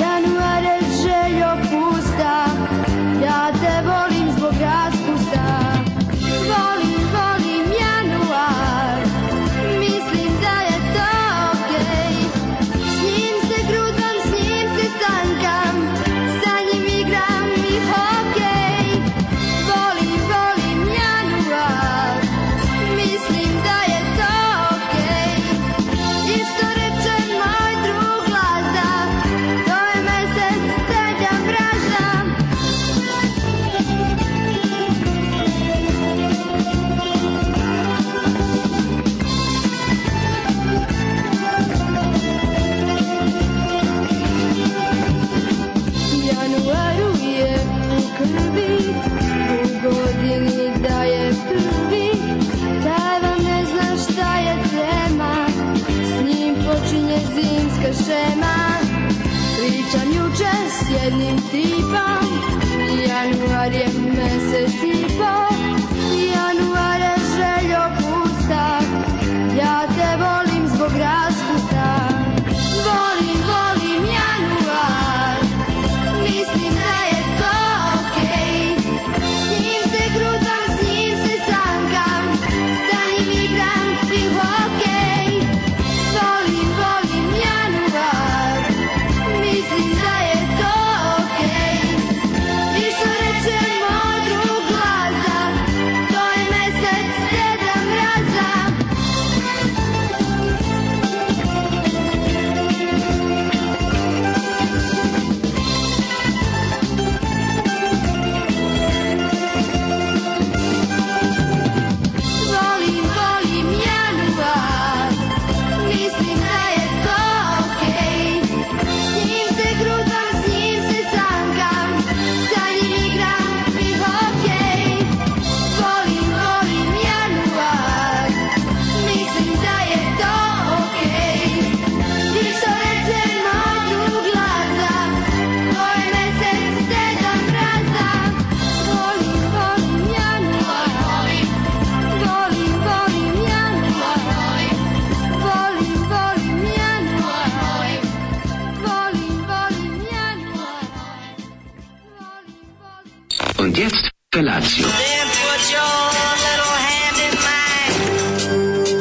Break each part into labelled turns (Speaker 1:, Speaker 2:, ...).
Speaker 1: Ja Pričam juče s jednim tipom Januar je mesec i po Januar je željo pusta Ja te volim zbog raspusta Volim, volim januar Mislim da je to okej S njim se krutam, s njim se sankam Sa njim igram i hokej Volim, volim januar Mislim da je to okej I što reče moj drug Laza To je mesec deda mraza Volim, volim januar Mislim da je to okej S njim se krutam, s njim se sankam Sa njim igram i hokej Volim, volim januar Mislim da je to okej I što reče moj drug Laza To je mesec deda mraza Volim, volim januar Volim, volim januar Volim, volim januar Volim, volim januar Volim, volim
Speaker 2: Und jetzt Felatio.
Speaker 3: Then put your little hand in mine.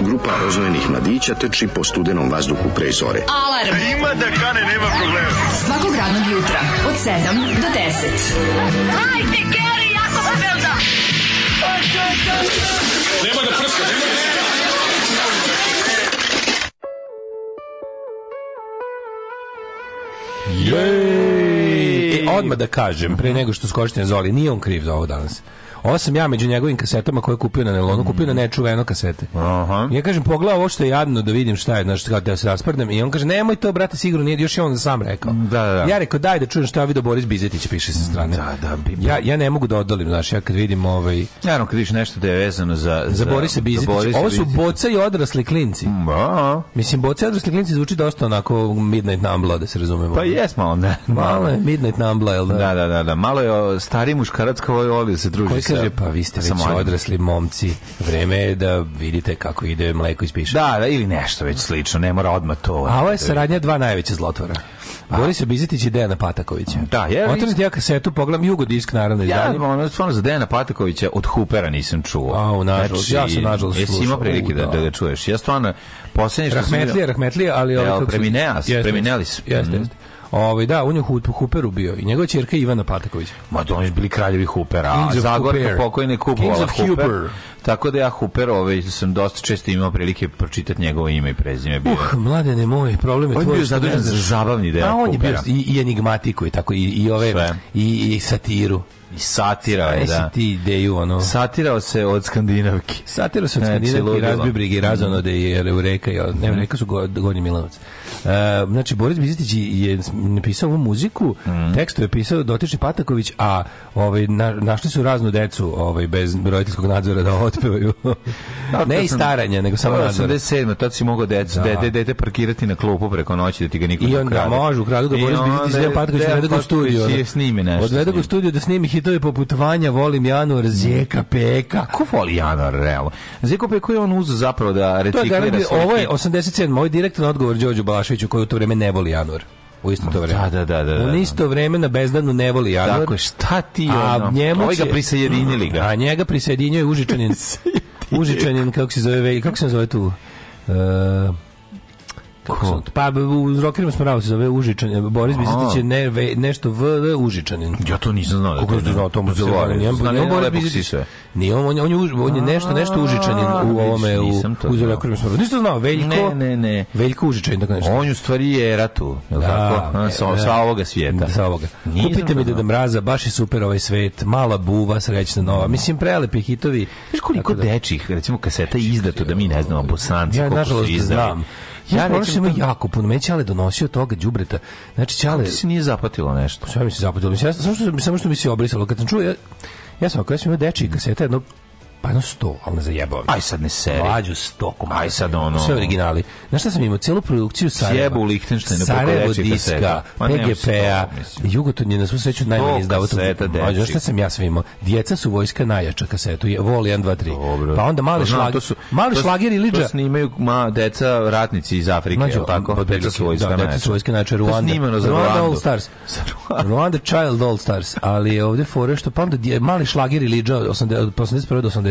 Speaker 4: Grupa rozvojenih mladića teči po studenom vazduhu pre zore.
Speaker 5: Alarm. Ima da kane, nema problema. Svakog radnog jutra, od 7 do 10. Hajde, Keri, jako se velda.
Speaker 6: Jej! E, odmah da kažem, pre nego što skočite na Zoli, nije on kriv za ovo danas. Ovo sam ja među njegovim kasetama koje je kupio na nelonu, kupio na nečuveno kasete.
Speaker 7: Aha.
Speaker 6: Ja kažem, pogledaj ovo što je jadno da vidim šta je, znaš, kao da se rasprdnem. I on kaže, nemoj to, brate, sigurno nije, još je on sam rekao.
Speaker 7: Da, da, da.
Speaker 6: Ja rekao, daj da čujem šta je vidio Boris Bizetić, piše sa strane.
Speaker 7: Da, da, bi-
Speaker 6: Ja, ja ne mogu da odolim, znaš, ja kad vidim ovaj...
Speaker 7: Naravno, kad vidiš nešto da je vezano za...
Speaker 6: Za Borisa Bizetića.
Speaker 7: Borisa
Speaker 6: Ovo su
Speaker 7: Bizetića. Mm.
Speaker 6: boca i odrasli klinci.
Speaker 7: Ma,
Speaker 6: Mislim, boca i odrasli klinci zvuči dosta onako Midnight Nambla, da se razumemo.
Speaker 7: Pa jes malo, ne.
Speaker 6: Malo je Midnight Nambla, jel da?
Speaker 7: Da, da, da, da. Malo je o, stari muškarac koji voli da se druži.
Speaker 6: Koji
Speaker 7: sa-
Speaker 6: kaže, pa vi ste
Speaker 7: sa
Speaker 6: već
Speaker 7: mladim.
Speaker 6: odrasli momci, vreme je da vidite kako ide mleko iz piša.
Speaker 7: Da, da, ili nešto već slično, ne mora odmah to.
Speaker 6: A ovo je saradnja dva najveća zlotvora. Boris Bizetić i Dejana Patakovića.
Speaker 7: Da, ja vidim-
Speaker 6: Otvorite ja kasetu, pogledam Jugodisk, naravno,
Speaker 7: Ja,
Speaker 6: izdanje.
Speaker 7: ono, stvarno, za Dejana Patakovića od Hupera nisam čuo. Znači,
Speaker 6: Au, nažalost, ja sam nažalost
Speaker 7: Jesi
Speaker 6: slušao.
Speaker 7: imao prilike
Speaker 6: U,
Speaker 7: da,
Speaker 6: da.
Speaker 7: da ga čuješ? Ja stvarno, posljednje što sam...
Speaker 6: Rahmetlije,
Speaker 7: vidio-
Speaker 6: rahmetlije, ali...
Speaker 7: Evo,
Speaker 6: kako se-
Speaker 7: premineas,
Speaker 6: Jeste,
Speaker 7: preminelis.
Speaker 6: Jeste,
Speaker 7: Mhm.
Speaker 6: jeste. Ovaj, da, on je u Huperu bio i njegova čerka Ivana Pataković.
Speaker 7: Ma to oni su bili kraljevi Hoopera,
Speaker 6: Kings
Speaker 7: a
Speaker 6: of
Speaker 7: Zagorka
Speaker 6: Hooper.
Speaker 7: pokojne kupovala
Speaker 6: Kings of
Speaker 7: Hooper.
Speaker 6: Hooper.
Speaker 7: Tako da ja Hooper ovaj, sam dosta često imao prilike pročitati njegovo ime i prezime. Bio. je-
Speaker 6: Uh, mladene moj, problem je
Speaker 7: on je
Speaker 6: tvoj
Speaker 7: bio
Speaker 6: što ne
Speaker 7: zadužen za
Speaker 6: znaš.
Speaker 7: zabavni deo
Speaker 6: A on je bio
Speaker 7: Hoopera.
Speaker 6: i, i enigmatiku i tako i, i ove
Speaker 7: Sve.
Speaker 6: i, i satiru.
Speaker 7: I satirao je,
Speaker 6: Jesi
Speaker 7: da.
Speaker 6: ti ideju ono.
Speaker 7: Satirao se od Skandinavki.
Speaker 6: Satira se od
Speaker 7: Znači,
Speaker 6: Skandinavke E, i
Speaker 7: ludilo.
Speaker 6: razbio brige razano da je Eureka, ja,
Speaker 7: Mhm.
Speaker 6: ne Eureka su go, Gornji Milanovac. E, znači, Boris Bizetić je napisao ovu muziku,
Speaker 7: Mhm.
Speaker 6: tekstu je pisao dotični Pataković, a ovaj, na, našli su raznu decu ovaj, bez roditeljskog nadzora da otpevaju. ne i staranja, nego samo
Speaker 7: Ovo je
Speaker 6: nadzora.
Speaker 7: 87. Tad si mogao dete,
Speaker 6: Da.
Speaker 7: dete, dete parkirati na klupu preko noći da ti ga niko
Speaker 6: I
Speaker 7: ne
Speaker 6: onda
Speaker 7: ukrade.
Speaker 6: može, ukradu ga
Speaker 7: I
Speaker 6: Boris
Speaker 7: onda
Speaker 6: Bizetić, Dejan Patković,
Speaker 7: Dejan
Speaker 6: odvede ga u
Speaker 7: Patković
Speaker 6: studiju.
Speaker 7: je snimi nešto.
Speaker 6: Odvede
Speaker 7: s
Speaker 6: ga u
Speaker 7: njim.
Speaker 6: studiju da snimi hitove poput Vanja, Volim Januar,
Speaker 7: Mhm.
Speaker 6: Zjeka, Peka.
Speaker 7: Ko E, voli januar, realno? Zekope koji je on uzeo zapravo da
Speaker 6: To je
Speaker 7: reciklira
Speaker 6: garanti-
Speaker 7: svoj
Speaker 6: ovo je
Speaker 7: hit?
Speaker 6: 87. Ovo je direktan odgovor Đorđu Balaševiću koji u to vreme ne voli januar. U isto to vreme.
Speaker 7: Da, da, da, da, da.
Speaker 6: U isto vreme na Bezdanu ne voli januar.
Speaker 7: Tako je, šta ti
Speaker 6: a
Speaker 7: ono?
Speaker 6: njemu
Speaker 7: Ovi ga
Speaker 6: će-
Speaker 7: prisajedinili ga.
Speaker 6: A njega prisjedinjuje Užičanin. Užičanin, kako se zove, ve- kako se zove tu? E, kako se- pa u rokerima smo pravo se zove Užičanin. Boris Bizetić je ne, ve- nešto V, Užičanin.
Speaker 7: Ja to nisam znao.
Speaker 6: Kako je to znao Tomu Zelore? Nije on
Speaker 7: Znam,
Speaker 6: nije on
Speaker 7: nema
Speaker 6: Boris
Speaker 7: lepog
Speaker 6: Bizetić.
Speaker 7: sisa.
Speaker 6: Nije on, on je, on je, už- on je nešto, nešto Užičanin u
Speaker 7: vidiš,
Speaker 6: ovome, u,
Speaker 7: nisam to
Speaker 6: u
Speaker 7: znao.
Speaker 6: Zelekrivim smrdu. Nisi to znao, Veljko?
Speaker 7: Ne, ne, ne.
Speaker 6: Veljko Užičanin, tako nešto.
Speaker 7: On je u stvari je ratu, je li
Speaker 6: Da,
Speaker 7: tako? A,
Speaker 6: ne,
Speaker 7: Sa,
Speaker 6: ne.
Speaker 7: sa ovoga svijeta.
Speaker 6: Sa ovoga.
Speaker 7: Nisam
Speaker 6: Kupite mi
Speaker 7: to
Speaker 6: Deda
Speaker 7: znao.
Speaker 6: Mraza, baš je super ovaj svet, mala buva, srećna nova. Mislim, prelepi hitovi.
Speaker 7: Znaš koliko
Speaker 6: Tako da-
Speaker 7: dečih, recimo, kaseta je izdato da mi ne znamo bosanci
Speaker 6: Ja,
Speaker 7: koliko su
Speaker 6: nažalost,
Speaker 7: izdali.
Speaker 6: znam. Ja, ja
Speaker 7: recimo,
Speaker 6: recimo,
Speaker 7: to-
Speaker 6: jako puno. Meni Ćale donosio toga đubreta. Znači, Ćale...
Speaker 7: to se nije zapatilo nešto.
Speaker 6: Sve mi se zapadilo. Mislim, ja sam- samo što, samo što mi se obrisalo. Kad sam čuo, ja, ja sam ako ja sam imao dečiji kaseta, jedno pa jedno 100, ali ne zajebao. me.
Speaker 7: Aj sad ne seri.
Speaker 6: Mlađu 100 komada.
Speaker 7: Aj sad ono-
Speaker 6: Sve originali. Znaš šta sam imao? Cijelu produkciju Sarajeva.
Speaker 7: Sjebu Lichtenštajna preko
Speaker 6: Sarajevo
Speaker 7: dečje
Speaker 6: diska, P-a.
Speaker 7: kaseta. Ma nemam
Speaker 6: PGP-a,
Speaker 7: sto, mislim.
Speaker 6: Jugoton je na svu sreću najmanji izdavao.
Speaker 7: kaseta
Speaker 6: Mlađo, Znaš šta
Speaker 7: dečjih.
Speaker 6: sam ja sve imao? Djeca su vojska najjača kasetu. je- Voli 1, 2, 3.
Speaker 7: Dobro.
Speaker 6: Pa onda mali
Speaker 7: Znam,
Speaker 6: šlag,
Speaker 7: to su-
Speaker 6: mali
Speaker 7: to-
Speaker 6: šlager i
Speaker 7: To
Speaker 6: liđa.
Speaker 7: snimaju ma, deca ratnici iz Afrike,
Speaker 6: Mlađo,
Speaker 7: Mlađo, tako?
Speaker 6: pa
Speaker 7: deca su vojska. znači
Speaker 6: Da, deca
Speaker 7: najjača.
Speaker 6: su vojska najjača,
Speaker 7: To
Speaker 6: Ruanda.
Speaker 7: snimano za
Speaker 6: Ruanda
Speaker 7: Ruandu.
Speaker 6: All Stars.
Speaker 7: Za
Speaker 6: Ruanda Child All Stars. Ali je ovde fore što pa onda dje- mali šlager i liđa od 80 od 81. do 87.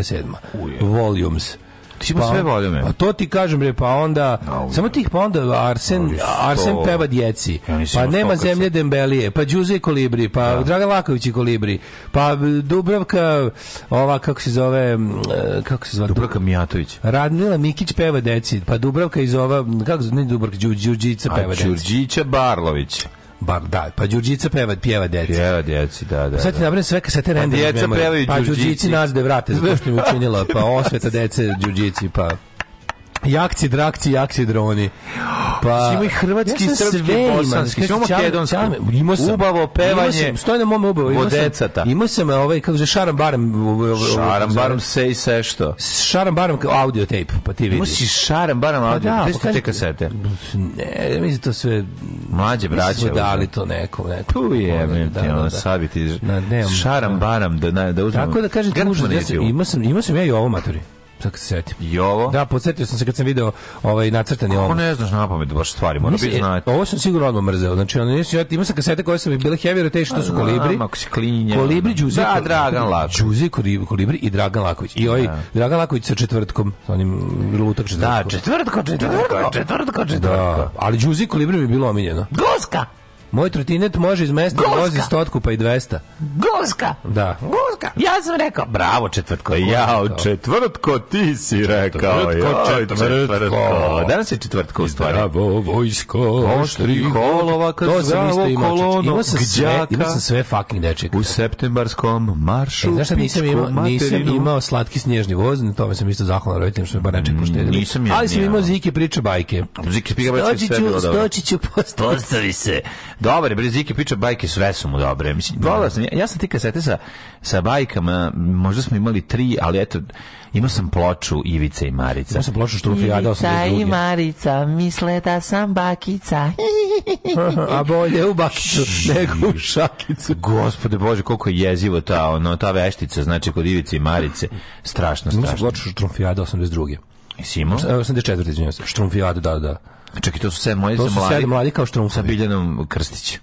Speaker 6: Volumes.
Speaker 7: Ti si imao sve volume.
Speaker 6: A to ti kažem bre, pa onda
Speaker 7: Au.
Speaker 6: samo tih pa onda Arsen
Speaker 7: Ali sto.
Speaker 6: Arsen peva djeci.
Speaker 7: Ja nisam
Speaker 6: pa
Speaker 7: imao sto
Speaker 6: nema
Speaker 7: kad
Speaker 6: zemlje Dembelije, pa Đuze i Kolibri, pa Dragan Laković i Kolibri, pa Dubravka ova kako se zove m, e, kako se zove
Speaker 7: Dubravka Mijatović.
Speaker 6: Radmila Mikić peva deci, pa Dubravka iz ova, kako se- ne Dubravka, Đu, Đurđica peva
Speaker 7: A
Speaker 6: deci.
Speaker 7: Đurđića Barlović.
Speaker 6: Bar, da, pa Đurđica peva, pjeva deci. Pa
Speaker 7: Pjeva djeci, da, da.
Speaker 6: Sad ti
Speaker 7: da.
Speaker 6: nabrem sve kasete random.
Speaker 7: djeca
Speaker 6: memory.
Speaker 7: pevaju
Speaker 6: Pa
Speaker 7: Đurđici.
Speaker 6: Đurđici nas da vrate, zato što im učinila, pa osveta dece Đurđici, pa... Jakci, drakci, jakci, droni. Pa,
Speaker 7: Si imao i hrvatski,
Speaker 6: sam
Speaker 7: srpski,
Speaker 6: sve imao,
Speaker 7: bosanski,
Speaker 6: znaš,
Speaker 7: si imao
Speaker 6: Ćale-
Speaker 7: makedonski.
Speaker 6: Ćale- imao sam,
Speaker 7: Ubavo,
Speaker 6: imao sam,
Speaker 7: pevanje
Speaker 6: stoji na mom ubavo. imao sam-
Speaker 7: vodecata.
Speaker 6: Imao sam, ovaj, kako se zove, šaram barem.
Speaker 7: Šaram, baram se i sve što.
Speaker 6: Šaram barem kao audio tape, pa ti vidi.
Speaker 7: Imao si šaram, baram audio.
Speaker 6: da,
Speaker 7: Gde su
Speaker 6: pa
Speaker 7: te
Speaker 6: kaži-
Speaker 7: kasete?
Speaker 6: Ne, mislim to sve
Speaker 7: Mlađe braće.
Speaker 6: braće dali to nekom, nekom.
Speaker 7: Tu je, meni ti,
Speaker 6: Da, da,
Speaker 7: ono,
Speaker 6: da.
Speaker 7: sad bi ti...
Speaker 6: Na, nemam.
Speaker 7: Šaram, baram, da, na- da uzmem.
Speaker 6: Tako da kažem,
Speaker 7: Grkman
Speaker 6: tužno,
Speaker 7: je
Speaker 6: ja sam,
Speaker 7: bio.
Speaker 6: imao sam, imao sam ja i ovo maturi. Sad kad se setim.
Speaker 7: I ovo?
Speaker 6: Da, podsjetio sam se kad sam video ovaj nacrtani ovo. e,
Speaker 7: Ako ne znaš na pamet baš stvari, mora biti znati.
Speaker 6: ovo sam sigurno odmah mrzeo. Znači, ono, nisam, ja imao sam kasete koje su mi bile heavy rotation, to su
Speaker 7: Znam,
Speaker 6: kolibri.
Speaker 7: ako si klinja.
Speaker 6: Kolibri, Đuzi,
Speaker 7: Da, Dragan Laković.
Speaker 6: Đuzi, Kolibri- kolibri i Dragan Laković. I ovaj Dragan Laković sa četvrtkom, sa onim mm, lutak
Speaker 7: Da,
Speaker 6: četvrtkom.
Speaker 7: četvrtko, četvrtko, četvrtko, četvrtko.
Speaker 6: Da, ali Đuzi i kolibri mi je bilo omiljeno.
Speaker 7: Guska!
Speaker 6: Moj trotinet može iz mesta da
Speaker 7: Guska!
Speaker 6: vozi stotku pa i 200.
Speaker 7: Guska!
Speaker 6: Da.
Speaker 7: Guska! Ja sam rekao, bravo četvrtko. Jao, četvrtko ti si rekao. Četvrtko, četvrtko. Danas je četvrtko u stvari.
Speaker 6: Bravo vojsko,
Speaker 7: Oštri kolova kad
Speaker 6: to sam isto
Speaker 7: zdravo
Speaker 6: imao. čoveče.
Speaker 7: kolono
Speaker 6: Imao sam sve,
Speaker 7: gđaka.
Speaker 6: imao sam sve fucking dečeg.
Speaker 7: U septembarskom maršu.
Speaker 6: E, znaš šta nisam
Speaker 7: pičku
Speaker 6: imao? Nisam
Speaker 7: materinu.
Speaker 6: imao slatki snježni voz, na tome sam isto zahvalan roditeljima što me bar nečeg poštedili.
Speaker 7: Mm, nisam ja,
Speaker 6: Ali sam
Speaker 7: nije,
Speaker 6: imao
Speaker 7: ono.
Speaker 6: zike priče bajke.
Speaker 7: Ziki Piga Bajke sve je bilo dobro.
Speaker 6: stočiću posto.
Speaker 7: Postavi se. Dobar, bre, Ziki piča bajke, sve su mu dobre. Mislim, volao sam, ja, ja sam ti kasete sa, sa bajkama, možda smo imali tri, ali eto, imao sam ploču Ivice i Marica.
Speaker 6: Ja sam plošao štrufijada 82.
Speaker 3: Marica misle da sam bakica.
Speaker 6: A bolje u bakicu nego u šakicu.
Speaker 7: Gospode Bože, koliko je jezivo ta, ono, ta veštica, znači, kod Ivice i Marice. Strašno,
Speaker 6: Imao sam
Speaker 7: strašno.
Speaker 6: ploču štrufijada 82.
Speaker 7: Jesi imao?
Speaker 6: E, 84. izvinjavam se. Štrufijada, da, da.
Speaker 7: Čekaj, to su sve moje
Speaker 6: To
Speaker 7: sa
Speaker 6: su
Speaker 7: mladi.
Speaker 6: sedam mladi kao
Speaker 7: Sa
Speaker 6: štrumfovi.
Speaker 7: Biljanom Krstić.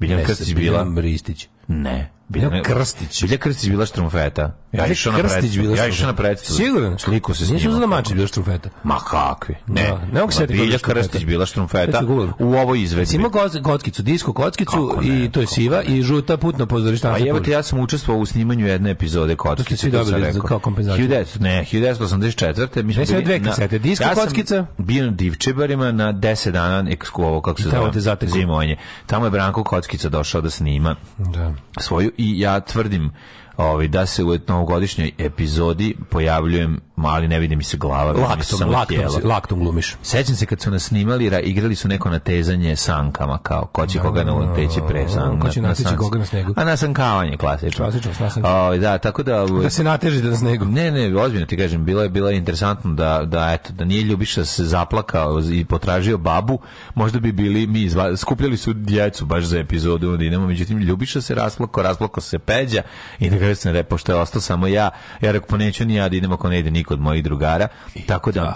Speaker 7: Biljan
Speaker 6: Ne,
Speaker 7: Krstić
Speaker 6: sa
Speaker 7: bila...
Speaker 6: Biljanom Ristić.
Speaker 7: Ne.
Speaker 6: Biljana Krstić.
Speaker 7: Bilja Krstić bila štrumfeta. Ja
Speaker 6: Ali
Speaker 7: išao na
Speaker 6: Krstić
Speaker 7: predstavu.
Speaker 6: bila
Speaker 7: Ja išao
Speaker 6: štrumfeta.
Speaker 7: na predstavu.
Speaker 6: Siguran?
Speaker 7: Sliku se s
Speaker 6: Nisam
Speaker 7: njima.
Speaker 6: znao da Mačić bila štrumfeta.
Speaker 7: Ma kakvi? Ne.
Speaker 6: Da, ne mogu se
Speaker 7: Ma
Speaker 6: sjetiti
Speaker 7: Bilja
Speaker 6: bila štrumfeta.
Speaker 7: Krstić bila
Speaker 6: Ja
Speaker 7: štrumfeta
Speaker 6: ću googlam.
Speaker 7: u ovoj izvedbi.
Speaker 6: Simo kockicu, disku kockicu
Speaker 7: Kako ne,
Speaker 6: i to je siva i žuta putno pozorišta.
Speaker 7: A
Speaker 6: Anca
Speaker 7: Pa evo
Speaker 6: Purić.
Speaker 7: te, ja sam učestvovao u snimanju jedne epizode kockice.
Speaker 6: To ste svi
Speaker 7: sam
Speaker 6: dobili
Speaker 7: rekao.
Speaker 6: za- kao kompenzaciju.
Speaker 7: 1900 ne, 1984. Mi smo
Speaker 6: Ne, sve
Speaker 7: bili
Speaker 6: dve
Speaker 7: na-
Speaker 6: kasete, disko
Speaker 7: ja sam
Speaker 6: kockica.
Speaker 7: bio na Divčebarima na 10 dana eksku ovo, kako se
Speaker 6: tamo
Speaker 7: zove,
Speaker 6: te zatekao.
Speaker 7: zimovanje. Tamo je Branko Kockica došao da snima
Speaker 6: Da.
Speaker 7: svoju i ja tvrdim ovaj, da se u novogodišnjoj epizodi pojavljujem, ali ne vidi mi se glava. vidi mi se
Speaker 6: Laktom,
Speaker 7: samo
Speaker 6: laktom,
Speaker 7: tijelo.
Speaker 6: si- laktom glumiš.
Speaker 7: Sećam se kad su nas snimali, ra, igrali su neko natezanje sankama, kao ko će koga nateći pre sank.
Speaker 6: Ko će
Speaker 7: na- na
Speaker 6: nateći
Speaker 7: sanci.
Speaker 6: koga na snegu.
Speaker 7: A nasankavanje, klasično.
Speaker 6: Klasično, nasankavanje.
Speaker 7: Ovaj, da, tako da...
Speaker 6: Da se nateži da na snegu.
Speaker 7: Ne, ne, ozbiljno ti kažem, bilo je bilo je interesantno da da eto da nije Ljubiša se zaplakao i potražio babu, možda bi bili mi izva, skupljali su djecu baš za epizodu u Dinamo, međutim Ljubiša se rasplako, rasplako se peđa i na kraju sam rekao pošto je ostao samo ja, ja rekao pa neću ni ja da idem ako ne ide niko od mojih drugara. tako da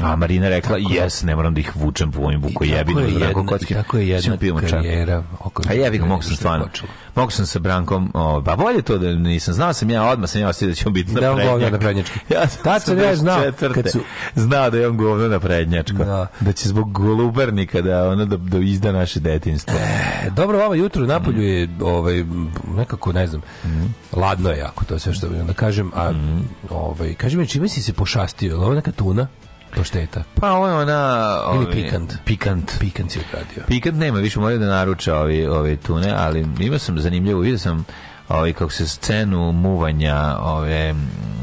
Speaker 7: a Marina rekla jes, ne moram da ih vučem po ovim buko jebinu.
Speaker 6: Tako je jedna, i tako je jedna karijera. oko-
Speaker 7: A ja bih Pa mogu sam
Speaker 6: što je
Speaker 7: stvarno.
Speaker 6: počela.
Speaker 7: Mogu sam sa Brankom, o, pa bolje to da nisam. Znao sam ja odmah, sam ja osjetio da ćemo biti na
Speaker 6: Da je on
Speaker 7: prednjačku.
Speaker 6: govnar na prednjački.
Speaker 7: Ja sam
Speaker 6: Tad sam ja znao,
Speaker 7: 84.
Speaker 6: kad su-
Speaker 7: Znao da je on govno na prednjačko.
Speaker 6: Da.
Speaker 7: Da. će zbog golubernika da, ono, da, da izda naše detinstvo.
Speaker 6: E, Dobro, vama jutro napolju je ovaj m, nekako ne znam.
Speaker 7: Mhm.
Speaker 6: Ladno je jako, to je sve što bih da kažem, a ovaj kaži mi čime si se pošastio? Jel Ovo neka tuna, pašteta.
Speaker 7: Pa ovo je ona...
Speaker 6: Ili
Speaker 7: ovi-
Speaker 6: pikant.
Speaker 7: Pikant.
Speaker 6: Pikan si odradio.
Speaker 7: Pikant nema, više moraju da naruča ovi, ove tune, ali imao sam zanimljivo, vidio sam ovaj, kako se scenu muvanja ove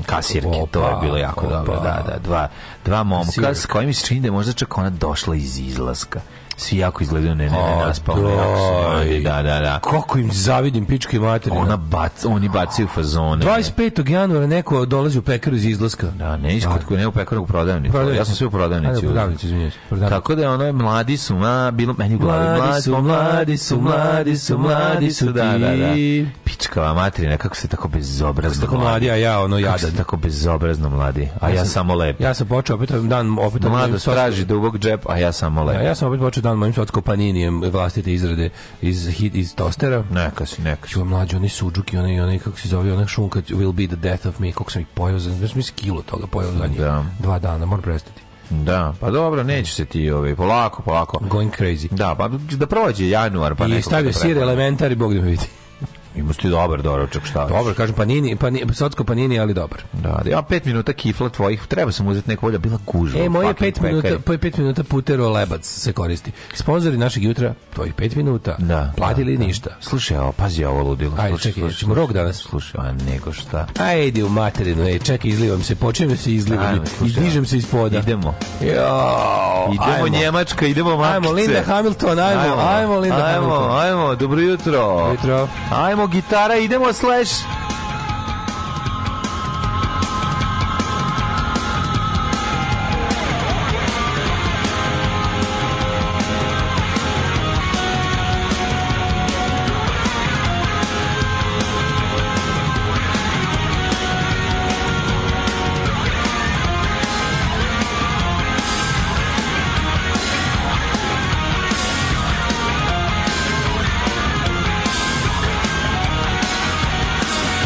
Speaker 7: kasirke, to je
Speaker 6: Opa,
Speaker 7: bilo jako
Speaker 6: opa.
Speaker 7: dobro, da, da, dva, dva momka
Speaker 6: Kasirka.
Speaker 7: s kojim se čini da je možda čak ona došla iz izlaska. Svi jako izgledaju ne, ne, ne,
Speaker 6: A,
Speaker 7: naspavno, jako su mladi,
Speaker 6: Pa, daj.
Speaker 7: da, da, da.
Speaker 6: Koliko im zavidim pičke materine.
Speaker 7: Ona bac, oni bacaju fazone.
Speaker 6: 25. januara neko dolazi u pekaru iz izlaska.
Speaker 7: Da, ne, iskod kod ne u pekaru u prodavnicu.
Speaker 6: Prodavnicu.
Speaker 7: Ja sam sve u
Speaker 6: A,
Speaker 7: prodavnici.
Speaker 6: da, u prodavnici, izvinjavam se, prodavnici.
Speaker 7: Tako da je ono mladi su, ma, bilo meni u glavi.
Speaker 6: Mladi su, mladi su, mladi su, mladi su
Speaker 7: da, da, da.
Speaker 6: ti.
Speaker 7: Pičkava materina, kako ste tako bezobrazno
Speaker 6: Tako mladi, a ja ono
Speaker 7: Kako
Speaker 6: jadan.
Speaker 7: ste tako bezobrazno mladi, a ja
Speaker 6: sam-
Speaker 7: samo lep.
Speaker 6: Ja sam počeo opet dan opet
Speaker 7: Mlado straži dubog džep, a ja samo
Speaker 6: Ja,
Speaker 7: lep.
Speaker 6: ja sam opet počeo dan mojim sotsko paninijem vlastite izrade iz hit iz tostera.
Speaker 7: Neka si, neka si.
Speaker 6: Čuva mlađi, onaj suđuk i onaj, onaj, kako se zove, onaj šunka will be the death of me, kako sam ih pojao, za, ja sam mislim kilo toga pojao za njih.
Speaker 7: Da.
Speaker 6: Dva dana, moram prestati.
Speaker 7: Da, pa dobro, neće se ti, ovaj, polako, polako.
Speaker 6: Going crazy.
Speaker 7: Da, pa da prođe januar, pa
Speaker 6: I
Speaker 7: nekako
Speaker 6: stavio
Speaker 7: da
Speaker 6: sir,
Speaker 7: prepadne.
Speaker 6: elementar i bog da me vidi.
Speaker 7: Ima ti dobar doručak, šta?
Speaker 6: Dobar, kažem
Speaker 7: pa
Speaker 6: panini, panini, sotsko panini, ali dobar.
Speaker 7: Da, da, ja pet minuta kifla tvojih, treba sam uzeti neku volja, bila gužva.
Speaker 6: E,
Speaker 7: u
Speaker 6: moje
Speaker 7: fucking
Speaker 6: 5 minuta,
Speaker 7: pekari.
Speaker 6: po 5 minuta putero lebac se koristi. Sponzori našeg jutra, tvojih 5 minuta.
Speaker 7: Da.
Speaker 6: Platili
Speaker 7: da, da.
Speaker 6: ništa.
Speaker 7: Slušaj, ovo, pazi ovo ludilo.
Speaker 6: Ajde,
Speaker 7: Slušaj,
Speaker 6: čekaj,
Speaker 7: slušaj,
Speaker 6: ćemo rok danas.
Speaker 7: Slušaj, a nego šta.
Speaker 6: Ajde u materinu, ej, čekaj, izlivam se, počinjem se izlivam
Speaker 7: Ajme,
Speaker 6: i
Speaker 7: slušaj,
Speaker 6: dižem se iz poda.
Speaker 7: Idemo.
Speaker 6: Jo,
Speaker 7: Idemo
Speaker 6: ajmo.
Speaker 7: Njemačka, idemo Makice.
Speaker 6: Ajmo, Linda Hamilton, ajmo, ajmo, Linda
Speaker 7: ajmo,
Speaker 6: Hamilton.
Speaker 7: Ajmo, dobro jutro. Dobro
Speaker 6: jutro.
Speaker 7: Ajmo, gitara, idemo, slash.
Speaker 6: Ajmo.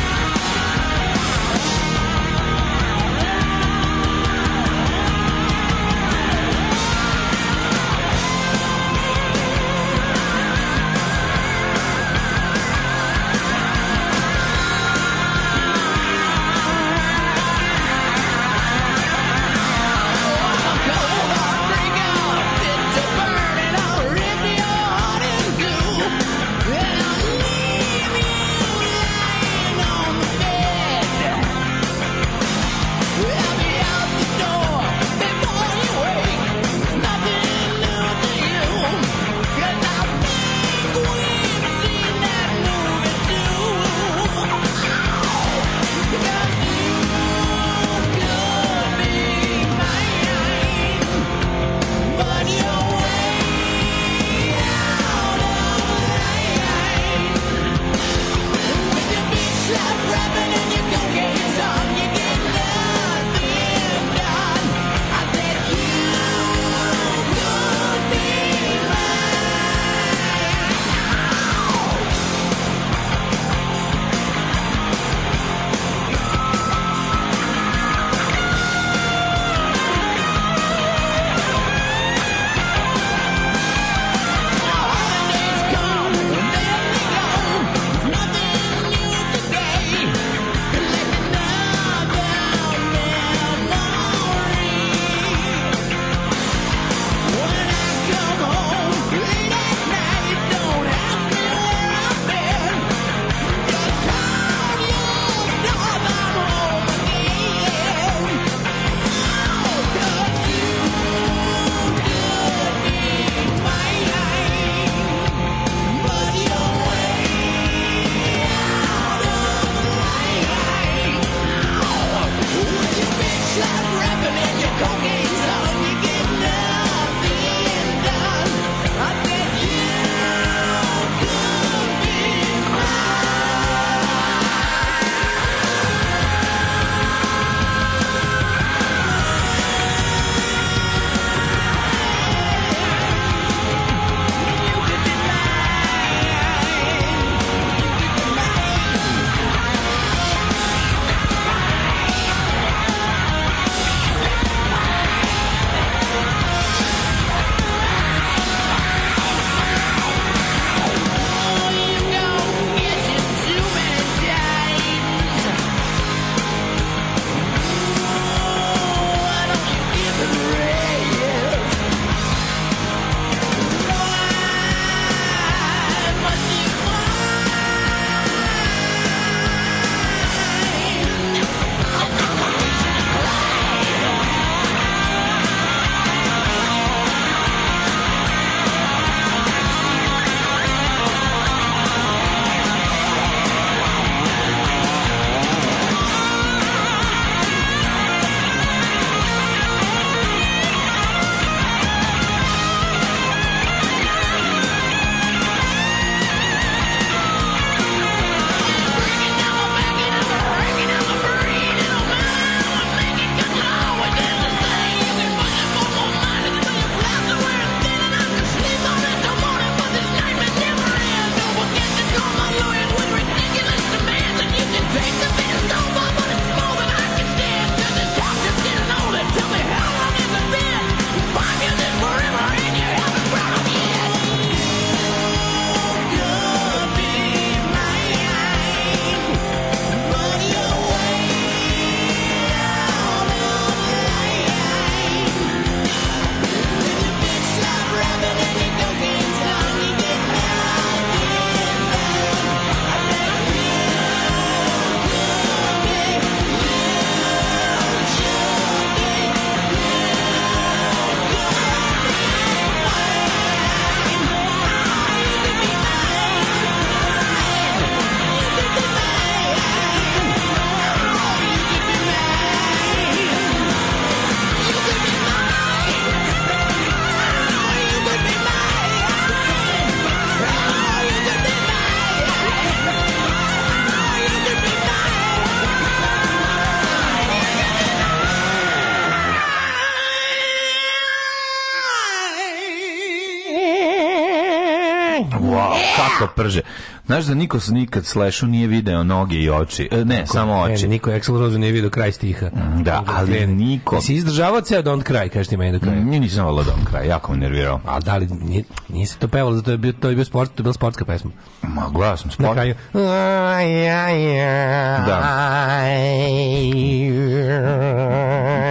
Speaker 7: Wow, kako prže. Znaš da niko s- nikad Slashu nije video noge i oči. E, ne, samo
Speaker 6: Ne,
Speaker 7: oči.
Speaker 6: niko Axel Rose nije vidio kraj stiha.
Speaker 7: Mm, Da, ali niko- Mm.
Speaker 6: Si izdržavao ceo Don't Cry, kaži ti meni do kraja.
Speaker 7: Nije nisam volao dom kraj, jako me nervirao.
Speaker 6: A da li, nije, nije se to pevalo, zato je bio, to je bio sport, to je bila sportska pesma.
Speaker 7: Ma, gledao sam
Speaker 6: Na
Speaker 7: sport.
Speaker 6: kraju.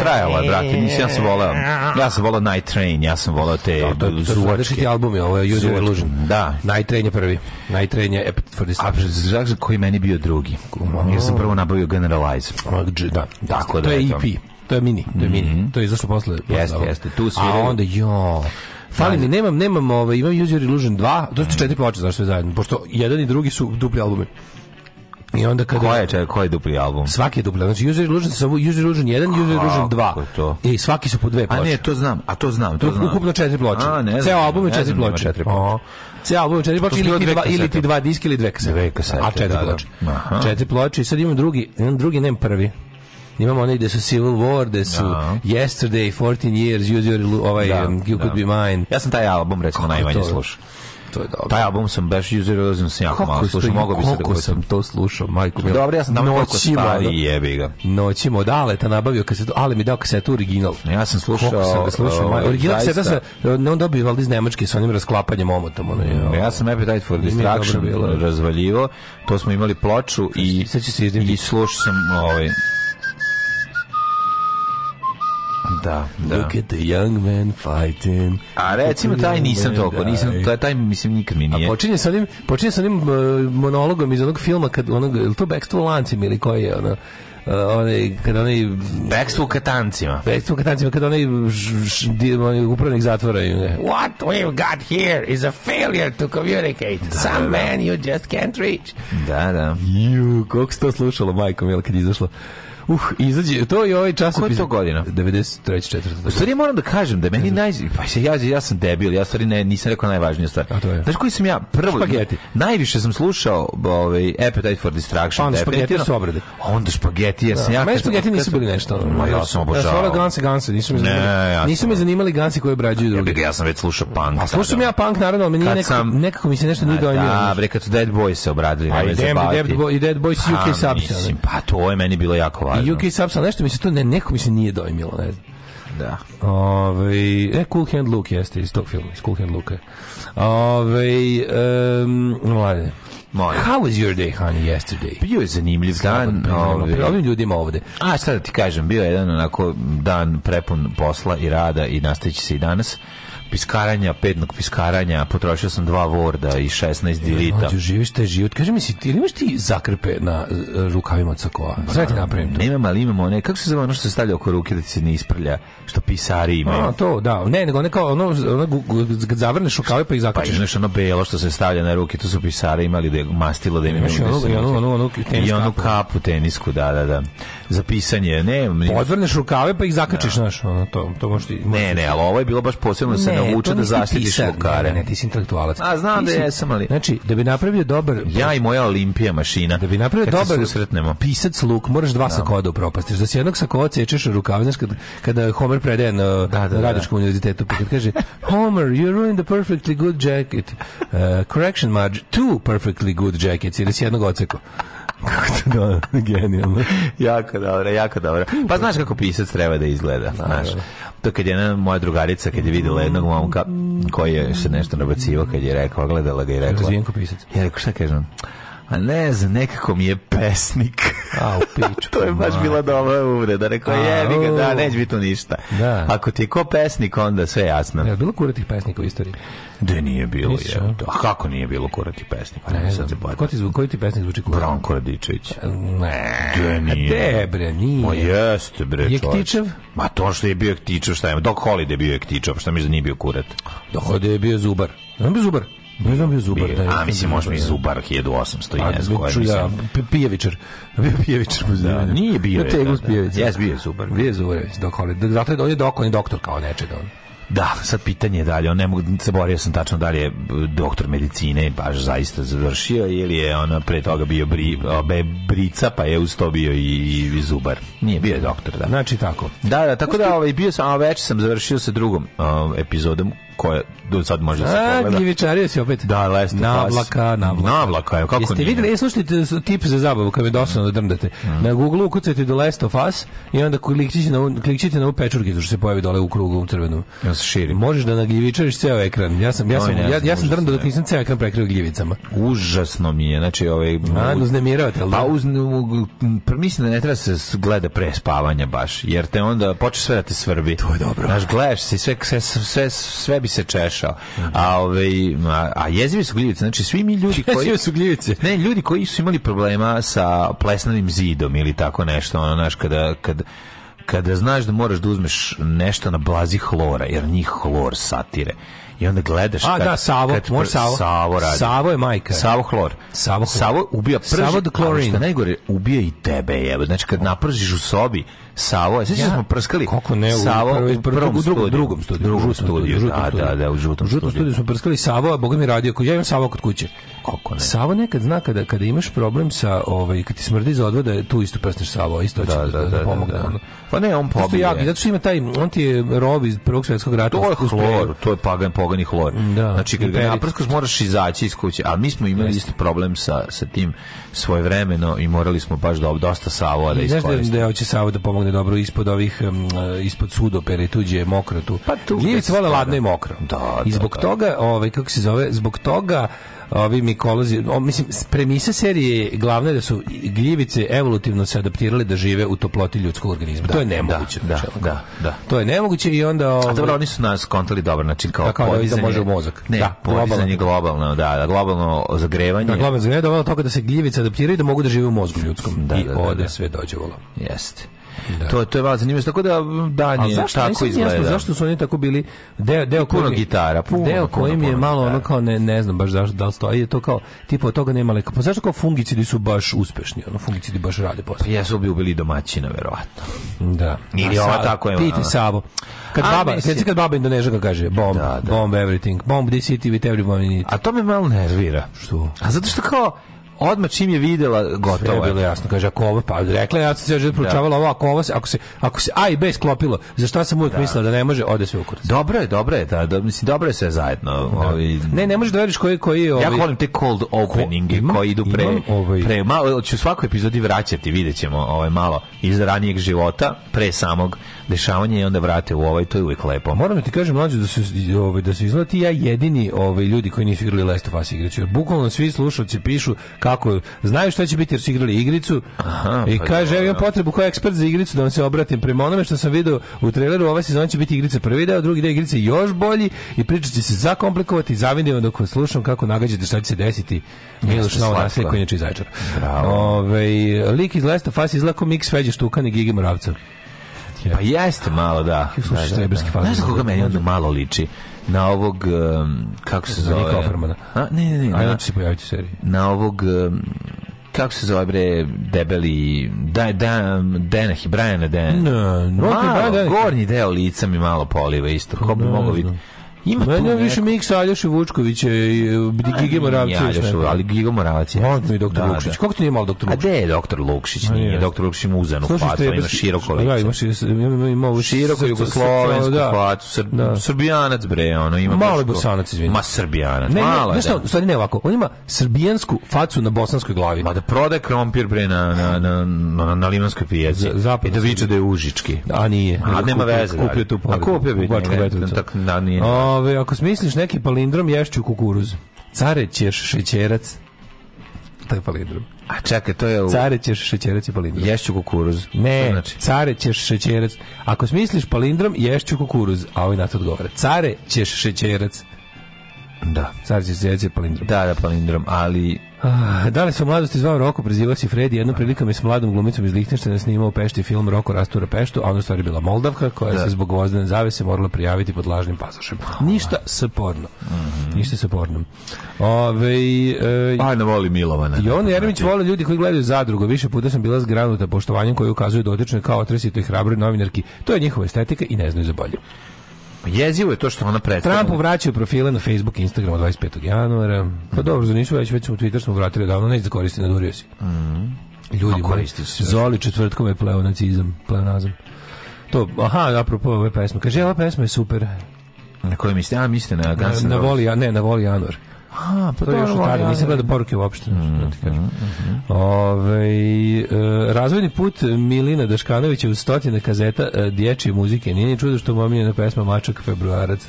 Speaker 7: Trajalo je, brate, nisam, ja sam volao. Ja sam volao Night Train, ja sam volao te
Speaker 6: To, to, to su različiti
Speaker 7: zuvačke.
Speaker 6: albumi, ovo je Judy
Speaker 7: Zuvačke,
Speaker 6: Illusion.
Speaker 7: da.
Speaker 6: Najtrenje je prvi. Najtrenje je Appetite for
Speaker 7: A
Speaker 6: Destruction.
Speaker 7: znaš koji je meni bio drugi? Ja sam prvo nabavio Generalize.
Speaker 6: Da,
Speaker 7: Tako da
Speaker 6: to je
Speaker 7: eto. Mhm.
Speaker 6: EP. To je mini, to je mini. To je izašlo posle. posle
Speaker 7: Jeste,
Speaker 6: ovog.
Speaker 7: jeste, tu
Speaker 6: A
Speaker 7: sviraju.
Speaker 6: onda jo. Fali mi, nemam, nemam, ovaj, imam User Illusion 2, to su četiri ploče zašto je zajedno, pošto jedan i drugi su dupli albumi. I onda kada...
Speaker 7: Koja je, čekaj, koji je dupli album?
Speaker 6: Svaki je dupli, znači User Illusion, samo User Illusion 1, User Illusion 2.
Speaker 7: je to?
Speaker 6: I svaki su po dve ploče.
Speaker 7: A ne, to znam, a to znam, to
Speaker 6: To
Speaker 7: znam.
Speaker 6: ukupno četiri ploče.
Speaker 7: A, ne znam,
Speaker 6: Ceo album je
Speaker 7: ne
Speaker 6: četiri
Speaker 7: znam da ima
Speaker 6: ploče.
Speaker 7: četiri ploče.
Speaker 6: Aha. Ceo album je četiri ploče
Speaker 7: su
Speaker 6: ili
Speaker 7: bile
Speaker 6: ti,
Speaker 7: dve
Speaker 6: dva, ili ti
Speaker 7: kasete.
Speaker 6: dva diska ili dve kasete.
Speaker 7: Dve kasete,
Speaker 6: A četiri
Speaker 7: da, da.
Speaker 6: ploče.
Speaker 7: Aha.
Speaker 6: Četiri ploče i sad imam drugi, imam drugi, nemam prvi. Imamo one gde su Civil War, gde su
Speaker 7: Da.
Speaker 6: Yesterday, 14 Years, Use Your Illu- ovaj,
Speaker 7: Da,
Speaker 6: um, You
Speaker 7: da.
Speaker 6: Could Be Mine.
Speaker 7: Ja sam taj album, recimo, najmanje
Speaker 6: to?
Speaker 7: slušao.
Speaker 6: To je dobro.
Speaker 7: Taj album sam baš user illusion sam jako malo slušao, mogao bi se da
Speaker 6: koliko sam to slušao, majko. mila.
Speaker 7: Dobro, ja sam tamo toliko
Speaker 6: Noćima,
Speaker 7: stari, jebi ga.
Speaker 6: noćima od Aleta nabavio kasetu, Ale mi dao kasetu original.
Speaker 7: Ja sam slušao,
Speaker 6: Koliko sam ga slušao,
Speaker 7: ovaj,
Speaker 6: maj- original kaseta sa,
Speaker 7: zaista.
Speaker 6: ne on dobio valjda iz Nemačke sa onim rasklapanjem omotom. Ono, je,
Speaker 7: Ja sam Appetite for
Speaker 6: Nije dobro
Speaker 7: Destruction
Speaker 6: bilo.
Speaker 7: razvaljivo, to smo imali ploču i,
Speaker 6: Sad ću se idem
Speaker 7: i
Speaker 6: vidjeti.
Speaker 7: slušao sam ovaj... Da, da.
Speaker 6: Look at the young man fighting.
Speaker 7: A recimo taj nisam toliko, nisam, taj, taj mislim nikad mi
Speaker 6: A
Speaker 7: nije.
Speaker 6: počinje sa onim, počinje sa onim uh, monologom iz onog filma kad onog, je li to Backstreet Lancim ili koji je ono, uh, onaj, kad onaj
Speaker 7: Backstreet u katancima.
Speaker 6: Backstreet Lancim, kad onaj, ž- ž- di- onaj upravnik zatvora i ne.
Speaker 7: What we've got here is a failure to communicate. Some man you just can't reach. Da, da.
Speaker 6: Ju, koliko se to slušalo, majko mila, kad je izašlo. Uh, izađe, to je ovaj časopis.
Speaker 7: Koja je to godina?
Speaker 6: 93. 4.
Speaker 7: U stvari moram da kažem da meni naj pa se ja ja sam debil, ja u stvari ne nisam rekao najvažniju stvar.
Speaker 6: A to je?
Speaker 7: Znaš koji sam ja prvo
Speaker 6: Špageti.
Speaker 7: najviše sam slušao ovaj Appetite for Destruction
Speaker 6: Onda
Speaker 7: definitivno.
Speaker 6: Pa, ono, špageti su obrade.
Speaker 7: A Onda špageti jer sam ja.
Speaker 6: Meni
Speaker 7: kad sam-
Speaker 6: spageti
Speaker 7: kad
Speaker 6: nisu
Speaker 7: sam-
Speaker 6: bili nešto. ono.
Speaker 7: Ma ja sam
Speaker 6: Ja sam
Speaker 7: obožavao.
Speaker 6: volao Ganse Ganse, nisu mi
Speaker 7: Ne,
Speaker 6: zanimali,
Speaker 7: ja sam-
Speaker 6: nisu mi zanimali Gansi koji obrađuju
Speaker 7: Ja
Speaker 6: druge.
Speaker 7: bih ga- ja sam već slušao punk.
Speaker 6: A slušao sam
Speaker 7: tada.
Speaker 6: ja punk naravno, ali meni
Speaker 7: Kad
Speaker 6: nekako,
Speaker 7: sam-
Speaker 6: nekako mi se nešto
Speaker 7: A
Speaker 6: nije dojmio.
Speaker 7: Da,
Speaker 6: znaš.
Speaker 7: bre, kad su Dead Boys se obradili,
Speaker 6: A Pa, i
Speaker 7: nemoj
Speaker 6: Damn, i
Speaker 7: zabaviti.
Speaker 6: Dead Boy- i Dead Boys i UK
Speaker 7: Pa,
Speaker 6: Subs,
Speaker 7: mislim, Pa to je meni bilo jako
Speaker 6: I
Speaker 7: važno.
Speaker 6: UK Pa, Subs, ali nešto mi se to ne, neko mi se nije dojmilo, ne znam.
Speaker 7: Da.
Speaker 6: Ove, e, Cool Hand Luke jeste iz tog filma, iz Cool Hand Luke. Ove, um, mlade.
Speaker 7: Molim.
Speaker 6: How was your day, honey, yesterday?
Speaker 7: Bio je zanimljiv dan. ovaj.
Speaker 6: Ove, ovim ljudima ovde.
Speaker 7: A šta da ti kažem, bio je jedan onako dan prepun posla i rada i nastavit će se i danas. Piskaranja, pednog piskaranja, potrošio sam dva Worda i
Speaker 6: E,
Speaker 7: 16 dilita.
Speaker 6: Mađo, živiš taj život. Kaži mi si, ti ili imaš ti zakrpe na e, rukavima od sakoa?
Speaker 7: Pa,
Speaker 6: Sada ti napravim to.
Speaker 7: Nemam, ali imamo one, kako se zove ono što se stavlja oko ruke da ti se ne isprlja, što pisari imaju.
Speaker 6: A, to, da. Ne, nego ono kao, ono, ono, gu- gu- kad zavrneš rukave pa ih
Speaker 7: pa
Speaker 6: zakačiš.
Speaker 7: imaš ono belo što se stavlja na ruke, tu su pisare imali da je mastilo da im
Speaker 6: Imaš i onu- i ono- onu- onu- onu tenis
Speaker 7: I onu
Speaker 6: kapu.
Speaker 7: kapu tenisku, da, da, da. Za pisanje, ne, ne,
Speaker 6: Odvrneš rukave pa ih zakačiš, znaš, ono, to, to možeš ti...
Speaker 7: ne, ne, ali ovo je bilo baš posebno da se
Speaker 6: to
Speaker 7: nauče da
Speaker 6: nisi
Speaker 7: zaštitiš
Speaker 6: pisar.
Speaker 7: lukare.
Speaker 6: Ne, ne, ti si intelektualac.
Speaker 7: A, znam
Speaker 6: Ti
Speaker 7: da
Speaker 6: si-
Speaker 7: jesam, ali-
Speaker 6: Znači, da bi napravio dobar...
Speaker 7: Ja i moja Olimpija mašina.
Speaker 6: Da bi napravio
Speaker 7: Kad
Speaker 6: dobar
Speaker 7: se susretnemo.
Speaker 6: pisac luk, moraš dva sakoa da upropastiš. Da si jednog sakoa cečeš u rukav, znaš, kada, kada Homer predaje na, da,
Speaker 7: da, da.
Speaker 6: Radničkom univerzitetu, pa kad kaže Homer, you ruined the perfectly good jacket. Uh, correction, Marge, two perfectly good jackets, ili si jednog oceko. Kako to da, genijalno.
Speaker 7: jako dobro, jako dobro. Pa znaš kako pisac treba da izgleda, znaš. To kad je jedna moja drugarica, kad je videla jednog momka koji je se nešto nabacivao, kad je rekao, gledala ga i rekla...
Speaker 6: Razvijen ko pisac.
Speaker 7: Ja rekao, šta kažem? A ne znam, nekako mi je pesnik.
Speaker 6: A, u pičku,
Speaker 7: to je baš bila dobra uvreda. Rekao,
Speaker 6: A,
Speaker 7: jebi ga, da,
Speaker 6: u.
Speaker 7: neće biti tu ništa.
Speaker 6: Da.
Speaker 7: Ako ti je ko pesnik, onda sve jasno.
Speaker 6: Pa Je li bilo kuratih pesnika u istoriji?
Speaker 7: Da nije bilo,
Speaker 6: Misliš, a?
Speaker 7: je. A kako nije bilo kurati pesnik? Ne, sad se
Speaker 6: znam. Ko
Speaker 7: bojim.
Speaker 6: ti zvu- koji ti pesnik zvuči kurat?
Speaker 7: Branko Radičević.
Speaker 6: Ne.
Speaker 7: Da nije. Pa
Speaker 6: De, E, bre, nije.
Speaker 7: Ma jeste bre,
Speaker 6: Je
Speaker 7: čovječe.
Speaker 6: Ktičev?
Speaker 7: Ma to što je bio Ktičev, šta je? Dok Holiday bio je Ktičev, šta misliš da nije bio kurat?
Speaker 6: Dohode je bio zubar. Znam bio zubar. Ne znam bio zubar. Pa da je-
Speaker 7: A mislim možda i
Speaker 6: da.
Speaker 7: Zubar 1800
Speaker 6: A,
Speaker 7: i ne znam koje,
Speaker 6: ču ja,
Speaker 7: mislim.
Speaker 6: pi- pijevičar. Bio pijevičar. po
Speaker 7: Da,
Speaker 6: zvanju.
Speaker 7: nije bio je,
Speaker 6: Tegus
Speaker 7: da, da.
Speaker 6: pijevičar.
Speaker 7: Jes, bio je Zubar.
Speaker 6: Bio je zubar, dok Holiday. Zato je, on je dok, on je doktor kao nečega. ono. on.
Speaker 7: Da, sad pitanje je dalje, on ne mogu, zaboravio sam tačno da li je b- doktor medicine baš zaista završio ili je ona pre toga bio bri, obe, brica pa je uz to bio i, i, i Zubar. Nije bio je doktor, da.
Speaker 6: Znači tako.
Speaker 7: Da, da, tako da ovaj, bio sam, a već sam završio sa drugom um, epizodom koja do sad može da se
Speaker 6: A,
Speaker 7: pogleda.
Speaker 6: gljivičario si opet.
Speaker 7: Da, Last of Us.
Speaker 6: Navlaka, navlaka.
Speaker 7: Navlaka, evo, kako
Speaker 6: Jeste
Speaker 7: nije?
Speaker 6: vidjeli, e, slušajte s- tip za zabavu, kad me dosadno da drndate. Na Google ukucajte The Last of Us i onda klikćite na, ovu- klikćite na ovu pečurkicu što se pojavi dole u krugu u crvenom.
Speaker 7: Ja se širi.
Speaker 6: Možeš da nagljivičariš ceo ekran. Ja sam, ja
Speaker 7: Oj,
Speaker 6: sam,
Speaker 7: ne
Speaker 6: ja,
Speaker 7: znam,
Speaker 6: ja sam
Speaker 7: užasno
Speaker 6: drndo dok
Speaker 7: je.
Speaker 6: nisam ceo ekran prekrio gljivicama.
Speaker 7: Užasno mi je, znači ovaj...
Speaker 6: A, uznemirao te, jel da?
Speaker 7: Pa uz, u- pr- mislim da ne treba se s- gleda pre spavanja baš, jer te onda počne sve da te svrbi. To je dobro. Znaš, gledaš se i sve, sve, sve, sve bi se češao. A, ovaj, a, a jezivi su gljivice, znači svi mi ljudi koji...
Speaker 6: Jezive su gljivice.
Speaker 7: Ne, ljudi koji su imali problema sa plesnanim zidom ili tako nešto, ono, znaš, kada, kada, kada znaš da moraš da uzmeš nešto na blazi hlora, jer njih hlor satire. I onda gledaš...
Speaker 6: A, da, Savo, može Savo.
Speaker 7: Savo radi.
Speaker 6: Savo je majka.
Speaker 7: Savo hlor.
Speaker 6: Savo hlor.
Speaker 7: Savo ubija prži.
Speaker 6: Savo the chlorine.
Speaker 7: ali Što je najgore, ubija i tebe, jebe. Znači, kad napržiš u sobi, Savo, sveći
Speaker 6: Ja.
Speaker 7: smo prskali
Speaker 6: Kako ne, u,
Speaker 7: Savo
Speaker 6: prvoj-
Speaker 7: u
Speaker 6: prvoj-
Speaker 7: prvom
Speaker 6: u drugom,
Speaker 7: studiju.
Speaker 6: drugom studiju, u
Speaker 7: Drugom
Speaker 6: žutom
Speaker 7: studiju,
Speaker 6: žutom
Speaker 7: da, da, da, u žutom,
Speaker 6: U žutom studiju smo prskali Savo, a Boga mi radio, koji ja imam Savo kod kuće.
Speaker 7: Kako ne?
Speaker 6: Savo nekad zna kada, kada imaš problem sa, ovaj, kad ti smrdi za odvoda, tu isto prsneš Savo, isto će
Speaker 7: Da, da, da, da,
Speaker 6: pomogne.
Speaker 7: da.
Speaker 6: ono.
Speaker 7: Pa ne, on
Speaker 6: Zato što je jak,
Speaker 7: pobije.
Speaker 6: zato što ima taj, on ti je rov iz prvog svjetskog rata.
Speaker 7: To je
Speaker 6: uspeo-
Speaker 7: hlor, to je pagan, pogani hlor.
Speaker 6: Da.
Speaker 7: Znači, kad ga
Speaker 6: Imperit.
Speaker 7: naprskaš, moraš izaći iz kuće. A mi smo imali isto problem sa, sa tim svojevremeno i morali smo baš da dosta Savoa da
Speaker 6: I znaš da,
Speaker 7: iskoristimo.
Speaker 6: da hoće Savo da pomogne dobro ispod ovih um, ispod sudopere i tuđe je mokro tu.
Speaker 7: Pa tu
Speaker 6: Gljivice
Speaker 7: gde se
Speaker 6: vole
Speaker 7: spada.
Speaker 6: ladno i mokro.
Speaker 7: Da,
Speaker 6: I
Speaker 7: da,
Speaker 6: zbog
Speaker 7: da.
Speaker 6: toga, ovaj kako se zove, zbog toga ovi mikolozi, o, mislim, s- premisa serije je glavna da su gljivice evolutivno se adaptirale da žive u toploti ljudskog organizma. to je nemoguće.
Speaker 7: da,
Speaker 6: znači, ono,
Speaker 7: da, da.
Speaker 6: To je nemoguće i onda...
Speaker 7: A
Speaker 6: Ovaj,
Speaker 7: dobro, oni su nas kontali dobro, znači kao
Speaker 6: Da, kao da
Speaker 7: podizanje-
Speaker 6: može u mozak.
Speaker 7: Ne,
Speaker 6: Da,
Speaker 7: podizanje globalno, da, da, globalno zagrevanje.
Speaker 6: na glavnom zgrade dovelo do toga da se gljivice adaptiraju i da mogu da žive u mozgu ljudskom.
Speaker 7: Da,
Speaker 6: I
Speaker 7: da, da,
Speaker 6: ode
Speaker 7: da.
Speaker 6: sve dođe volo.
Speaker 7: Jeste. To, to je malo zanimljivo, tako da
Speaker 6: Ali
Speaker 7: danje
Speaker 6: zašto
Speaker 7: tako
Speaker 6: Nisam mi
Speaker 7: izgleda.
Speaker 6: Jasno, zašto su oni tako bili deo deo
Speaker 7: puno
Speaker 6: koji mi-
Speaker 7: gitara, puno,
Speaker 6: deo
Speaker 7: puno,
Speaker 6: koji mi je
Speaker 7: puno
Speaker 6: malo ono
Speaker 7: gitara.
Speaker 6: kao ne ne znam baš zašto da li stoji je to kao tipa od toga nema leka. Pa zašto kao fungicidi su baš uspešni? Ono fungicidi baš rade posao.
Speaker 7: Jesu bi ubili domaćina, verovatno.
Speaker 6: Pa Da.
Speaker 7: Ili
Speaker 6: A
Speaker 7: ova
Speaker 6: Savo-
Speaker 7: tako ima,
Speaker 6: Pite
Speaker 7: ono.
Speaker 6: Savo. Kad
Speaker 7: A,
Speaker 6: baba,
Speaker 7: mislim.
Speaker 6: kad kad baba Indonežaka kaže bomb,
Speaker 7: Da, da.
Speaker 6: bomb everything, bomb this city with everyone in it.
Speaker 7: A to me malo nervira.
Speaker 6: Što?
Speaker 7: A zato što kao, odmah čim je videla,
Speaker 6: Pa To je
Speaker 7: gotovo
Speaker 6: bilo
Speaker 7: je.
Speaker 6: jasno, kaže ako ovo pa rekla je, ja sam se život proučavala ovo, ako ovo se, ako se ako se A i B sklopilo, za šta sam uvijek mislila da ne može, ode sve u kurac.
Speaker 7: Dobro je, dobro je, da, da, mislim, dobro je sve zajedno. Ovi,
Speaker 6: Ne, ne možeš da veriš koji koji
Speaker 7: Ja
Speaker 6: ovaj
Speaker 7: volim te cold openinge
Speaker 6: imam-
Speaker 7: koji idu pre,
Speaker 6: imam ovaj-
Speaker 7: pre malo, ću u svakoj epizodi vraćati, vidjet ćemo ovaj, malo iz ranijeg života, pre samog dešavanja i onda vrate u ovaj, to je uvijek lepo.
Speaker 6: Moram da ti kažem mlađe da su ovaj da su izgleda ti i ja jedini ovaj ljudi koji nisu igrali Last of Us igricu. Jer bukvalno svi slušaoci pišu kako znaju šta će biti jer su igrali igricu. I
Speaker 7: pa
Speaker 6: kaže
Speaker 7: dobro.
Speaker 6: ja imam potrebu kao ekspert za igricu da vam se obratim prema onome što sam video u traileru ova sezona će biti igrica prvi deo, drugi deo igrice još bolji i priča će se zakomplikovati. Zavidim vam dok vas slušam kako nagađate šta će se desiti. Miloš Novo
Speaker 7: slatko.
Speaker 6: nasilje koji je inače iz Zaječara.
Speaker 7: Bravo.
Speaker 6: Ovaj, lik iz Last of Us izgleda kao miks Feđe Štukan i Gigi Moravca.
Speaker 7: Pa jeste malo, da.
Speaker 6: slušaš
Speaker 7: Da, da,
Speaker 6: Treberski
Speaker 7: da.
Speaker 6: fazon.
Speaker 7: Znaš na koga meni onda malo liči? Na ovog, um, kako se zove?
Speaker 6: Nika Offermana. znači-
Speaker 7: A, ne, ne, ne.
Speaker 6: Ajde,
Speaker 7: na-
Speaker 6: će se pojaviti u seriji.
Speaker 7: na ovog em, kako se zove bre debeli da da Denahi Brian Den.
Speaker 6: Ne, Rocky Brian
Speaker 7: malo,
Speaker 6: Dennehy.
Speaker 7: gornji deo lica mi malo poliva isto. Ko bi mogao vidjeti? Ima tu
Speaker 6: Meni je više
Speaker 7: neko-
Speaker 6: miks Aljoša Vučkovića i e, Gige Moravca.
Speaker 7: Ja, Aljošu, ali Gigo Moravac je.
Speaker 6: On i doktor
Speaker 7: Da,
Speaker 6: Vukšić.
Speaker 7: da.
Speaker 6: Kako ti nije malo doktor
Speaker 7: A
Speaker 6: Vukšić?
Speaker 7: gde je doktor Lukšić? Nije,
Speaker 6: jeste.
Speaker 7: doktor Lukšić ima uzanu facu, ima široko lice.
Speaker 6: Pa Da, ima, šir, ima, ima, ima ovu
Speaker 7: široko
Speaker 6: srce-
Speaker 7: jugoslovensku
Speaker 6: da.
Speaker 7: facu, sr,
Speaker 6: Da.
Speaker 7: srbijanac bre, ono ima
Speaker 6: Malo
Speaker 7: baš
Speaker 6: je
Speaker 7: ko-
Speaker 6: bosanac, izvini.
Speaker 7: Ma srbijanac,
Speaker 6: Ne,
Speaker 7: malo
Speaker 6: ne,
Speaker 7: je,
Speaker 6: ne,
Speaker 7: da.
Speaker 6: u stvari ne ovako. On ima srbijansku facu na bosanskoj glavi.
Speaker 7: Ma da prode krompir bre na, na, na, na, na limanskoj pijaci.
Speaker 6: Za- zapadno
Speaker 7: I da viče da je užički.
Speaker 6: A nije.
Speaker 7: A nema veze. da.
Speaker 6: Kupio tu
Speaker 7: A kupio bi.
Speaker 6: u Bačku
Speaker 7: ne,
Speaker 6: Petrovicu.
Speaker 7: tak- Da, nije.
Speaker 6: Ove, ako smisliš neki palindrom, ješću kukuruz. Carećeš šećerac. To je palindrom.
Speaker 7: A čekaj, to je... U...
Speaker 6: Carećeš šećerac i palindrom.
Speaker 7: Ješću kukuruz.
Speaker 6: Ne,
Speaker 7: Što znači?
Speaker 6: care ćeš šećerac. Ako smisliš palindrom, ješću kukuruz. A ovaj na to odgovara. Care ćeš šećerac.
Speaker 7: Da.
Speaker 6: Care ćeš šećerac i palindrom.
Speaker 7: Da, da, palindrom, ali...
Speaker 6: Ah, da li sam u mladosti zvao Roko, prezivao si Fredi, jednom prilikom je s mladom glumicom iz Lihtenštajna snimao pešti film Roko rastura peštu, a ona u stvari bila Moldavka koja se zbog vozdane zavese morala prijaviti pod lažnim pasošem. Ništa s pornom.
Speaker 7: Mhm.
Speaker 6: Ništa s pornom. Ove, e,
Speaker 7: Ajde, voli Milovana.
Speaker 6: Jovan Jeremić vole ljudi koji gledaju zadrugu. Više puta sam bila zgranuta poštovanjem koje ukazuju dotične kao otresitoj hrabroj novinarki. To je njihova estetika i ne znaju za bolje.
Speaker 7: Jezivo je to što ona predstavlja.
Speaker 6: Trumpu vraćaju profile na Facebook i Instagram od 25. januara.
Speaker 7: Mm.
Speaker 6: Pa dobro, za nisu već, već smo Twitter smo vratili davno, neće da koristi, nadurio si. Ljudi
Speaker 7: Mm. A
Speaker 6: moji,
Speaker 7: koristi se.
Speaker 6: Zoli četvrtkom je pleonacizam, pleonazam. To, aha, apropo ove pesme. Kaže, ova pesma je super.
Speaker 7: Na koje mislite? A, mislite na Guns N'
Speaker 6: na
Speaker 7: Roses.
Speaker 6: voli, a ne, na voli Januar.
Speaker 7: A, pa Mhm,
Speaker 6: To je još od tada, nisam gledao poruke uopšte. Mm, Ovej, e, razvojni put Milina Daškanovića uz stotine kazeta e, dječje muzike. Nije ni čudo što mu je omiljena pesma Mačak februarac.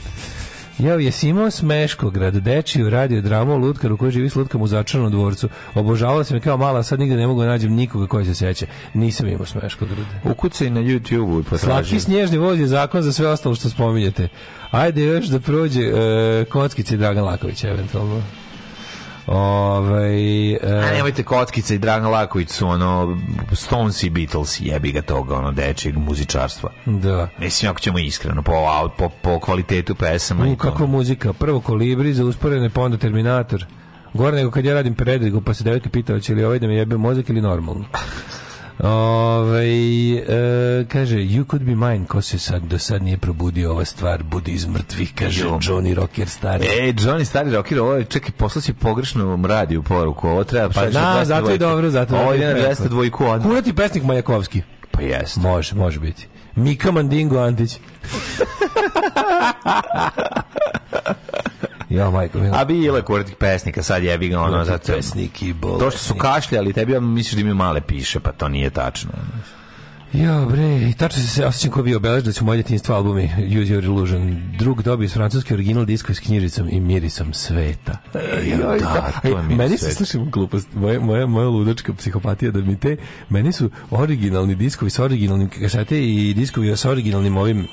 Speaker 6: Jao, jesi imao Smeškograd, dečiju radio dramu Lutkaru koji živi s Lutkom u začaranom dvorcu. Obožavala sam je kao mala, a sad nigde ne mogu da nađem nikoga koji se seća. Nisam imao Smeškograd.
Speaker 7: Ukucaj na YouTube-u i potraži.
Speaker 6: Slatki snježni voz je zakon za sve ostalo što spominjete. Ajde još da prođe e, kockice Dragan Laković, eventualno. Ovaj,
Speaker 7: A
Speaker 6: e,
Speaker 7: nemojte kockice i Dragan Laković su ono Stones i Beatles jebi ga toga ono dečijeg muzičarstva.
Speaker 6: e, da.
Speaker 7: Mislim ako ćemo iskreno po au- po, po kvalitetu pesama i
Speaker 6: U, kakva muzika. Prvo kolibri za usporene, pa onda Terminator. Gore nego kad ja radim predrigu, pa se devojka pitao će li ovaj da me jebe mozak ili normalno. Ovaj e, kaže, you could be mine, ko se sad, do sad nije probudio ova stvar, budi iz mrtvih, kaže
Speaker 7: Jo.
Speaker 6: Johnny Rocker stari.
Speaker 7: E, Johnny stari rocker, ovo je, čekaj, poslao si pogrešno radi u poruku, ovo treba...
Speaker 6: Pa
Speaker 7: šalje na 202.
Speaker 6: da, zato je dobro, zato
Speaker 7: Ovo
Speaker 6: zato
Speaker 7: je na 202 odmah.
Speaker 6: Kurati pesnik Majakovski.
Speaker 7: Pa jeste.
Speaker 6: Može, može biti. Mika Mandingo Antić. ja, majko, mila.
Speaker 7: A bilo je kurati pesnika, sad jebi ga ono, zato je...
Speaker 6: pesnik i bolesnik.
Speaker 7: To što su kašljali, tebi ja misliš da imaju male piše, pa to nije tačno.
Speaker 6: Ja, bre, i tačno se osjećam ko bi obeležili su moje djetinjstvo albumi Use Your Illusion. Drug dobi s francuski original disko s knjižicom i mirisom sveta.
Speaker 7: Ja, da, to je
Speaker 6: Ej,
Speaker 7: miris
Speaker 6: meni se
Speaker 7: sveta.
Speaker 6: slušam glupost, moja, moja, moja ludačka psihopatija da mi te, meni su originalni diskovi s originalnim kasete i diskovi s originalnim ovim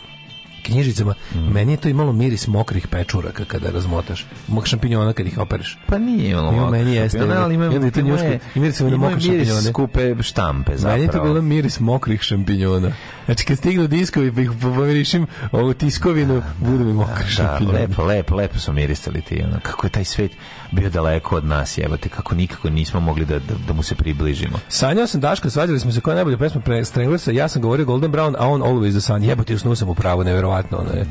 Speaker 6: knjižicama,
Speaker 7: Mm.
Speaker 6: meni je to imalo miris mokrih pečuraka kada razmotaš, mok šampinjona kad ih opereš.
Speaker 7: Pa nije ono
Speaker 6: Ima
Speaker 7: mokro
Speaker 6: meni jeste,
Speaker 7: šampiona, ali ima,
Speaker 6: ima li tu
Speaker 7: ima
Speaker 6: njušku?
Speaker 7: je-
Speaker 6: I miris na
Speaker 7: ima
Speaker 6: mokre
Speaker 7: miris
Speaker 6: šampinjone.
Speaker 7: skupe štampe, zapravo.
Speaker 6: Meni je to bilo miris mokrih šampinjona. Znači, kad stignu diskovi pa ih pomirišim ovu tiskovinu, budu mi mokri
Speaker 7: Da,
Speaker 6: šampinjoni.
Speaker 7: lepo, lepo, lepo su mirisali ti. Ono. Kako je taj svet bio daleko od nas, jebote, kako nikako nismo mogli da, da, da mu se približimo.
Speaker 6: Sanjao sam Daška, svađali smo se koja je najbolja pesma pre Stranglersa, ja sam govorio Golden Brown, a on Always the Sun. Jebote, usnuo sam upravo, neverovatno. Ono je.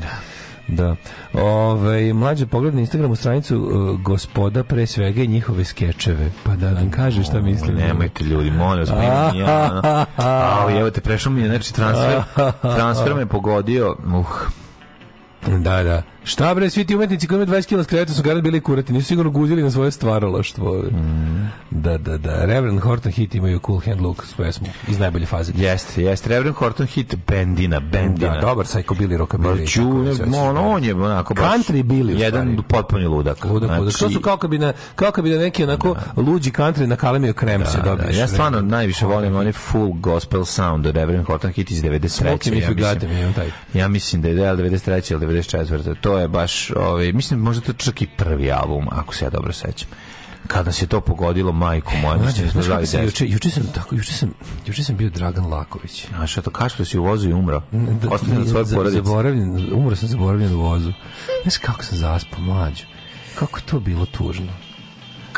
Speaker 6: Da. Ove, mlađe pogled na Instagramu stranicu uh, gospoda pre svega i njihove skečeve. Pa da nam kaže šta mislim.
Speaker 7: Nemojte ljudi, molim vas, meni nije, ono. Ali evo te prešao mi je, znači transfer, transfer me pogodio. Uh,
Speaker 6: Da, da. Šta bre, svi ti umetnici koji imaju 20 kila s kreveta su garant bili kurati, nisu sigurno guzili na svoje stvaralaštvo.
Speaker 7: Mm,
Speaker 6: Da, da, da. Reverend Horton Heat imaju cool hand look s pesmu iz najbolje faze.
Speaker 7: jeste, jeste, Reverend Horton hit Bendina, Bendina.
Speaker 6: Da, dobar sajko bili rockabilly.
Speaker 7: Barću, ne, ono, on je onako baš...
Speaker 6: Country Billy, u
Speaker 7: Jedan
Speaker 6: stvari.
Speaker 7: potpuni ludak.
Speaker 6: Ludak, ludak.
Speaker 7: Znači,
Speaker 6: To su kao kad bi na, kao kad bi na neki onako luđi country nakalemio krem se
Speaker 7: Da,
Speaker 6: dobiješ.
Speaker 7: ja stvarno najviše volim onaj full gospel sound od Reverend Horton Hit iz 93.
Speaker 6: Smoking if
Speaker 7: ja
Speaker 6: you got
Speaker 7: mislim.
Speaker 6: me, imam taj.
Speaker 7: Ja mislim da je del 93. ili 94. To je baš, ovaj, mislim možda to čak i prvi album, ako se ja dobro sećam. Kada se to pogodilo, majku moja,
Speaker 6: Mlađe,
Speaker 7: mislim da smo
Speaker 6: znaš kako
Speaker 7: zvali
Speaker 6: sam
Speaker 7: deset.
Speaker 6: juče, juče sam tako, juče sam, juče sam bio Dragan Laković.
Speaker 7: A što to kašlo si u vozu i umro? Ostavljeno od svoje
Speaker 6: za-
Speaker 7: porodice.
Speaker 6: Zaboravljen, umro sam zaboravljen u vozu. Znaš kako sam zaspao, mlađo? Kako je to bilo tužno?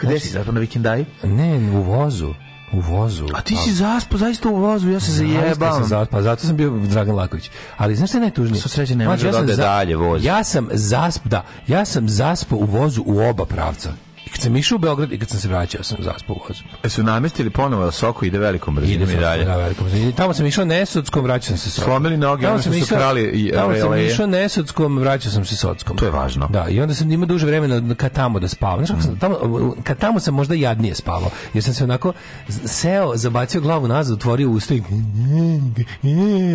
Speaker 7: Gde si zapravo na vikendaju?
Speaker 6: Ne, u vozu. U vozu.
Speaker 7: A ti si zaspo, zaista u vozu, ja se
Speaker 6: Zaista sam
Speaker 7: zajebavam.
Speaker 6: za- Pa zato sam bio Dragan Laković. Ali znaš šta je najtužnije?
Speaker 7: Sva sreća ne
Speaker 6: Mlađe,
Speaker 7: može da
Speaker 6: sam
Speaker 7: ode dalje voz.
Speaker 6: Ja sam zasp, da, ja sam zaspao u vozu u oba pravca. I kad sam išao u Beograd i kad sam se vraćao sam zaspao u vozu.
Speaker 7: E, Su namestili ponovo, soko ide velikom brzinom i
Speaker 6: sam
Speaker 7: dalje.
Speaker 6: Da, velikom. I tamo sam išao Nesodskom, vraćao sam se Sodskom.
Speaker 7: Slomili noge,
Speaker 6: Tamo
Speaker 7: ono
Speaker 6: sam
Speaker 7: što su
Speaker 6: išao-
Speaker 7: krali i
Speaker 6: Tamo sam
Speaker 7: releje.
Speaker 6: išao Nesodskom, vraćao sam se Sodskom.
Speaker 7: To je važno. Mm.
Speaker 6: Da, i onda sam imao duže vremena kad tamo da spavam. Znaš, kako sam, tamo, kad tamo sam možda jadnije spavao, jer sam se onako z- seo, zabacio glavu nazad, otvorio usta i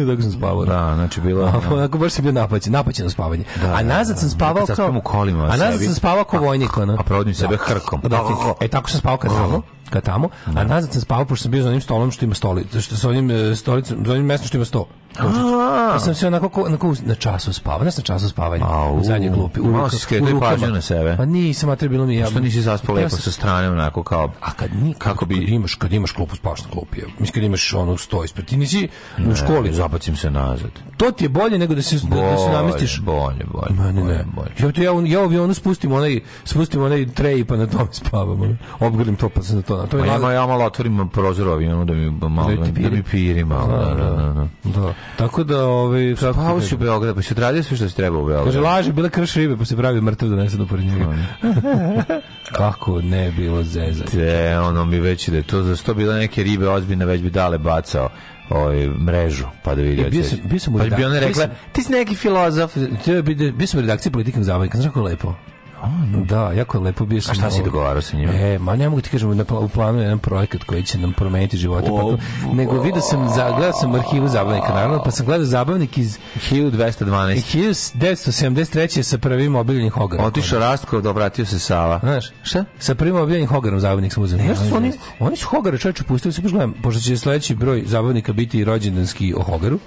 Speaker 6: tako sam spavao.
Speaker 7: Da, znači bilo...
Speaker 6: A, Onako baš sam bio napaćen, napaćeno spavanje. a nazad sam spavao
Speaker 7: Nekad
Speaker 6: kao...
Speaker 7: zaspim u kolima
Speaker 6: A nazad
Speaker 7: sebi.
Speaker 6: sam spavao kao vojnik, ono.
Speaker 7: a provodim sebe hrkom. Oh,
Speaker 6: Da, ti- e, tako sam spavao kad tamo, kad tamo, a nazad sam spavao pošto sam bio za onim stolom što ima stoli, što sa onim e, stolicom, za onim mestom što ima sto. Pa sam se onako, ko- onako na času spavao, ne sam na času spavanja,
Speaker 7: Au.
Speaker 6: u zadnjoj klupi, u,
Speaker 7: Malo
Speaker 6: ruka-
Speaker 7: si skretao
Speaker 6: u
Speaker 7: i
Speaker 6: rukama.
Speaker 7: pažnju na sebe.
Speaker 6: Pa nisam, a trebalo mi je...
Speaker 7: Što nisi zaspao lepo
Speaker 6: Hteo sam-
Speaker 7: sa strane, onako kao...
Speaker 6: a kad ni kako bi imaš kad imaš klupu spavaš na klupi. evo. Mislim kad imaš ono sto ispred. Ti nisi u školi.
Speaker 7: Zabacim se nazad.
Speaker 6: To ti je bolje nego da se da, da se namestiš.
Speaker 7: Bolje, bolje.
Speaker 6: Ma ne, ne.
Speaker 7: bolje, bolje.
Speaker 6: Ja, to ja, u- ja u avionu spustim onaj, spustim onaj trej pa na tome spavam. ono. Obgrlim to pa se na to. Na to je
Speaker 7: Ma ja,
Speaker 6: nada-
Speaker 7: ma ja malo otvorim prozor u avionu ono da mi malo
Speaker 6: Da ti
Speaker 7: da,
Speaker 6: piri?
Speaker 7: mi piri malo. Da, da, da, da.
Speaker 6: Da. Tako da, ovaj, kako ti
Speaker 7: Spao
Speaker 6: kažem?
Speaker 7: si u Beogradu, pa si odradio sve što si trebao u
Speaker 6: Kaže,
Speaker 7: Beogradu.
Speaker 6: laže, bila krš ribe, pa se pravi mrtav da nese do pored njega. Kako ne bilo zezanje.
Speaker 7: Te, ono mi već da je to za sto bila neke ribe ozbiljne, već bi dale bacao ovaj, mrežu, pa da vidi.
Speaker 6: E, bio sam- bio sam u
Speaker 7: pa bi
Speaker 6: redak-
Speaker 7: ona
Speaker 6: bio
Speaker 7: rekla,
Speaker 6: sam-
Speaker 7: ti si neki filozof.
Speaker 6: Treba bi da bio sam u redakciji politikom zabavnika, znaš kako je lepo? Da, jako je lepo bio sam.
Speaker 7: šta si
Speaker 6: ovaj,
Speaker 7: dogovarao sa njima?
Speaker 6: E, ma ne mogu ti kažem, na, pla- u planu je jedan projekat koji će nam promeniti živote. pa to- nego vidio sam, za, gledao sam arhivu zabavnika, naravno, pa sam gledao zabavnik iz
Speaker 7: 1212.
Speaker 6: 1973. sa prvim obiljenim hogarom.
Speaker 7: Otišao Rastkov, dovratio se Sava.
Speaker 6: Znaš, šta? Sa prvim obiljenim hogarom zabavnik sam uzem.
Speaker 7: Ne, što su oni-
Speaker 6: Oni su Hogara čovječe pustili, sad baš gledam, pošto će sledeći broj zabavnika biti i rođendanski o Hogaru,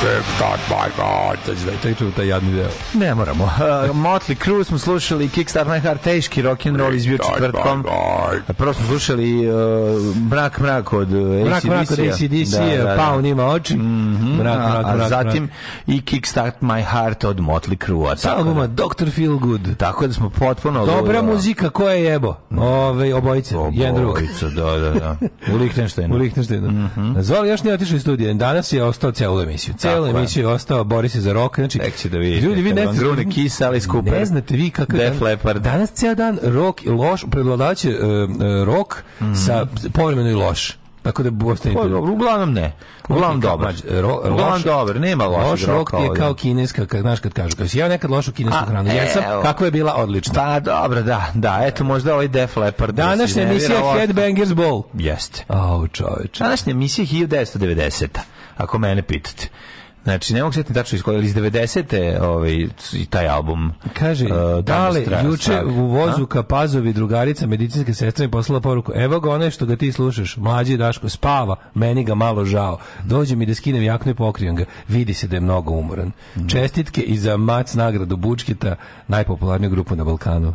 Speaker 6: Kickstart my heart. To je taj čuo taj jadni deo.
Speaker 7: Ne moramo. Uh, Motley Crue smo slušali Kickstart My Heart, teški rock and roll izbio četvrtkom. A Prvo smo slušali uh, Mrak mrak od uh,
Speaker 6: Mrak, mrak od ACDC, da, da, pa on ima oči. Mrak,
Speaker 7: Mhm, a,
Speaker 6: mrak,
Speaker 7: a
Speaker 6: mrak,
Speaker 7: zatim
Speaker 6: mrak.
Speaker 7: i Kickstart My Heart od Motley Crue.
Speaker 6: sa albuma Dr. Feel Good.
Speaker 7: Tako da smo potpuno...
Speaker 6: Dobra muzika, ko je jebo? Ove, obojice, jedan drugog.
Speaker 7: Obojica, Da, da, da. U Lichtensteinu. Mhm.
Speaker 6: U Lihtenštenu. Mm Zvali još nije otišao iz studija. Danas je ostao celu emisiju. Celu
Speaker 7: Tako je.
Speaker 6: emisiju je ostao Boris je za rok. Znači,
Speaker 7: Tek će da vidite.
Speaker 6: Ljudi, vi ne
Speaker 7: Kad vam
Speaker 6: znate.
Speaker 7: grune Kiss, Alice Cooper.
Speaker 6: Ne znate vi kakav
Speaker 7: Def Leppard.
Speaker 6: Danas ceo dan rok i loš, predvladaće rok e, sa povremeno i loš. Tako da ostanite.
Speaker 7: Mhm. Pa, dobro, uglavnom ne. Uglavnom
Speaker 6: Kao
Speaker 7: dobar.
Speaker 6: mađ- ro-
Speaker 7: Uglavnom
Speaker 6: loš-
Speaker 7: dobar, nema lošeg
Speaker 6: Loš rok
Speaker 7: roka
Speaker 6: ti je
Speaker 7: ovdje.
Speaker 6: kao kineska, kad, znaš kad kažu, kad si ja nekad lošu kinesku
Speaker 7: A,
Speaker 6: hranu, jesam,
Speaker 7: evo.
Speaker 6: kako je bila odlična.
Speaker 7: Pa dobro, da, da, eto možda ovaj Def Leppard. da si
Speaker 6: Današnja
Speaker 7: ne
Speaker 6: emisija
Speaker 7: vjerovao.
Speaker 6: Headbangers Ball.
Speaker 7: Jeste.
Speaker 6: Au, čoveče.
Speaker 7: Današnja emisija je 1990. Ako mene pitate. Znači, ne mogu sjetiti tačno iz koje, ali iz 90. Ovaj, i taj album.
Speaker 6: Kaže,
Speaker 7: eh, Dame
Speaker 6: dale,
Speaker 7: stra-
Speaker 6: juče
Speaker 7: strave.
Speaker 6: u vozu ka Pazovi drugarica medicinske sestre mi poslala poruku, evo ga onaj što ga ti slušaš, mlađi Daško, spava, meni ga malo žao, dođe mi da skinem jaknu i pokrijem ga, vidi se da je mnogo umoran. Čestitke i za mac nagradu Bučkita, najpopularniju grupu na Balkanu.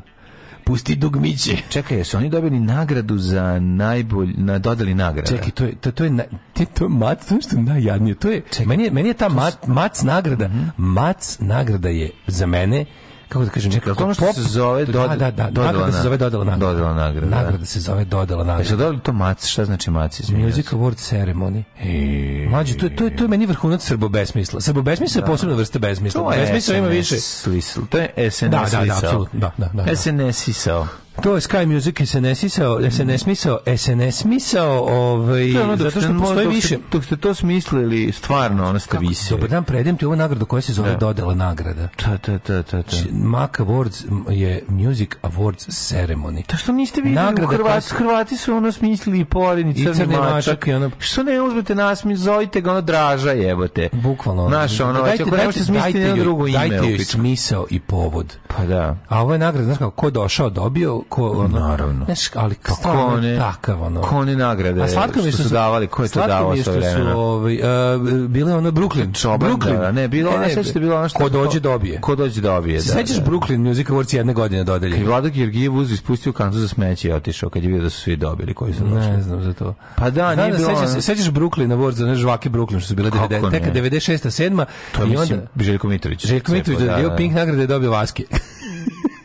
Speaker 6: Pusti dugmiće.
Speaker 7: Čekaj, jesu oni dobili nagradu za najbolj, na, dodali nagradu?
Speaker 6: Čekaj, to je to, to je na, ti to je mac, to je što je najjadnije. To je meni je meni je ta mac, mac nagrada,
Speaker 7: Mhm.
Speaker 6: mac nagrada je za mene kako da kažem,
Speaker 7: Čekaj, je li to ono što se zove
Speaker 6: da,
Speaker 7: dod-
Speaker 6: da, da,
Speaker 7: dodala
Speaker 6: nagrada se
Speaker 7: na-
Speaker 6: zove dodala nagrada.
Speaker 7: dodala nagrada, da. E,
Speaker 6: Nagrada se zove dodala
Speaker 7: Jesu
Speaker 6: nagrada.
Speaker 7: dobili to mac? Šta znači mac? izvinjavam se?
Speaker 6: Music Award Ceremony.
Speaker 7: E.
Speaker 6: Mlađe, to, je- to, je- to je meni vrhunac srbo besmisla. Srbo besmisla je posebna vrsta besmisla.
Speaker 7: To je
Speaker 6: Besmisla ima
Speaker 7: SNS
Speaker 6: više.
Speaker 7: slisl- To je SNS
Speaker 6: Da, da, da,
Speaker 7: slisao.
Speaker 6: apsolutno, da, da, da, da.
Speaker 7: SNS sisao.
Speaker 6: To je Sky Music SNS misao, SNS misao, SNS misao, ovaj,
Speaker 7: ono,
Speaker 6: zato što postoji više.
Speaker 7: Dok ste to smislili, stvarno, ono ste visi.
Speaker 6: Dobar dan, predajem ti ovu nagradu koja se zove dodala nagrada.
Speaker 7: Ta, ta, ta, ta, ta.
Speaker 6: Mac Awards je Music Awards Ceremony.
Speaker 7: Ta što niste vidjeli,
Speaker 6: Nagrada
Speaker 7: u Hrvati,
Speaker 6: koja-
Speaker 7: Hrvati su ono smislili i porin i crni,
Speaker 6: crni mačak
Speaker 7: mačak.
Speaker 6: i ono-
Speaker 7: Što ne uzmete nas, mi zovite ga ono draža jebote.
Speaker 6: Bukvalno. ono.
Speaker 7: Naš ono, dajte, ako ne možete smisliti jedno
Speaker 6: joj-
Speaker 7: drugo ime.
Speaker 6: Dajte
Speaker 7: u
Speaker 6: joj
Speaker 7: pičku.
Speaker 6: smisao i povod.
Speaker 7: Pa da.
Speaker 6: A ovo je nagrada, znaš kako, ko došao, dobio, ko... Ono,
Speaker 7: Naravno.
Speaker 6: Znaš, ali
Speaker 7: Pa
Speaker 6: stvarno
Speaker 7: kone-
Speaker 6: takav, ono.
Speaker 7: Kone nagrade
Speaker 6: A slatko mi je
Speaker 7: što
Speaker 6: što
Speaker 7: su davali, ko je to
Speaker 6: slatko
Speaker 7: davao
Speaker 6: mi je
Speaker 7: sve
Speaker 6: što su,
Speaker 7: vremena?
Speaker 6: ovaj, e, bilo je ono Brooklyn.
Speaker 7: Čoban,
Speaker 6: Brooklyn.
Speaker 7: da, ne, bilo ono sve što je bilo ono što...
Speaker 6: Ko dođe dobije.
Speaker 7: Ko dođe dobije, da.
Speaker 6: Se sećaš
Speaker 7: da.
Speaker 6: Brooklyn Music Awards jedne godine
Speaker 7: I
Speaker 6: dodelje?
Speaker 7: Vlado Georgijev uzu ispustio kantu za smeće i otišao kad je vidio da su svi dobili koji su došli.
Speaker 6: Ne znam za to.
Speaker 7: Pa da,
Speaker 6: Znam
Speaker 7: nije bilo
Speaker 6: sećaš,
Speaker 7: ono-
Speaker 6: se- sećaš Brooklyn Awards, one žvake Brooklyn što su bile
Speaker 7: Kako
Speaker 6: 90, teka
Speaker 7: ne?
Speaker 6: 96. 7.
Speaker 7: To je,
Speaker 6: i onda...
Speaker 7: mislim, Željko Mitrović.
Speaker 6: Željko Mitrović
Speaker 7: Cepo,
Speaker 6: dodelio Pink nagrade je dobio Vaske.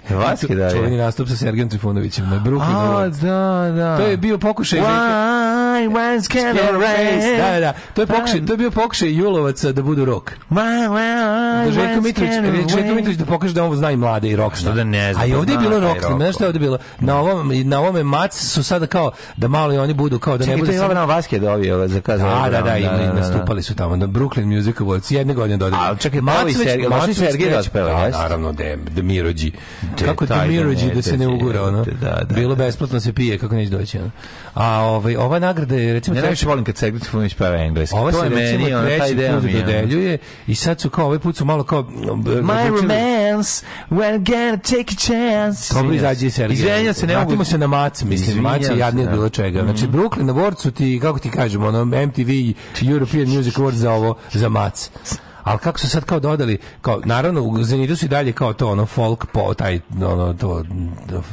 Speaker 7: Da. Vaske, da,
Speaker 6: Čuveni
Speaker 7: je.
Speaker 6: nastup sa Sergijom Trifunovićem na Brooklyn
Speaker 7: A,
Speaker 6: Awards.
Speaker 7: da, da.
Speaker 6: To je bio pokušaj Željka-
Speaker 7: Why, why can't I race?
Speaker 6: Da, da, da. To je pokušaj, to je bio pokušaj Julovaca da budu rok.
Speaker 7: Why, why,
Speaker 6: Da Željko
Speaker 7: why
Speaker 6: Mitrović,
Speaker 7: can't I
Speaker 6: Željko
Speaker 7: race?
Speaker 6: Mitrović da pokaže da on zna i mlade i rock.
Speaker 7: Što da ne zna,
Speaker 6: A i
Speaker 7: pa
Speaker 6: ovdje je
Speaker 7: zna
Speaker 6: bilo
Speaker 7: da je
Speaker 6: rock,
Speaker 7: rock.
Speaker 6: znaš šta je ovdje bilo? Na ovom i na ovome Mac su sada kao da malo i oni budu kao da ne
Speaker 7: Čekaj, to
Speaker 6: bude
Speaker 7: je
Speaker 6: samo-
Speaker 7: Jovana Vaske dobio za kazao.
Speaker 6: Da, da, da, i
Speaker 7: da, da,
Speaker 6: nastupali su tamo na Brooklyn Music Awards, jedne godine dodelili.
Speaker 7: A, čekaj, malo i Sergej- možda i Sergej da otpeva, jest?
Speaker 6: naravno, de, de Mirođi.
Speaker 7: De,
Speaker 6: kako de
Speaker 7: taj
Speaker 6: Mirođi da
Speaker 7: Demeter,
Speaker 6: se ne ugura, ono?
Speaker 7: de, da, da,
Speaker 6: Bilo
Speaker 7: da.
Speaker 6: besplatno se pije, kako neće doći, ono. A ovaj, ova nagrada je, recimo,
Speaker 7: Ne
Speaker 6: treća-
Speaker 7: najviše volim kad Sergej Trifunović peva engleski.
Speaker 6: Ovo
Speaker 7: To
Speaker 6: se
Speaker 7: je meni,
Speaker 6: recimo
Speaker 7: ono, taj
Speaker 6: treći
Speaker 7: deo
Speaker 6: put
Speaker 7: mi je. ono.
Speaker 6: dodeljuje i sad su kao, ovaj put su malo kao...
Speaker 7: My
Speaker 6: odlučili-
Speaker 7: romance, we're gonna take a chance.
Speaker 6: Dobro izađe i Sergej.
Speaker 7: Izvinjam se, ne mogu.
Speaker 6: Vratimo se na Mac, mislim, Mac
Speaker 7: Izvinjam
Speaker 6: je
Speaker 7: se,
Speaker 6: jadnije od
Speaker 7: da. Mhm.
Speaker 6: bilo čega. Znači, Brooklyn na Worcu ti, kako ti kažem, ono, MTV, European Music Awards za ovo, za Mac. Ali kako su sad kao dodali, kao, naravno, u Zenitu su i dalje kao to, ono, folk, po, taj, ono, to,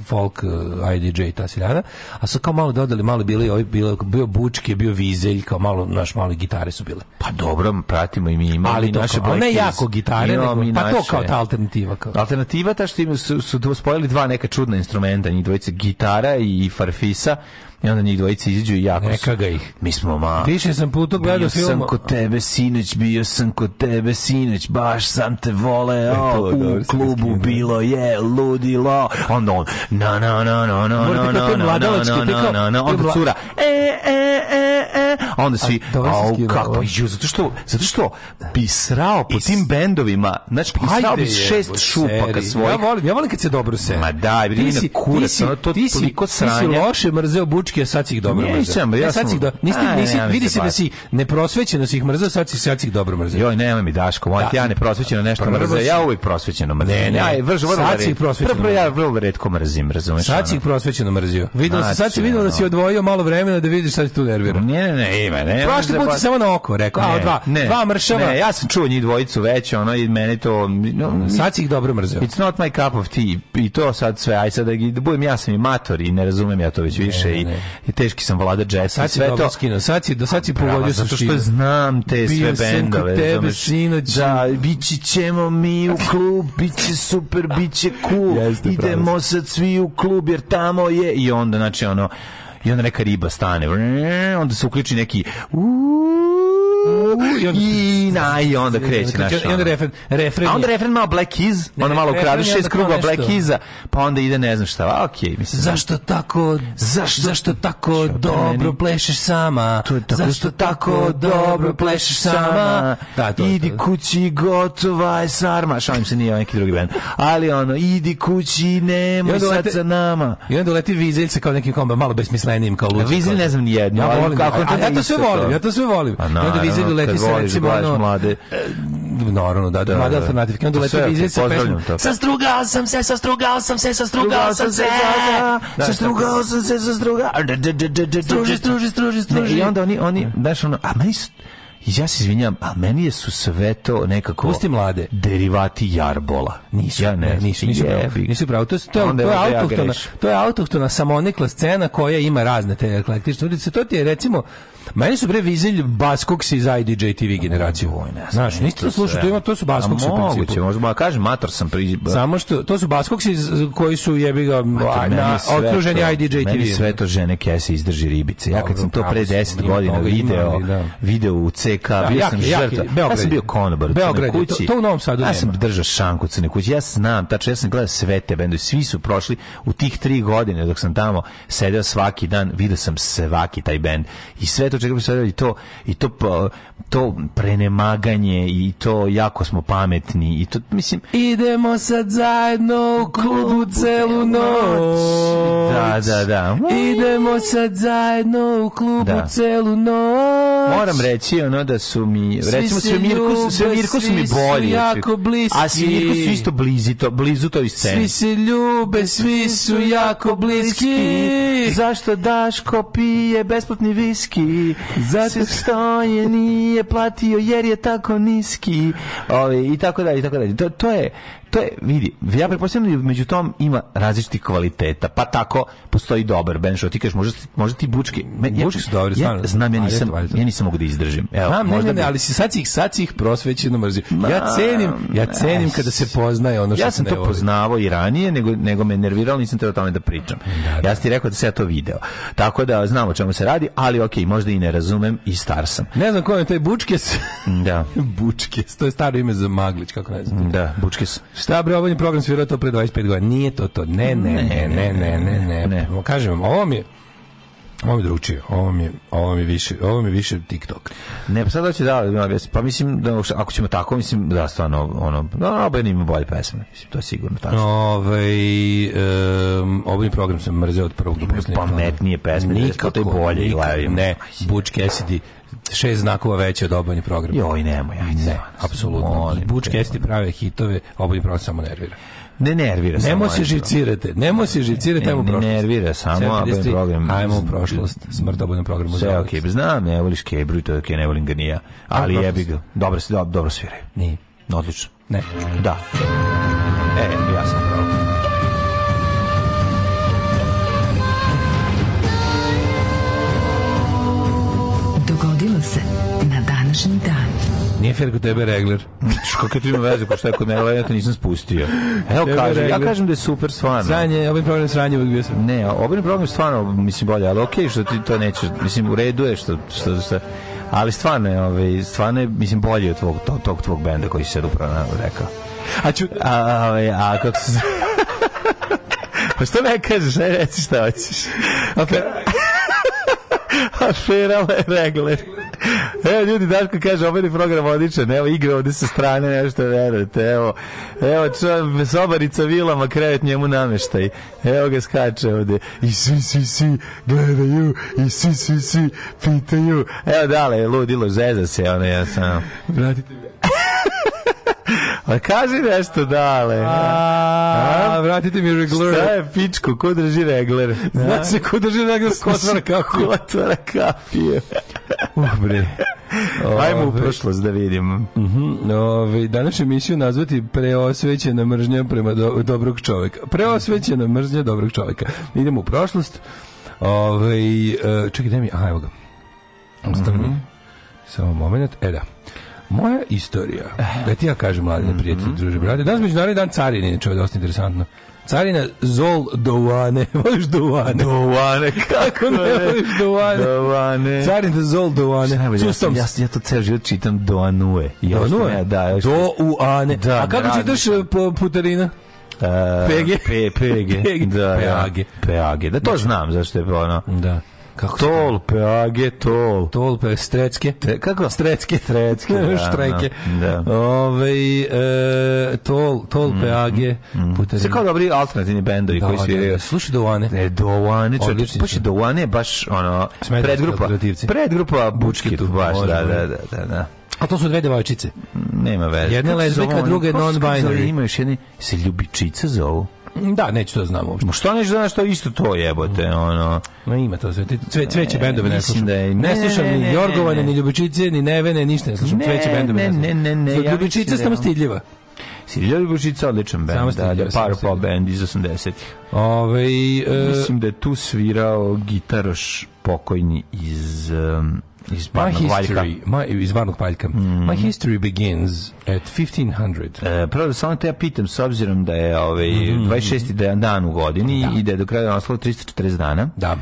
Speaker 6: folk, eh, IDJ, ta siljana, a su kao malo dodali, malo bili, ovi, bilo, bio bučke, bio vizelj, kao malo, naš, malo i gitare su bile.
Speaker 7: Pa dobro, pratimo i mi imamo
Speaker 6: Ali
Speaker 7: i
Speaker 6: to
Speaker 7: naše
Speaker 6: kao, ali
Speaker 7: Black
Speaker 6: ne
Speaker 7: Keys.
Speaker 6: jako gitare,
Speaker 7: Imamo
Speaker 6: nego,
Speaker 7: mi
Speaker 6: pa to
Speaker 7: naše.
Speaker 6: kao ta alternativa. Kao.
Speaker 7: Alternativa ta što im su, su dvo- spojili dva neka čudna instrumenta, njih dvojice gitara i farfisa, i onda njih dvojice izađu i jako su.
Speaker 6: Neka ga ih.
Speaker 7: Mi smo ma...
Speaker 6: Više sam putu gledao
Speaker 7: Bio
Speaker 6: film.
Speaker 7: sam kod tebe sinoć, bio sam kod tebe sinoć, baš sam te voleo,
Speaker 6: E, to je dobro,
Speaker 7: u
Speaker 6: sam
Speaker 7: klubu
Speaker 6: skinuo.
Speaker 7: bilo je ludilo. Onda on, na na na na na
Speaker 6: Morate
Speaker 7: na na
Speaker 6: kao
Speaker 7: na
Speaker 6: te
Speaker 7: na
Speaker 6: mladalačke,
Speaker 7: na
Speaker 6: te
Speaker 7: na
Speaker 6: kao-
Speaker 7: na na,
Speaker 6: te
Speaker 7: onda
Speaker 6: mla-
Speaker 7: cura, e e e e, onda svi,
Speaker 6: dobro sam
Speaker 7: au
Speaker 6: skinuo,
Speaker 7: kako,
Speaker 6: ovo.
Speaker 7: ju, zato što, zato što bi srao po tim bendovima, znači bi srao bi šest
Speaker 6: jebote,
Speaker 7: šupaka
Speaker 6: seri.
Speaker 7: svojih.
Speaker 6: Ja volim, ja volim kad se dobro seri.
Speaker 7: Ma daj, bre,
Speaker 6: Ti
Speaker 7: na
Speaker 6: si-
Speaker 7: kurac,
Speaker 6: ti si-
Speaker 7: ono, to
Speaker 6: ti si-
Speaker 7: toliko
Speaker 6: Ti si
Speaker 7: sranja.
Speaker 6: loše mrzeo bučke, a sad si ih dobro mrzeo.
Speaker 7: Nisam, bre, ja
Speaker 6: Ne, sad
Speaker 7: sam-
Speaker 6: si ih do- nisi ti-
Speaker 7: A,
Speaker 6: nisi-
Speaker 7: nemam
Speaker 6: vidi
Speaker 7: se
Speaker 6: se da
Speaker 7: baviti.
Speaker 6: si neprosvećeno si ih mrzeo, sad si, sad si ih dobro mrzeo.
Speaker 7: Joj, nemoj mi Daško, molim
Speaker 6: Da. pa
Speaker 7: ti, ja ne prosvećeno nešto
Speaker 6: Prvo
Speaker 7: mrzim.
Speaker 6: si-
Speaker 7: Ja uvijek prosvećeno mrzim.
Speaker 6: Ne, ne.
Speaker 7: Ja je vrlo, vrlo
Speaker 6: Sad si
Speaker 7: red-
Speaker 6: prosvećeno
Speaker 7: Prvo ja vrlo redko mrzim, razumeš?
Speaker 6: Sad si
Speaker 7: ono.
Speaker 6: ih prosvećeno mrzio. Videlo se, sad si
Speaker 7: Znači,
Speaker 6: videlo da si
Speaker 7: ono.
Speaker 6: odvojio malo vremena da vidiš sad si tu nervira.
Speaker 7: Ne, ne, ne, ime, ne?
Speaker 6: Prošli put si samo na oko rekao, a dva, dva mršava. Ono,
Speaker 7: Ne, ja sam čuo njih dvojicu već, ono, i meni to... No,
Speaker 6: Sad si ih dobro mrzeo.
Speaker 7: It's not my cup of tea. I to sad sve, aj sad da, da budem ja sam i mator i ne razumem ja to već više i, i teški sam vlada džesa i
Speaker 6: Sad si
Speaker 7: sve
Speaker 6: dobro
Speaker 7: to.
Speaker 6: skinuo, sad si, do sad si
Speaker 7: Prava,
Speaker 6: pogodio
Speaker 7: zato
Speaker 6: suštinu.
Speaker 7: što znam te sve
Speaker 6: Bio sam kod
Speaker 7: bendove.
Speaker 6: tebe
Speaker 7: razumeš?
Speaker 6: sinoć.
Speaker 7: Da, bići ćemo mi u klub, bit će super, bit će cool.
Speaker 6: Jeste, pravo
Speaker 7: Idemo sad svi u klub jer tamo je... I onda, znači, ono, i onda neka riba stane. vrrrr, Onda se uključi neki... uuu,
Speaker 6: i onda-
Speaker 7: I, na, i onda kreće naš...
Speaker 6: I onda
Speaker 7: ono.
Speaker 6: refren, refren
Speaker 7: A onda
Speaker 6: je-
Speaker 7: refren malo Black Keys,
Speaker 6: Ne,
Speaker 7: onda malo
Speaker 6: refren je
Speaker 7: ukraduše
Speaker 6: onda
Speaker 7: iz kruga
Speaker 6: kao
Speaker 7: Black
Speaker 6: nešto.
Speaker 7: Keysa, pa onda ide ne znam šta, a okej, mislim.
Speaker 6: Zašto tako, zašto, zašto tako dobro
Speaker 7: meni-
Speaker 6: plešeš sama?
Speaker 7: To je tako
Speaker 6: zašto tako dobro plešeš sama? Da, to je
Speaker 7: idi
Speaker 6: to.
Speaker 7: kući, gotova je sarma. Šalim se, nije neki drugi band. Ali ono, idi kući,
Speaker 6: I
Speaker 7: nemoj
Speaker 6: onda
Speaker 7: sad
Speaker 6: lete-
Speaker 7: sa nama.
Speaker 6: I onda leti Vizelj sa kao nekim komba, malo besmislenim kao luđi.
Speaker 7: Vizelj ne znam nijedno,
Speaker 6: Ja
Speaker 7: ali
Speaker 6: volim,
Speaker 7: kako
Speaker 6: ali-
Speaker 7: to
Speaker 6: ali ja to Pa
Speaker 7: isto
Speaker 6: sve
Speaker 7: to?
Speaker 6: volim, ja to sve volim. I onda Vizelj leti sa recimo ono...
Speaker 7: mlade.
Speaker 6: Naravno, da, da, Pa
Speaker 7: Da,
Speaker 6: mlade
Speaker 7: da.
Speaker 6: alternativke. Onda
Speaker 7: To
Speaker 6: leti
Speaker 7: sve,
Speaker 6: Vizelj sa
Speaker 7: pozdravljam
Speaker 6: pesmom.
Speaker 7: to.
Speaker 6: Sastrugao sam se, sastrugao sam se, sastrugao sam se.
Speaker 7: Sastrugao sam se, sastrugao.
Speaker 6: Struži, struži, struži,
Speaker 7: Ne,
Speaker 6: struži.
Speaker 7: I onda oni, oni, znaš ono, a meni su, ja se izvinjam, a meni je su sve to nekako...
Speaker 6: Pusti mlade.
Speaker 7: Derivati jarbola.
Speaker 6: Nisu,
Speaker 7: ja ne,
Speaker 6: ne,
Speaker 7: znam.
Speaker 6: nisu, nisu, pravo,
Speaker 7: Jebi ga.
Speaker 6: nisu pravo. To, je- to, je-
Speaker 7: Onda
Speaker 6: to je
Speaker 7: valjda ja
Speaker 6: autohtona,
Speaker 7: grešim.
Speaker 6: to je autohtona samonikla scena koja ima razne te eklektične ulice. To ti je recimo Meni su bre vizelj Baskoks iz IDJ TV generaciju. Znaš, niste to slušali, to, ima, to su Baskoks
Speaker 7: A
Speaker 6: u
Speaker 7: Moguće,
Speaker 6: principu.
Speaker 7: možda, ma kažem, mator sam pri...
Speaker 6: Samo što, to su Baskoks iz, koji su jebi ga
Speaker 7: Mator, meni
Speaker 6: na,
Speaker 7: sve
Speaker 6: okruženi
Speaker 7: to-
Speaker 6: IDJ TV.
Speaker 7: Meni sve to žene kese izdrži ribice. Ja kad
Speaker 6: Dobro,
Speaker 7: sam to pre
Speaker 6: pravo si,
Speaker 7: 10
Speaker 6: ima
Speaker 7: godina
Speaker 6: toga, ima,
Speaker 7: video,
Speaker 6: ali da.
Speaker 7: video u CK, bio sam
Speaker 6: jaki, jaki,
Speaker 7: žrtva. Ja
Speaker 6: Beograd
Speaker 7: sam
Speaker 6: je.
Speaker 7: bio konobar u
Speaker 6: Beograd je,
Speaker 7: Crnoj
Speaker 6: to-
Speaker 7: kući.
Speaker 6: to u Novom Sadu
Speaker 7: Ja sam
Speaker 6: nema.
Speaker 7: držao šanku u Crnoj kući. Ja znam, tačno ja sam gledao sve te bendove. Svi su prošli u tih tri godine dok sam tamo sedeo svaki dan, video sam svaki taj bend. I sve to čega bi se i to, i to, pa, to prenemaganje i to jako smo pametni i to, mislim,
Speaker 6: Idemo sad zajedno u klubu celu noć.
Speaker 7: Da, da, da.
Speaker 6: Idemo sad zajedno u klubu
Speaker 7: Da.
Speaker 6: celu noć.
Speaker 7: Moram reći ono da su mi
Speaker 6: Svi
Speaker 7: recimo
Speaker 6: se
Speaker 7: sve Mirku sve
Speaker 6: ljube,
Speaker 7: Mirku su
Speaker 6: svi
Speaker 7: mi
Speaker 6: su
Speaker 7: bolji. znači.
Speaker 6: jako bliski.
Speaker 7: A svi Mirku su isto blizu to blizu toj
Speaker 6: Svi
Speaker 7: sceni.
Speaker 6: se ljube, svi su jako bliski.
Speaker 7: Zašto Daško pije besplatni viski? Zato što je nije platio jer je tako niski. Ove, I tako dalje, i tako dalje. To, to je, to je, vidi, ja pretpostavljam da među tom ima različitih kvaliteta, pa tako postoji dobar band, što ti kažeš, možda, ti- možda ti bučki. Me, ja-
Speaker 6: Bučki su dobri,
Speaker 7: ja,
Speaker 6: stvarno.
Speaker 7: Znam, ja
Speaker 6: Ali
Speaker 7: nisam,
Speaker 6: eto, valjda.
Speaker 7: ja nisam mogu da izdržim. Evo,
Speaker 6: Znam, ne,
Speaker 7: možda
Speaker 6: ne, ne,
Speaker 7: bi-
Speaker 6: ali si sad si ih, sad si ih prosvećeno mrzio. Ja cenim, ja cenim kada se poznaje ono što
Speaker 7: ja
Speaker 6: se
Speaker 7: sam
Speaker 6: ne
Speaker 7: to
Speaker 6: voli.
Speaker 7: poznavao i ranije, nego, nego me nerviralo, nisam trebao o tome da pričam. Ja sam ti rekao da sam ja to video. Tako da znam o čemu se radi, ali ok, možda i ne razumem i star sam. Mm,
Speaker 6: Ne znam ko je taj Bučkes.
Speaker 7: Da.
Speaker 6: Bučkes, to je staro ime za Maglić, kako ne znam.
Speaker 7: Da, bučke su.
Speaker 6: Šta bre, ovaj program svirao to pre 25 godina. Nije to to. Ne, ne, ne, ne, ne, ne, ne.
Speaker 7: Ne.
Speaker 6: Kažem vam, ovo mi je Ovo mi je drugčije, ovo mi je, ovo mi je više, ovo mi je više TikTok.
Speaker 7: Ne, pa sad hoće da, da objasnim. pa mislim da ako ćemo tako, mislim da stvarno ono, da, oba ima bolje pesme, mislim, to je sigurno tako.
Speaker 6: Ovaj um, ovaj program sam mrzeo od prvog do poslednjeg.
Speaker 7: pametnije pesme,
Speaker 6: nikako
Speaker 7: to je bolje,
Speaker 6: Nikako,
Speaker 7: gledaju.
Speaker 6: ne, Butch Cassidy šest znakova veće od obojni program.
Speaker 7: Joj, nemoj, ajde.
Speaker 6: Ne,
Speaker 7: stvarno,
Speaker 6: apsolutno.
Speaker 7: molim
Speaker 6: Butch
Speaker 7: te.
Speaker 6: Cassidy prave hitove, obojni program samo nervira.
Speaker 7: Ne nervira samo.
Speaker 6: Nemo se
Speaker 7: ajde.
Speaker 6: živcirate, nemo se živcirate, ajmo u
Speaker 7: Ne, ne
Speaker 6: prošlost.
Speaker 7: nervira samo, a obojni
Speaker 6: 753,
Speaker 7: program-
Speaker 6: Ajmo u prošlost, smrt obojnom programu.
Speaker 7: Sve
Speaker 6: za
Speaker 7: ok, znam, ne voliš Kebru i to je ok, ne volim ga ni ja. Ali
Speaker 6: dobro.
Speaker 7: jebi ga, dobro, se- dobro, dobro sviraju.
Speaker 6: Nije.
Speaker 7: Odlično.
Speaker 6: Ne.
Speaker 7: Da. E, ja sam pravo.
Speaker 5: Dogodilo se na današnji dan.
Speaker 6: Nije fair kod tebe regler.
Speaker 7: Što kako to ima veze ko šta je kod mene, ali ja to nisam spustio. Evo
Speaker 6: Tebe
Speaker 7: kažem, ja
Speaker 6: regler.
Speaker 7: kažem da je super stvarno.
Speaker 6: Sranje, ovaj program sranje uvijek bio sam.
Speaker 7: Ne, obrni problem stvarno mislim bolje, ali okej što ti to nećeš, mislim u redu je što što, što ali stvarno je, ovaj, stvarno je, mislim, bolje od tvog, tog, tog tvog benda koji si sad upravo na- rekao.
Speaker 6: A ću...
Speaker 7: A, a, ovaj, a kako se... zove? pa što ne kažeš, ne reci šta hoćeš.
Speaker 6: pa,
Speaker 7: Afera Le- regler. Evo ljudi, Daško kaže, ovaj program odličan, evo igra ovde sa strane, nešto verujete, evo, evo čo, sobarica vilama, krevet njemu nameštaj, evo ga skače ovde, i svi, svi, svi gledaju, i svi, svi, svi pitaju, evo dale, ludilo, zeza se, ono ja sam,
Speaker 6: Vratite mi.
Speaker 7: a kaži nešto dale,
Speaker 6: A, vratite mi
Speaker 7: šta
Speaker 6: regler.
Speaker 7: je pičko, ko drži Znači, regler,
Speaker 6: Zna se ko drži regler, ko otvara kafu.
Speaker 7: Ko otvara kafije?
Speaker 6: Uh, bre.
Speaker 7: Ajmo u
Speaker 6: Ove,
Speaker 7: prošlost da vidimo.
Speaker 6: mhm, Ove, danas emisiju nazvati preosvećena mržnja prema do, dobrog čoveka. Preosvećena mržnja dobrog čoveka. Idemo u prošlost. Ove, e, čekaj, daj mi, aha, evo ga. Ostavi
Speaker 7: Mhm.
Speaker 6: mi. Samo moment, e da. Moja istorija. Da ti ja kažem,
Speaker 7: Mhm,
Speaker 6: mladine prijatelji, druže, brate. Danas je međunarodni dan carine, čovje, dosta interesantno. Carina Zol Dovane. Voliš Dovane?
Speaker 7: Dovane, kako
Speaker 6: ne voliš Dovane?
Speaker 7: Dovane.
Speaker 6: Carina Zol
Speaker 7: Šta je
Speaker 6: Dovane.
Speaker 7: najbolje, ja, sam-
Speaker 6: Custom.
Speaker 7: ja, ja to ceo život čitam Doanue. Ja još
Speaker 6: Doanue?
Speaker 7: ne- Ono Da, još
Speaker 6: Do u Ane.
Speaker 7: Da,
Speaker 6: A kako
Speaker 7: da,
Speaker 6: čitaš e, po- putarina?
Speaker 7: E,
Speaker 6: PG?
Speaker 7: P, PG.
Speaker 6: PG.
Speaker 7: Da,
Speaker 6: PAG.
Speaker 7: Da, PAG. Da, to znam zašto je ono.
Speaker 6: Da. Znači- Mm, Kako se-
Speaker 7: Tol, PAG, tol.
Speaker 6: Tolpe, strecke.
Speaker 7: Te- kako?
Speaker 6: Strecke.
Speaker 7: Strecke, da,
Speaker 6: Štrajke.
Speaker 7: da. Mhm,
Speaker 6: Ovaj, e, tol, tolpe, age, putarina.
Speaker 7: Sve kao dobri alternativni bendovi
Speaker 6: Da,
Speaker 7: koji
Speaker 6: da,
Speaker 7: sviraju.
Speaker 6: da. Slušaj Dovane.
Speaker 7: E, Dovane, čovječe,
Speaker 6: Odlični
Speaker 7: baš je
Speaker 6: su.
Speaker 7: Dovane, baš ono,
Speaker 6: Smederevski
Speaker 7: predgrupa,
Speaker 6: alternativci.
Speaker 7: predgrupa Bučkit,
Speaker 6: Bučkitu,
Speaker 7: baš,
Speaker 6: može,
Speaker 7: da,
Speaker 6: može.
Speaker 7: da, da, da, da.
Speaker 6: A to su dve devojčice.
Speaker 7: Nema veze.
Speaker 6: Jedna je
Speaker 7: Kako se
Speaker 6: lezbika,
Speaker 7: zove oni?
Speaker 6: druga je
Speaker 7: Kako se
Speaker 6: non-binary.
Speaker 7: zove? Ima još jedni, se ljubičica zovu.
Speaker 6: Da, neću to da znam uopšte.
Speaker 7: Ma Šta neš znaš, to je isto to jebote,
Speaker 6: Mm.
Speaker 7: ono.
Speaker 6: Ma ima to sve. Ti Cve, cveće bendove ne
Speaker 7: E, mislim
Speaker 6: slušam.
Speaker 7: da je-
Speaker 6: ne,
Speaker 7: ne,
Speaker 6: slušam
Speaker 7: ne,
Speaker 6: ni
Speaker 7: ne,
Speaker 6: Jorgovane,
Speaker 7: ne, ne.
Speaker 6: ni Ljubičice, ni Nevene, ništa ne slušam.
Speaker 7: Ne,
Speaker 6: cveće bendove ne,
Speaker 7: ne,
Speaker 6: slušam.
Speaker 7: ne, ne, ne,
Speaker 6: Od
Speaker 7: ja
Speaker 6: Ljubičica
Speaker 7: mislim da je
Speaker 6: sam
Speaker 7: ono-
Speaker 6: stidljiva.
Speaker 7: Si ljubičica odličan bend,
Speaker 6: Samo
Speaker 7: da,
Speaker 6: stiljivo,
Speaker 7: da,
Speaker 6: samo
Speaker 7: power
Speaker 6: stiljivo.
Speaker 7: pop band iz 80-ih.
Speaker 6: Ove, e,
Speaker 7: Mislim da je tu svirao gitaroš pokojni iz um, iz
Speaker 6: My
Speaker 7: Barnog Valjka. Mhm.
Speaker 6: history, my, iz Varnog Paljka. My history begins at 1500.
Speaker 7: E, prvo da samo te ja pitam, s obzirom da je ovaj,
Speaker 6: Mhm,
Speaker 7: 26. da- dan u godini i da je do kraja ostalo 340 dana,
Speaker 6: Da,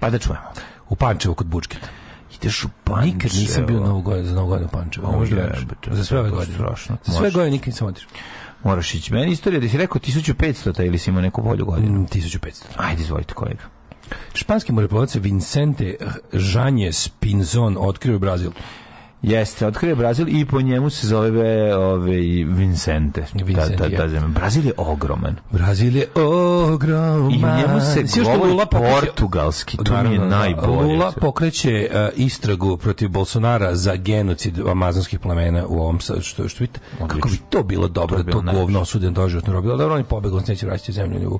Speaker 7: pa da čujemo.
Speaker 6: u Pančevu kod Bučkita.
Speaker 7: Ideš u Pančevo.
Speaker 6: Nikad nisam bio na ovu godinu, za novu godinu u Pančevu. Ovo možda veruješ.
Speaker 7: jebote,
Speaker 6: Za sve ove
Speaker 7: to je
Speaker 6: godine.
Speaker 7: strašno.
Speaker 6: Za sve
Speaker 7: Može.
Speaker 6: godine nikad nisam otišao.
Speaker 7: Moraš ići. Meni je istorija da si rekao 1500 ili si imao neku bolju
Speaker 6: Mm,
Speaker 7: godinu.
Speaker 6: 1500.
Speaker 7: Ajde, izvolite kolega.
Speaker 6: Španski moreplovac Vincente Žanje Spinzon otkrio je Brazil.
Speaker 7: Jeste, otkrio je Brazil i po njemu se zove ovaj, Vincente.
Speaker 6: Vincent,
Speaker 7: ta, ta, ta
Speaker 6: je.
Speaker 7: zemlja. Brazil je ogroman.
Speaker 6: Brazil je ogroman.
Speaker 7: I u njemu se
Speaker 6: Svi što
Speaker 7: govori
Speaker 6: Lula pokreće-
Speaker 7: portugalski. Znači, To mi je
Speaker 6: Naravno, da.
Speaker 7: najbolje.
Speaker 6: Lula pokreće e, istragu protiv Bolsonara za genocid amazonskih plemena u ovom sa- što što vidite, kako bi to bilo
Speaker 7: To
Speaker 6: dobro da
Speaker 7: bi
Speaker 6: to
Speaker 7: bilo najviše.
Speaker 6: govno osuden doživotno robilo. Dobro, on je pobegao, on se neće vraćati u zemlju njegovu.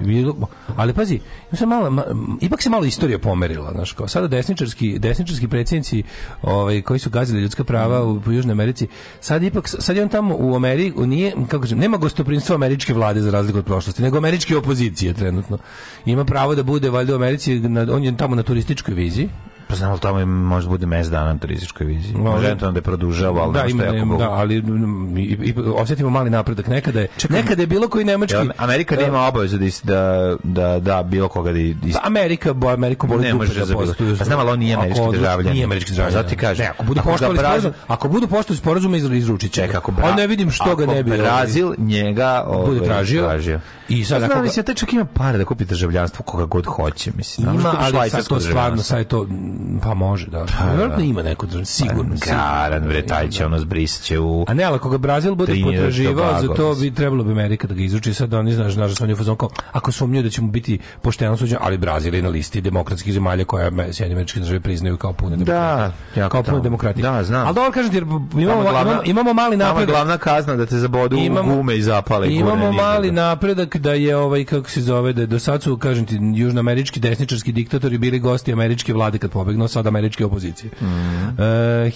Speaker 6: Bilo- Ali pazi, ima se malo, ma- m, ipak se malo istorija pomerila, znaš, kao sada desničarski, desničarski predsjednici ovaj, koji su gazili ljudska prava u, u Južnoj Americi, sad ipak, sad je on tamo u Ameriji, u nije, kako kažem, nema gostoprinstva američke vlade za razliku od prošlosti, nego američke opozicije trenutno. Ima pravo da bude, valjda u Americi, na- on je tamo na turističkoj vizi,
Speaker 7: Pa znam, ali tamo je, možda bude mjesec dana na turističkoj viziji.
Speaker 6: Može.
Speaker 7: Može eventualno da je produžava, ali
Speaker 6: Ovaj- da,
Speaker 7: nešto
Speaker 6: ima,
Speaker 7: jako
Speaker 6: nema,
Speaker 7: mogu.
Speaker 6: da, ali mm, i, i, osjetimo mali napredak. Nekada je, nekada je bilo koji nemački...
Speaker 7: Jel Amerika nema obavezu da, is- da, da, da bilo koga da is-
Speaker 6: Pa Amerika, bo Ameriku boli
Speaker 7: Ne
Speaker 6: dupe
Speaker 7: može
Speaker 6: da
Speaker 7: za bilo-
Speaker 6: postoji.
Speaker 7: Pa znam, ali on nije
Speaker 6: Ako
Speaker 7: američki
Speaker 6: odluči-
Speaker 7: državljanin.
Speaker 6: Nije američki državljan.
Speaker 7: Zato ti kažem.
Speaker 6: Ne, ako budu
Speaker 7: Ako ga
Speaker 6: poštovali
Speaker 7: Brazil-
Speaker 6: sporazum, ako budu poštovali sporazum iz izručit će.
Speaker 7: Čekaj,
Speaker 6: ga.
Speaker 7: ako Bra-
Speaker 6: Onda ne vidim što ga
Speaker 7: ako
Speaker 6: ne bi.
Speaker 7: Brazil njega
Speaker 6: ovaj,
Speaker 7: ovaj,
Speaker 6: bude tražio. I sad
Speaker 7: Pa
Speaker 6: ako
Speaker 7: znam,
Speaker 6: ga-
Speaker 7: mislim, taj čak ima pare da kupi državljanstvo koga god hoće, mislim.
Speaker 6: Ima,
Speaker 7: Može kupiš
Speaker 6: ali sad
Speaker 7: švajcarsko
Speaker 6: to stvarno,
Speaker 7: državljanstvo.
Speaker 6: sad je to, mm, pa može, da. Vjerojatno ima neko državno, sigurno.
Speaker 7: Garan, bre, taj će ono zbrisće u...
Speaker 6: A ne, ali ako ga Brazil bude
Speaker 7: Trinidad,
Speaker 6: potraživao, za
Speaker 7: Tobago,
Speaker 6: to bi
Speaker 7: mislim.
Speaker 6: trebalo bi Amerika da ga izruči. Sad oni, znaš, znaš da su oni u fazonu kao, ako sumnjuju da će mu biti pošteno suđen, ali Brazil je na listi demokratskih zemalja koja me- Sjedinjene američke države priznaju kao pune
Speaker 7: Da, jako
Speaker 6: kao puno
Speaker 7: tamo.
Speaker 6: demokratije.
Speaker 7: Da, znam.
Speaker 6: Ali dobro kažem ti, jer imamo,
Speaker 7: Tamo je glavna-
Speaker 6: imamo, imamo mali
Speaker 7: tamo je
Speaker 6: napredak.
Speaker 7: glavna kazna da te zabodu u gume i zapale. i gurne
Speaker 6: Imamo
Speaker 7: nigde.
Speaker 6: mali napredak da je ovaj kako se zove da je do sad su kažem ti južnoamerički desničarski diktatori bili gosti američke vlade kad pobegnu sad američke opozicije. Mm.
Speaker 7: Mhm.
Speaker 6: E,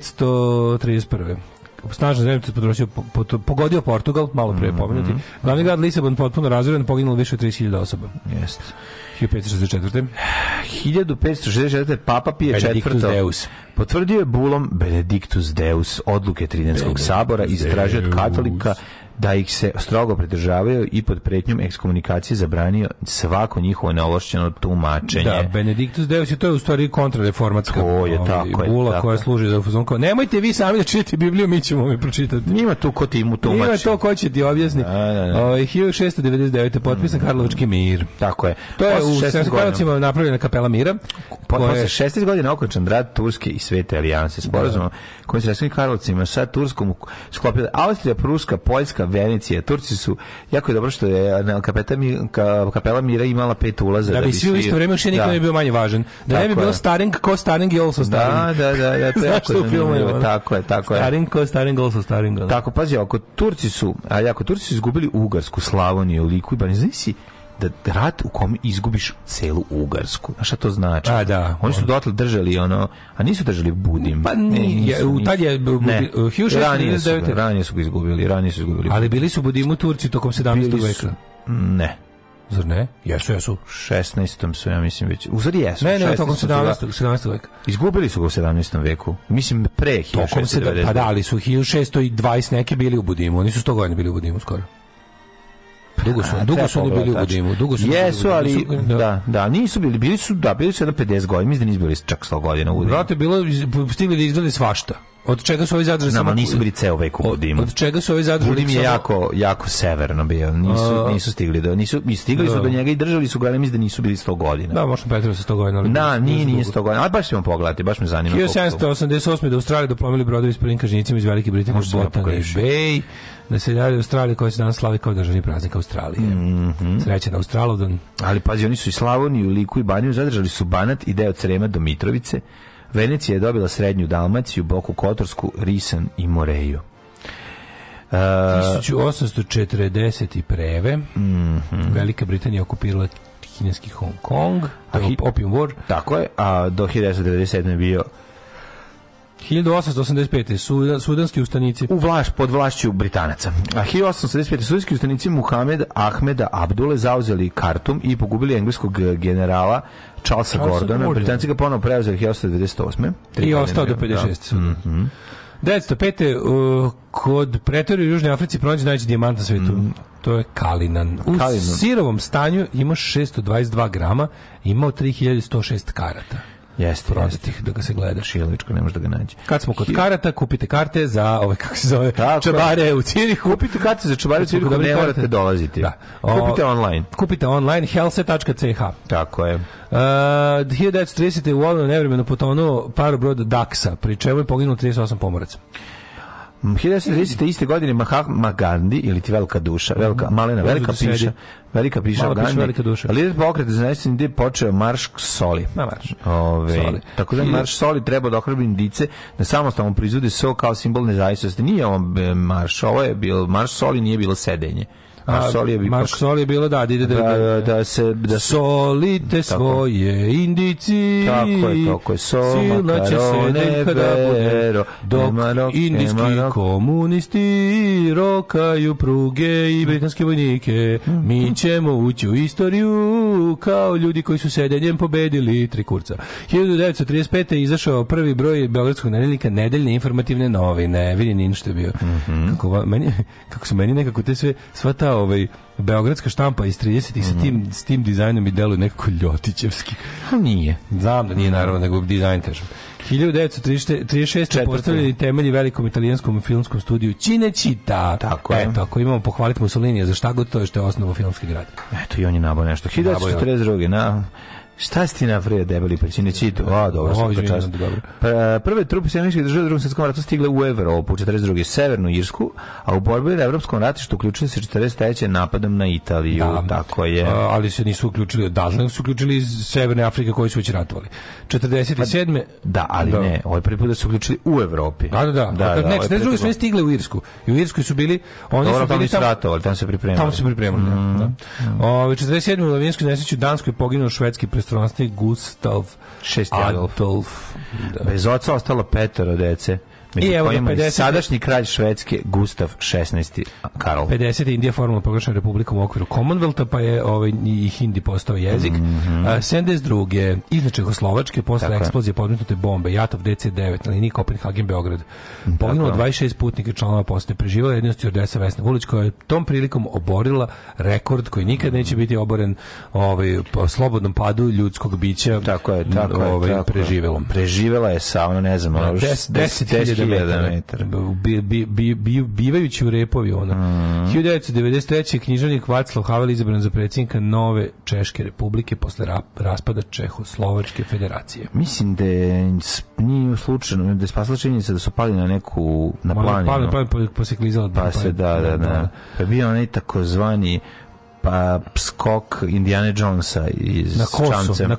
Speaker 6: 1531 snažan zemljotres potrošio, po- pot- pogodio Portugal, malo pre
Speaker 7: Mhm.
Speaker 6: pomenuti. Glavni grad Lisabon potpuno razoren, poginulo više od 30.000 osoba.
Speaker 7: Jeste.
Speaker 6: 1564.
Speaker 7: 1564. Papa Pije
Speaker 6: Benedictus
Speaker 7: četvrta
Speaker 6: Deus.
Speaker 7: potvrdio je bulom Benedictus Deus odluke Tridenskog sabora i stražio od katolika da ih se strogo pridržavaju i pod pretnjom ekskomunikacije zabranio svako njihovo neološćeno tumačenje.
Speaker 6: Da, Benediktus Deus je to je u stvari kontrareformatska
Speaker 7: To je,
Speaker 6: ovaj,
Speaker 7: tako je,
Speaker 6: bula
Speaker 7: tako
Speaker 6: koja
Speaker 7: je.
Speaker 6: služi za fuzon kao, nemojte vi sami da čitate Bibliju, mi ćemo vam je pročitati.
Speaker 7: Ima tu ko ti mu tumači.
Speaker 6: Ima to ko će ti objasni.
Speaker 7: Da, da, da.
Speaker 6: Ovaj, 1699. je potpisan Karlovački mir.
Speaker 7: Tako je.
Speaker 6: To je u
Speaker 7: Posle 16
Speaker 6: Sremskim
Speaker 7: godina-
Speaker 6: Karlovcima napravljena kapela mira.
Speaker 7: Po-
Speaker 6: koja je-
Speaker 7: Pa Posle 16 godina okončan rad Turske i Svete alijanse sporazumom kojim se Sremskim Karlovcima sa Turskom sklopila Austrija, Pruska, Poljska, Venecija. Turci su, jako je dobro što je na kapeta, Mi- ka- kapela Mira imala pet ulaza.
Speaker 6: da bi svi u isto vrijeme još nikad
Speaker 7: Da.
Speaker 6: ne bi bio manje važan. Da ne bi
Speaker 7: Tako
Speaker 6: bilo
Speaker 7: je.
Speaker 6: staring ko staring i also
Speaker 7: Da,
Speaker 6: staring.
Speaker 7: da, da, da, to je
Speaker 6: Znaš
Speaker 7: jako
Speaker 6: što u filmu je
Speaker 7: zanimljivo.
Speaker 6: ono?
Speaker 7: Tako je, tako je.
Speaker 6: Staring ko staring also staring. ono.
Speaker 7: Tako, pazi, ako Turci su, ali ako Turci su izgubili Ugarsku, Slavoniju, Liku i Banizisi, da rat u kom izgubiš celu Ugarsku. A šta to znači?
Speaker 6: A, da.
Speaker 7: Oni su dotle držali ono, a nisu držali Budim. E,
Speaker 6: Pa nije,
Speaker 7: nisu,
Speaker 6: u- tad je bu-
Speaker 7: Ne.
Speaker 6: Budi- uh, 1699.
Speaker 7: ranije su, ga- ranije su ga izgubili, ranije su izgubili.
Speaker 6: Ali bili su Budimu Turci tokom 17.
Speaker 7: Bili su-
Speaker 6: veka.
Speaker 7: Ne.
Speaker 6: Zar ne? Jesu, jesu.
Speaker 7: 16. su, ja mislim, već. U stvari jesu.
Speaker 6: Ne, ne,
Speaker 7: 16.
Speaker 6: tokom
Speaker 7: su ga-
Speaker 6: 17. 17. veka.
Speaker 7: Izgubili su ga u 17. veku. Mislim, pre
Speaker 6: Tokom se,
Speaker 7: 1692.
Speaker 6: pa da, ali su 1620 neki bili u Budimu. Oni su 100 godina bili u Budimu skoro. Dugo su,
Speaker 7: A,
Speaker 6: dugo
Speaker 7: Pa treba
Speaker 6: su oni bili u
Speaker 7: pogledati,
Speaker 6: Budimu.
Speaker 7: tačno.
Speaker 6: Dugo su
Speaker 7: Jesu,
Speaker 6: bili u
Speaker 7: ali,
Speaker 6: Budimu, su-
Speaker 7: da, da, nisu bili, bili su, da, bili su jedno 50 godina, mislim da nisu bili čak 100 godina u Budimu.
Speaker 6: Brate, bilo, stigli da izgrade svašta. Od čega su ovi zadržali
Speaker 7: Znam,
Speaker 6: samo...
Speaker 7: ali nisu bili ceo vek u
Speaker 6: od,
Speaker 7: Budimu.
Speaker 6: od čega su ovi zadržali
Speaker 7: Budim je
Speaker 6: samo-
Speaker 7: jako, jako severno bio, nisu,
Speaker 6: A-
Speaker 7: nisu stigli do, nisu, i stigli su
Speaker 6: Da.
Speaker 7: do njega i držali su ga, ali mislim da nisu bili 100 godina.
Speaker 6: Da, možda Petrov sa 100 godina. ali
Speaker 7: Da,
Speaker 6: bili su- bili
Speaker 7: nije,
Speaker 6: su
Speaker 7: nije
Speaker 6: dugo.
Speaker 7: 100 godina, ali baš ćemo pogledati, baš me zanima. koliko to-
Speaker 6: 1788. da Australija doplomili brodovi s prvim kažnjicima iz Velike Britanije u
Speaker 7: Možda sam ja
Speaker 6: Botan i
Speaker 7: pogrešio.
Speaker 6: Bay. Da se dalje Australija koja se danas slavi kao državni praznik Australije.
Speaker 7: Mhm.
Speaker 6: Srećan Australodan.
Speaker 7: Ali pazi, oni su i Slavoniju, Liku i Baniju zadržali su Banat i deo Crema do Mitrovice. Venecija je dobila srednju Dalmaciju, Boku Kotorsku, Risan i Moreju.
Speaker 6: 1840 i preve.
Speaker 7: Mhm.
Speaker 6: Velika Britanija okupirala kineski Hong Kong. To je
Speaker 7: A hi-
Speaker 6: Opium War.
Speaker 7: Tako je, a do 1997. je bio
Speaker 6: 1885. Suda, sudanski ustanici.
Speaker 7: u vlaš, pod vlašću Britanaca. A 1875. sudski ustanici Muhamed Ahmeda Abdule zauzeli Kartum i pogubili engleskog eh, generala Charlesa
Speaker 6: Charlesa
Speaker 7: Gordona.
Speaker 6: Gordona.
Speaker 7: Britanci ga ponovo preuzeli 1898.
Speaker 6: I ostao do
Speaker 7: Da. Mhm.
Speaker 6: 56. Da. 905. Uh, kod pretori u Južnoj Africi pronađe najveći dijamant na svetu. To je Kalinan. U
Speaker 7: Mhm. Kalinan.
Speaker 6: sirovom stanju ima 622 grama, imao 3106 karata.
Speaker 7: Jeste, jeste.
Speaker 6: Prodatih, da ga se gledaš.
Speaker 7: Šilovičko, ne može da ga nađe.
Speaker 6: Kad smo kod karata, kupite karte za ove, kako se zove,
Speaker 7: Tako je.
Speaker 6: čabare u Cirihu.
Speaker 7: Kupite karte za čubare cirku,
Speaker 6: Dobre
Speaker 7: ne
Speaker 6: karte.
Speaker 7: morate dolaziti.
Speaker 6: Da. O-
Speaker 7: Kupite online.
Speaker 6: Kupite online helse.ch.
Speaker 7: Tako je.
Speaker 6: Uh, 1930. u Olanu nevremeno potonuo parobrod Daxa, pri čemu je poginulo 38 pomoraca.
Speaker 7: Mm, 1930. iste godine Mahatma Gandhi ili ti velika duša,
Speaker 6: Mhm.
Speaker 7: velika malena,
Speaker 6: Dođu
Speaker 7: velika
Speaker 6: da sedi.
Speaker 7: piša, velika piša
Speaker 6: Mala piša,
Speaker 7: Gandhi.
Speaker 6: velika duša.
Speaker 7: Lider pokreta za nesim gdje je počeo marš k soli.
Speaker 6: Na marš.
Speaker 7: Ove,
Speaker 6: Soli.
Speaker 7: Tako da
Speaker 6: Hiljadu-
Speaker 7: marš soli treba da ohrabi indice da samostalno proizvode so kao simbol nezavisnosti. Nije ovo e, marš, ovo je bilo, marš soli nije bilo sedenje. Marš soli je bilo...
Speaker 6: Marš Soli je bilo, da, da, ide da,
Speaker 7: da,
Speaker 6: da,
Speaker 7: da, da se da se
Speaker 6: Solite svoje indici
Speaker 7: Tako je, tako je. So,
Speaker 6: Silna će se
Speaker 7: makarone,
Speaker 6: nekada bude
Speaker 7: vero,
Speaker 6: Dok
Speaker 7: nema rok,
Speaker 6: indijski
Speaker 7: nema rok.
Speaker 6: komunisti Rokaju pruge i britanske vojnike Mi ćemo ući u istoriju Kao ljudi koji su sedenjem pobedili tri kurca 1935. je izašao prvi broj Beogradskog nedeljnika Nedeljne informativne novine Vidi nin što je bio
Speaker 7: Mhm.
Speaker 6: kako, va- meni, kako su meni nekako te sve Sva ta ovaj Beogradska štampa iz 30-ih
Speaker 7: Mhm.
Speaker 6: sa tim, s tim dizajnom i deluju nekako ljotićevski.
Speaker 7: nije.
Speaker 6: Znam da nije naravno, nego dizajn kažem. 1936. postavljeni temelji velikom italijanskom filmskom studiju Cinecittà.
Speaker 7: Tako je.
Speaker 6: Eto, ako imamo pohvaliti Mussolinija za šta god to je što je osnovo filmski grad.
Speaker 7: Eto i on je nabao nešto. 1942. Na, šta si ti napravio debeli pričine čitu? A, dobro,
Speaker 6: O,
Speaker 7: svaka
Speaker 6: izvinjam,
Speaker 7: čast.
Speaker 6: dobro.
Speaker 7: Pr- Prve trupe sjemeničkih država u drugom svjetskom ratu stigle u Evropu, 42. Severnu Irsku, a u borbi na Evropskom ratištu uključili se 43. napadom na Italiju. Tako je.
Speaker 6: A, ali se nisu uključili odatle, nego su uključili iz Severne Afrike koji su već ratovali. 47.
Speaker 7: Da, ali ne, ovaj prvi put da su uključili u Evropi.
Speaker 6: Da, da, da. da, da,
Speaker 7: ovaj
Speaker 6: ne, ne,
Speaker 7: prvi
Speaker 6: drugi
Speaker 7: put.
Speaker 6: su ne stigle u Irsku. I u Irskoj su bili, oni
Speaker 7: Dobro, tamo
Speaker 6: su bili
Speaker 7: nisu
Speaker 6: tamo,
Speaker 7: ratovali, Mm-hmm. tamo se pripremali.
Speaker 6: Tamo se pripremali, da. da. Ove, 47. u Lavinskoj nesreći u Danskoj poginuo švedski prestranstvenik Gustav
Speaker 7: Šesti Adolf.
Speaker 6: Adolf. Da.
Speaker 7: Bez oca ostalo petoro dece. Među
Speaker 6: I evo ga,
Speaker 7: kojima i
Speaker 6: 50.
Speaker 7: sadašnji kralj Švedske Gustav XVI. Karol.
Speaker 6: 50. Indija formalno proglašena republikom u okviru Commonwealtha, pa je ovaj, i hindi postao jezik. A, 72. iznad Čehoslovačke, posle
Speaker 7: Mhm. Tako je.
Speaker 6: eksplozije podmetnute bombe, Jatov DC-9 na liniji Kopenhagen-Beograd. Poginulo
Speaker 7: Tako
Speaker 6: 26 putnika i članova poste. Preživao je jednost stjordesa Vesna Vulić, koja je tom prilikom oborila rekord koji nikad neće biti oboren ovaj, po slobodnom padu ljudskog bića
Speaker 7: Tako je, tako je.
Speaker 6: ovaj,
Speaker 7: tako je.
Speaker 6: preživelom.
Speaker 7: Preživela je sa, ono, ne znam, ono, 10.000
Speaker 6: 10.000 metara. Bi, bi, bi, bi, bivajući u repovi ono. ona.
Speaker 7: Mhm.
Speaker 6: 1993. književnik Vaclav Havel izabran za predsjednika Nove Češke republike posle ra- raspada Čehoslovačke federacije.
Speaker 7: Mislim da je s- nije slučajno, da je spasla činjenica da su pali na neku, na
Speaker 6: Pali,
Speaker 7: planinu.
Speaker 6: pali, pali, pa se klizala.
Speaker 7: Pa se, da, da, da. Pa je bio onaj takozvani pa skok Indiana Jonesa iz
Speaker 6: na kosu,
Speaker 7: čamcem.
Speaker 6: na
Speaker 7: Ko-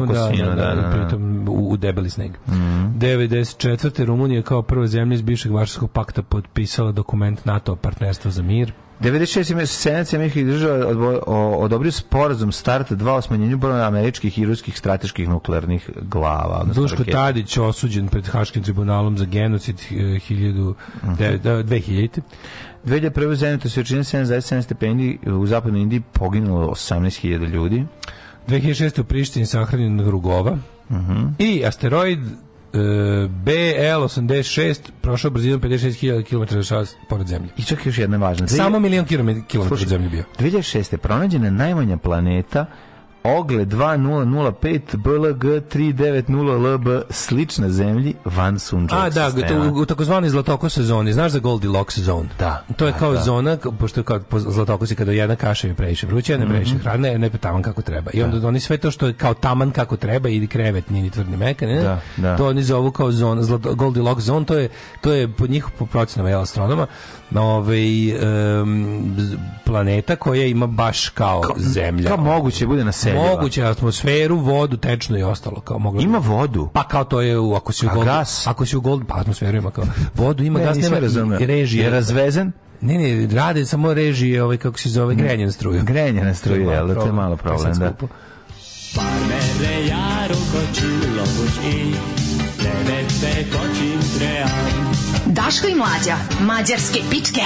Speaker 7: na
Speaker 6: da,
Speaker 7: kosinu,
Speaker 6: da, da,
Speaker 7: da. Mhm.
Speaker 6: pritom u, u debeli sneg. 94. Rumunija kao prva zemlja iz bivšeg Varšavskog pakta potpisala dokument NATO o partnerstvu za mir.
Speaker 7: 96. ime- senat američkih država odbo- o- odobrio sporazum start 2 o smanjenju broja američkih i ruskih strateških nuklearnih glava. odnosno
Speaker 6: Duško
Speaker 7: raketa.
Speaker 6: Tadić osuđen pred Haškim tribunalom za genocid eh, 1000, devet- da, 2000.
Speaker 7: 2001. zemljata svečina 7,7 stepeni u zapadnoj Indiji poginulo 18.000 ljudi.
Speaker 6: 2006. u Prištini sahranjen Rugova. I asteroid eh, BL86 prošao brzinom 56.000 km na čas pored zemlje.
Speaker 7: I čak još jedna važna. Dvije-
Speaker 6: Samo milion kilomet- kilometara
Speaker 7: Slušaj,
Speaker 6: od zemlje bio.
Speaker 7: 2006. pronađena najmanja planeta Ogle 2005 BLG 390 LB slična zemlji van sunčevog
Speaker 6: A, da,
Speaker 7: sistema.
Speaker 6: to- u takozvani zlatokose zoni. Znaš za Goldilocks zone?
Speaker 7: Da.
Speaker 6: To je
Speaker 7: Da,
Speaker 6: kao
Speaker 7: da.
Speaker 6: zona, k- pošto je kao po zlatokosi kada jedna kaša im je previše vruća, jedna je previše
Speaker 7: Mhm.
Speaker 6: hladna, jedna je taman kako treba. I onda oni sve to što je kao taman kako treba i krevet nije ni tvrd ni mekan, ne?
Speaker 7: Da, da.
Speaker 6: To oni zovu kao zona, zlato, Goldilocks zone, to je, to je po njih, po procenama jel, astronoma, na ovaj, em, z- planeta koja ima baš kao, zemlja.
Speaker 7: Kao moguće bude naseljiva.
Speaker 6: Moguće atmosferu, vodu, tečnu i ostalo. Kao moglo bi-
Speaker 7: Ima vodu.
Speaker 6: pa kao to je u, ako si u
Speaker 7: A
Speaker 6: gold,
Speaker 7: gas?
Speaker 6: ako si u gold, pa atmosferu ima kao vodu, ima
Speaker 7: Ne,
Speaker 6: gas,
Speaker 7: nisam
Speaker 6: nema
Speaker 7: razumeo.
Speaker 6: i Pa, režije.
Speaker 7: Je razvezen?
Speaker 6: Ne, ne, rade samo režije, ovaj kako se zove, grejanje na struju.
Speaker 7: Mm. Grejanje na struju,
Speaker 6: To je
Speaker 7: jel da, to je
Speaker 6: problem.
Speaker 7: malo
Speaker 6: To je sad
Speaker 7: problem, da.
Speaker 6: skupo.
Speaker 5: Daško i mlađa, mađarske pičke.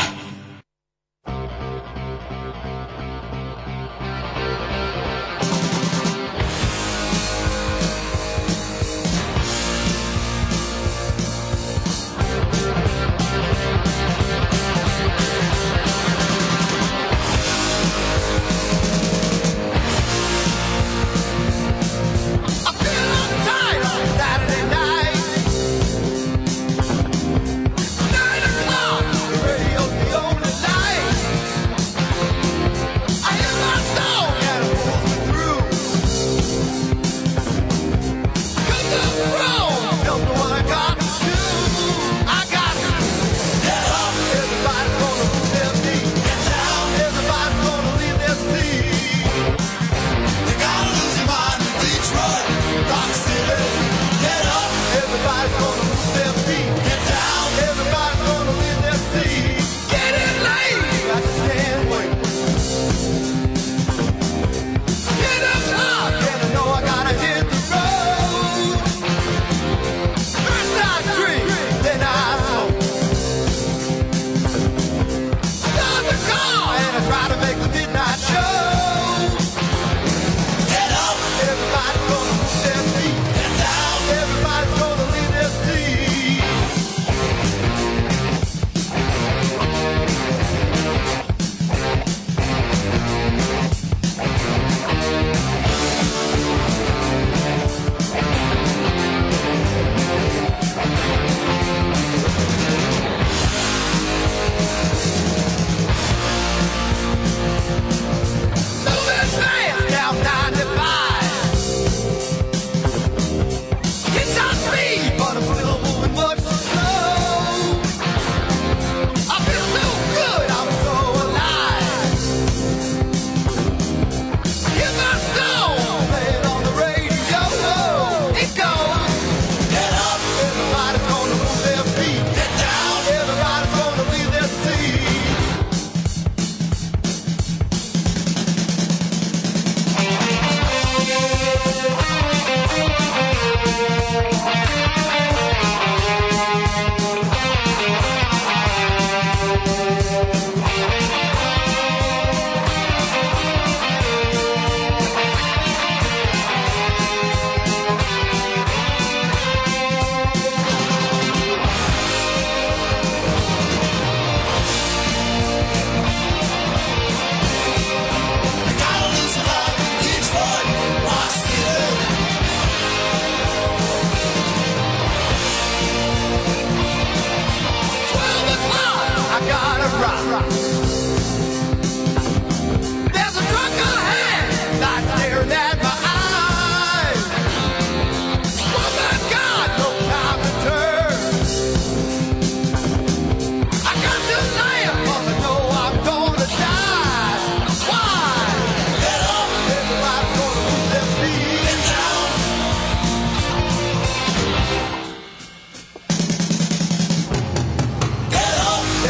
Speaker 3: Oh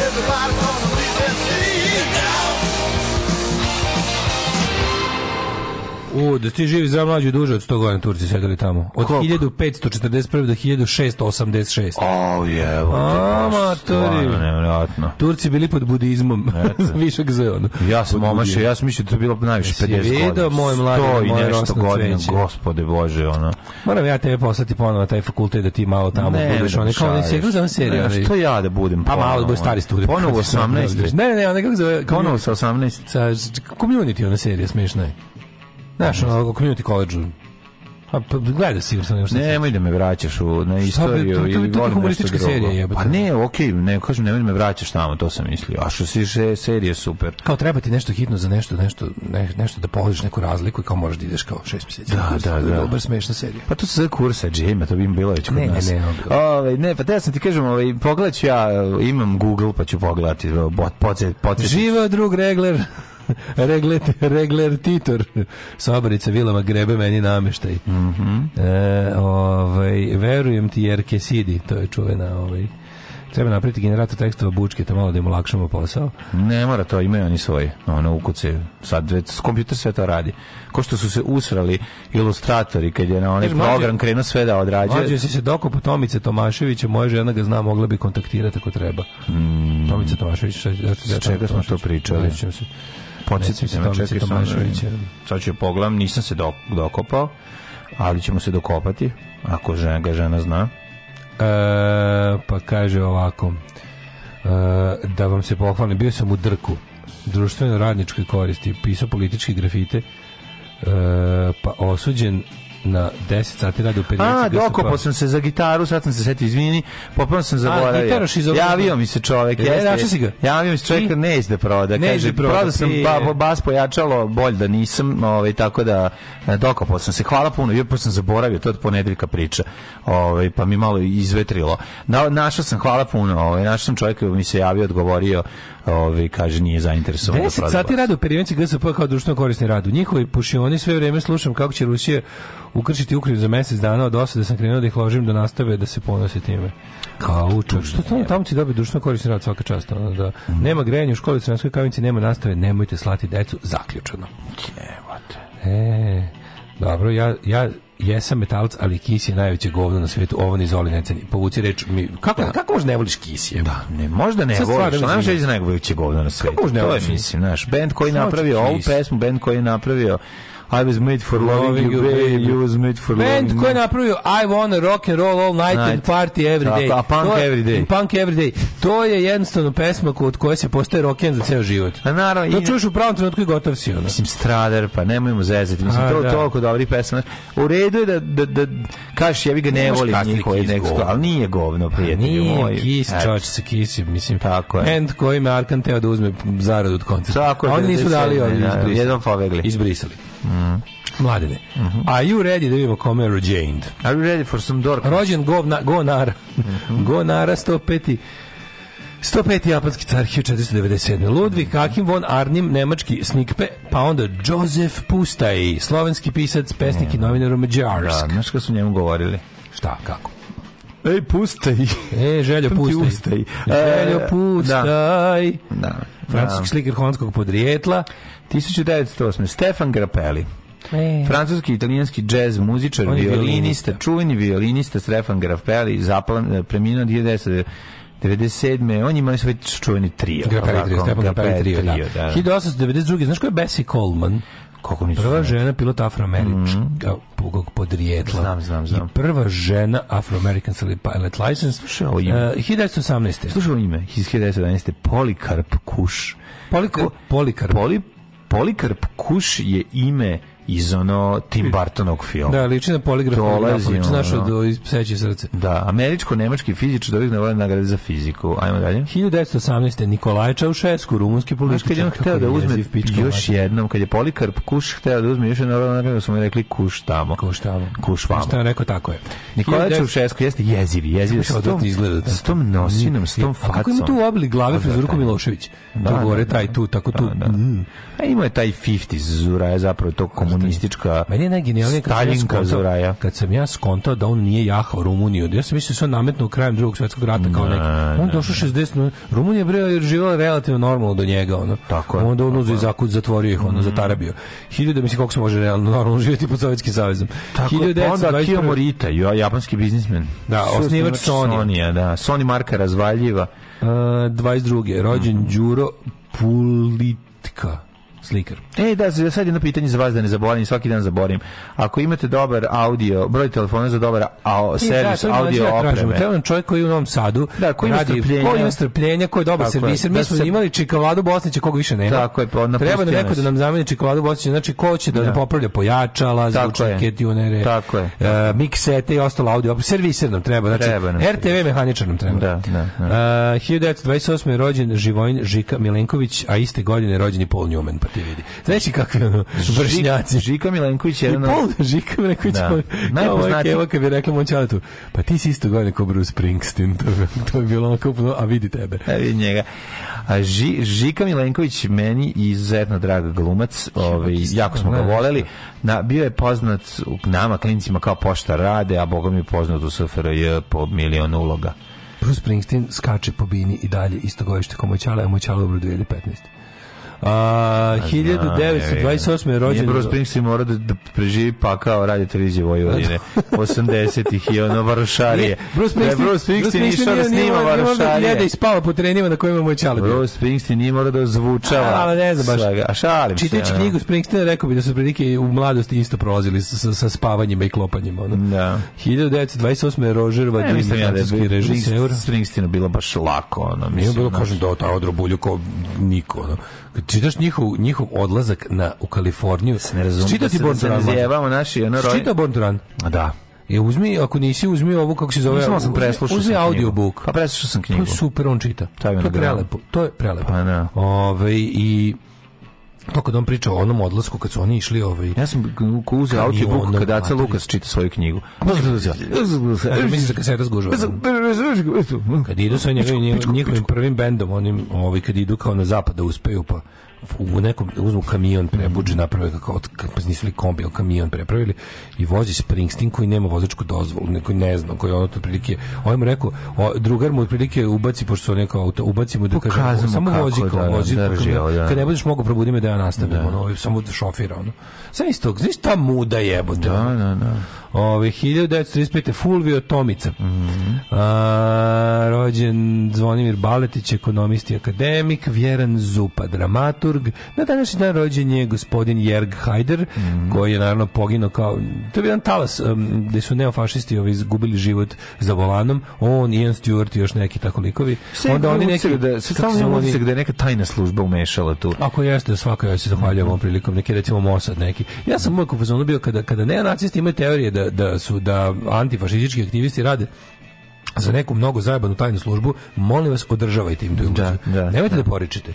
Speaker 3: Everybody's gonna leave their seat.
Speaker 6: U, da ti živi za mlađu i duže od 100 godina Turci sedeli tamo. Od
Speaker 7: Koliko?
Speaker 6: 1541. do 1686.
Speaker 7: O, jevo.
Speaker 6: A, matori.
Speaker 7: Stvarno, nevjerojatno.
Speaker 6: Turci bili pod budizmom.
Speaker 7: Eto.
Speaker 6: Višak za ono.
Speaker 7: Ja sam
Speaker 6: Pod
Speaker 7: omašio,
Speaker 6: budizmom.
Speaker 7: ja sam mislio da je to bilo najviše
Speaker 6: Jesi
Speaker 7: 50
Speaker 6: vidio,
Speaker 7: godina.
Speaker 6: moj mladi,
Speaker 7: Sto i
Speaker 6: moje
Speaker 7: nešto
Speaker 6: rosno
Speaker 7: godina,
Speaker 6: cveće?
Speaker 7: gospode bože, ono.
Speaker 6: Moram ja tebe poslati ponovo na taj fakultet da ti malo tamo budeš.
Speaker 7: ne,
Speaker 6: Oni kao oni se igraju za onu seriju.
Speaker 7: Ne,
Speaker 6: onaj-
Speaker 7: što ja da budem?
Speaker 6: Pa malo da
Speaker 7: ponovo,
Speaker 6: budeš stari
Speaker 7: ono?
Speaker 6: student.
Speaker 7: Ponovo 18.
Speaker 6: Ne, ne, ne, onaj kako zove...
Speaker 7: Ponovo sa 18.
Speaker 6: sa community ona serija smešna je. Znaš, ono, o community college-u. A, pa, gleda sigurno sam nešto.
Speaker 7: Nemoj da me vraćaš u, na
Speaker 6: bi-
Speaker 7: istoriju
Speaker 6: to- to-
Speaker 7: ili volim
Speaker 6: to je
Speaker 7: nešto
Speaker 6: humoristička
Speaker 7: drugo.
Speaker 6: serija, jebote.
Speaker 7: pa ne, okej, ne, kažem, nemoj da me vraćaš tamo, to sam mislio. A što si še, serije super.
Speaker 6: Kao treba ti nešto hitno za nešto, nešto, ne, nešto da poliš neku razliku i kao možeš da ideš kao šest mjeseci.
Speaker 7: Da, da, da.
Speaker 6: Dobar smešna serija.
Speaker 7: Pa to su sve kursa džema, to bi im bilo već kod
Speaker 6: Ne, ne,
Speaker 7: nas.
Speaker 6: ne, ok.
Speaker 7: Ovaj, ne, pa te sam ti kažem, ovaj, pogledat ću ja, imam Google pa ću pogledati, bot, podsjet, podsjet.
Speaker 6: Živeo drug regler. regler, regler titor. Sabarica vilama grebe meni nameštaj. Mm
Speaker 7: Mhm.
Speaker 6: e, ovaj, verujem ti jer kesidi, to je čuvena ovaj, Treba napraviti generator tekstova bučke, to malo da im olakšamo posao.
Speaker 7: Ne mora to, imaju oni svoje, ono, ukuce, sad već, s kompjuter sve to radi. Ko što su se usrali ilustratori kad je na onaj
Speaker 6: Kaže, mlađe-
Speaker 7: program krenuo sve da odrađuje.
Speaker 6: Mlađe si se dokupo Tomice Tomaševića, moja žena ga zna, mogla bi kontaktirati ako treba. Tomica Tomašević, šta, šta, šta,
Speaker 7: S Mm. čega smo to pričali?
Speaker 6: Nećem se.
Speaker 7: Podsjetim se,
Speaker 6: Tomice
Speaker 7: čekaj samo da vidim.
Speaker 6: Tomaševića.
Speaker 7: Sad ću pogledam, nisam se dok- dokopao, ali ćemo se dokopati, ako žena ga žena zna.
Speaker 6: E, pa kaže ovako, e, da vam se pohvalim, bio sam u Drku, društveno-radničkoj koristi, pisao politički grafite, e, pa osuđen na 10 sati rada u Petrici.
Speaker 7: A,
Speaker 6: gde sam
Speaker 7: dokopao
Speaker 6: pa-
Speaker 7: sam se za gitaru, sad sam se setio, izvini, popolno sam zaboravio.
Speaker 6: gitaraš iz ovog-
Speaker 7: Javio mi se čovek,
Speaker 6: E,
Speaker 7: jeste.
Speaker 6: našao si ga?
Speaker 7: Javio mi se čovek,
Speaker 6: I?
Speaker 7: neće da proda.
Speaker 6: Neće
Speaker 7: Kaže,
Speaker 6: da proda,
Speaker 7: prodao sam
Speaker 6: ti-
Speaker 7: ba, ba- bas pojačalo, bolj da nisam, ovaj, tako da e, dokopao sam se. Hvala puno, jer sam zaboravio, to je od ponedeljka priča, ovaj, pa mi malo izvetrilo. Na, našao sam, hvala puno, ovaj, našao sam čoveka, mi se javio, odgovorio, ovaj, kaže, nije zainteresovan. da
Speaker 6: 10
Speaker 7: proda
Speaker 6: sati
Speaker 7: bas.
Speaker 6: rada u periodenci GSP kao društveno korisni rad. U njihovoj pušioni sve vrijeme slušam kako će Rusija ukrčiti Ukrajinu za mjesec dana od osade sam krenuo da ih ložim da nastave da se ponose time. Kao učak. Što tamo, tamo ti dobiti društveno korisni rad svaka čast. ono, da. Nema grejanja u školi, u Crnanskoj kavinci, nema nastave, nemojte slati decu, zaključeno. E, dobro, ja, ja jesam metalac, ali kis je najveće govno na svijetu, ovo ni zoli ne ceni. Povuci reč, mi, kako, kako možda ne voliš kis je?
Speaker 7: Da, ne, možda ne
Speaker 6: Sad
Speaker 7: voliš,
Speaker 6: stvarno
Speaker 7: ali nemaš
Speaker 6: izvinjam.
Speaker 7: reći najveće govno na svetu.
Speaker 6: možda ne
Speaker 7: to je,
Speaker 6: voliš?
Speaker 7: mislim, znaš, band koji je
Speaker 6: Samo ću
Speaker 7: napravio ovu
Speaker 6: kis.
Speaker 7: pesmu, band koji je napravio I was made for loving you, baby, you was made for loving
Speaker 6: Band koji je napravio I wanna rock and roll all night and
Speaker 7: Night.
Speaker 6: party every
Speaker 7: Tako,
Speaker 6: day.
Speaker 7: a punk
Speaker 6: To je-
Speaker 7: every day.
Speaker 6: i Punk every day. To je jednostavno pesma ko- od koje se postaje rock'n'roll za ceo život.
Speaker 7: A naravno,
Speaker 6: To
Speaker 7: i-
Speaker 6: čuješ u pravom trenutku i gotov si ono.
Speaker 7: Mislim, Strader, pa nemojmo zezati. Mislim,
Speaker 6: A,
Speaker 7: to je
Speaker 6: da.
Speaker 7: toliko dobrih pesama. U redu je da, da, da kažeš, ja bi ga ne
Speaker 6: Nemaš
Speaker 7: volim
Speaker 6: kasnije
Speaker 7: njihove
Speaker 6: Kiss
Speaker 7: nekog,
Speaker 6: govno.
Speaker 7: ali nije govno, prijatelju moj.
Speaker 6: Nije kis,
Speaker 7: Eto.
Speaker 6: čovječ sa kisim, mislim.
Speaker 7: Tako je.
Speaker 6: Band kojim je Arkan teo da uzme zaradu od koncerta.
Speaker 7: Tako je,
Speaker 6: A oni nisu
Speaker 7: 97,
Speaker 6: dali, oni
Speaker 7: da,
Speaker 6: izbrisali.
Speaker 7: jednom pobegli.
Speaker 6: Izbrisali. Mhm. Mladene. Mm. Are you ready da vidimo kome je Regained?
Speaker 7: Are you ready for some dork?
Speaker 6: Pa Rođen govna, Gonara. Mhm. Gonara 105. 105. japanski car 1497. Ludvig Hakim von Arnim, nemački Snikpe, pa onda Josef Pustaj, slovenski pisac, pesnik i novinar
Speaker 7: Da,
Speaker 6: u Mađarsk.
Speaker 7: znaš kada su njemu govorili?
Speaker 6: Šta, kako?
Speaker 7: Ej, pustaj!
Speaker 6: E, Željo
Speaker 7: Tam ti
Speaker 6: Pustaj.
Speaker 7: ustaj.
Speaker 6: Željo
Speaker 7: E,
Speaker 6: Pustaj.
Speaker 7: Da.
Speaker 6: Francuski slikar holandskog podrijetla.
Speaker 7: 1908. Stefan Grappelli.
Speaker 6: E.
Speaker 7: Francuski i italijanski džez muzičar,
Speaker 6: On je
Speaker 7: violinista,
Speaker 6: violinista.
Speaker 7: čuveni violinista Stefan Grappelli, zaplan, eh, preminuo 1997. On ima svoj čuveni trio.
Speaker 6: Grappelli
Speaker 7: ovako,
Speaker 6: trio, Stefan Grappelli trio, da.
Speaker 7: da.
Speaker 6: 1892. Znaš ko je Bessie Coleman?
Speaker 7: Kako mi
Speaker 6: Prva žena pilot afroamerička mm. podrijetla.
Speaker 7: Mhm. Znam, znam, znam.
Speaker 6: I prva žena afroamerican pilot license. e, Slušaj
Speaker 7: ovo ime.
Speaker 6: 1918.
Speaker 7: Slušao ime, iz 1911. Polikarp Kuš.
Speaker 6: Poliko, E, Polikarp.
Speaker 7: Poli, Polikarp Kuš je ime iz ono Tim Bartonovog filma.
Speaker 6: da, liči na poligraf.
Speaker 7: Dolazi,
Speaker 6: poligrafović, Znaš
Speaker 7: ono.
Speaker 6: od o, iz pseće srce.
Speaker 7: Da, američko-nemački fizičar dobio nagrade nagrade za fiziku. Ajmo dalje.
Speaker 6: 1918. Nikolaj Čaušesku, rumunski
Speaker 7: Znaš,
Speaker 6: političar.
Speaker 7: kad je on
Speaker 6: Pa kako
Speaker 7: hteo da uzme
Speaker 6: jeziv pička
Speaker 7: još
Speaker 6: mater.
Speaker 7: jednom, kad je Polikarp Kuš hteo da uzme još jednom, naravno smo mu rekli Kuš tamo.
Speaker 6: Kuš tamo.
Speaker 7: Kuš vamo.
Speaker 6: Šta je rekao, tako je.
Speaker 7: Nikola
Speaker 6: 1900
Speaker 7: ono? Čaušesku jeste jeziv, jeziv.
Speaker 6: Kako se odvratno izgleda, da.
Speaker 7: S tom nosinom, s tom facom.
Speaker 6: A kako ima tu oblik glave frizuru ko
Speaker 7: Odvratan.
Speaker 6: Milošević?
Speaker 7: Da,
Speaker 6: to
Speaker 7: da,
Speaker 6: gore
Speaker 7: da.
Speaker 6: taj tu, tako tu.
Speaker 7: Da, da.
Speaker 6: mm.
Speaker 7: A imao je taj 50 Zuraja zapravo tog komunistička
Speaker 6: Meni je najgenijalnije kad sam ja
Speaker 7: Staljinka
Speaker 6: skontao-
Speaker 7: Zoraja.
Speaker 6: kad sam ja skontao da on nije jahao Rumuniju. Ja sam mislio se on nametno krajem drugog svetskog rata kao neki. On je došao 60 Rumunija bre živela relativno normalno do njega ono.
Speaker 7: Tako je, Mhm.
Speaker 6: Onda on uzeo i zakud zatvorio ih ono zatarabio. Hiljadu da mislim kako se može realno normalno živjeti pod Sovjetskim savezom.
Speaker 7: Tako, je, pa onda
Speaker 6: 1921.
Speaker 7: Akio Morita, jo- japanski biznismen.
Speaker 6: Da,
Speaker 7: Suosnivač
Speaker 6: osnivač Sony.
Speaker 7: Sonya, da. Sony marka razvaljiva.
Speaker 6: Uh, 22. rođen
Speaker 7: Mhm.
Speaker 6: Đuro Pulitka, slikar.
Speaker 7: E, da, za- sad jedno pitanje za vas da ne zaboravim, svaki dan zaboravim. Ako imate dobar audio, broj telefona za dobar a, servis
Speaker 6: to je
Speaker 7: audio
Speaker 6: mlađe, ja tražim.
Speaker 7: opreme.
Speaker 6: Treba nam čovjek koji je u Novom Sadu,
Speaker 7: Da, koji ima strpljenja.
Speaker 6: koji ima strpljenja, koji je dobar
Speaker 7: Tako je.
Speaker 6: servis.
Speaker 7: Da
Speaker 6: Mi smo
Speaker 7: se-
Speaker 6: imali Čikavladu Bosnića, kog više nema.
Speaker 7: Tako je, pa napustio
Speaker 6: Treba nam neko
Speaker 7: nas.
Speaker 6: da nam zameni Čikavladu Bosnića, znači ko će da,
Speaker 7: Da.
Speaker 6: popravlja pojačala,
Speaker 7: Tako
Speaker 6: zvučnike,
Speaker 7: je.
Speaker 6: tunere,
Speaker 7: Tako je.
Speaker 6: e, miksete i ostalo audio. Serviser nam treba, znači
Speaker 7: Treba nam
Speaker 6: RTV mehaničar nam treba.
Speaker 7: Da, da, da.
Speaker 6: E, 1928. je rođen Živojin Žika Milenković, a iste godine je rođen i Paul Newman, pa ti vidi. Znači kakvi ono, vršnjaci.
Speaker 7: Žika Milenković je
Speaker 6: I
Speaker 7: jedan... od-
Speaker 6: Paul Žika mi rekao,
Speaker 7: Da.
Speaker 6: da.
Speaker 7: Najpoznatiji-
Speaker 6: najpoznatiji. Evo kad bi rekla mom čaletu, pa ti si isto godine kao Bruce Springsteen, to, bi- to je bilo onako, puno, a vidi tebe.
Speaker 7: E, vidi njega. A Ži, Žika Milenković meni izuzetno drag glumac, ovaj jako smo ga
Speaker 6: ne,
Speaker 7: voleli. Na bio je poznat u nama klincima kao pošta rade, a bogom je poznat u SFRJ po milion uloga.
Speaker 6: Bruce Springsteen skače po bini i dalje isto godište kao moj čale, a moj čale umro 2015. A, 1928. je
Speaker 7: Nije
Speaker 6: rođen...
Speaker 7: Bruce Springsteen mora da, da preživi pa kao radio televizije Vojvodine 80-ih i ono varošarije.
Speaker 6: Nije, Bruce Springsteen,
Speaker 7: da je Bruce Springsteen išao da snima
Speaker 6: Nije da
Speaker 7: varošarije.
Speaker 6: ispava po terenima na kojima je moj čale bio.
Speaker 7: Bruce Springsteen nije mora da ozvučava.
Speaker 6: A, ali ne znam baš.
Speaker 7: svega. A šalim se.
Speaker 6: Čitajući
Speaker 7: ono.
Speaker 6: knjigu Springsteena rekao bi da su prilike u mladosti isto prolazili sa, sa, sa spavanjima i klopanjima. Ono.
Speaker 7: Da.
Speaker 6: 1928. je Roger
Speaker 7: Ne,
Speaker 6: Vadim,
Speaker 7: mislim ja da je
Speaker 6: francuski režiseur.
Speaker 7: Springst- Springsteenu bilo baš lako, ono,
Speaker 6: Nije
Speaker 7: mislim.
Speaker 6: bilo
Speaker 7: znaš.
Speaker 6: kažem da ta odrobulju kao niko. Ono. Kad Čitaš njihov, njihov odlazak na, u Kaliforniju.
Speaker 7: Ne razumem da
Speaker 6: Čitati
Speaker 7: se,
Speaker 6: Born
Speaker 7: da
Speaker 6: to
Speaker 7: se
Speaker 6: Run.
Speaker 7: ne
Speaker 6: mlađe.
Speaker 7: zajebamo naši, ono, roj...
Speaker 6: Čitao Born to Run.
Speaker 7: Da.
Speaker 6: E, uzmi, ako nisi, uzmi ovu, kako se zove.
Speaker 7: Mislim, sam
Speaker 6: uzmi-
Speaker 7: preslušao
Speaker 6: Uzmi
Speaker 7: sam knjigu.
Speaker 6: audiobook.
Speaker 7: Pa preslušao sam knjigu.
Speaker 6: To je super, on čita.
Speaker 7: To
Speaker 6: To
Speaker 7: je
Speaker 6: je,
Speaker 7: meni drago.
Speaker 6: prelepo. To je prelepo.
Speaker 7: Pa da.
Speaker 6: Ovaj, i to kad on priča o onom odlasku kad su oni išli ovaj
Speaker 7: Ja sam k- uzeo audiobook
Speaker 6: ono,
Speaker 7: kada Aca
Speaker 6: mater.
Speaker 7: Lukas čita svoju knjigu.
Speaker 6: Znači, mislim da kad se razgužava. Kad idu
Speaker 7: Znači,
Speaker 6: sa njegovim, njihovim prvim bendom, onim, ovaj, kad idu kao na zapad da uspeju, pa u nekom, uzmu kamion prebuđe, naprave kako, pa nisu li kombi, ali kamion prepravili i vozi Springsteen koji nema vozačku dozvolu, neko ne znam, koji je ono otprilike, ovaj mu rekao, o, drugar mu otprilike ubaci, pošto su neko auto, ubaci mu da
Speaker 7: Pokaži
Speaker 6: kaže,
Speaker 7: mu
Speaker 6: samo
Speaker 7: kako,
Speaker 6: vozi, kao,
Speaker 7: da, da,
Speaker 6: vozi, po
Speaker 7: drži
Speaker 6: kamionu.
Speaker 7: ovo, da.
Speaker 6: kad ne budeš mogu probudi me da ja nastavim, ono, ovaj, samo šofira, ono. Sve isto, znaš ta muda jebote. ono.
Speaker 7: Da, da, da.
Speaker 6: Ove, 1935. Fulvio Tomica. A, rođen Zvonimir Baletić, ekonomist i akademik, Vjeran Zupa, dramaturg. Na današnji dan rođen je gospodin Jerg Hajder, koji je naravno poginuo kao... To je bio jedan talas um, gde su neofašisti ovi izgubili život za volanom. On, Ian Stewart i još neki tako likovi.
Speaker 7: Sve Onda oni neki... Da, sve
Speaker 6: kako
Speaker 7: stalno
Speaker 6: se
Speaker 7: imam
Speaker 6: oni-
Speaker 7: utisak da je neka tajna služba umešala tu.
Speaker 6: ako jeste, svaka ja se zahvaljujem ovom prilikom, neki recimo Mossad neki. Ja sam uvijek u fazonu bio kada kada neonacisti imaju teorije da, da su da antifašistički aktivisti rade za neku mnogo zajebanu tajnu službu, molim vas, održavajte im tu iluziju.
Speaker 7: da,
Speaker 6: Nemojte da, poričite.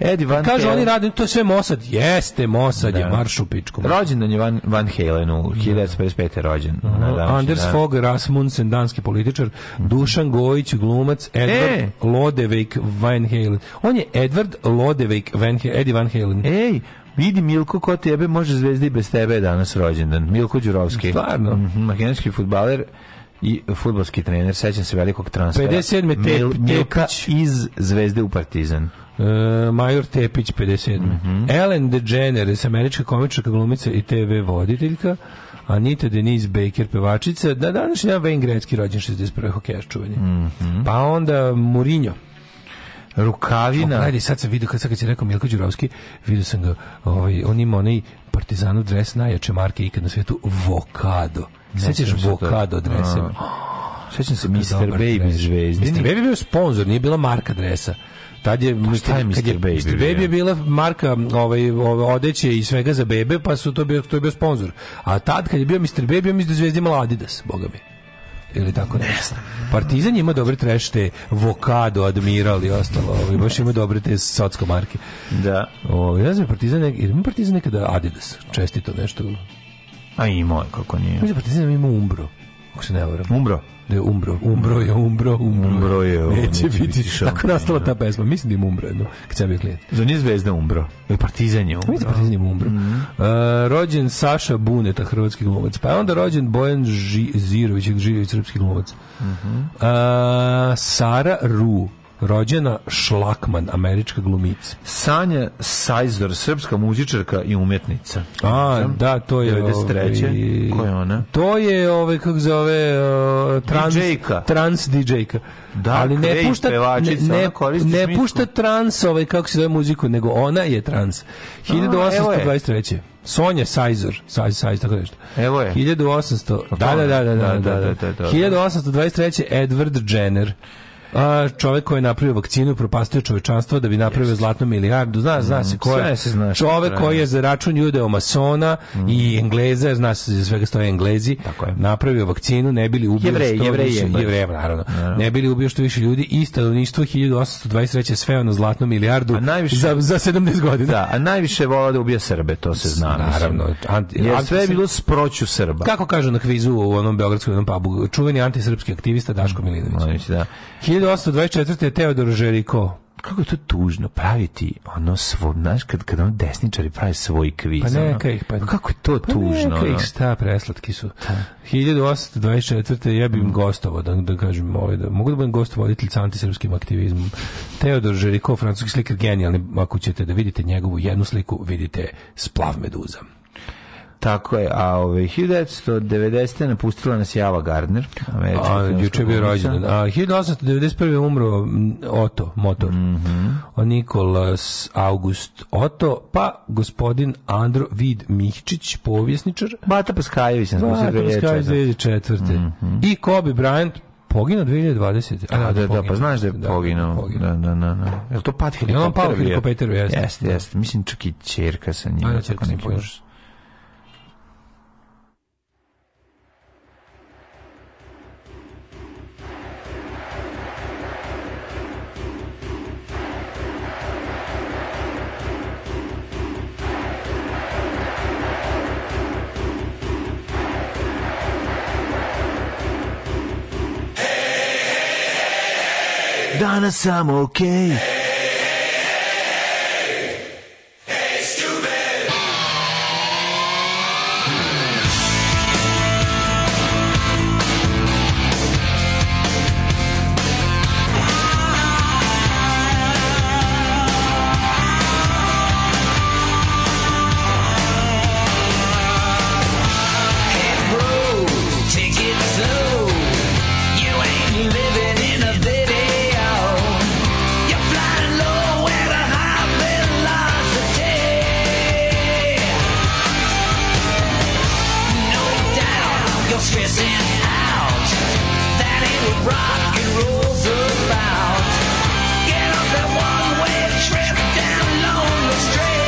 Speaker 7: Eddie Van
Speaker 6: Kažu,
Speaker 7: Halen-
Speaker 6: oni rade, to je sve Mossad. Jeste, Mossad je marš u pičku.
Speaker 7: Rođendan je Van, Van Halen u 1955. rođen. na današnji
Speaker 6: Anders
Speaker 7: dan.
Speaker 6: Fogh Rasmussen, danski političar, Dušan Gojić, glumac, Edward
Speaker 7: E!
Speaker 6: Lodevik Van Halen. On je Edward Lodevik Van Halen, Eddie Van Halen.
Speaker 7: Ej, vidi Milko, ko tebe može zvezda i bez tebe je danas rođendan. Milko Đurovski.
Speaker 6: Stvarno?
Speaker 7: Mhm, Makedonski futbaler i futbolski trener. Sećam se velikog transfera.
Speaker 6: 57. Tep-
Speaker 7: Milka
Speaker 6: Tepić.
Speaker 7: iz zvezde u Partizan.
Speaker 6: E, Major Tepić 57.
Speaker 7: Mhm.
Speaker 6: Ellen DeGeneres, američka komičarka glumica i TV voditeljka. Anita Denise Baker, pevačica. Da, današnji dan Wayne Gretzky, rođen 61. hokejaš čuvanje.
Speaker 7: Mhm.
Speaker 6: Pa onda Mourinho. Pa
Speaker 7: Rukavina.
Speaker 6: Gledaj, sad sam vidio, kad, sad kad si rekao Milko Đurovski, vidio sam ga, ovaj, on ima onaj partizanov dres najjače marke ikad na svetu, Vokado.
Speaker 7: sjećam
Speaker 6: Sećaš
Speaker 7: se toga.
Speaker 6: Vokado drese?
Speaker 7: A. Sećam se Mr.
Speaker 6: Dobar
Speaker 7: Baby
Speaker 6: dres.
Speaker 7: zvezde.
Speaker 6: Mr. Baby je bio sponsor, nije bila marka dresa. Tad je,
Speaker 7: Pa šta je
Speaker 6: kad
Speaker 7: Mr. Baby
Speaker 6: Mr. Baby
Speaker 7: bio?
Speaker 6: je bila marka ovaj, ovaj, odeće i svega za bebe, pa su to bio, to je bio sponsor. A tad kad je bio Mr. Baby, ja mislim da zvezda imala Adidas, boga mi. Ili tako ne znam. Partizan ima dobre trešte, Vokado, Admiral i ostalo. Ovaj, baš ima dobre te socko marke.
Speaker 7: Da.
Speaker 6: Ovaj, ne znam, Partizan, nek- jer ima Partizan nekada Adidas, čestito nešto. Pa
Speaker 7: A imao je, kako nije.
Speaker 6: Mislim, Partizan ima Umbro. Ako se ne varam.
Speaker 7: Umro.
Speaker 6: Da je umro. Umro je, umro, umro.
Speaker 7: Umro je, ono, on
Speaker 6: Neće
Speaker 7: neće biti
Speaker 6: biti
Speaker 7: šampion,
Speaker 6: Tako je nastala ta pesma. Mislim da im umro jedno, kad sam bio klijent.
Speaker 7: Za nije zvezda umro. Ili partizan je umro.
Speaker 6: Mislim da je umro.
Speaker 7: Mhm.
Speaker 6: E, rođen Saša Buneta, hrvatski glumac. Pa je onda rođen Bojan Ži, Zirović, Žirović, srpski glumac.
Speaker 7: Mhm.
Speaker 6: E, Sara Ru, rođena Šlakman, američka glumica.
Speaker 7: Sanja Sajzdor, srpska muzičarka i umetnica.
Speaker 6: A, da, to je...
Speaker 7: 93.
Speaker 6: ovaj,
Speaker 7: Ko je ona?
Speaker 6: To je, ovaj, kako zove, uh, trans,
Speaker 7: DJ-ka.
Speaker 6: trans DJ-ka.
Speaker 7: Da,
Speaker 6: ali ne
Speaker 7: Craig,
Speaker 6: pušta, ne,
Speaker 7: pevačica, ona
Speaker 6: ne,
Speaker 7: koristi
Speaker 6: ne
Speaker 7: šminku.
Speaker 6: pušta trans, ovaj, kako se zove muziku, nego ona je trans.
Speaker 7: evo je.
Speaker 6: 1823. Sonja Sajzor, Saj, Sajz, tako nešto.
Speaker 7: Evo je.
Speaker 6: 1800, da, da,
Speaker 7: tome.
Speaker 6: da, da, da,
Speaker 7: Da, da,
Speaker 6: da, da,
Speaker 7: da, da.
Speaker 6: 1823. Edward Jenner. A, čovek koji je napravio vakcinu, propastio čovečanstvo da bi napravio zlatnu milijardu, zna, zna se ko je.
Speaker 7: sve se zna što
Speaker 6: čovek
Speaker 7: treba.
Speaker 6: koji je za račun judeo masona i engleza, zna se za svega stoje englezi,
Speaker 7: Mm. Tako je.
Speaker 6: napravio vakcinu, ne bili ubio
Speaker 7: Jevreji,
Speaker 6: što
Speaker 7: Jevreji, pa-
Speaker 6: više,
Speaker 7: Jevreji.
Speaker 6: Jevreja, naravno, ne bili ubio što više ljudi i stanovništvo 1823. sveo na zlatnu ono milijardu
Speaker 7: A najviše-
Speaker 6: za, za 70 godina.
Speaker 7: Da, a najviše vola da ubija Srbe, to se zna. mislim.
Speaker 6: Naravno. Anti-
Speaker 7: Jer
Speaker 6: anti-
Speaker 7: sve je bilo sproću Srba.
Speaker 6: Kako kažu na kvizu u onom beogradskom jednom pubu, čuveni antisrpski aktivista Daško Milinović.
Speaker 7: Znači, da.
Speaker 6: 1824. je Teodor Žeriko.
Speaker 7: Kako je to tužno praviti ono svoj, znaš, kad, kad ono desničari pravi svoj kviz.
Speaker 6: Pa
Speaker 7: ono.
Speaker 6: neka ih, pa-
Speaker 7: Kako je to tužno?
Speaker 6: neka
Speaker 7: ono?
Speaker 6: ih šta, preslatki su. 1824. ja bi im gostovo, da, da kažem ovaj, da, mogu da budem gostovoditelj sa antisrpskim aktivizmom. Teodor Žeriko, francuski slikar, genijalni, ako ćete da vidite njegovu jednu sliku, vidite splav meduza.
Speaker 7: Tako je, a ove, 1990. napustila nas Java Gardner. američka
Speaker 6: A,
Speaker 7: filmska
Speaker 6: Pa, juče je bio
Speaker 7: glumica.
Speaker 6: rođen. A, 1891. je umro m, Oto, motor. A Nikolas August Oto, pa gospodin Andro Vid Mihčić, povjesničar.
Speaker 7: Bata Paskajević
Speaker 6: Pa,
Speaker 7: nas napustila
Speaker 6: Vatrpskaj
Speaker 7: 2004.
Speaker 6: 2004. I Kobe Bryant, poginuo 2020.
Speaker 7: Mhm. A, da, da, pa znaš da je
Speaker 6: Da,
Speaker 7: poginuo.
Speaker 6: poginuo.
Speaker 7: Da, da, da, da. Je li to pat helikopter?
Speaker 6: on pao helikopteru, jeste.
Speaker 7: Jeste, jeste. Mislim čak i čerka sa njim.
Speaker 6: A, da,
Speaker 7: tako
Speaker 6: ćerka sa njim
Speaker 7: neki
Speaker 6: poginuo.
Speaker 7: baš. Danas sam okej.
Speaker 3: Take it slow. You ain't living in a video. You're flying low at a high velocity. No doubt you're stressing out. That ain't what rock and roll's about. Get off that one-way trip down Lonely Street.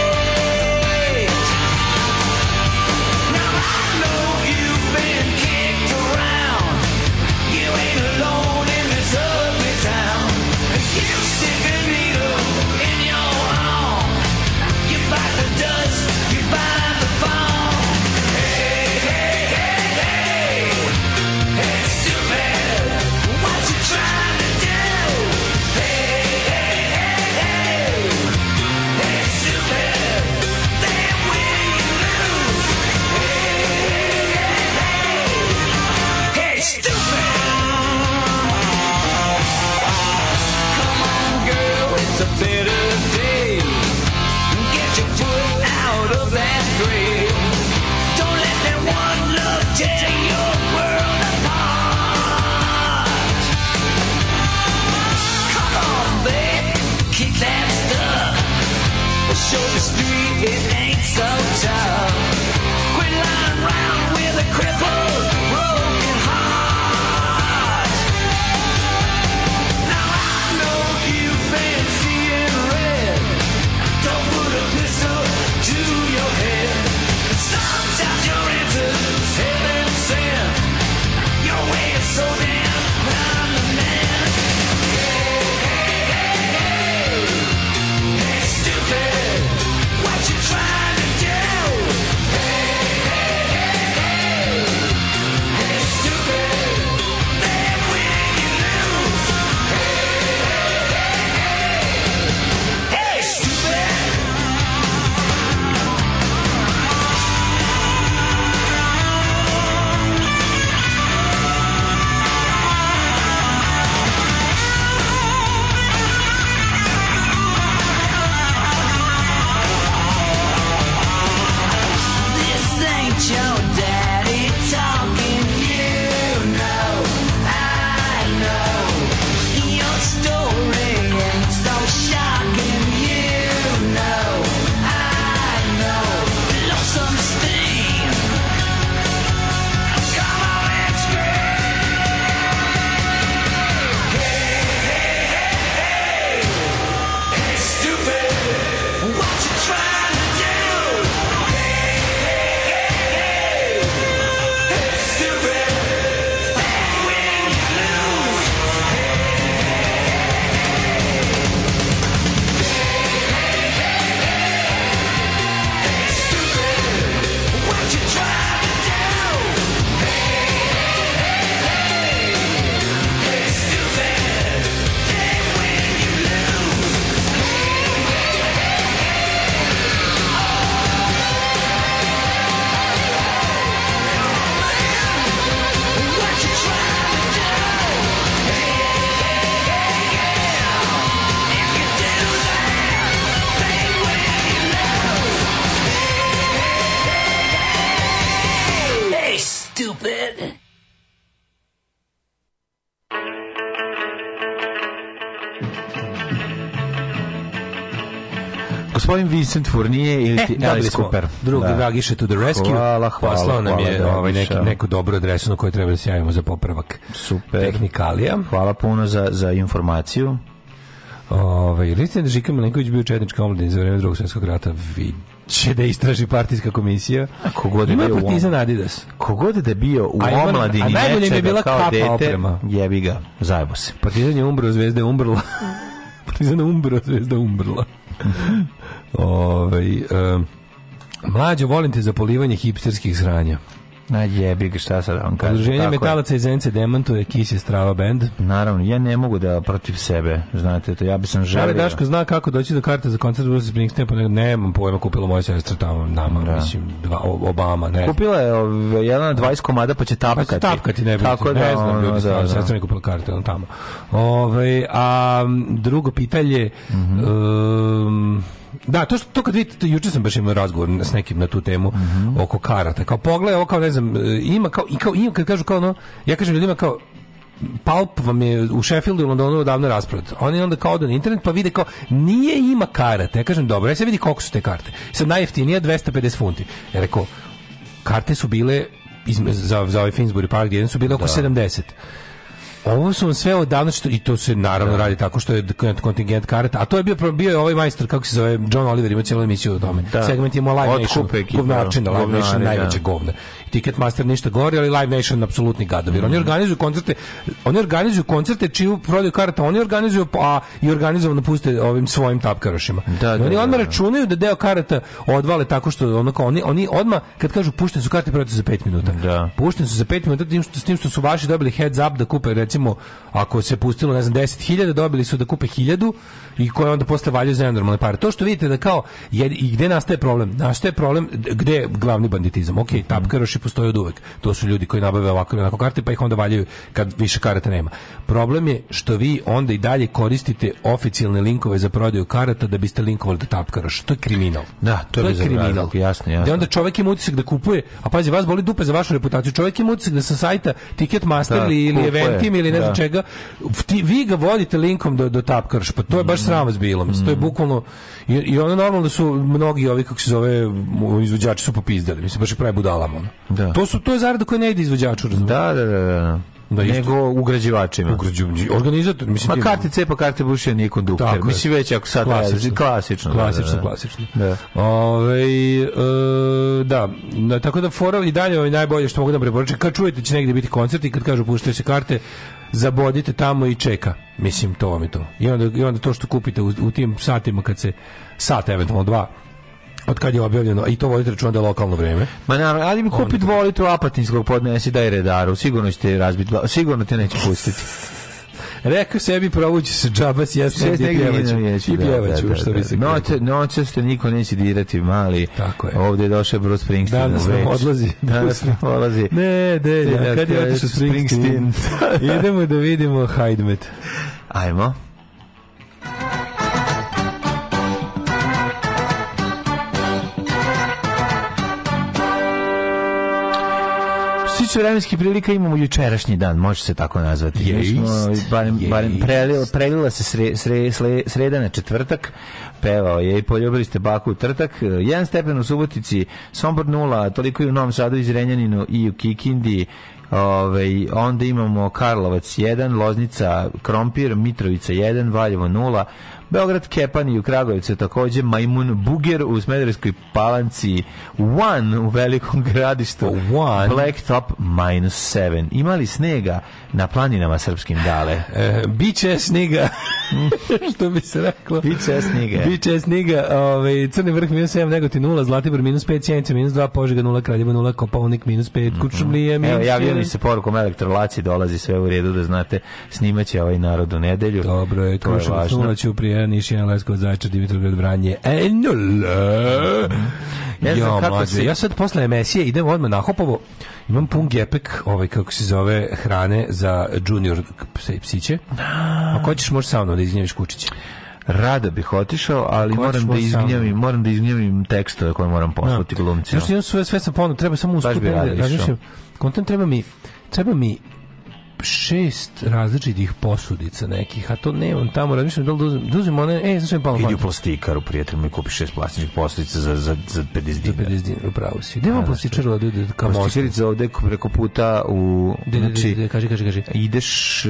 Speaker 3: Now I know you've been kicked around. You ain't alone in this ugly town. If you stick a needle in your arm, you bite the dust, you bite the fall. Hey, hey, hey, hey, hey, stupid, what you trying to do? Hey, hey, hey, hey, hey, stupid, that way you lose. Hey, stupid! Come on, girl, it's a bitter day. Get your foot out of that grave. Don't let that one look tear your world apart. Come on, babe, kick that stuff. Show the street it ain't so tough. Quit lying around with a crippled, broken heart. Now I know you've been seeing red. Don't put a pistol to your head. Sometimes your answers heaven sent. Your way is so damn round the man. Hey, hey, hey, hey. Hey, stupid, what you trying to do?
Speaker 7: Gospodin Vincent Fournier ili
Speaker 6: E,
Speaker 7: ti
Speaker 6: dobili
Speaker 7: Alice
Speaker 6: smo
Speaker 7: Cooper.
Speaker 6: drug
Speaker 7: Da.
Speaker 6: Dragiša to the rescue.
Speaker 7: Hvala, hvala,
Speaker 6: Poslao nam
Speaker 7: hvala,
Speaker 6: je
Speaker 7: Dragiša.
Speaker 6: ovaj neki, neku dobru adresu na koju treba da se javimo za popravak
Speaker 7: Super.
Speaker 6: tehnikalija.
Speaker 7: Hvala puno za, za informaciju.
Speaker 6: Ovaj recite da Žika Milenković bio četnička omladina za vreme Drugog svjetskog rata. Viće da istraži partijska komisija.
Speaker 7: kogod je
Speaker 6: Ima
Speaker 7: bio u
Speaker 6: partizan Adidas.
Speaker 7: Kogod da je bio u
Speaker 6: A ima- a
Speaker 7: omladini
Speaker 6: najbolje mi je
Speaker 7: nečega
Speaker 6: bila
Speaker 7: kao
Speaker 6: kapa
Speaker 7: dete,
Speaker 6: oprema.
Speaker 7: jebi ga, zajebo se.
Speaker 6: Partizan je umbro, zvezda je umbrla. partizan je umbro, zvezda je umbrla. ovaj em, mlađo, volim te za polivanje hipsterskih sranja.
Speaker 7: Na jebi ga, šta sad da vam kažem.
Speaker 6: Udruženje
Speaker 7: tako je.
Speaker 6: metalaca iz Zenice demantuje Kiss je Strava band.
Speaker 7: Naravno, ja ne mogu da protiv sebe, znate, to ja bi sam želio.
Speaker 6: Šale Daško zna kako doći do karte za koncert Bruce Springsteen, pa ne, nemam pojma, kupila moja sestra tamo, nama, mislim, dva, Obama, ne znam.
Speaker 7: Kupila je ove, jedan od 20 komada, pa će
Speaker 6: Pa
Speaker 7: tapkati.
Speaker 6: će tapkati, ne,
Speaker 7: Tako
Speaker 6: Tako
Speaker 7: da,
Speaker 6: ne znam,
Speaker 7: ono,
Speaker 6: ljudi,
Speaker 7: da,
Speaker 6: stvarno,
Speaker 7: da.
Speaker 6: sestra mi je kupila karte, on tamo. Ove, a m, drugo pitanje,
Speaker 7: Mhm.
Speaker 6: em, da, to, što, to kad vidite, to juče sam baš imao razgovor s nekim na tu temu
Speaker 7: Mhm.
Speaker 6: oko karata. Kao pogledaj, ovo kao ne znam, e, ima kao, i kao, ima, kad kažu kao ono, ja kažem ljudima kao, Palp vam je u Sheffieldu i Londonu odavno rasprodat. Oni onda kao odu na internet pa vide kao nije ima karata. Ja kažem dobro, ja se vidi koliko su te karte. Sad najjeftinija 250 funti. Ja rekao karte su bile izme, za, za ovaj Finsbury Park jedan su bile oko 70. Ovo su vam sve odavno što i to se naravno radi tako što je d- kontingent karata, a to je bio pro- bio je ovaj majstor kako se zove John Oliver ima cijelu emisiju o tome.
Speaker 7: Da.
Speaker 6: Segment je imao Live Nation,
Speaker 7: Otkupe ekipa,
Speaker 6: govnačina, Live Nation
Speaker 7: govnari, da.
Speaker 6: najveće govna. Ticketmaster ništa gori, ali Live Nation apsolutni gadovi.
Speaker 7: Mhm.
Speaker 6: Oni organizuju koncerte, oni organizuju koncerte čiju prodaju karata oni organizuju, a i organizovano puste ovim svojim tapkarošima.
Speaker 7: Da,
Speaker 6: I
Speaker 7: da,
Speaker 6: oni
Speaker 7: da,
Speaker 6: odmah
Speaker 7: da.
Speaker 6: računaju da deo karata odvale tako što ono kao oni oni odmah kad kažu pušteni su karte prodate za 5 minuta.
Speaker 7: Da.
Speaker 6: Pušteni su za 5 minuta tim što s tim što su vaši dobili heads up da kupe recimo ako se pustilo ne znam 10.000 dobili su da kupe 1000 i koje onda posle valjaju za normalne pare. To što vidite da kao je, i gde nastaje problem? Nastaje problem d- gde je glavni banditizam. Okej,
Speaker 7: Mhm.
Speaker 6: tapkaroši postoje od uvek. To su ljudi koji nabave ovako ili onako karte pa ih onda valjaju kad više karata nema. Problem je što vi onda i dalje koristite oficijalne linkove za prodaju karata da biste linkovali do tapkaroša. To je kriminal.
Speaker 7: Da, to je bezobrazluk, jasno, jasno.
Speaker 6: Gde onda čovjek ima utisak da kupuje, a pazi, vas boli dupe za vašu reputaciju. Čovjek ima utisak da sa sajta Ticketmaster
Speaker 7: Da,
Speaker 6: ili, ili
Speaker 7: kupuje,
Speaker 6: Eventim ili ne znam
Speaker 7: da.
Speaker 6: čega, v- ti, vi ga vodite linkom do, do Tapkarš, pa to je
Speaker 7: Mm.
Speaker 6: baš sram vas bilo. mislim, To je bukvalno, i, i ono normalno da su mnogi ovi, kako se zove, m- izvođači su popizdali, mislim, baš je pravi budalama. ono.
Speaker 7: Da.
Speaker 6: To, su, to je zarada koja ne ide izvođaču, razumiješ?
Speaker 7: Da, da, da, da.
Speaker 6: Da, isto.
Speaker 7: Nego ugrađivačima.
Speaker 6: Organizator, mislim,
Speaker 7: Ma
Speaker 6: ti-
Speaker 7: kartice pa karte bušija nije kondukter.
Speaker 6: Tako je.
Speaker 7: Mislim već ako sad klasično, klasično, da,
Speaker 6: klasično,
Speaker 7: da, da.
Speaker 6: klasično.
Speaker 7: Da.
Speaker 6: Ovaj, e, da, na- tako da fora i dalje ovaj najbolje što mogu da preporučim. Kad čujete će negdje biti koncert i kad kažu puštaju se karte, zabodite tamo i čeka. Mislim, to vam je to. I onda, i onda to što kupite u, u tim satima kad se, sat eventualno dva, od kad je objavljeno, a i to vodite računa da je lokalno vreme.
Speaker 7: Ma naravno, ali mi kupi dva litru apatinskog podnesi daj redaru, sigurno ćete razbiti, glavu, sigurno te neće pustiti.
Speaker 6: Rekao sebi, provući se džaba, sjesno i pjevaću. I pjevaću, što bi se reklo.
Speaker 7: Noće, noće ste niko neće dirati, mali.
Speaker 6: Tako je.
Speaker 7: Ovdje je došao Bruce Springsteen.
Speaker 6: Danas
Speaker 7: u
Speaker 6: nam
Speaker 7: Beč.
Speaker 6: odlazi.
Speaker 7: Danas nam odlazi.
Speaker 6: Ne,
Speaker 7: Ja,
Speaker 6: Delja, kad je
Speaker 7: kad je
Speaker 6: otišao Springsteen?
Speaker 7: Springsteen.
Speaker 6: Idemo da vidimo Hajdmet.
Speaker 7: Ajmo. Što se tiče vremenskih prilika imamo jučerašnji dan, može se tako nazvati. Mi
Speaker 6: Jest,
Speaker 7: smo, ovaj, barem, barem prelila, prelila se sre, sre, sre, sreda na četvrtak, pevao je i poljubili ste baku u trtak. E, Jedan stepen u Subotici, Sombor nula, toliko i u Novom Sadu i Zrenjaninu i u Kikindi. Ove, onda imamo Karlovac 1, Loznica, Krompir, Mitrovica 1, Valjevo 0, Beograd Kepan i u Kragovicu takođe Majmun Buger u Smederevskoj palanci One u velikom gradištu
Speaker 6: One.
Speaker 7: Blacktop minus 7. Ima li snega na planinama srpskim dale?
Speaker 6: E, biće sniga, što bi se reklo.
Speaker 7: Biće snige.
Speaker 6: Biće sniga, ovaj, Crni vrh minus 7, Negotin 0, Zlatibor minus 5, Sjenica minus 2, Požega 0, Kraljevo 0, Kopovnik minus 5, Kučumlije minus
Speaker 7: Mhm. Evo,
Speaker 6: 1.
Speaker 7: javio mi se porukom elektrolaci, dolazi sve u redu da znate, snimaće ovaj narod u nedelju.
Speaker 6: Dobro je,
Speaker 7: to je
Speaker 6: Kruševac
Speaker 7: važno.
Speaker 6: 0, Ćuprija, Niš 1, Leskovac, Zaječar, Dimitrovgrad, Vranje, e, 0.
Speaker 7: Ne znam
Speaker 6: Ja,
Speaker 7: kako
Speaker 6: mlađe,
Speaker 7: si-
Speaker 6: ja sad posle emisije idem odmah na Hopovo, imam pun gepek, ovaj kako se zove, hrane za junior pse- psiće.
Speaker 7: Ah.
Speaker 6: Ako hoćeš, možeš sa mnom da izgnjeviš kučiće.
Speaker 7: Rado bih otišao, ali
Speaker 6: Ako
Speaker 7: moram
Speaker 6: hoćeš,
Speaker 7: da
Speaker 6: možeš sam.
Speaker 7: izgnjavim, moram da izgnjavim tekstove koje moram poslati glumcima.
Speaker 6: Znaš, imam sve, sve sam ponovno, treba samo usput.
Speaker 7: bi
Speaker 6: malo da
Speaker 7: radiš,
Speaker 6: razmišljam. Kontent treba mi, treba mi šest različitih posudica nekih, a to nemam tamo, razmišljam da li da uzmem, da uzmem one, e, znaš što je palo
Speaker 7: Idi
Speaker 6: fanta?
Speaker 7: u plastikaru, prijatelj mi kupi šest plastičnih postica za, za, za 50
Speaker 6: Za
Speaker 7: dinara.
Speaker 6: 50 dinara, upravo si. Gde vam plastičar da ide ka mostu?
Speaker 7: Posticarica ovde preko puta u...
Speaker 6: De, de, de,
Speaker 7: Pa Znači,
Speaker 6: de, kaži, kaži, kaži.
Speaker 7: ideš e,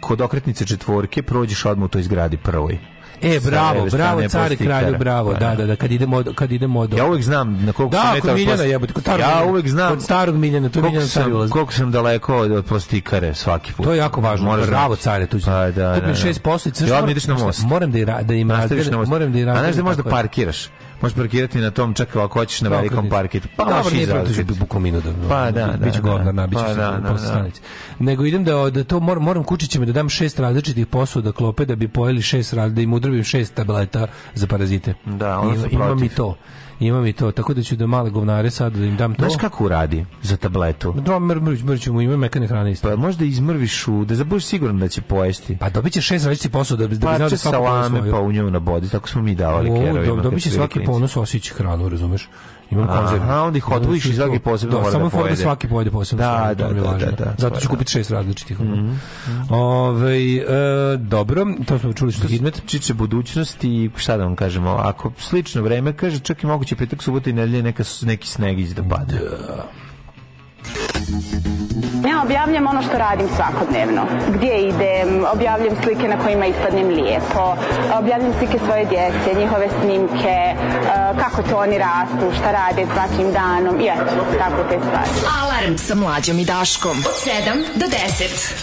Speaker 7: kod okretnice četvorke, prođeš odmah u toj zgradi prvoj.
Speaker 6: E,
Speaker 7: Sa
Speaker 6: bravo,
Speaker 7: leve strane
Speaker 6: bravo, car i
Speaker 7: plastikara.
Speaker 6: kralju, bravo,
Speaker 7: Pa,
Speaker 6: da, da, da, kad idemo od, kad idemo od...
Speaker 7: Ja uvek znam na koliko sam
Speaker 6: da, kod
Speaker 7: metara
Speaker 6: Miljana
Speaker 7: plasti-
Speaker 6: jebote, kod starog
Speaker 7: Ja
Speaker 6: Miljana.
Speaker 7: uvek znam
Speaker 6: Kod starog Miljana, tu
Speaker 7: koliko
Speaker 6: Miljana stari
Speaker 7: sam,
Speaker 6: ulaz.
Speaker 7: koliko sam daleko od, od plastikare svaki put.
Speaker 6: To je jako važno.
Speaker 7: Moraš da-
Speaker 6: Bravo, care, tu ću.
Speaker 7: Pa, da, da,
Speaker 6: Kupim
Speaker 7: da.
Speaker 6: šest poslica.
Speaker 7: I odmah ideš na most.
Speaker 6: Moram da, i ra- da im
Speaker 7: Nastaviš
Speaker 6: razdelim-
Speaker 7: na most.
Speaker 6: Moram da im
Speaker 7: A znaš
Speaker 6: razdelim
Speaker 7: da možda
Speaker 6: tako je.
Speaker 7: parkiraš? Možeš parkirati na tom, čak ako hoćeš na velikom parkiru. Pa
Speaker 6: Dobro,
Speaker 7: možeš
Speaker 6: nije
Speaker 7: izraziti.
Speaker 6: protižu bi bukvalno minut.
Speaker 7: Pa da, da,
Speaker 6: Biću
Speaker 7: da.
Speaker 6: govnar, nabit ću
Speaker 7: Pa
Speaker 6: se
Speaker 7: da,
Speaker 6: posle
Speaker 7: da, da.
Speaker 6: stanice. Nego idem da, od- da to moram, moram kučićima da dam šest različitih posuda klope da bi pojeli šest različitih, da im udrobim šest tableta za parazite.
Speaker 7: Da, ono
Speaker 6: Ima-
Speaker 7: sam
Speaker 6: Imam
Speaker 7: protiv.
Speaker 6: i to. Imam i to. Tako da ću da male govnare sad da im dam to.
Speaker 7: Znaš kako uradi za tabletu?
Speaker 6: Dobro, mr, mr, mr, ćemo, ima mekane hrane isto.
Speaker 7: Pa možda izmrviš u, da budeš siguran da će pojesti.
Speaker 6: Pa dobit će šest različitih posuda da bi, da bi znao
Speaker 7: Parče
Speaker 6: da svako pojede
Speaker 7: salame
Speaker 6: svoju.
Speaker 7: pa u njemu na bodi, tako smo mi davali
Speaker 6: O,
Speaker 7: kerovima.
Speaker 6: do-
Speaker 7: kad
Speaker 6: Dobit će
Speaker 7: su bili
Speaker 6: svaki
Speaker 7: klinci.
Speaker 6: ponos osjeći hranu, razumeš? Imam
Speaker 7: Aha,
Speaker 6: konzervu.
Speaker 7: onda ih odvojiš i svaki posebno
Speaker 6: da,
Speaker 7: mora da
Speaker 6: samo je fora
Speaker 7: pojede.
Speaker 6: svaki pojede posebno.
Speaker 7: Da,
Speaker 6: stvarno, to
Speaker 7: da,
Speaker 6: mi je
Speaker 7: da,
Speaker 6: važno.
Speaker 7: da, da,
Speaker 6: Zato ću
Speaker 7: stvarno.
Speaker 6: kupiti šest različitih. ono.
Speaker 7: Mhm.
Speaker 6: Ovaj, e, dobro, to smo čuli što Hidmet.
Speaker 7: Čiče budućnosti i šta da vam kažemo, ako slično vreme kaže, čak i moguće petak, subota i nedelje neka, s- neki sneg iz da pada.
Speaker 8: Ja objavljam ono što radim svakodnevno. Gdje idem, objavljam slike na kojima ispadnem lijepo, objavljam slike svoje djece, njihove snimke, eh, kako to oni rastu, šta rade svakim danom i eto, tako te stvari.
Speaker 5: Alarm sa mlađom i Daškom. Od 7 do 10.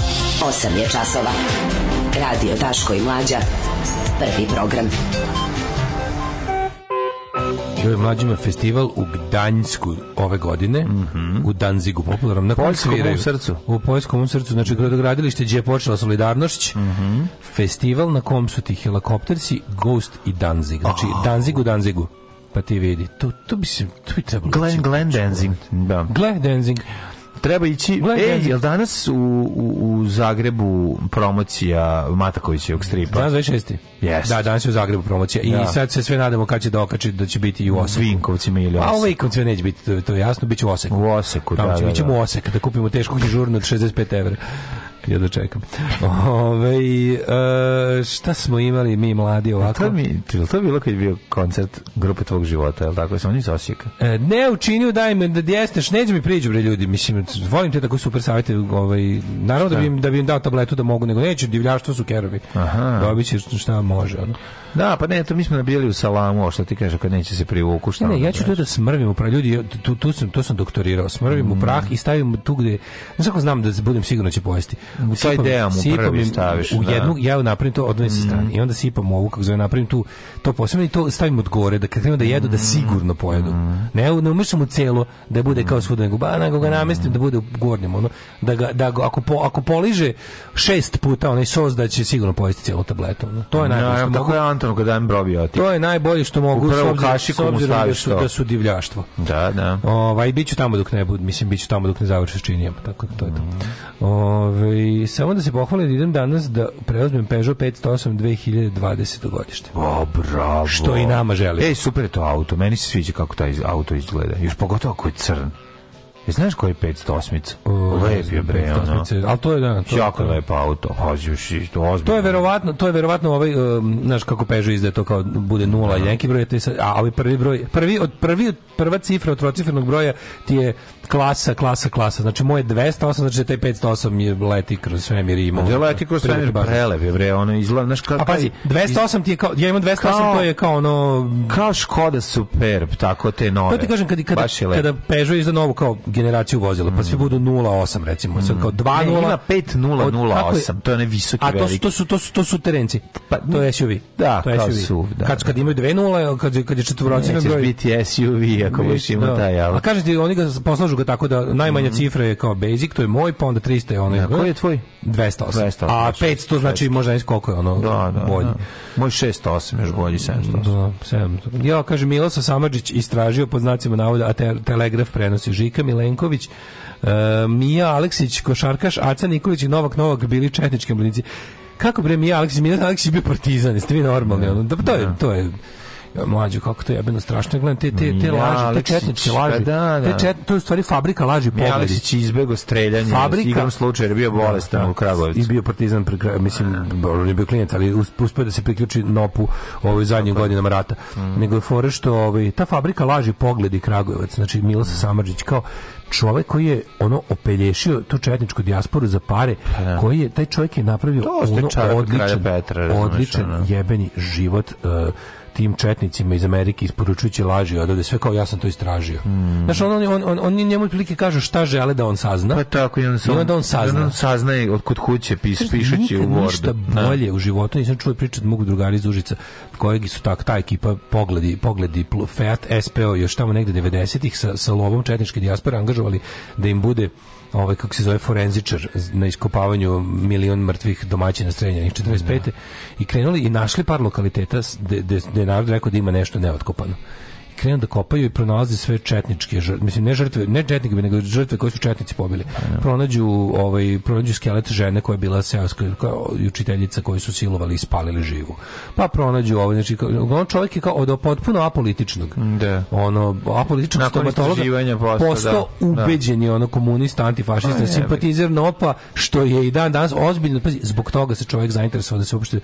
Speaker 9: 8 je časova. Radio Daško i Mlađa. Prvi program.
Speaker 6: Joj, mlađima festival u Gdansku ove godine, u Danzigu popularnom. Na kojem
Speaker 7: Poljskom
Speaker 6: sviraju?
Speaker 7: u srcu.
Speaker 6: U Poljskom u srcu, znači gradogradilište gdje je počela solidarnošć. Festival na kom su ti helikopterci, Ghost i Danzig. Znači,
Speaker 7: Oh.
Speaker 6: Danzig u Danzigu. Pa ti vidi, to, to bi se, to bi trebalo...
Speaker 7: Glenn,
Speaker 6: ići.
Speaker 7: Glenn Denzing. Da.
Speaker 6: Gle, Danzig.
Speaker 7: Treba ići...
Speaker 6: Glenn
Speaker 7: Ej,
Speaker 6: Denzing.
Speaker 7: jel danas u, u, u Zagrebu promocija Matakovićevog stripa?
Speaker 6: Danas 26.
Speaker 7: Pa. Jest.
Speaker 6: Da, danas je u Zagrebu promocija. I
Speaker 7: Da.
Speaker 6: sad se sve nadamo kad će da okači, da će biti i u Osijeku.
Speaker 7: Vinkovcima ili
Speaker 6: A
Speaker 7: Osijeku.
Speaker 6: ovaj koncept neće biti, to, to je jasno, bit će u Oseku.
Speaker 7: U Osijeku, da,
Speaker 6: Tamo ćemo,
Speaker 7: da,
Speaker 6: ićemo
Speaker 7: da.
Speaker 6: u Osek da kupimo tešku knjižurnu od 65 evra. Ja da čekam. Ove, e, šta smo imali mi mladi ovako?
Speaker 7: Pa To mi, je li to bilo kad je bio koncert grupe tvog života, je li tako? Sam oni iz Osijeka.
Speaker 6: E, ne učinio daj me da djesneš, neće mi priđu bre ljudi, mislim, volim te tako super savjete, ovaj, naravno da bi, im, da bi im dao tabletu da mogu, nego neću, divljaštvo su kerovi.
Speaker 7: Aha.
Speaker 6: Dobit ćeš šta može. Ono.
Speaker 7: Da, pa ne, to mi smo nabijali u salamu, a što ti kažeš, kad neće se privuku, šta
Speaker 6: Ne, ne,
Speaker 7: onda
Speaker 6: ja ću
Speaker 7: da-
Speaker 6: to da smrvim u prah. Ljudi, tu, tu, sam, to sam doktorirao. Smrvim u prah i stavim tu gde... Ne znam ako znam da budem sigurno će pojesti. U
Speaker 7: taj deo mu prvi staviš,
Speaker 6: U
Speaker 7: da.
Speaker 6: jednu, ja napravim to od sa strane. I onda sipam ovu, kako zove, napravim tu to posebno i to stavim od gore, da kad krenu da jedu, da sigurno pojedu. Ne, ne umešam u celo da bude kao svuda, nego, ba, nego ga namestim da bude u gornjem, ono, da, ga, da ga- ako, po- ako poliže šest puta onaj sos, da će sigurno pojesti cijelu tabletu. ono. To je najbolje
Speaker 7: Ja,
Speaker 6: što
Speaker 7: evo,
Speaker 6: mogu.
Speaker 7: tako je Antonu kad dajem probiotik.
Speaker 6: To je najbolje što mogu,
Speaker 7: U
Speaker 6: s
Speaker 7: prvu
Speaker 6: obzirom, s
Speaker 7: kašiku mu
Speaker 6: obzirom da,
Speaker 7: staviš
Speaker 6: su,
Speaker 7: to.
Speaker 6: da su divljaštvo.
Speaker 7: Da, da.
Speaker 6: Ovaj biću tamo dok ne budu, mislim biću tamo dok ne završe s činijem, tako da to je
Speaker 7: Mm.
Speaker 6: to. Ovaj, samo da se pohvalim da idem danas da preuzmem Peugeot 508 2020 godište.
Speaker 7: O, bravo.
Speaker 6: Što i nama želi.
Speaker 7: Ej, super je to auto. Meni se sviđa kako taj iz- auto izgleda. Još pogotovo ako je crn. Je, znaš koji je 508-ica? Lep je bre, ono.
Speaker 6: Ali to je da, to.
Speaker 7: Jako
Speaker 6: to,
Speaker 7: lepo auto. Hoće još i to ozbiljno.
Speaker 6: to je verovatno, to je verovatno ovaj um, znaš kako Peugeot izdaje to kao bude nula i neki broj, to je sad- a ovaj prvi broj, prvi od prvi od prva cifra od trocifrenog broja ti je klasa, klasa, klasa. Znači moje 208, znači taj 508 je leti kroz svemir i ima. ono
Speaker 7: Gde leti kroz svemir,
Speaker 6: baš.
Speaker 7: prelep je bre, ono izgleda, znaš kako...
Speaker 6: A Pa pazi, 208 ti je kao, ja imam 208,
Speaker 7: Kao-
Speaker 6: to je kao ono...
Speaker 7: Kao Škoda Superb, tako te nove.
Speaker 6: To ti kažem, kad, kada,
Speaker 7: Baš je lepo.
Speaker 6: kada Peugeot izda novu kao generaciju vozila, pa svi budu 08 recimo, sad kao 2.0...
Speaker 7: Mm. Ne, ima
Speaker 6: Od- kako je?
Speaker 7: 5008, to je onaj visoki
Speaker 6: A to su,
Speaker 7: veliki.
Speaker 6: to su, to su, to su terenci.
Speaker 7: Pa,
Speaker 6: to je SUV.
Speaker 7: da,
Speaker 6: to je
Speaker 7: kao
Speaker 6: SUV.
Speaker 7: SUV, da,
Speaker 6: kad, kad imaju dve nula, kad, kad je četvorocinan
Speaker 7: Nećeš
Speaker 6: broj...
Speaker 7: biti SUV ako budeš imao taj
Speaker 6: A
Speaker 7: auto.
Speaker 6: kažete ti, oni ga poslažu ga tako da najmanja cifra je kao basic, to je moj, pa onda 300 je onaj.
Speaker 7: A koji je tvoj?
Speaker 6: 208.
Speaker 7: 208,
Speaker 6: A
Speaker 7: znači,
Speaker 6: 500 znači možda ne znam koliko je ono
Speaker 7: Da, da,
Speaker 6: bolji.
Speaker 7: da. Moj 608, još bolji 708.
Speaker 6: Da, sedam. Ja, kaže, Milosa Samadžić istražio pod znacima navoda, a te- Telegraf prenosi Žika Milenković, e, Mija Aleksić, Košarkaš, Aca Nikolić i Novak Novak bili četnički oblici. Kako bre Mija Aleksić? Mija Aleksić bio partizan, jeste vi normalni? Ono, da, to je, to je Ja, mlađo, kako to je jebeno strašno, ja gledam te, te, te
Speaker 7: Mija
Speaker 6: laži, te
Speaker 7: Aleksić,
Speaker 6: četničke laži,
Speaker 7: pa da, da.
Speaker 6: Te čet, to je u stvari fabrika laži
Speaker 7: Mi
Speaker 6: pogledi.
Speaker 7: Aleksić izbego streljanje,
Speaker 6: Fabrika-
Speaker 7: igram slučaj, jer je bio bolestan u Kragovicu.
Speaker 6: I bio partizan, pri kraju, mislim, dobro, on je bio klijent, ali us- uspeo je da se priključi NOP-u ovoj zadnjim godinama rata.
Speaker 7: Mm.
Speaker 6: Nego je fore što ovaj, ta fabrika laži pogledi Kragujevac, znači
Speaker 7: Mm.
Speaker 6: Milosa Samarđić kao čovek koji je ono opelješio tu četničku dijasporu za pare, koji je, taj čovjek je napravio
Speaker 7: Pa To ste
Speaker 6: ono
Speaker 7: čarap kralja
Speaker 6: odličan,
Speaker 7: Petra, razumeš, ono.
Speaker 6: odličan jebeni život e, tim četnicima iz Amerike isporučujući laži odavde, sve kao ja sam to istražio. Znači, on, on, on, oni njemu otprilike kažu šta žele da on sazna.
Speaker 7: Mm. Pa tako, i onda, se
Speaker 6: I onda on sazna.
Speaker 7: i onda saznaje od kod kuće, pis, pišeći u
Speaker 6: Nikad Ništa
Speaker 7: Wordu. Da.
Speaker 6: bolje u životu nisam čuo priču od mogu drugari iz Užica kojeg su tak, ta ekipa pogledi, pogledi pl- Fiat SPO još tamo negde 90-ih sa, sa lovom četničke dijaspore angažovali da im bude ovaj kako se zove forenzičar z- na iskopavanju milion mrtvih domaćina streljanih 45. i krenuli i našli par lokaliteta gde je narod rekao da ima nešto neotkopano krenu da kopaju i pronalaze sve četničke žrtve, mislim ne žrtve, ne četnike, nego žrtve koje su četnici pobili. Pronađu ovaj pronađu skelet žene koja je bila seoska kao i učiteljica koju su silovali i spalili živu. Pa pronađu ovaj znači kao- uglavnom čovjek je kao od potpuno apolitičnog.
Speaker 7: Da.
Speaker 6: Ono apolitičnog
Speaker 7: Nakon istraživanja
Speaker 6: stomatologa
Speaker 7: posle,
Speaker 6: postao
Speaker 7: da, da.
Speaker 6: ubeđen je ono komunista,
Speaker 7: Pa
Speaker 6: antifašista,
Speaker 7: je,
Speaker 6: simpatizer NOPA, što je i dan danas ozbiljno, pazi, zbog toga se čovjek zainteresovao da se uopšte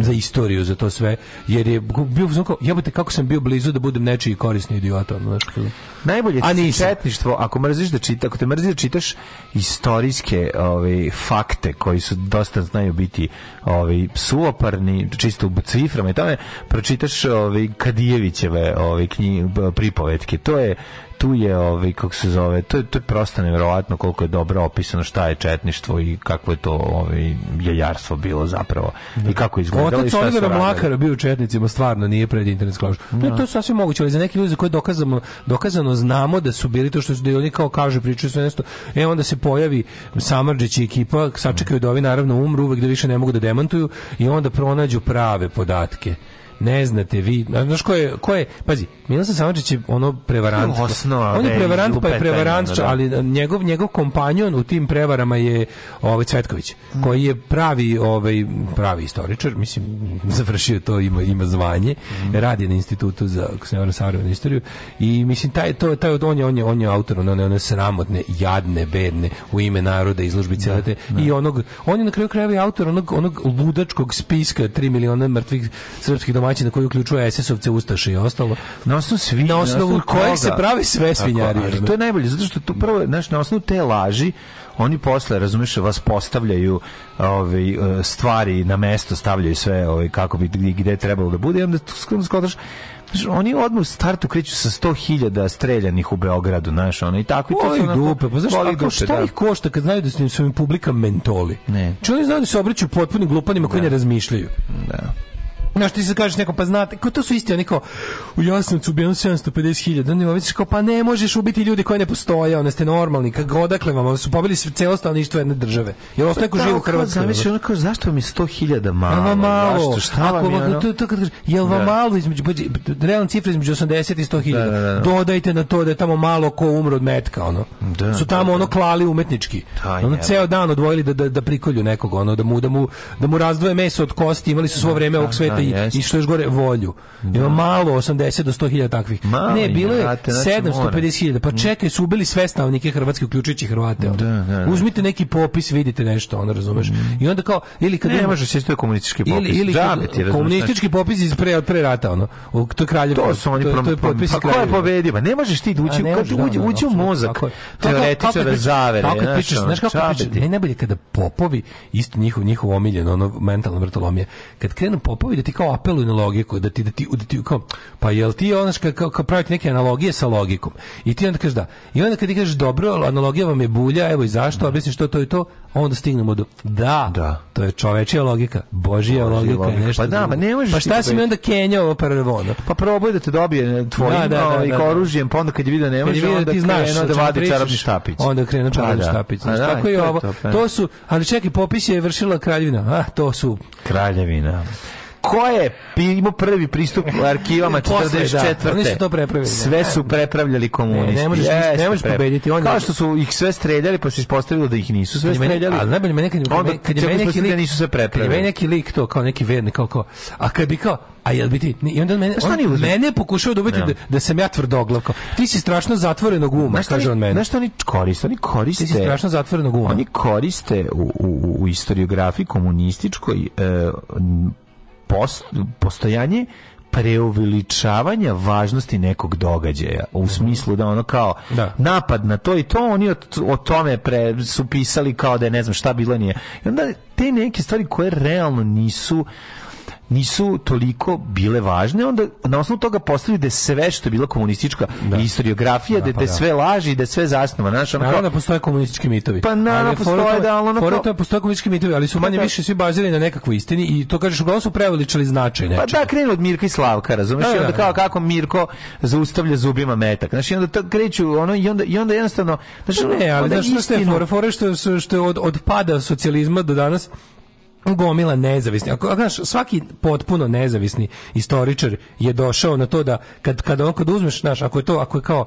Speaker 6: za istoriju, za to sve, jer je bio u fazonu kao, jebote, kako sam bio blizu da budem nečiji korisni idiota. ono, znaš, kao-
Speaker 7: Najbolje
Speaker 6: A
Speaker 7: je
Speaker 6: nisam.
Speaker 7: četništvo, ako mrziš da čita, ako te mrziš da čitaš istorijske ovaj, fakte koji su dosta znaju biti ovaj, suvoparni, čisto u ciframa i tome, pročitaš ovaj, Kadijevićeve ovaj, knji, b- pripovetke. To je tu je ovaj kako se zove to je to je prosto neverovatno koliko je dobro opisano šta je četništvo i kakvo je to ovaj jajarstvo bilo zapravo i kako je izgledalo i
Speaker 6: Otac
Speaker 7: šta su
Speaker 6: Olivera
Speaker 7: radili.
Speaker 6: Mlakara bio u Četnicima, stvarno nije pred internet klaviš. To, je- to je sasvim moguće, ali za neke ljude za koje dokazano, dokazano znamo da su bili to što su da i oni kao kažu, pričaju sve nešto, e onda se pojavi Samardžić i ekipa, sačekaju da ovi naravno umru, uvek da više ne mogu da demantuju i onda pronađu prave podatke. Ne znate vi, a znaš ko je, ko je, pazi, Miloslav Samardžić je ono prevarant.
Speaker 7: To je osnova,
Speaker 6: On je
Speaker 7: ne,
Speaker 6: prevarant, pa je
Speaker 7: lupetanje,
Speaker 6: prevarant,
Speaker 7: ono,
Speaker 6: ča-
Speaker 7: da.
Speaker 6: ali ali njegov njegov kompanjon u tim prevarama je ovaj Cvetković
Speaker 7: Mm.
Speaker 6: koji je pravi ovaj pravi istoričar mislim završio je to ima ima zvanje
Speaker 7: Mm.
Speaker 6: radi na institutu za ako se ne varam, savremenu istoriju i mislim taj to taj on je on je on je autor one one sramotne jadne bedne u ime naroda izložbi cele te i onog on je na kraju krajeva i autor onog onog ludačkog spiska 3 miliona mrtvih srpskih domaćina koji uključuje SS-ovce ustaše i ostalo
Speaker 7: Na osnovu svi,
Speaker 6: Na osnovu kojeg se prave sve svinjarije,
Speaker 7: ali
Speaker 6: ono.
Speaker 7: To je najbolje zato što tu prvo znaš na osnovu te laži oni posle razumeš vas postavljaju ovaj e, stvari na mesto stavljaju sve ovaj kako bi gde- gde je trebalo da bude i onda tu skoro skotaš znaš, oni odmah u startu kreću sa 100.000 streljanih u Beogradu, znaš, ono, i tako. i to
Speaker 6: Boli
Speaker 7: su onako-
Speaker 6: dupe, pa znaš
Speaker 7: Boli
Speaker 6: kako,
Speaker 7: dupe,
Speaker 6: šta
Speaker 7: da.
Speaker 6: ih košta kad znaju da su im svojim publika mentoli?
Speaker 7: Ne.
Speaker 6: Znači oni znaju da se obraćaju potpunim glupanima koji ne razmišljaju.
Speaker 7: Da.
Speaker 6: Znaš, ti se kažeš nekom, pa znate, ko to su isti, oni kao, u Jasenovcu ubijeno 750.000, oni ovdje kao, pa ne možeš ubiti ljudi koji ne postoje, one ste normalni, kako odakle vam, oni su pobili sve celo stanovništvo jedne države. Jel ostaje neko živi u
Speaker 7: Pa Tako,
Speaker 6: Hrvatskoj?
Speaker 7: Zamisli, ono kao, zašto mi je 100.000
Speaker 6: Jel
Speaker 7: malo?
Speaker 6: vam malo?
Speaker 7: Zašto, šta
Speaker 6: Ako
Speaker 7: vam je,
Speaker 6: vam-
Speaker 7: ono?
Speaker 6: to, to kad kažeš, jel vam
Speaker 7: Da.
Speaker 6: malo između, budži- realna cifra između 80 i 100 hiljada.
Speaker 7: Da, da, da.
Speaker 6: Dodajte na to da je tamo malo ko umro od metka, ono.
Speaker 7: Da,
Speaker 6: Su tamo
Speaker 7: da,
Speaker 6: ono klali umetnički.
Speaker 7: Da,
Speaker 6: ono
Speaker 7: jebe.
Speaker 6: ceo dan odvojili da, da, da prikolju nekog, ono, da mu, da mu, da mu razdvoje meso od kosti, imali su svo vreme ovog sveta i,
Speaker 7: jest.
Speaker 6: i što još gore, volju. Ima malo 80 do 100 hiljada takvih.
Speaker 7: Malo
Speaker 6: ne,
Speaker 7: im je,
Speaker 6: bilo je
Speaker 7: brate, znači,
Speaker 6: 750 hiljada. Pa čekaj, su ubili sve stanovnike Hrvatske, uključujući Hrvate. ono.
Speaker 7: da, da.
Speaker 6: Uzmite neki popis, vidite nešto, ono, razumeš. I onda kao, ili kad
Speaker 7: Ne
Speaker 6: imamo-
Speaker 7: može se to je komunistički popis.
Speaker 6: ili ili
Speaker 7: Džabe ti, razumeš, znači-
Speaker 6: komunistički popis iz pre od pre rata ono u to je kraljevo
Speaker 7: To su oni
Speaker 6: to, je- to je
Speaker 7: prom- prom-
Speaker 6: potpis
Speaker 7: Pa ko je
Speaker 6: kraljevina.
Speaker 7: pobedio? Pa ne možeš ti ući,
Speaker 6: A ne
Speaker 7: kad
Speaker 6: može,
Speaker 7: ti
Speaker 6: da,
Speaker 7: uđe,
Speaker 6: da,
Speaker 7: uđe u
Speaker 6: apsolutno,
Speaker 7: mozak
Speaker 6: tako je. Tako- kako
Speaker 7: teoretičara
Speaker 6: pričaš-
Speaker 7: zavere.
Speaker 6: Kako
Speaker 7: znaš,
Speaker 6: pričaš,
Speaker 7: ono,
Speaker 6: znaš kako
Speaker 7: čabe
Speaker 6: pričaš,
Speaker 7: ti.
Speaker 6: ne, najbolje je kada popovi, isto njihov, njihov omiljen, ono mentalno vrtolomije, kad krenu popovi da ti kao apeluju na logiku, da ti, da ti, da ti kao, pa jel ti onaš kao, kao, kao praviti neke analogije sa logikom. I ti onda kažeš da. I onda kad ti kažeš dobro, ali analogija vam je bulja, evo i zašto, objasniš to, to i to, onda stignemo do, da,
Speaker 7: Da.
Speaker 6: to je čovečija logika, božija, logika, je
Speaker 7: logika.
Speaker 6: nešto
Speaker 7: Pa da,
Speaker 6: drugo.
Speaker 7: ma ne možeš
Speaker 6: Pa
Speaker 7: ti
Speaker 6: šta si mi
Speaker 7: pobeći.
Speaker 6: onda Kenja ovo prvo, ono?
Speaker 7: Pa probaj da te dobije tvojima
Speaker 6: Da, da, da,
Speaker 7: i
Speaker 6: da,
Speaker 7: kao
Speaker 6: da.
Speaker 7: oružjem, pa onda kad je vidio ne
Speaker 6: Kad je
Speaker 7: može,
Speaker 6: vidio
Speaker 7: onda
Speaker 6: da ti znaš
Speaker 7: krenuo
Speaker 6: o
Speaker 7: da
Speaker 6: čemu
Speaker 7: vade
Speaker 6: pričaš,
Speaker 7: čarobni štapić.
Speaker 6: Onda krenuo čarobni
Speaker 7: Pa da.
Speaker 6: štapić.
Speaker 7: Pa
Speaker 6: Znaš,
Speaker 7: da,
Speaker 6: tako i
Speaker 7: to je
Speaker 6: ovo.
Speaker 7: to, pa.
Speaker 6: To su, ali čekaj, popis je vršila kraljevina. Ah, to su
Speaker 7: Kraljevina. Ko je pi- imao prvi pristup arhivama
Speaker 6: Posle, da.
Speaker 7: 44.
Speaker 6: Oni su to prepravili.
Speaker 7: Sve su prepravljali komunisti.
Speaker 6: Ne, ne možeš ništa- ne
Speaker 7: Jeste,
Speaker 6: možeš
Speaker 7: pre-
Speaker 6: pobediti, on je-
Speaker 7: Kao što su ih sve streljali, pa se ispostavilo da ih nisu sve
Speaker 6: Kad je meni-
Speaker 7: streljali.
Speaker 6: ali najbolje meni kad, kad,
Speaker 7: Onda
Speaker 6: je- kad je
Speaker 7: čak
Speaker 6: meni neki
Speaker 7: ispostavili
Speaker 6: lik
Speaker 7: da nisu sve
Speaker 6: Kad je
Speaker 7: prepravili.
Speaker 6: meni neki lik to kao neki verni kao kao a kad bi kao a jel bi ti ni- i onda on mene
Speaker 7: Pa šta oni
Speaker 6: on,
Speaker 7: uzmu?
Speaker 6: mene je pokušao da ubiti da, da sam ja tvrdoglav kao ti si strašno zatvorenog uma
Speaker 7: Znaš šta
Speaker 6: kaže
Speaker 7: oni-
Speaker 6: on meni
Speaker 7: Znaš što oni koriste? Oni koriste...
Speaker 6: ti si strašno zatvorenog uma
Speaker 7: Oni koriste u, u, u historiografiji komunističkoj e, n- post, postojanje preuveličavanja važnosti nekog događaja u smislu da ono kao
Speaker 6: Mhm. Da.
Speaker 7: napad na to i to oni o, o tome pre, su pisali kao da je ne znam šta bilo nije i onda te neke stvari koje realno nisu nisu toliko bile važne, onda na osnovu toga postavljaju da je sve što je bila komunistička historiografija, da, da,
Speaker 6: pa
Speaker 7: je
Speaker 6: da.
Speaker 7: sve laži i da je sve zasnovano. Znaš, ono kao,
Speaker 6: Naravno da postoje komunistički mitovi.
Speaker 7: Pa naravno
Speaker 6: Ali fora u
Speaker 7: postoje,
Speaker 6: tome-
Speaker 7: da, ali ono
Speaker 6: fora u
Speaker 7: kao-
Speaker 6: tome postoje komunistički mitovi, ali su manje
Speaker 7: da.
Speaker 6: više svi bazirani na nekakvoj istini i to kažeš uglavnom su preveličali značaj
Speaker 7: Pa
Speaker 6: nečega.
Speaker 7: da, krenu od Mirka i Slavka, razumeš?
Speaker 6: Da,
Speaker 7: I onda
Speaker 6: da, da.
Speaker 7: kao kako Mirko zaustavlja zubima metak. Znači, onda to kreću, ono, i onda, i onda jednostavno... Znači,
Speaker 6: Pa ne, ali
Speaker 7: onda
Speaker 6: znaš šta ste
Speaker 7: istinu-
Speaker 6: fora, fora je što, su- što je od, od pada socijalizma do danas gomila nezavisni. Ako, ako znaš, svaki potpuno nezavisni istoričar je došao na to da kad, kad, on, kad uzmeš, znaš, ako je to, ako je kao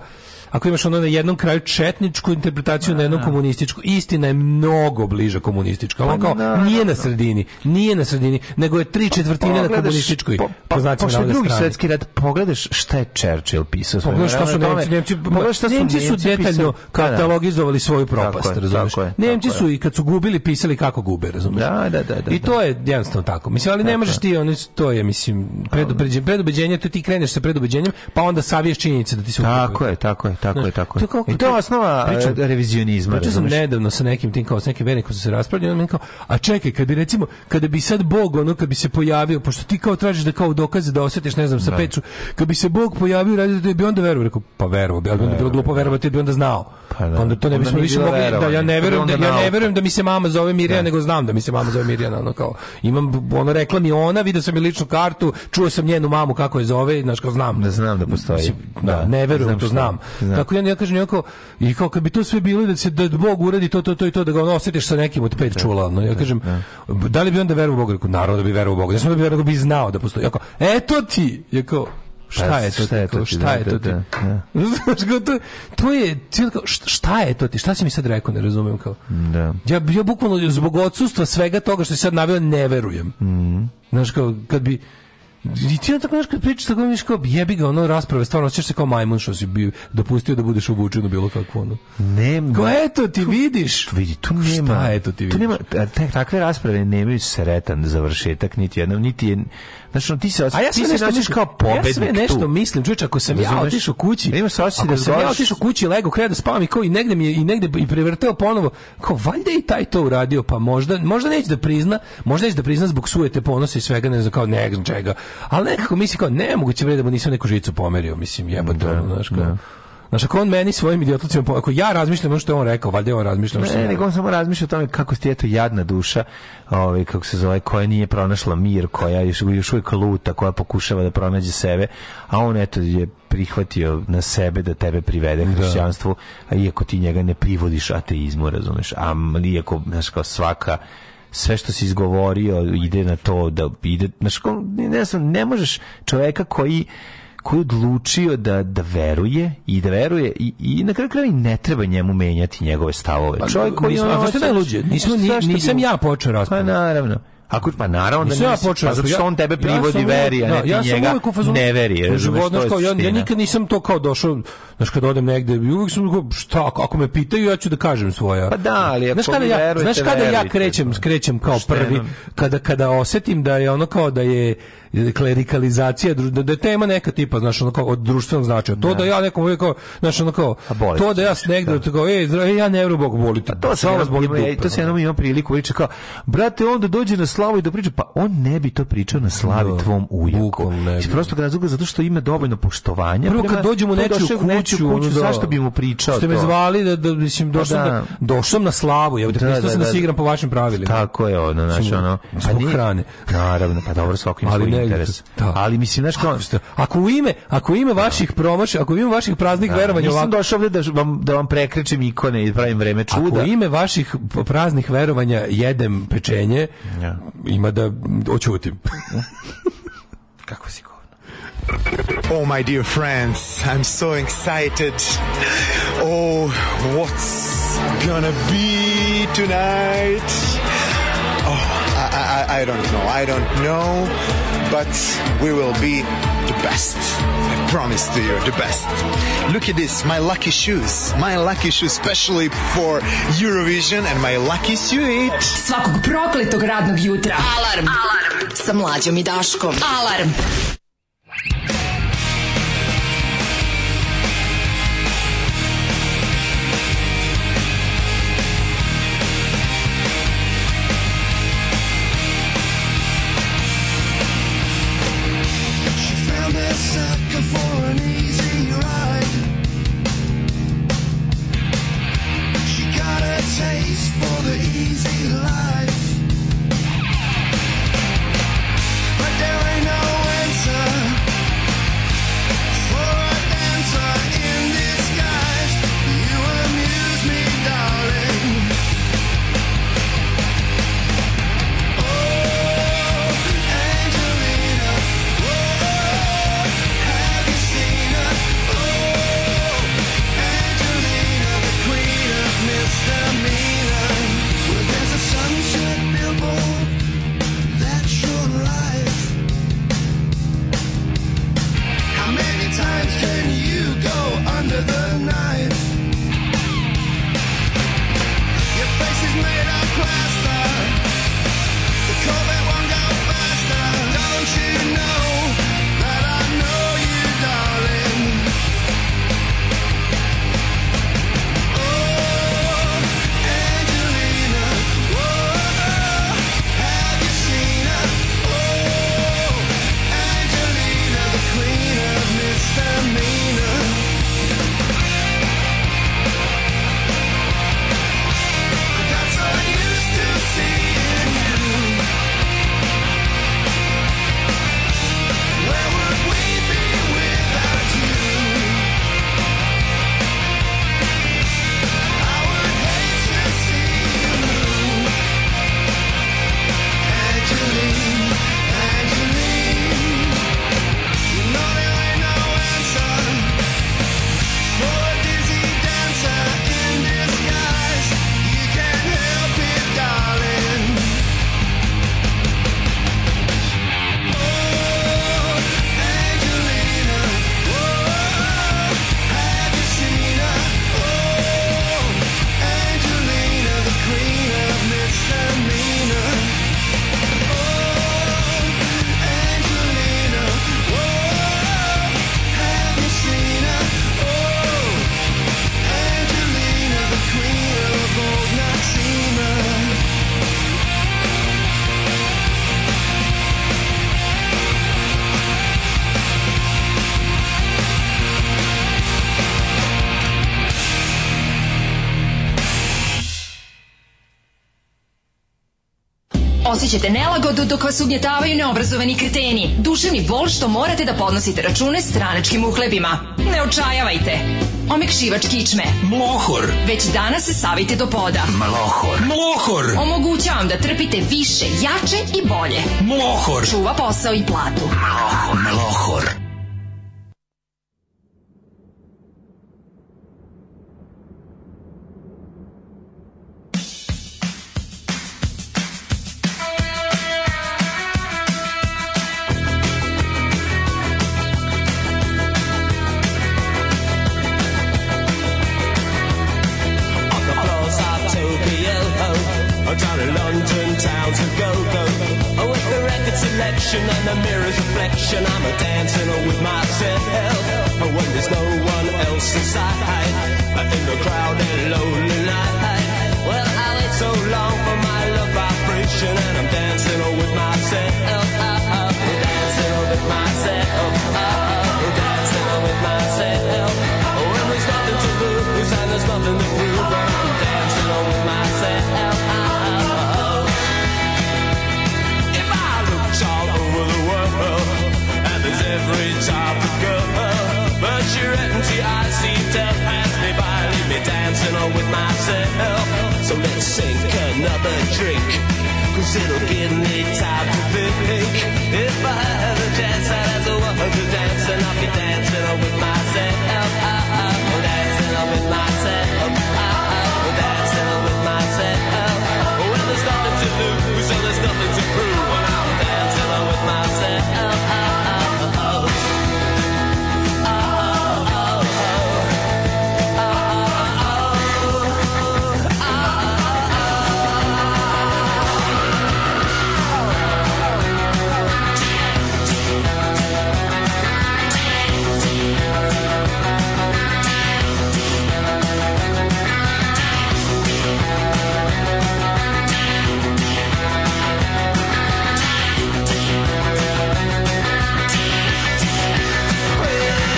Speaker 6: ako imaš ono na jednom kraju četničku interpretaciju, na jednom komunističku, istina je mnogo bliža komunistička.
Speaker 7: Pa
Speaker 6: Ali On kao, nije na sredini, nije na sredini, nego je tri četvrtine na
Speaker 7: pogledaš-
Speaker 6: komunističkoj. znači
Speaker 7: po-
Speaker 6: po
Speaker 7: pa,
Speaker 6: znacima
Speaker 7: pošto je
Speaker 6: navoda
Speaker 7: drugi
Speaker 6: strani.
Speaker 7: svetski rat, pogledaš šta je Churchill pisao. svoje
Speaker 6: Pogledaj šta su
Speaker 7: vremena,
Speaker 6: Nemci,
Speaker 7: tome-
Speaker 6: Nemci,
Speaker 7: pogledaj šta su
Speaker 6: Nemci su
Speaker 7: Nemci
Speaker 6: detaljno
Speaker 7: pisali. Da, da.
Speaker 6: katalogizovali svoju propast,
Speaker 7: Tako je,
Speaker 6: razumeš?
Speaker 7: tako je,
Speaker 6: Nemci
Speaker 7: tako
Speaker 6: su i kad su gubili pisali kako gube, razumeš?
Speaker 7: Da, da, da, da,
Speaker 6: I to je jednostavno tako. Mislim, ali ne možeš ti, oni su- to je, mislim, predubeđenje, predubeđenje, tu ti kreneš sa predubeđenjem, pa onda saviješ činjenice da ti se
Speaker 7: Tako je, tako je, tako je, tako je. I to je osnova
Speaker 6: pričam-
Speaker 7: e, revizionizma,
Speaker 6: Pričao sam
Speaker 7: razumeš?
Speaker 6: nedavno sa nekim tim kao sa nekim vernikom sam se raspravljao, on meni kao, a čekaj, kad bi recimo, kada bi sad Bog ono kad bi se pojavio, pošto ti kao tražiš da kao dokaze da osjetiš, ne znam, sa peču, kad bi se Bog pojavio, radio da bi onda verovao, rekao, pa verovao bi, ali bi onda bilo glupo verovati, jer bi onda znao.
Speaker 7: Pa da.
Speaker 6: Onda to ne
Speaker 7: Onda
Speaker 6: bismo
Speaker 7: nije
Speaker 6: više
Speaker 7: bilo
Speaker 6: mogli, da ja
Speaker 7: verovanja.
Speaker 6: ne
Speaker 7: To bi
Speaker 6: verujem da
Speaker 7: onda
Speaker 6: ja ne
Speaker 7: nauka.
Speaker 6: verujem da mi se mama zove Mirjana, nego znam da mi se mama zove Mirjana, ono kao imam ono rekla mi je ona, video sam je ličnu kartu, čuo sam njenu mamu kako je zove, i, znaš kao znam.
Speaker 7: Da znam da postoji.
Speaker 6: Mislim, Da,
Speaker 7: Da,
Speaker 6: ne verujem,
Speaker 7: znam
Speaker 6: to
Speaker 7: šta.
Speaker 6: znam.
Speaker 7: Znam.
Speaker 6: Tako ja, ja kažem njako, i kao kad bi to sve bilo i da se da Bog uradi to, to, to i to, da ga ono osjetiš sa nekim od pet čula, ono, ja kažem, da li bi onda verovao Bogu? Rekao, naravno da bi verovao Bogu. Ja sam da bi verovao, bi znao da postoji. Ja kao, eto ti! Ja kao, šta
Speaker 7: Pa,
Speaker 6: je to?
Speaker 7: šta je
Speaker 6: ti? Kao,
Speaker 7: to ti,
Speaker 6: Šta
Speaker 7: da,
Speaker 6: je to?
Speaker 7: da,
Speaker 6: ti?
Speaker 7: da, da.
Speaker 6: Znaš, kao to, to je, cijel kao, šta- šta je to ti? Šta si mi sad rekao, ne razumem kao.
Speaker 7: Da.
Speaker 6: Ja, ja bukvalno zbog odsustva svega toga što si sad naveo ne verujem.
Speaker 7: Mhm.
Speaker 6: Znaš, kao, kad bi... I ti onda tako znaš kad pričaš sa kojom viš kao jebi ga ono rasprave, stvarno osjećaš se kao majmun što si bio, dopustio da budeš uvučen u bilo kakvu ono.
Speaker 7: Nema.
Speaker 6: Kao eto ti vidiš.
Speaker 7: Tu vidi, tu nema.
Speaker 6: Šta eto ti vidiš?
Speaker 7: Tu nema, a te, takve rasprave nemaju sretan završetak, niti jednom, niti je... Znaš, ono, ti se,
Speaker 6: A
Speaker 7: osje-
Speaker 6: ja
Speaker 7: ti
Speaker 6: sve
Speaker 7: se
Speaker 6: nešto
Speaker 7: nađeš
Speaker 6: mislim,
Speaker 7: kao pobednik
Speaker 6: Ja sve nešto
Speaker 7: tu.
Speaker 6: mislim, čuče, ako sam ja
Speaker 7: Razumeš?
Speaker 6: otišao kući,
Speaker 7: Imaš se osjećaj
Speaker 6: ako
Speaker 7: da
Speaker 6: sam ja
Speaker 7: odgovaraš-
Speaker 6: otišao kući, lego, krenuo da spavam i kao i negde mi je, i negde i prevrteo ponovo, kao valjda je i taj to uradio, pa možda, možda neće da prizna, možda neće da prizna zbog sujete ponosa i svega, ne znam, kao ne znam čega, ali nekako mislim kao nemoguće bre da mu nisam neku žicu pomerio, mislim, jebote, ono, znaš, kao, Znaš, ako on meni svojim idiotlucima, po- ako ja razmišljam ono što je on rekao, valjda je on razmišljao što
Speaker 7: Ne,
Speaker 6: sam ja
Speaker 7: nego
Speaker 6: rekao.
Speaker 7: on samo razmišlja o tome kako ti eto jadna duša, ovaj kako se zove, koja nije pronašla mir, koja još još uvijek luta, koja pokušava da pronađe sebe, a on eto je prihvatio na sebe da tebe privede hrišćanstvu, a iako ti njega ne privodiš ateizmu, razumeš, a m- iako znaš kao svaka sve što si izgovorio ide na to da ide, znaš, kao, ne, ne, znam, ne možeš čoveka koji koji je odlučio da, da veruje i da veruje i, i na kraju krajeva i ne treba njemu menjati njegove stavove. Pa, čovjek koji
Speaker 6: nismo-
Speaker 7: ono
Speaker 6: a zašto
Speaker 7: hoće-
Speaker 6: najluđe? Nismo ni-
Speaker 7: Zašto bi-
Speaker 6: nisam ja počeo raspravu.
Speaker 7: Pa naravno. Ako pa naravno da
Speaker 6: Nisam ja
Speaker 7: nisi,
Speaker 6: počeo,
Speaker 7: pa zato što
Speaker 6: ja-
Speaker 7: on tebe
Speaker 6: ja
Speaker 7: privodi
Speaker 6: sam
Speaker 7: veri, a
Speaker 6: uvek-
Speaker 7: ne
Speaker 6: da,
Speaker 7: ti
Speaker 6: ja sam
Speaker 7: njega
Speaker 6: uvek u fazonu-
Speaker 7: ne veri.
Speaker 6: u
Speaker 7: razumeš,
Speaker 6: životu,
Speaker 7: to je
Speaker 6: znaš, kao, ja, ja
Speaker 7: suština.
Speaker 6: nikad nisam to kao došao, znaš, kad odem negde, uvijek sam kao, šta, ako- ako me pitaju, ja ću da kažem svoja.
Speaker 7: Pa da, ali
Speaker 6: znaš
Speaker 7: ako
Speaker 6: kada
Speaker 7: vi
Speaker 6: ja,
Speaker 7: verujete,
Speaker 6: znaš kada ja
Speaker 7: verujte. pa
Speaker 6: krećem, krećem kao
Speaker 7: Pošteno.
Speaker 6: prvi, kada, kada osetim da je ono kao da je klerikalizacija, dru- da, da je tema neka tipa, znaš, ono kao od društvenog značaja. To da ja nekom uvijek kao, znaš, ono kao,
Speaker 7: A boli
Speaker 6: to
Speaker 7: te,
Speaker 6: da ja s negde, kao, ej, zdra- ej, ja ne vjerujem Bogu, boli te.
Speaker 7: Pa to se
Speaker 6: Sve vas
Speaker 7: jednom
Speaker 6: boli
Speaker 7: ima,
Speaker 6: dupe, ono.
Speaker 7: to se jednom ima priliku priča kao brate onda dođe na slavu i da priča pa on ne bi to pričao na slavi
Speaker 6: Da,
Speaker 7: tvom ujaku
Speaker 6: bukvalno ne bi.
Speaker 7: iz prostog razloga zato što ima dovoljno poštovanja
Speaker 6: Prvo kad
Speaker 7: prema-
Speaker 6: dođem u
Speaker 7: to je
Speaker 6: nečiju
Speaker 7: došao
Speaker 6: kuću,
Speaker 7: u nečiju
Speaker 6: ono, da.
Speaker 7: zašto bi mu pričao
Speaker 6: Ste me
Speaker 7: to?
Speaker 6: zvali da, da mislim došao
Speaker 7: Pa da.
Speaker 6: da. došao sam na slavu, ja
Speaker 7: Da,
Speaker 6: da, da,
Speaker 7: da,
Speaker 6: sam da,
Speaker 7: da,
Speaker 6: se
Speaker 7: da.
Speaker 6: igram po vašim pravilima.
Speaker 7: Tako je ono, znači
Speaker 6: Zbog-
Speaker 7: ono...
Speaker 6: zbog
Speaker 7: nije-
Speaker 6: hrane.
Speaker 7: Naravno, pa dobro, svako ima
Speaker 6: Ali
Speaker 7: svoj
Speaker 6: ne,
Speaker 7: interes.
Speaker 6: da.
Speaker 7: Ali mislim, znaš kao...
Speaker 6: Ako u ime, ako u ime vaših promaš, ako u ime vaših praznih verovanja
Speaker 7: Nisam
Speaker 6: ovako,
Speaker 7: došao ovde da ž- vam, da vam prekričem ikone i pravim vreme
Speaker 6: ako
Speaker 7: čuda.
Speaker 6: u ime vaših p- praznih verovanja jedem pečenje,
Speaker 7: Ja.
Speaker 6: ima da oćutim.
Speaker 7: Kako si govno?
Speaker 10: Oh, my dear friends, I'm so excited. Oh, what's gonna be tonight? Oh, I, I- I, I don't know. I don't know, but we will be the best. I promise to you, the best. Look at this, my lucky shoes. My lucky shoes, especially for Eurovision, and my lucky suit.
Speaker 5: Svakog prokletog radnog jutra.
Speaker 9: Alarm. Alarm. Sa mlađom i Daškom.
Speaker 5: Alarm.
Speaker 10: She found a sucker for an easy ride. She got a taste for the easy life. But there ain't no answer
Speaker 3: oh,
Speaker 5: osjećate nelagodu dok vas ugnjetavaju neobrazovani kreteni. Duševni bol što morate da podnosite račune stranačkim uhlebima. Ne očajavajte. Omekšivač kičme.
Speaker 11: Mlohor.
Speaker 5: Već danas se savite do poda.
Speaker 11: Mlohor. Mlohor.
Speaker 5: Omogućavam da trpite više, jače i bolje.
Speaker 11: Mlohor.
Speaker 5: Čuva posao i platu.
Speaker 11: Mlohor. Mlohor.
Speaker 3: on the floors of Tokyo Ho, or down in London towns of go-go. Oh, with the record selection and the mirror's reflection, I'm a dancing all with myself. Oh, when there's no one else inside, I in the crowd and lonely night. Well, I wait so long for my love vibration, and I'm dancing all with myself. Oh, oh, dancing all with myself. Oh, oh, dancing all with myself. Oh, when there's nothing to lose and there's nothing to prove, but I'm dancing on with myself. If I looked all over the world and there's every type of girl, but your empty eyes seem to pass me by, leave me dancing on with myself. So let's sink another drink. Cause it'll give me time to think If I had a chance I'd have the world to dance And I'll be dancing on with myself Dancing on with myself Dancing on with myself When there's nothing to lose And there's nothing to prove When I'm dancing on with myself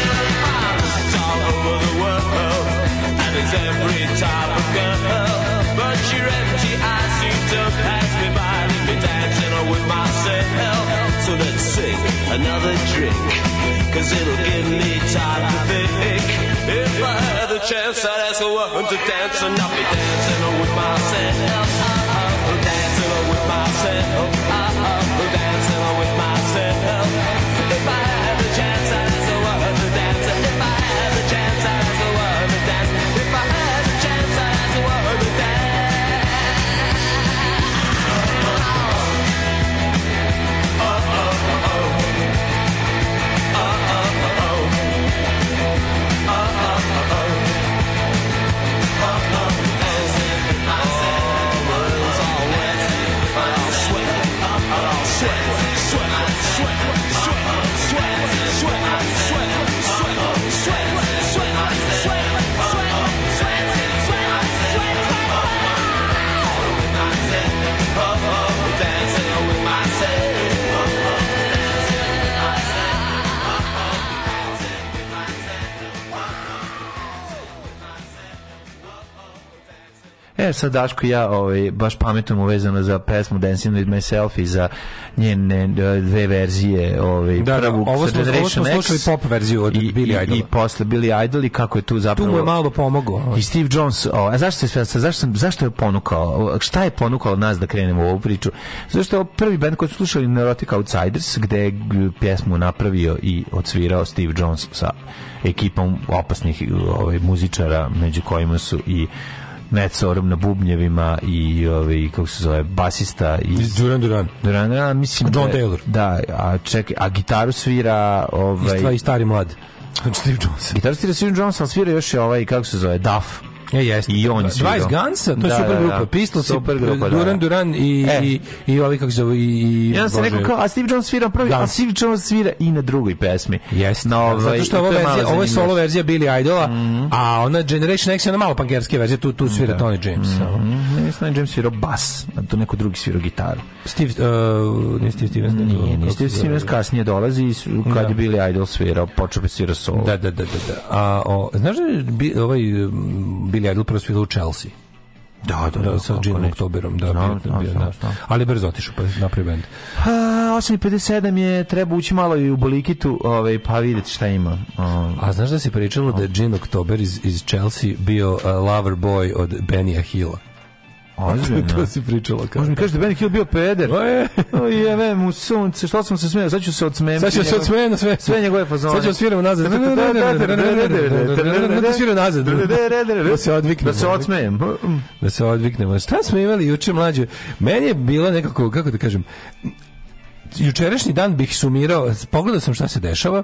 Speaker 3: all over the world And it's every type of girl But your empty eyes seem to pass me by Leave me dancing on with myself So let's sing another drink Cause it'll give me time to think If I had the chance I'd ask a woman to dance And I'll be dancing on with myself Oh, Dancing on with myself Oh, Dancing on with myself If I had the chance I'd ask a woman to dance And if I had the chance I'd ask a woman to dance If I had the chance I'd ask a woman to dance
Speaker 7: E, sad Daško i ja ovaj, baš pametujemo vezano za pesmu Dancing with Myself i za njene e, dve verzije. Ovaj,
Speaker 6: Da, da,
Speaker 7: prvu,
Speaker 6: ovo smo-
Speaker 7: Generation
Speaker 6: ovo smo
Speaker 7: X
Speaker 6: slušali pop verziju od
Speaker 7: i,
Speaker 6: Billy
Speaker 7: i-
Speaker 6: Idola.
Speaker 7: I posle Billy Idol i kako je tu zapravo...
Speaker 6: Tu mu je malo pomogao. ovaj.
Speaker 7: I Steve Jones, o, a zašto, se, zašto, sam, zašto je ponukao, šta je ponukao nas da krenemo u ovu priču? Zašto je ovo prvi band koji su slušali Neurotic Outsiders, gde je g- pjesmu napravio i odsvirao Steve Jones sa ekipom opasnih ovaj, muzičara, među kojima su i Ned Sorum na bubnjevima i ovaj, kako se zove, basista i
Speaker 6: Duran Duran.
Speaker 7: Duran Duran, mislim
Speaker 6: John
Speaker 7: da je-
Speaker 6: Taylor.
Speaker 7: Da, a čekaj, a gitaru svira ovaj,
Speaker 6: Istva i stari mlad. Steve Jones.
Speaker 7: Gitaru svira Steve Jones, ali svira još i ovaj, kako se zove, Duff.
Speaker 6: E, jeste.
Speaker 7: I on je svirao.
Speaker 6: Vice Gunsa, to je
Speaker 7: Da,
Speaker 6: super
Speaker 7: da,
Speaker 6: grupa.
Speaker 7: da.
Speaker 6: Pistols, i
Speaker 7: Super grupa, da,
Speaker 6: Duran
Speaker 7: da.
Speaker 6: Duran i,
Speaker 7: E.
Speaker 6: i, i ovi kako se zove, i... i-
Speaker 7: Ja sam
Speaker 6: Bože.
Speaker 7: rekao kao, a Steve Jones svira prvi, a
Speaker 6: Da.
Speaker 7: Steve Jones svira i na drugoj pesmi.
Speaker 6: Jeste.
Speaker 7: Na ovaj,
Speaker 6: Zato što
Speaker 7: i
Speaker 6: ovo,
Speaker 7: to je
Speaker 6: verzija,
Speaker 7: mala
Speaker 6: ovo je solo
Speaker 7: zanimljivost. Mhm.
Speaker 6: verzija Billy Idola, a ona Generation X je ona malo pankerske verzija, tu, tu svira Tony James.
Speaker 7: Mhm. Ne, Steve James svirao bas, a tu neko drugi svirao gitaru.
Speaker 6: Steve, uh, nije Steve Stevens. nego-
Speaker 7: Nije, nije
Speaker 6: kako
Speaker 7: Steve
Speaker 6: se zove?
Speaker 7: Stevens kasnije dolazi, i s- kad
Speaker 6: Da.
Speaker 7: je Billy Idol svirao, počeo bi svira solo.
Speaker 6: Da, da, da, da. da. A, o, znaš da je bi, ovaj mm, Billy Idol prvo svirao u Chelsea?
Speaker 7: Da, da, da,
Speaker 6: sa
Speaker 7: kako
Speaker 6: Gin
Speaker 7: ne.
Speaker 6: Oktoberom, da.
Speaker 7: Znam,
Speaker 6: bio-
Speaker 7: znam,
Speaker 6: bio,
Speaker 7: znam,
Speaker 6: da.
Speaker 7: znam.
Speaker 6: Ali brzo otišao pa napravio bend.
Speaker 7: A, 8.57 je, treba ući malo i u Bolikitu, ovaj, pa vidjeti šta ima. Um,
Speaker 6: A znaš da se pričalo da je Gin Oktober iz, iz Chelsea bio uh, lover boy od Benija Hilla?
Speaker 7: Ozbiljno?
Speaker 6: to se pričalo kao.
Speaker 7: Može mi kaže da Ben Hill bio peder. O jeve mu sunce, što sam se smejao, sad ću se odsmem.
Speaker 6: Sad ću se odsmejem na sve.
Speaker 7: Sve njegove fazone.
Speaker 6: Sad ću sviramo nazad. Da sviram nazad. Da se odviknemo.
Speaker 7: Da se odsmejem.
Speaker 6: Da se odviknemo. Šta smo imali juče mlađe? Meni je bilo nekako, kako da kažem, jučerašnji dan bih sumirao, pogledao sam šta se dešava,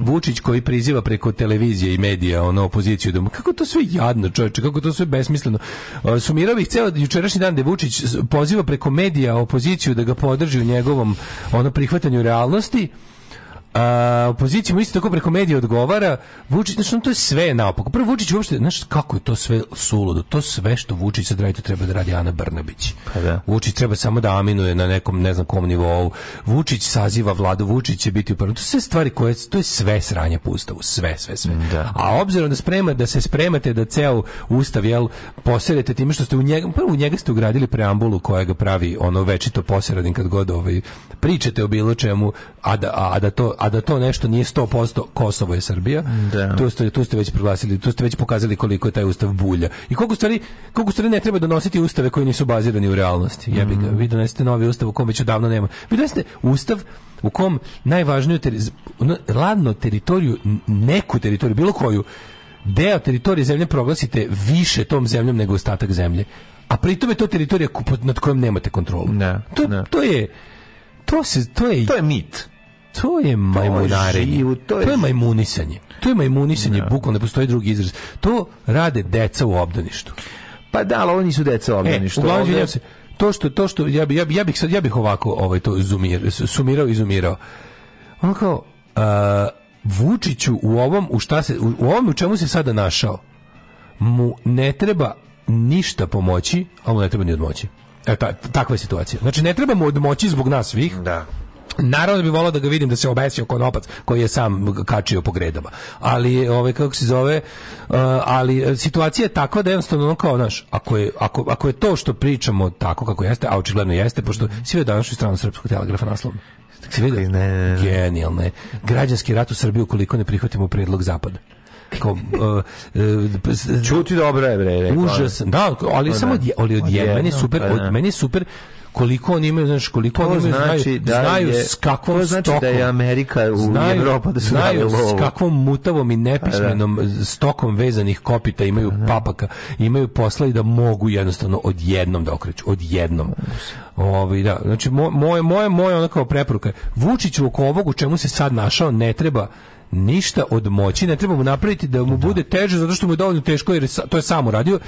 Speaker 6: Vučić koji priziva preko televizije i medija ono opoziciju, da mu, kako to sve jadno čovječe, kako to sve besmisleno. E, Sumirao bih ceo jučerašnji dan da je Vučić s- poziva preko medija opoziciju da ga podrži u njegovom ono prihvatanju realnosti, a, opoziciji mu isto tako preko medija odgovara Vučić, znači on to je sve naopako prvo Vučić uopšte, znaš kako je to sve suludo to sve što Vučić sad radi to treba da radi Ana Brnabić
Speaker 7: Pa da.
Speaker 6: Vučić treba samo da aminuje na nekom ne znam kom nivou. Vučić saziva vladu, Vučić će biti u prvom. To su sve stvari koje, to je sve sranje po ustavu, sve, sve, sve.
Speaker 7: Da.
Speaker 6: A obzirom da, sprema, da se spremate da ceo ustav, jel, poserete time što ste u njega, prvo u njega ste ugradili preambulu koja ga pravi ono večito poseranim kad god ovaj, pričate o bilo čemu, a da, a, da to, a da to nešto nije 100% Kosovo je Srbija,
Speaker 7: Da.
Speaker 6: tu ste, tu ste već proglasili, tu ste već pokazali koliko je taj ustav bulja. I koliko u stvari, koliko u stvari ne treba donositi ustave koji nisu bazirani u realnosti. Jebi
Speaker 7: Mm.
Speaker 6: ga, vi donesete novi ustav u kom već odavno nema. Vi donesete ustav u kom najvažniju teri- ono, ladno teritoriju, n- neku teritoriju, bilo koju, deo teritorije zemlje proglasite više tom zemljom nego ostatak zemlje. A pritom je to teritorija ko- pod- nad kojom nemate kontrolu.
Speaker 7: Ne,
Speaker 6: to,
Speaker 7: ne.
Speaker 6: to je to se to je
Speaker 7: To je mit.
Speaker 6: to je majmunarenje.
Speaker 7: živo, to
Speaker 6: to,
Speaker 7: je-
Speaker 6: je... majmunisanje. To je majmunisanje, bukvalno ne postoji drugi izraz. To rade deca u obdaništu.
Speaker 7: Pa da, ali ovo nisu deca
Speaker 6: E,
Speaker 7: obdani. što
Speaker 6: uglavnom,
Speaker 7: ovde-
Speaker 6: izvinjavam se, to što, to što, ja, bi, ja, bi, ja bih sad, ja bih ovako ovaj, to zumir, sumirao i zumirao. Ono kao, a, Vučiću u ovom, u, šta se, u, u ovom u čemu se sada našao, mu ne treba ništa pomoći, ali mu ne treba ni odmoći. E, ta, takva je situacija. Znači, ne treba mu odmoći zbog nas svih,
Speaker 7: Da.
Speaker 6: Naravno da bi volao da ga vidim da se obesio kod opac koji je sam kačio po gredama. Ali je, ovaj kako se zove, uh, ali e, situacija je takva da jednostavno ono kao naš, ako je, ako, ako je to što pričamo tako kako jeste, a očigledno jeste, pošto si vidio današnju stranu srpskog telegrafa naslovno. Si vidio?
Speaker 7: Mhm. Ne, ne, ne.
Speaker 6: Genijalno je. Građanski rat u Srbiji ukoliko ne prihvatimo predlog zapada. Kao, uh, uh,
Speaker 7: Čuti dobro je, bre. rekao.
Speaker 6: užasan. Da, ali
Speaker 7: Pa
Speaker 6: samo
Speaker 7: da.
Speaker 6: od, je- ali od,
Speaker 7: Od
Speaker 6: je- meni je
Speaker 7: jednog,
Speaker 6: super,
Speaker 7: pa da.
Speaker 6: od, meni je super koliko oni imaju, znaš, koliko
Speaker 7: To
Speaker 6: oni imaju,
Speaker 7: znači
Speaker 6: znaju,
Speaker 7: da
Speaker 6: znaju
Speaker 7: je-
Speaker 6: s kakvom
Speaker 7: to znači da
Speaker 6: stokom.
Speaker 7: je Amerika u Evropa da su
Speaker 6: znaju
Speaker 7: dali lovu.
Speaker 6: s kakvom mutavom i nepismenom stokom vezanih kopita imaju papaka, imaju posla i da mogu jednostavno odjednom da okreću, odjednom. Ovaj da, znači mo- moje moje moje ona kao preporuka je, Vučiću oko ovog u čemu se sad našao ne treba ništa od moći, ne treba mu napraviti da mu bude teže zato što mu je dovoljno teško jer je sa- to je sam uradio.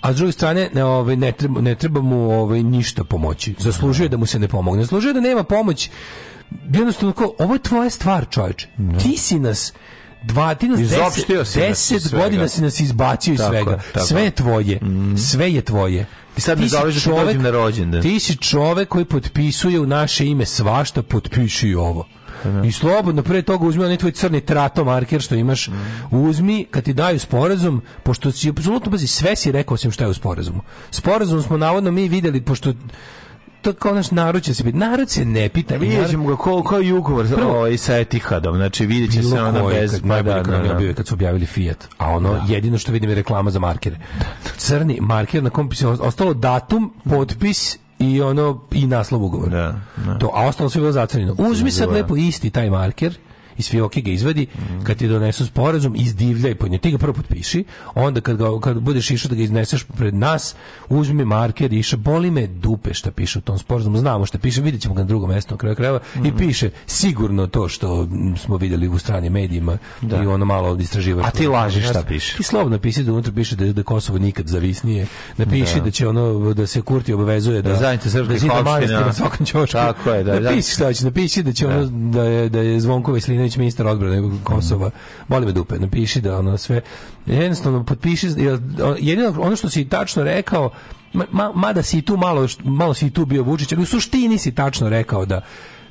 Speaker 6: A s druge strane, ne, ovaj, ne, treba, ne treba mu ovaj, ništa pomoći. Zaslužuje da mu se ne pomogne. Zaslužuje da nema pomoć jednostavno kao, ovo je tvoja stvar, čovječe. Ti si nas dva, ti nas
Speaker 7: Izopštio
Speaker 6: deset,
Speaker 7: si nas iz
Speaker 6: deset
Speaker 7: svega.
Speaker 6: godina si nas izbacio iz
Speaker 7: Tako je,
Speaker 6: svega.
Speaker 7: tako
Speaker 6: Sve
Speaker 7: je. Mhm.
Speaker 6: je tvoje. Sve je tvoje.
Speaker 7: I sad me
Speaker 6: Ti si
Speaker 7: zoveš da ti
Speaker 6: čovek-
Speaker 7: dođem na rođendan.
Speaker 6: Ti si čovek koji potpisuje u naše ime svašta, potpiši i ovo. I slobodno pre toga uzmi onaj tvoj crni trato marker što imaš,
Speaker 7: Mhm.
Speaker 6: uzmi kad ti daju sporazum, pošto si apsolutno pazi, sve si rekao osim šta je u sporazumu. Sporazum smo navodno mi videli pošto to kao naš narod će se biti. Narod se ne pita. i
Speaker 7: E, Vidjet
Speaker 6: narod-
Speaker 7: ćemo ga ko, kao i ugovor
Speaker 6: Prvo-
Speaker 7: ovaj, sa Etihadom. Znači, vidjet će
Speaker 6: bilo
Speaker 7: se ona
Speaker 6: koji,
Speaker 7: bez...
Speaker 6: kad, najbolje kad nam je
Speaker 7: da.
Speaker 6: objavio kad su objavili Fiat, a ono jedino što vidim je reklama za markere. Crni marker na kom je ostalo datum, potpis i ono i naslov ugovora.
Speaker 7: Da, da.
Speaker 6: To, a ostalo sve je bilo zacrnjeno. Uzmi sad lepo isti taj marker iz fioke ga izvadi,
Speaker 7: Mhm.
Speaker 6: kad ti donesu sporazum, izdivljaj po njoj, ti ga prvo potpiši, onda kad, ga, kad budeš išao da ga izneseš pred nas, uzmi marker i iša, boli me dupe šta piše u tom sporazumu, znamo šta piše, vidjet ćemo ga na drugom mjestu na kraju krajeva, i
Speaker 7: Mhm.
Speaker 6: piše sigurno to što m, smo vidjeli u stranim medijima i ono malo od istraživačkog-
Speaker 7: A ti laži šta piše.
Speaker 6: ti slobodno pisi da unutra piše da je da Kosovo nikad zavisnije. Napiši da, će ono da se Kurti obavezuje da
Speaker 7: Da zajednice srpskih
Speaker 6: da zida
Speaker 7: opština.
Speaker 6: manastir na svakom ćošku.
Speaker 7: Tako je, da, zajednice-
Speaker 6: Napiši šta hoćeš, napiši da će ono da je da je Zvonko Veselinović ministar odbrane Kosova. Boli me dupe, napiši da ono sve jednostavno potpiši jer jedino ono što si tačno rekao ma- ma- mada si i tu malo, malo si i tu bio Vučić, ali u suštini si tačno rekao da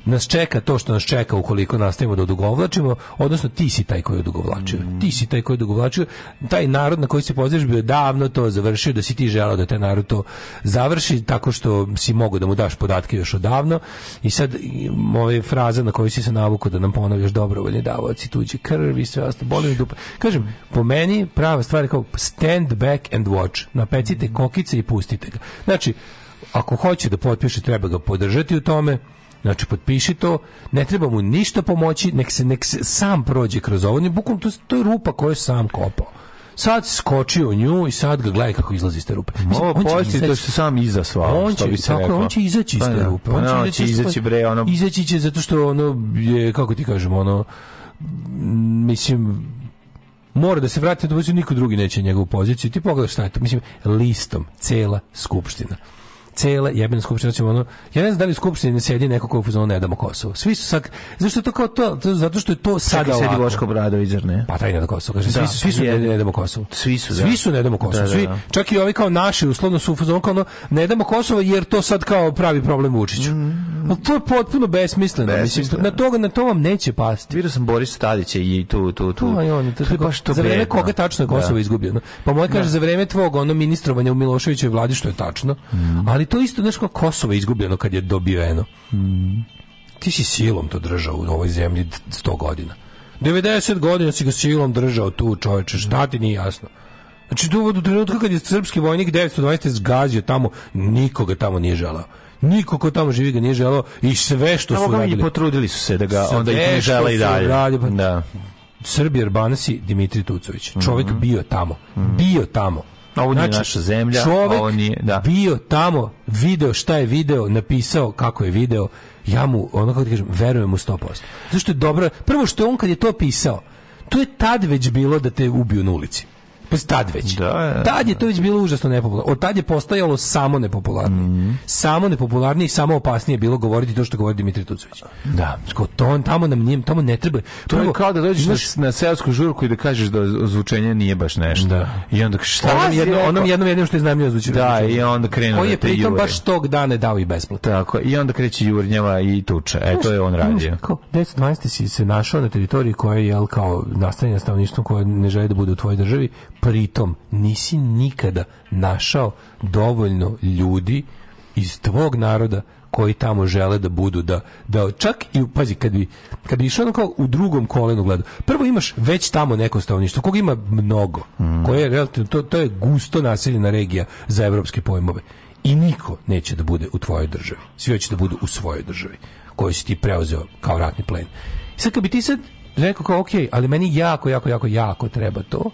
Speaker 6: nas čeka to što nas čeka ukoliko nastavimo da odugovlačimo, odnosno ti si taj koji je odugovlačio. Ti si taj koji je odugovlačio. Taj narod na koji se pozivaš bio je davno to završio, da si ti želao da taj narod to završi tako što si mogao da mu daš podatke još odavno. I sad i, ove fraza na koju si se navukao da nam ponavljaš dobrovoljni davaoci tuđe krvi i sve ostalo, boli me dupa. Kažem, po meni prava stvar je kao stand back and watch. Napecite kokice i pustite ga. Znači, ako hoće da potpiše, treba ga podržati u tome. Znači, potpiši to, ne treba mu ništa pomoći, nek se, nek se sam prođe kroz ovo. On je bukvalno, to, to je rupa koju je sam kopao. Sad skočio u nju i sad ga gledaj kako izlazi iz te rupe. Mislim,
Speaker 7: Ovo
Speaker 6: on će
Speaker 7: poslije to
Speaker 6: izaći-
Speaker 7: što sam izasvao,
Speaker 6: Pa on
Speaker 7: što
Speaker 6: će,
Speaker 7: bi se
Speaker 6: tako je,
Speaker 7: reklo.
Speaker 6: on će izaći iz
Speaker 7: Pa
Speaker 6: te
Speaker 7: da.
Speaker 6: rupe.
Speaker 7: Pa da, On će izaći, bre, ono,
Speaker 6: Izaći će zato što ono je, kako ti kažem, ono, m, mislim, mora da se vrati da vozi, niko drugi neće njegovu poziciju. Ti pogledaš šta je to, mislim, listom, cela skupština cela jebena skupština ćemo ono ja ne znam da li u skupštini ne sjedi neko ko je u fazonu ne damo Kosovo svi su sad zašto je to kao to, to zato što je to sada
Speaker 7: Čekaj, sedi
Speaker 6: ovako.
Speaker 7: Boško Bradović, zar ne?
Speaker 6: Pa taj ne da Kosovo, kaže,
Speaker 7: Da,
Speaker 6: svi su, svi su ne,
Speaker 7: je-
Speaker 6: ne damo Kosovo.
Speaker 7: Svi su, da.
Speaker 6: Svi su ne damo Kosovo.
Speaker 7: Da, da,
Speaker 6: Svi,
Speaker 7: da.
Speaker 6: čak i ovi kao naši, uslovno su u fazonu kao ono, ne damo Kosovo jer to sad kao pravi problem Vučiću. Ali to je potpuno besmisleno.
Speaker 7: Mm,
Speaker 6: Mislim,
Speaker 7: Besmisleno.
Speaker 6: na, toga, na to vam neće pasti.
Speaker 7: Vidio sam Boris Tadića Pa, i tu, tu, tu.
Speaker 6: Aj, on, to,
Speaker 7: je baš to
Speaker 6: za vreme
Speaker 7: bedno.
Speaker 6: koga tačno je Kosovo
Speaker 7: Da.
Speaker 6: izgubio. no? Pa moj kaže za vreme tvog ono ministrovanja u Miloševićevoj vladi što je tačno,
Speaker 7: Mm.
Speaker 6: ali to isto nešto kao Kosovo je izgubljeno kad je dobio eno.
Speaker 7: Mm.
Speaker 6: Ti si silom to držao u ovoj zemlji d- 100 godina. 90 godina si ga silom držao tu, čoveče, šta ti nije jasno? Znači, do do trenutka kad je srpski vojnik 920 zgazio tamo, nikoga tamo nije želao. Niko ko tamo živi ga nije želao i sve što
Speaker 7: Samo
Speaker 6: su
Speaker 7: ga
Speaker 6: radili.
Speaker 7: i potrudili su se da ga onda i
Speaker 6: Sve
Speaker 7: ne žele i
Speaker 6: što su
Speaker 7: dalje.
Speaker 6: uradili, pa-
Speaker 7: Da.
Speaker 6: Srbije Urbanasi Dimitri Tucović. Čovjek bio tamo. Bio tamo.
Speaker 7: Mhm.
Speaker 6: Znači,
Speaker 7: Ovo nije naša zemlja,
Speaker 6: Čovjek
Speaker 7: ovo nije- da.
Speaker 6: bio tamo, video šta je video, napisao kako je video. Ja mu, ono kako ti kažem, verujem mu 100%. Zašto je dobro? Prvo što je on kad je to pisao, to je tad već bilo da te ubiju na ulici. Pa tad već.
Speaker 7: Da, da,
Speaker 6: Tad je to već bilo užasno nepopularno. Od tad je postajalo samo nepopularnije.
Speaker 7: Mhm.
Speaker 6: Samo nepopularnije i samo opasnije je bilo govoriti to što govori Dimitri Tucović.
Speaker 7: Da.
Speaker 6: Kao to on tamo nam nije, tamo ne treba.
Speaker 7: To je
Speaker 6: Prvo,
Speaker 7: kao da dođeš
Speaker 6: znaš,
Speaker 7: na, na seosku žurku i da kažeš da zvučenje nije baš nešto. I onda kažeš, šta
Speaker 6: Onom
Speaker 7: si
Speaker 6: jednom,
Speaker 7: rekao?
Speaker 6: onom jednom jedinom što je znamio zvuči.
Speaker 7: Da, i onda krenu
Speaker 6: Koji
Speaker 7: da
Speaker 6: je
Speaker 7: te
Speaker 6: pritom
Speaker 7: jure.
Speaker 6: baš tog dana dao i besplatno.
Speaker 7: Tako, i onda kreće jurnjava i tuča. E, to je on radio.
Speaker 6: Kao, 1912. si se našao na teritoriji koja je, jel, kao nastanjena stanovništvom koja ne želi da bude u tvojoj državi, pritom nisi nikada našao dovoljno ljudi iz tvog naroda koji tamo žele da budu da da čak i pazi kad bi kad bi išao ono kao u drugom kolenu gledao prvo imaš već tamo neko stanovništvo koga ima mnogo
Speaker 7: Mm.
Speaker 6: koje je relativno to, to je gusto naseljena regija za evropske pojmove i niko neće da bude u tvojoj državi svi hoće da budu u svojoj državi koju si ti preuzeo kao ratni plen. I sad kad bi ti sad rekao kao, ok, ali meni jako, jako, jako, jako treba to,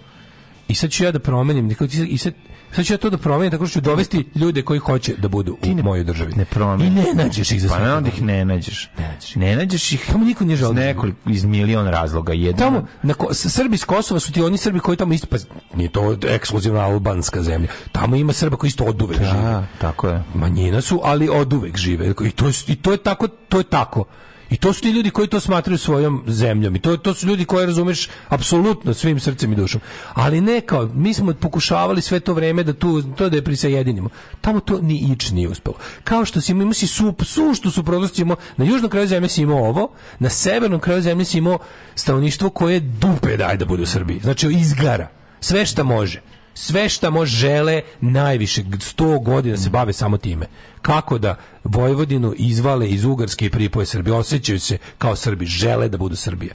Speaker 6: i sad ću ja da promenim, i sad- i sad, sad ću ja to da promenim, tako što ću dovesti ljude koji hoće da budu u mojoj državi.
Speaker 7: Ne promeni.
Speaker 6: I ne nađeš ih za
Speaker 7: Pa
Speaker 6: sve.
Speaker 7: ne, onda ih ne nađeš. Ne nađeš, ih.
Speaker 6: Tamo niko nije želeo
Speaker 7: Iz
Speaker 6: da-
Speaker 7: nekoliko, iz milion razloga. Jedno,
Speaker 6: Tamo, na ko, s- Srbi iz Kosova su ti oni Srbi koji tamo isto, pa nije to ekskluzivna albanska zemlja. Tamo ima Srba koji isto oduvek žive.
Speaker 7: Da, tako je.
Speaker 6: manjina su, ali oduvek žive. I to, je, I to je tako, to je tako. I to su ti ljudi koji to smatraju svojom zemljom. I to, to su ljudi koje razumeš apsolutno svim srcem i dušom. Ali ne kao, mi smo pokušavali sve to vreme da tu, to da je prisajedinimo. Tamo to ni ič nije uspelo. Kao što si imao, imao si sup, suštu suprotnost, si imao- na južnom kraju zemlje si imao ovo, na severnom kraju zemlje si imao stanovništvo koje dupe daje da bude u Srbiji. Znači, izgara. Sve šta može sve šta može žele najviše 100 godina se bave samo time kako da Vojvodinu izvale iz Ugarske i pripoje Srbije osjećaju se kao Srbi, žele da budu Srbija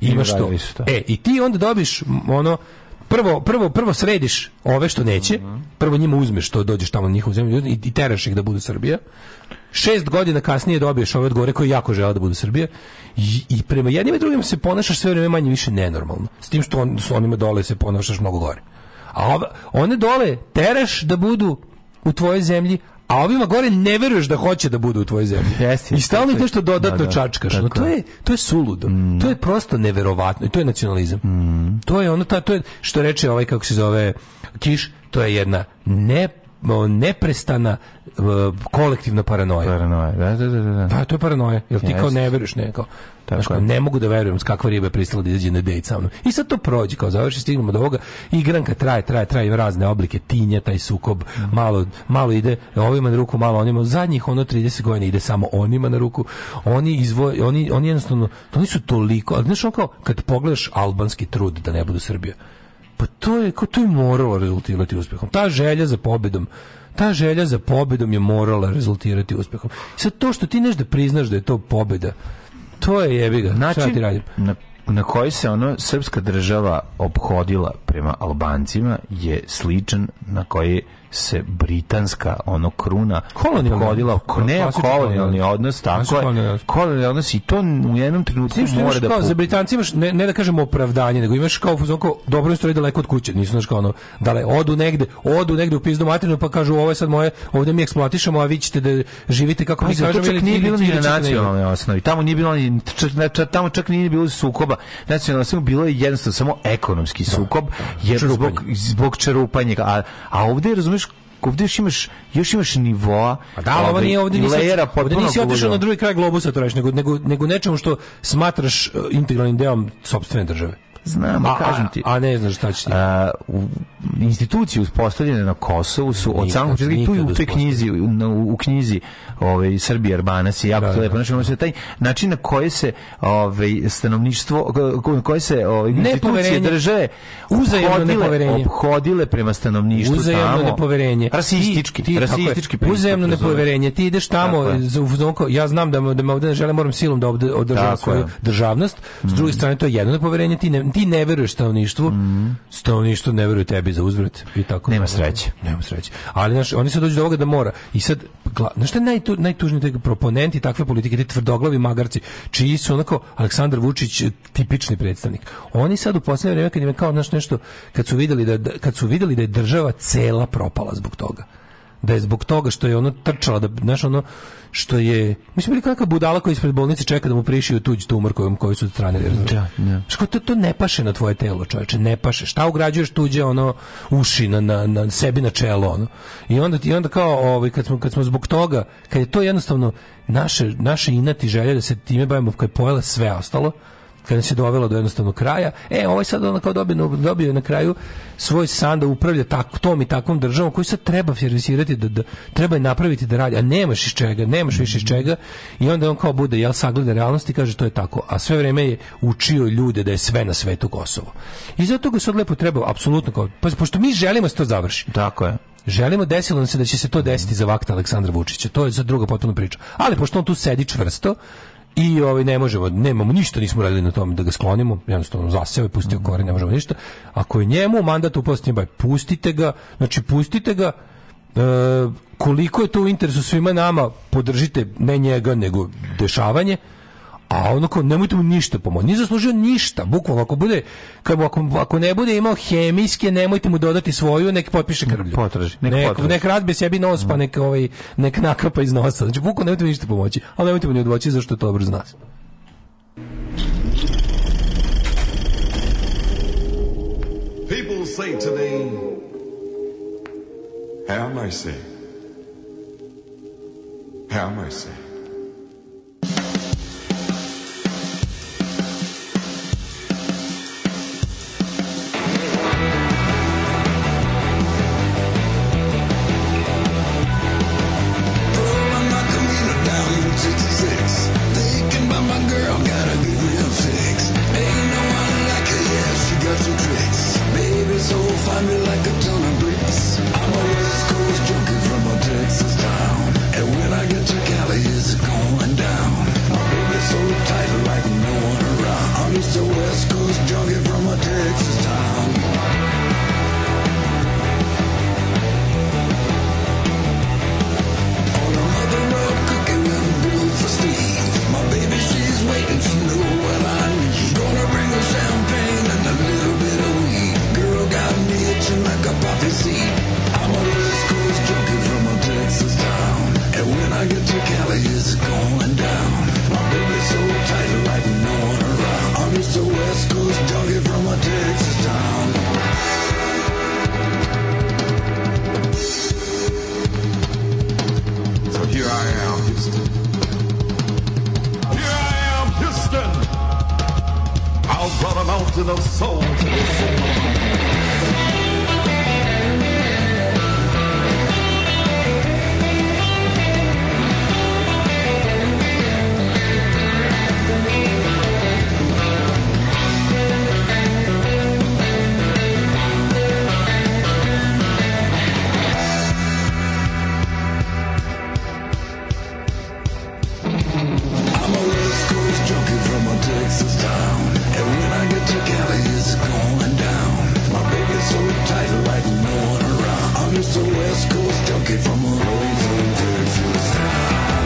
Speaker 6: ima što
Speaker 7: radili su to.
Speaker 6: e, i ti onda dobiš m, ono prvo, prvo, prvo središ ove što neće
Speaker 7: Mhm.
Speaker 6: prvo njima uzmeš to, dođeš tamo na njihovu zemlju i, i teraš ih da budu Srbija šest godina kasnije dobiješ ove odgovore koji jako žele da budu Srbije i, i prema jednim i drugim se ponašaš sve vreme manje više nenormalno s tim što on, s onima dole se ponašaš mnogo gore a ove, one dole teraš da budu u tvojoj zemlji a ovima gore ne veruješ da hoće da budu u tvojoj zemlji.
Speaker 7: Jeste,
Speaker 6: I stalno ih
Speaker 7: jeste.
Speaker 6: nešto dodatno
Speaker 7: Da, da.
Speaker 6: čačkaš. No, Ono, to,
Speaker 7: Tako je. Mm.
Speaker 6: je, to je suludo. To je prosto neverovatno i to je nacionalizam. To je ono ta to je što reče ovaj kako se zove Kiš, to je jedna ne o, neprestana o, kolektivna paranoja.
Speaker 7: Paranoja, da, da, da. da.
Speaker 6: Da, to je paranoja, jer ti kao
Speaker 7: Jeste.
Speaker 6: ne veruješ ne, kao, znaš, kao, ne mogu da verujem s kakva riba je pristala da izađe na dejt sa mnom. I sad to prođe, kao završi, stignemo do ovoga, igranka traje, traje, traje, ima razne oblike, tinja, taj sukob, malo, malo ide ovima na ruku, malo onima, zadnjih ono 30 godina ide samo onima na ruku, oni, izvoj, oni, oni jednostavno, oni su toliko, ali znaš, ono kao, kad pogledaš albanski trud da ne budu Srbija, pa to je, kao, to je moralo rezultirati uspehom. Ta želja za pobedom, ta želja za pobedom je morala rezultirati uspehom. Sad to što ti neš da priznaš da je to pobeda, to je jebi ga. Znači, ti radim?
Speaker 7: na, na koji se ono srpska država obhodila prema Albancima je sličan na koji se britanska ono kruna
Speaker 6: Kolonijalni
Speaker 7: obhodila
Speaker 6: odnos.
Speaker 7: ne
Speaker 6: Klasični kolonijalni
Speaker 7: kolonijalni odnos tako
Speaker 6: Klasični kolonijalni
Speaker 7: je
Speaker 6: odnos.
Speaker 7: kolonijalni odnos i to u jednom trenutku
Speaker 6: Tim što imaš
Speaker 7: mora da
Speaker 6: kao,
Speaker 7: pu-
Speaker 6: za Britanci imaš, ne, ne da kažemo opravdanje, nego imaš kao fuzon kao, dobro je stoji daleko od kuće, nisu znaš kao ono, dale, odu negde, odu negde u pizdu materinu, pa kažu, ovo je sad moje, ovdje mi eksploatišemo, a vi ćete da živite kako mi
Speaker 7: Pazi,
Speaker 6: kažemo.
Speaker 7: to Pa čak
Speaker 6: ili-
Speaker 7: nije
Speaker 6: ili-
Speaker 7: bilo ni
Speaker 6: ili
Speaker 7: na
Speaker 6: ćete negde.
Speaker 7: nacionalnoj osnovi. Tamo nije bilo ni čak, čak- tamo čak nije bilo sukoba. Nacionalna osnova bilo je jednostavno samo ekonomski sukob jer
Speaker 6: Čerupanje.
Speaker 7: zbog zbog čerupanja. A a ovdje razumeš ovdje još imaš još imaš nivoa.
Speaker 6: Pa da, ali ovo
Speaker 7: ovaj,
Speaker 6: nije ovdje
Speaker 7: i
Speaker 6: nisi,
Speaker 7: lejera
Speaker 6: ovdje
Speaker 7: potpuno
Speaker 6: nisi otišao
Speaker 7: ludilo.
Speaker 6: na drugi kraj globusa, to radiš, nego, nego, nego nečemu što smatraš e, integralnim delom sopstvene države.
Speaker 7: Znam,
Speaker 6: a,
Speaker 7: kažem ti.
Speaker 6: A, a ne znaš šta će ti.
Speaker 7: A, u- institucije uspostavljene na Kosovu su od
Speaker 6: Nikad,
Speaker 7: samog početka i tu i u
Speaker 6: nikad
Speaker 7: toj
Speaker 6: uspostavljene.
Speaker 7: knjizi u, na- u knjizi ovaj Srbije Arbana se jako
Speaker 6: Da,
Speaker 7: to lepo
Speaker 6: da.
Speaker 7: znači ono se taj način na koji se ovaj stanovništvo ko- na koji se ovaj institucije
Speaker 6: Nepoverenje.
Speaker 7: države
Speaker 6: Uzajamno
Speaker 7: ophodile-
Speaker 6: nepoverenje.
Speaker 7: ophodile prema stanovništvu
Speaker 6: uzajamno
Speaker 7: tamo.
Speaker 6: nepoverenje.
Speaker 7: rasistički
Speaker 6: Ti- ti- tako je,
Speaker 7: rasistički pristup,
Speaker 6: Uzajamno
Speaker 7: razumeš.
Speaker 6: nepoverenje. Ti ideš tamo
Speaker 7: Tako je.
Speaker 6: za u fazonu kao, ja znam da me, da me ovde ne žele, moram silom da ovde održavam
Speaker 7: Tako
Speaker 6: svoju
Speaker 7: je. Mm.
Speaker 6: državnost. S druge strane to je jedno nepoverenje, ti ne, ti ne veruješ stanovništvu.
Speaker 7: Mm.
Speaker 6: Stanovništvo ne veruje tebi za uzvrat i tako.
Speaker 7: Nema sreće.
Speaker 6: Nema sreće. Ali znaš, oni se dođu do ovoga da mora. I sad gla, znaš šta je najtu, najtužniji taj proponenti takve politike, ti tvrdoglavi magarci, čiji su onako Aleksandar Vučić eh, tipični predstavnik. Oni sad u posljednje vrijeme kad im je kao znaš, nešto kad su vidjeli da, da- kad su vidjeli da je država cela propala zbog toga da je zbog toga što je ono trčala da znaš ono što je mi smo bili kakva budala koja ispred bolnice čeka da mu prišiju tuđ tumor kojom koji su stranili da, Što to, to ne paše na tvoje telo, čoveče, ne paše. Šta ugrađuješ tuđe ono uši na, na, na sebi na čelo ono. I onda ti onda kao ovaj kad smo kad smo zbog toga, kad je to jednostavno naše naše inati želje da se time bavimo, kad je pojela sve ostalo, kad nas je dovelo do jednostavnog kraja, e, ovaj sad ono kao dobio, dobio je na kraju svoj san da upravlja tako, tom i takvom državom koju sad treba servisirati, da, da, treba je napraviti da radi, a nemaš iz čega, nemaš više iz čega i onda on kao bude, jel, sagleda realnost i kaže to je tako, a sve vreme je učio ljude da je sve na svetu Kosovo. I zato ga sad lepo treba, apsolutno, kao, pa, pošto mi želimo da se to završi,
Speaker 7: Tako je.
Speaker 6: Želimo desilo nam se da će se to desiti za vakta Aleksandra Vučića. To je za druga potpuno priča. Ali pošto on tu sedi čvrsto i ovaj ne možemo, nemamo ništa, nismo radili na tome da ga sklonimo, jednostavno zaseo je, pustio koren, ne možemo ništa. Ako je njemu mandat upao s njim, baj, pustite ga, znači pustite ga, e, koliko je to u interesu svima nama, podržite ne njega, nego dešavanje, a ono kao nemojte mu ništa pomoći. Nije zaslužio ništa, bukvalno ako bude kad mu- ako, ako ne bude imao hemijske, nemojte mu dodati svoju, nek potpiše krvlju.
Speaker 7: Potraži, nek potraži.
Speaker 6: nek razbije sebi nos, pa nek, ovaj, nek nakapa iz nosa. Znači, bukvalno nemojte mu ništa pomoći, ali nemojte mu ni odvoći, zašto je to dobro za nas.
Speaker 12: People say to me, Have mercy. Have mercy.
Speaker 3: Pulling my commuter down Route 66. Thinking about my girl, gotta get me a fix. Ain't no one like her, yeah, she got some tricks. Baby, so find me like a ton of bricks. I'm a West Coast junkie from a Texas town. And when I get to Cali, it's
Speaker 12: love to the soul to the
Speaker 11: I'm a West Coast junkie from a Texas town. And when I get to Cali, it's going down. My baby's so tight, like no one around. I'm just a West Coast junkie from a Houston, Texas town.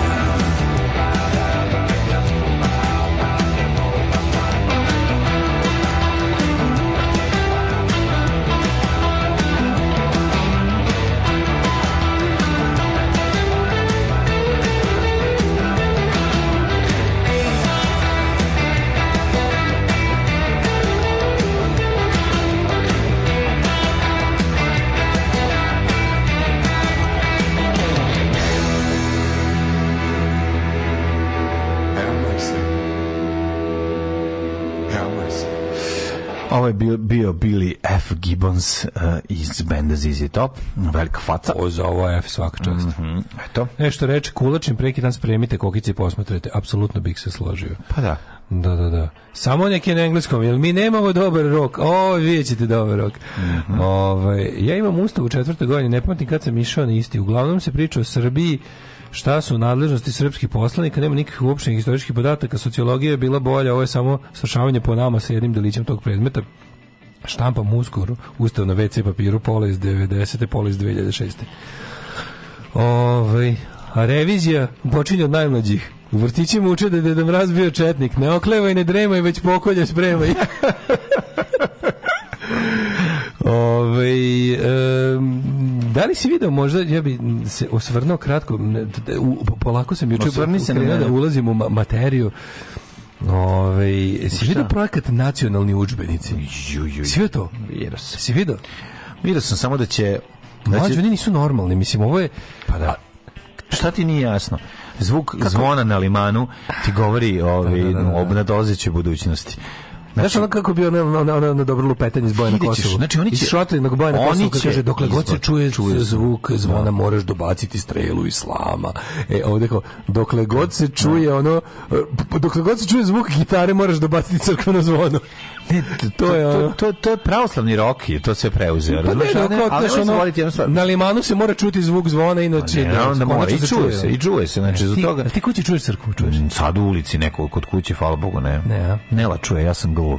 Speaker 12: Have mercy. Have mercy.
Speaker 7: Ovo je bio, bio Billy F. Gibbons uh, iz benda ZZ Top. Velika faca. Mhm,
Speaker 6: O, za ovo F svaka čast.
Speaker 7: Eto.
Speaker 6: Nešto Mm. E, reče, kulačim preki dan spremite kokice i posmatrajte. Apsolutno bih se složio.
Speaker 7: Pa da.
Speaker 6: Da, da, da. Samo neki na engleskom, jer mi nemamo dobar rok. O, vidjet ćete dobar rok. Ovaj, ja imam ustav u četvrtoj godini, ne pamtim kad sam išao na isti. Uglavnom se priča o Srbiji, šta su nadležnosti srpskih poslanika, nema nikakvih uopštenih historičkih podataka, sociologija je bila bolja, ovo je samo slušavanje po nama sa jednim delićem tog predmeta. Štampam uskoro, ustav na WC papiru, pola iz 90. pola iz 2006. Ovaj, a revizija počinje od najmlađih. U vrtićima uče da je Deda Mraz bio četnik. Ne oklevaj, ne dremaj, već pokolje spremaj. Ove, Ovaj, da li si video možda, ja bi se osvrnuo kratko, ne, d- d- u, po- polako sam juče
Speaker 7: Osvrni se na
Speaker 6: krenuo
Speaker 7: mene.
Speaker 6: da ulazim u ma- materiju. Ove, si
Speaker 7: Šta?
Speaker 6: vidio projekat nacionalni udžbenici? Si vidio to?
Speaker 7: Vidio sam.
Speaker 6: Si vidio?
Speaker 7: Vidio sam samo da će... Da
Speaker 6: Mlađi,
Speaker 7: će
Speaker 6: oni nisu normalni, mislim, ovo je...
Speaker 7: Znači- pa da. Šta ti nije jasno? Zvuk zvona na limanu ti govori o ovaj,
Speaker 6: da, da, da.
Speaker 7: obnadozećoj budućnosti.
Speaker 6: Znaš ono kako bi ono, ono, ono, ono dobro lupetanje s boja na
Speaker 7: Ide ćeš,
Speaker 6: Kosovu?
Speaker 7: znači oni će-
Speaker 6: I šrotling boja na
Speaker 7: oni
Speaker 6: Kosovu kad
Speaker 7: će
Speaker 6: kaže, dokle god se
Speaker 7: izvod-
Speaker 6: čuje,
Speaker 7: čuje
Speaker 6: zvuk zvona, moraš dobaciti strelu i slama. E, ovdje kao, dokle god se čuje ono, e, dokle god se čuje zvuk gitare, moraš dobaciti crkveno zvono.
Speaker 7: Ne, to, to,
Speaker 6: je ono-
Speaker 7: to, to, to je pravoslavni rok i to sve preuzeo.
Speaker 6: Pa ne,
Speaker 7: razumeš?
Speaker 6: dok
Speaker 7: Ali-
Speaker 6: god,
Speaker 7: ali
Speaker 6: znaš,
Speaker 7: moram
Speaker 6: ono,
Speaker 7: zavoliti jednu stvar. Pa
Speaker 6: na limanu se mora čuti zvuk zvona, inače...
Speaker 7: Ne, naravno da mora,
Speaker 6: Znači, konačno
Speaker 7: i čuje se, i čuje se, znači,
Speaker 6: E,
Speaker 7: za
Speaker 6: ti-
Speaker 7: toga-
Speaker 6: a Ti kući čuješ crkvu, čuješ?
Speaker 7: Sad u ulici neko kod kuće, hvala Bogu, ne.
Speaker 6: Ne, a?
Speaker 7: Nela čuje, ja sam gluv.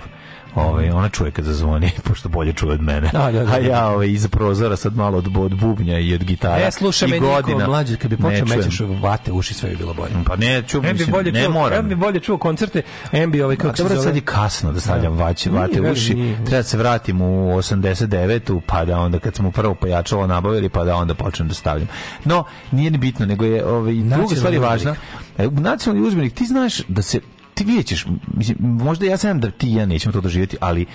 Speaker 7: Ove, ona čuje kad zazvoni, pošto bolje čuje od mene.
Speaker 6: A, da, da, da.
Speaker 7: ja ove, iza prozora sad malo od, od bubnja i od gitara.
Speaker 6: E, slušaj
Speaker 7: i
Speaker 6: me,
Speaker 7: godina.
Speaker 6: Niko, mlađe, kad bi
Speaker 7: Ne
Speaker 6: počeo
Speaker 7: čujem.
Speaker 6: mećeš vate, uši sve bi bilo bolje.
Speaker 7: Pa ne, ču,
Speaker 6: Em bi
Speaker 7: mislim,
Speaker 6: bolje
Speaker 7: ne
Speaker 6: čuo,
Speaker 7: moram.
Speaker 6: em bi bolje čuo koncerte, em bi ovaj
Speaker 7: A
Speaker 6: kako se
Speaker 7: dobro,
Speaker 6: zove.
Speaker 7: sad je kasno da stavljam vaće, vate u
Speaker 6: veli,
Speaker 7: uši.
Speaker 6: nije.
Speaker 7: Treba da se vratim u 89-u, pa da onda kad smo prvo pojačalo nabavili, pa da onda počnem da stavljam. No, nije ni bitno, nego je ovaj, druga
Speaker 6: Nacionalni
Speaker 7: stvar je
Speaker 6: udžbenik.
Speaker 7: važna. E, Nacionalni uzbenik, ti znaš da se, ti vidjet ćeš, mislim, možda ja znam da ti i ja nećemo to doživjeti, ali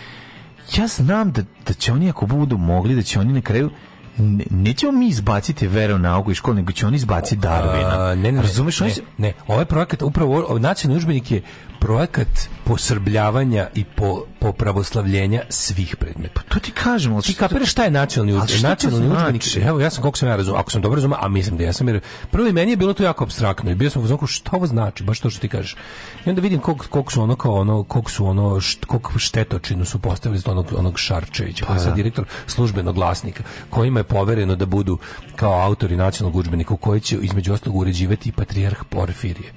Speaker 7: ja znam da, da će oni ako budu mogli, da će oni na kraju ne- nećemo mi izbaciti veronauku iz škole, nego će oni izbaciti Darwina.
Speaker 6: A, ne, ne, ne,
Speaker 7: Razumeš?
Speaker 6: ne,
Speaker 7: Oni se-
Speaker 6: ne, ovaj projekat, upravo ovaj nacionalni udžbenik je projekat posrbljavanja i po, popravoslavljenja svih predmeta.
Speaker 7: To ti kažemo.
Speaker 6: Ti kapiraš šta je nacionalni
Speaker 7: Ali
Speaker 6: udžbenik?
Speaker 7: šta to
Speaker 6: Nacionalni
Speaker 7: znači?
Speaker 6: udžbenik, evo ja sam koliko sam ja razumio, ako sam dobro razumio, a mislim da jesam, jer prvo i meni je bilo to jako apstraktno i bio sam u fazonu kao, šta ovo znači, baš to što ti kažeš. I onda vidim koliko koliko su ono kao ono, koliko su ono, št, koliko štetočinu su postavili za onog, onog
Speaker 7: Pa
Speaker 6: Šarčevića, koji je sad direktor službenog glasnika, kojima je povereno da budu kao autori nacionalnog udžbenika, u koji će između ostalog uređivati i patrijarh Porfirije.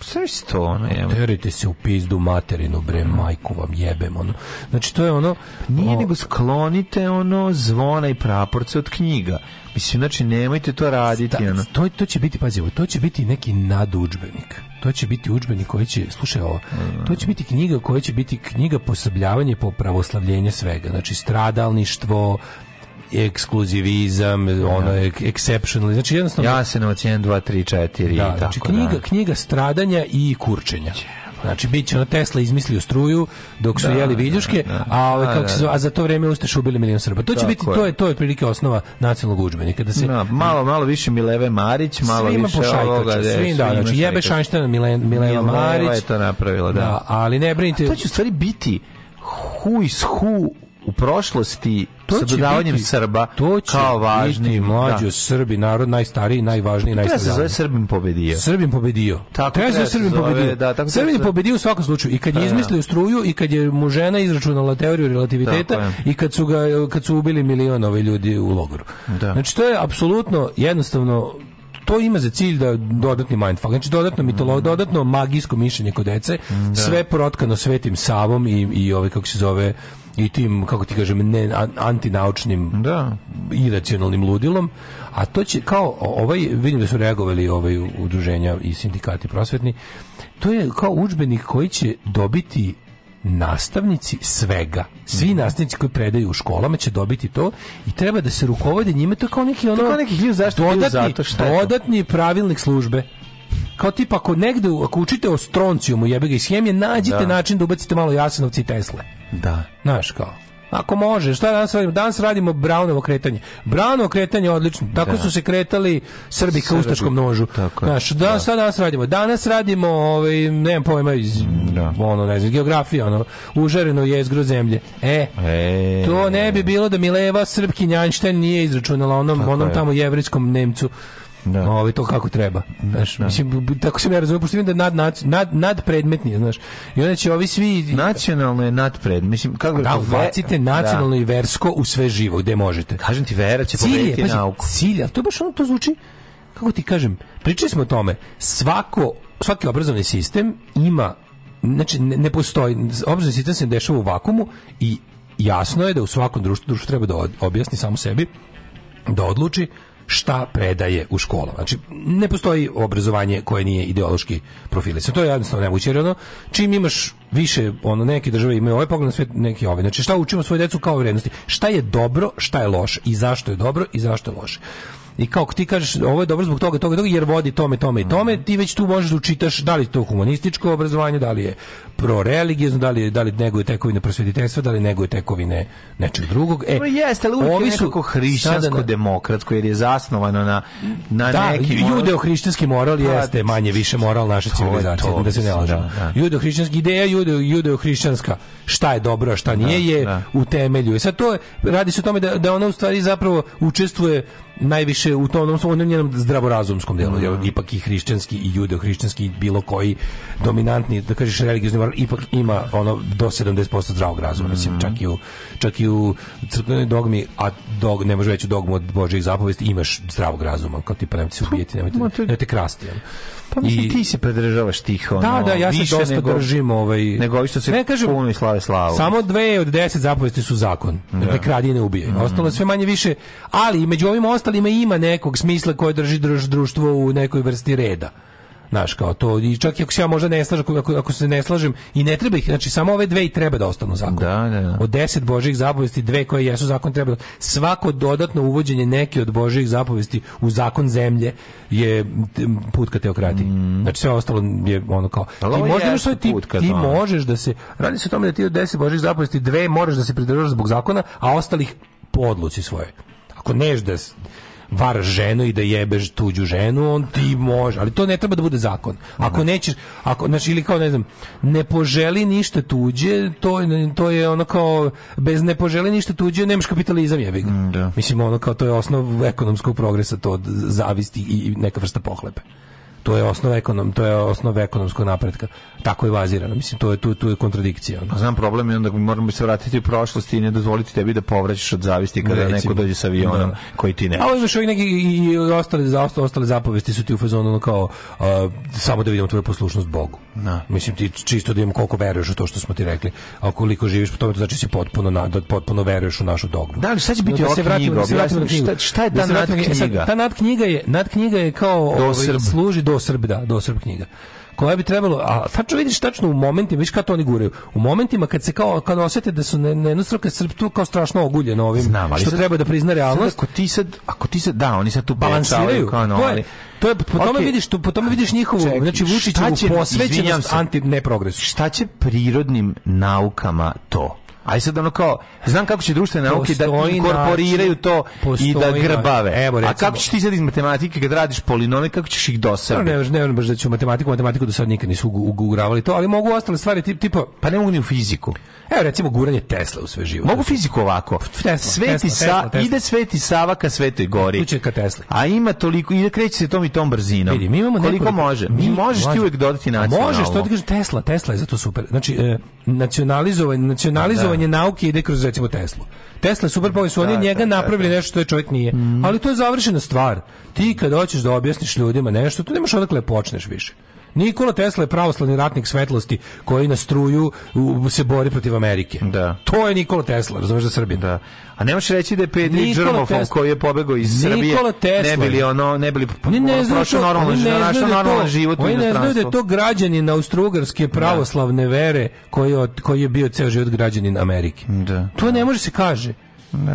Speaker 7: Sve si to, ono, jema.
Speaker 6: Terite se u pizdu materinu, bre, majku vam jebem, ono. Znači, to je ono...
Speaker 7: Pa Nije
Speaker 6: o-
Speaker 7: nego sklonite ono zvona i praporce od knjiga. Mislim, znači nemojte to raditi.
Speaker 6: Ta-
Speaker 7: ono.
Speaker 6: to, to će biti, pazi, ovo, to će biti neki nadudžbenik. To će biti udžbenik koji će, slušaj ovo, to će biti knjiga koja će biti knjiga posrbljavanja i popravoslavljenja svega. Znači, stradalništvo, ekskluzivizam, ono, ek- exceptional, znači jednostavno...
Speaker 7: Jasenovac 1, 2, 3, 4
Speaker 6: Da,
Speaker 7: i
Speaker 6: znači
Speaker 7: tako
Speaker 6: knjiga,
Speaker 7: da.
Speaker 6: knjiga stradanja i kurčenja. Znači, bit će ono Tesla izmislio struju dok su jeli viljuške, a, ove,
Speaker 7: Da,
Speaker 6: kako
Speaker 7: da,
Speaker 6: se zove, a za to vreme ustaše ubili milion Srba. To će
Speaker 7: Tako
Speaker 6: biti,
Speaker 7: je.
Speaker 6: to je, to je otprilike osnova nacionalnog udžbenika. Da se,
Speaker 7: Na, malo, malo više Mileve Marić, malo
Speaker 6: svima
Speaker 7: više
Speaker 6: pošajkače,
Speaker 7: ovoga. da,
Speaker 6: svim, da,
Speaker 7: svima
Speaker 6: znači jebe
Speaker 7: šajkače.
Speaker 6: Šajnštena, Milena
Speaker 7: Mileva
Speaker 6: Marić.
Speaker 7: je to napravila, da.
Speaker 6: ali ne brinite.
Speaker 7: To će u stvari biti Who is Who u prošlosti
Speaker 6: To
Speaker 7: sa
Speaker 6: će
Speaker 7: dodavanjem
Speaker 6: biti-
Speaker 7: Srba
Speaker 6: to će
Speaker 7: kao
Speaker 6: biti
Speaker 7: važni
Speaker 6: mlađo
Speaker 7: da.
Speaker 6: Srbi narod najstariji najvažniji
Speaker 7: Treba se zove
Speaker 6: najstariji
Speaker 7: Srbim pobedio.
Speaker 6: Srbim pobedio.
Speaker 7: Tako
Speaker 6: Treba se
Speaker 7: treba
Speaker 6: zove
Speaker 7: se
Speaker 6: Srbim
Speaker 7: zove,
Speaker 6: pobedio.
Speaker 7: da, tako
Speaker 6: Srbim
Speaker 7: treba se-
Speaker 6: pobedio u svakom slučaju. I kad
Speaker 7: Da,
Speaker 6: je
Speaker 7: da.
Speaker 6: izmislio struju, i kad je mu žena izračunala teoriju
Speaker 7: Tako
Speaker 6: relativiteta,
Speaker 7: je.
Speaker 6: i kad su, ga, kad su ubili milion ove ljudi u logoru.
Speaker 7: Da.
Speaker 6: Znači, to je apsolutno jednostavno to ima za cilj da dodatni mindfuck, znači dodatno mitolo,
Speaker 7: Mm.
Speaker 6: dodatno magijsko mišljenje kod dece, sve protkano svetim savom i, i ove, kako se zove, i tim, kako ti kažem, ne, an- antinaučnim
Speaker 7: da.
Speaker 6: iracionalnim ludilom, a to će kao o- ovaj vidim da su reagovali ovaj udruženja i sindikati prosvetni. To je kao udžbenik koji će dobiti nastavnici svega. Svi nastavnici koji predaju u školama će dobiti to i treba da se rukovode njime. To je kao neki ono...
Speaker 7: kao neki hiljadu zašto, hiljadu
Speaker 6: dodatni,
Speaker 7: zato, šta je to?
Speaker 6: dodatni pravilnik službe. Kao tipa, ako negde, ako učite o stroncijumu, jebe ga iz hemije, nađite
Speaker 7: Da.
Speaker 6: način da ubacite malo jasenovci i tesle.
Speaker 7: Da.
Speaker 6: Znaš kao. Ako može, šta danas radimo? Danas radimo Brownovo kretanje. Brownovo kretanje je odlično. Tako
Speaker 7: Da.
Speaker 6: su se kretali Srbi ka
Speaker 7: Srbi.
Speaker 6: ustaškom nožu.
Speaker 7: Tako je.
Speaker 6: Znaš, da, šta danas radimo? Danas radimo, ovaj, nemam pojma, iz, ono, ne znam, geografija, ono, užareno jezgro zemlje. E,
Speaker 7: E,
Speaker 6: to ne bi bilo da Mileva Srpkinjanštajn nije izračunala onom, onom
Speaker 7: je.
Speaker 6: tamo jevrijskom Nemcu. Da. Ovaj, to kako treba. Znaš, mislim, b- tako sam ja razumio, pošto vidim da je nad, nad, nad, nadpredmetnije, znaš. I onda će ovi svi
Speaker 7: Nacionalno je nadpred. Mislim, kako
Speaker 6: da,
Speaker 7: ve-
Speaker 6: ubacite nacionalno i versko u sve živo, gde možete.
Speaker 7: Da. Kažem ti, vera će
Speaker 6: Cilj je,
Speaker 7: pobediti
Speaker 6: pazi,
Speaker 7: nauku.
Speaker 6: cilj, ali to baš ono, to zvuči, kako ti kažem, pričali smo o tome, svako, svaki obrazovni sistem ima, znači ne, ne postoji, obrazovni sistem se dešava u vakumu i jasno je da u svakom društvu, društvo treba da od- objasni samo sebi, da odluči šta predaje u školama. Znači, ne postoji obrazovanje koje nije ideološki profilisano. To je jednostavno nemoguće, jer ono, čim imaš više, ono, neke države imaju ovaj pogled na svet, neki ovaj. Znači, šta učimo svoje decu kao vrednosti? Šta je dobro, šta je loše i zašto je dobro i zašto je loše? I kao ti kažeš, ovo je dobro zbog toga, toga, toga, jer vodi tome, tome i
Speaker 7: Mhm.
Speaker 6: tome, ti već tu možeš da učitaš da li je to humanističko obrazovanje, da li je proreligijezno, da li, je, da li neguje tekovine prosvjetiteljstva, da li neguje tekovine nečeg drugog. E,
Speaker 7: No pa jeste, ali uvijek
Speaker 6: ovi
Speaker 7: je
Speaker 6: su
Speaker 7: nekako
Speaker 6: sada na-
Speaker 7: hrišćansko-demokratsko, jer je zasnovano na, na
Speaker 6: da,
Speaker 7: nekim... ono-
Speaker 6: judeo-hrišćanski moral
Speaker 7: Pa,
Speaker 6: jeste manje više moral naše
Speaker 7: je
Speaker 6: civilizacije,
Speaker 7: to,
Speaker 6: znači, da se ne
Speaker 7: mislim,
Speaker 6: lažemo.
Speaker 7: da, da.
Speaker 6: Judeo-hrišćanski ideja, judeo, judeo-hrišćanska, šta je dobro, a šta nije, je
Speaker 7: da.
Speaker 6: u temelju. I sad to je- radi se o tome da, da ona u stvari zapravo učestvuje najviše u tom onom svom onom njenom zdravorazumskom delu, jer ipak i hrišćanski i judeo-hrišćanski i bilo koji dominantni, da kažeš religiozni moral, ipak ima ono do 70% zdravog razuma,
Speaker 7: Mhm.
Speaker 6: mislim, čak i u, čak i u crkvenoj dogmi, a dog, ne može veću dogmu od Božih zapovesti, imaš zdravog razuma, kao tipa nemojte se ubijeti, nemojte,
Speaker 7: Ma to je-
Speaker 6: nemojte krasti. jel?
Speaker 7: Pa mislim,
Speaker 6: I-
Speaker 7: ti se predržavaš tih, ono,
Speaker 6: da, da, ja se
Speaker 7: više
Speaker 6: dosta
Speaker 7: nego,
Speaker 6: držim ovaj
Speaker 7: Nego ovi što se
Speaker 6: ne kažem
Speaker 7: puno i slave slavu.
Speaker 6: Samo dve od deset zapovesti su zakon. Ne kradi i ne ubijaj.
Speaker 7: Mhm.
Speaker 6: Ostalo je sve manje više, ali i među ovim ostalima ima nekog smisla koje drži drž- društvo u nekoj vrsti reda. Znaš, kao to, i čak i ako se ja možda ne slažem, ako, ako se ne slažem, i ne treba ih, znači samo ove dve i treba da ostanu zakon.
Speaker 7: Da, da, da.
Speaker 6: Od deset Božjih zapovesti, dve koje jesu zakon treba. da- Svako dodatno uvođenje neke od Božjih zapovesti u zakon zemlje je t- put ka teokratiji.
Speaker 7: Mhm.
Speaker 6: Znači sve ostalo je ono kao... Ti
Speaker 7: Ali ovo
Speaker 6: možda imaš
Speaker 7: jeste
Speaker 6: svoj tip,
Speaker 7: put ka
Speaker 6: ti
Speaker 7: tome.
Speaker 6: možeš da se... Radi se o tome da ti od deset Božjih zapovesti dve moraš da se pridržavaš zbog zakona, a ostalih po odluci svoje. Ako neš da s- varaš ženu i da jebeš tuđu ženu, on ti može, ali to ne treba da bude zakon. Ako nećeš, ako, znači, ili kao, ne znam, ne poželi ništa tuđe, to, je- to je ono kao, bez ne poželi ništa tuđe, nemaš kapitalizam, jebi ga.
Speaker 7: Mm, da.
Speaker 6: Mislim, ono kao, to je osnov ekonomskog progresa, to od zavisti i neka vrsta pohlepe. To je osnov ekonom, to je osnov ekonomskog napretka. Tako je bazirano. Mislim, to je tu, tu je kontradikcija. ono.
Speaker 7: Pa znam problem i onda moramo se vratiti u prošlost i ne dozvoliti tebi da povraćaš od zavisti kada
Speaker 6: Recimo.
Speaker 7: neko dođe sa avionom
Speaker 6: Da.
Speaker 7: koji ti ne.
Speaker 6: A ovo imaš ovi neki i i ostale, za- osta- ostale zapovesti su ti u fazonu ono kao a, samo da vidimo tvoju poslušnost Bogu.
Speaker 7: Da.
Speaker 6: Mislim ti čisto da imamo koliko veruješ u to što smo ti rekli. A koliko živiš po tome, to znači si potpuno, na, da potpuno veruješ u našu dogmu.
Speaker 7: Da, ali sad će biti
Speaker 6: da
Speaker 7: ova
Speaker 6: se vratimo-
Speaker 7: knjiga,
Speaker 6: da se vratimo na
Speaker 7: objasni,
Speaker 6: knjigu.
Speaker 7: šta- šta je
Speaker 6: Da
Speaker 7: ta
Speaker 6: se vratimo na knjigu.
Speaker 7: nadknjiga?
Speaker 6: E sad, Ta nadknjiga je, nadknjiga je kao ovaj,
Speaker 7: Srb.
Speaker 6: služi do Srb, da, do Srb knjiga koja bi trebalo, a tačno vidiš tačno u momentima, viš kako to oni guraju, u momentima kad se kao, kad osjete da su ne, nejednostruka srpstvo kao strašno oguljeno ovim,
Speaker 7: Znam, ali
Speaker 6: što
Speaker 7: sad-
Speaker 6: treba da prizna
Speaker 7: Sad,
Speaker 6: realnost,
Speaker 7: ako ti sad, ako ti sad, da, oni sad tu
Speaker 6: balansiraju.
Speaker 7: balansiraju kao ono,
Speaker 6: to je,
Speaker 7: ali-
Speaker 6: to je, po tome
Speaker 7: Okej.
Speaker 6: vidiš, tu- po tome vidiš njihovu,
Speaker 7: Čekaj,
Speaker 6: znači
Speaker 7: šta
Speaker 6: Vučićevu
Speaker 7: će- izvinjam
Speaker 6: posvećenost
Speaker 7: se.
Speaker 6: anti neprogresu.
Speaker 7: Šta će prirodnim naukama to? Aj sad ono kao, znam kako će društvene nauke da
Speaker 6: Postoji
Speaker 7: inkorporiraju
Speaker 6: način-
Speaker 7: to i da
Speaker 6: postoji
Speaker 7: grbave.
Speaker 6: način. Evo,
Speaker 7: A
Speaker 6: recimo-
Speaker 7: kako ćeš ti sad iz matematike kad radiš polinome, kako ćeš ih
Speaker 6: Stvarno
Speaker 7: dosebiti?
Speaker 6: ne, ne, ne, baš da ću matematiku, matematiku do sad nikad nisu ugu- ugu- uguravali to, ali mogu ostale stvari tip, tipa...
Speaker 7: Pa ne mogu ni u fiziku.
Speaker 6: Evo recimo guranje Tesla u sve život.
Speaker 7: Mogu fiziku ovako.
Speaker 6: Tesla,
Speaker 7: Sveti
Speaker 6: Tesla,
Speaker 7: sa,
Speaker 6: Tesla, Tesla.
Speaker 7: ide Sveti Sava ka Svetoj gori.
Speaker 6: Tu će ka Tesli.
Speaker 7: A ima toliko, ide kreće se tom i tom brzinom.
Speaker 6: Vidi, mi imamo
Speaker 7: Koliko
Speaker 6: nekoliko-
Speaker 7: može? Mi, možeš ti
Speaker 6: može.
Speaker 7: uvek dodati
Speaker 6: A
Speaker 7: nacionalno.
Speaker 6: Može, što ti kaže Tesla, Tesla je zato super. Znači, e,
Speaker 7: Pa
Speaker 6: nacionalizovanje, nacionalizovanje nauke ide kroz recimo Teslu. Tesla je super pa su oni
Speaker 7: Da,
Speaker 6: od njega
Speaker 7: da, da, Mhm.
Speaker 6: napravili nešto što je čovjek nije. Ali to je završena stvar. Ti kad hoćeš da objasniš ljudima nešto, tu nemaš odakle da počneš više. Nikola Tesla je pravoslavni ratnik svetlosti koji na struju u- se bori protiv Amerike.
Speaker 7: Da.
Speaker 6: To je Nikola Tesla, razumeš da Srbije.
Speaker 7: Da. A ne možeš reći da je Pedri
Speaker 6: Nikola
Speaker 7: Džrmofon
Speaker 6: Tesla.
Speaker 7: koji je pobegao iz
Speaker 6: Nikola
Speaker 7: Srbije.
Speaker 6: Tesla.
Speaker 7: Ne bili ono, ne bili
Speaker 6: Oni ne
Speaker 7: ono,
Speaker 6: znaju
Speaker 7: prošao
Speaker 6: to-
Speaker 7: normalno,
Speaker 6: oni ne
Speaker 7: ži-
Speaker 6: znaju
Speaker 7: našao
Speaker 6: da je to-
Speaker 7: normalan život u
Speaker 6: Oni ne znaju da je
Speaker 7: inostranstvu.
Speaker 6: to građanin austrougarske pravoslavne vere koji je, od- koji je bio ceo život građanin Amerike.
Speaker 7: Da.
Speaker 6: To ne može se kaže.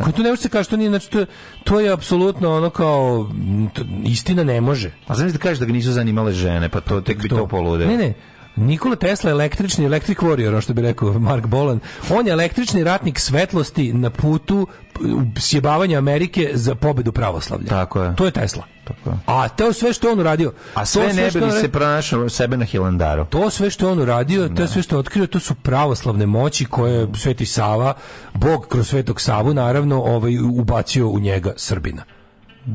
Speaker 6: Ko to ne može se kaže, to nije, znači to, to je apsolutno ono kao m, to- istina ne može.
Speaker 7: A znaš da kažeš da ga nisu zanimale žene, pa to tek bi to polude.
Speaker 6: Ne, ne. Nikola Tesla je električni electric warrior, ono što bi rekao Mark Bolan. On je električni ratnik svetlosti na putu p- sjebavanja Amerike za pobedu pravoslavlja.
Speaker 7: Tako je.
Speaker 6: To je Tesla.
Speaker 7: Tako je.
Speaker 6: A to sve što je on uradio.
Speaker 7: A
Speaker 6: to
Speaker 7: sve ne
Speaker 6: što
Speaker 7: bi li
Speaker 6: je on-
Speaker 7: se pronašao sebe na Hilandaru.
Speaker 6: To sve što je on uradio, to sve što je otkrio, to su pravoslavne moći koje je Sveti Sava, Bog kroz Svetog Savu, naravno, ovaj, ubacio u njega Srbina.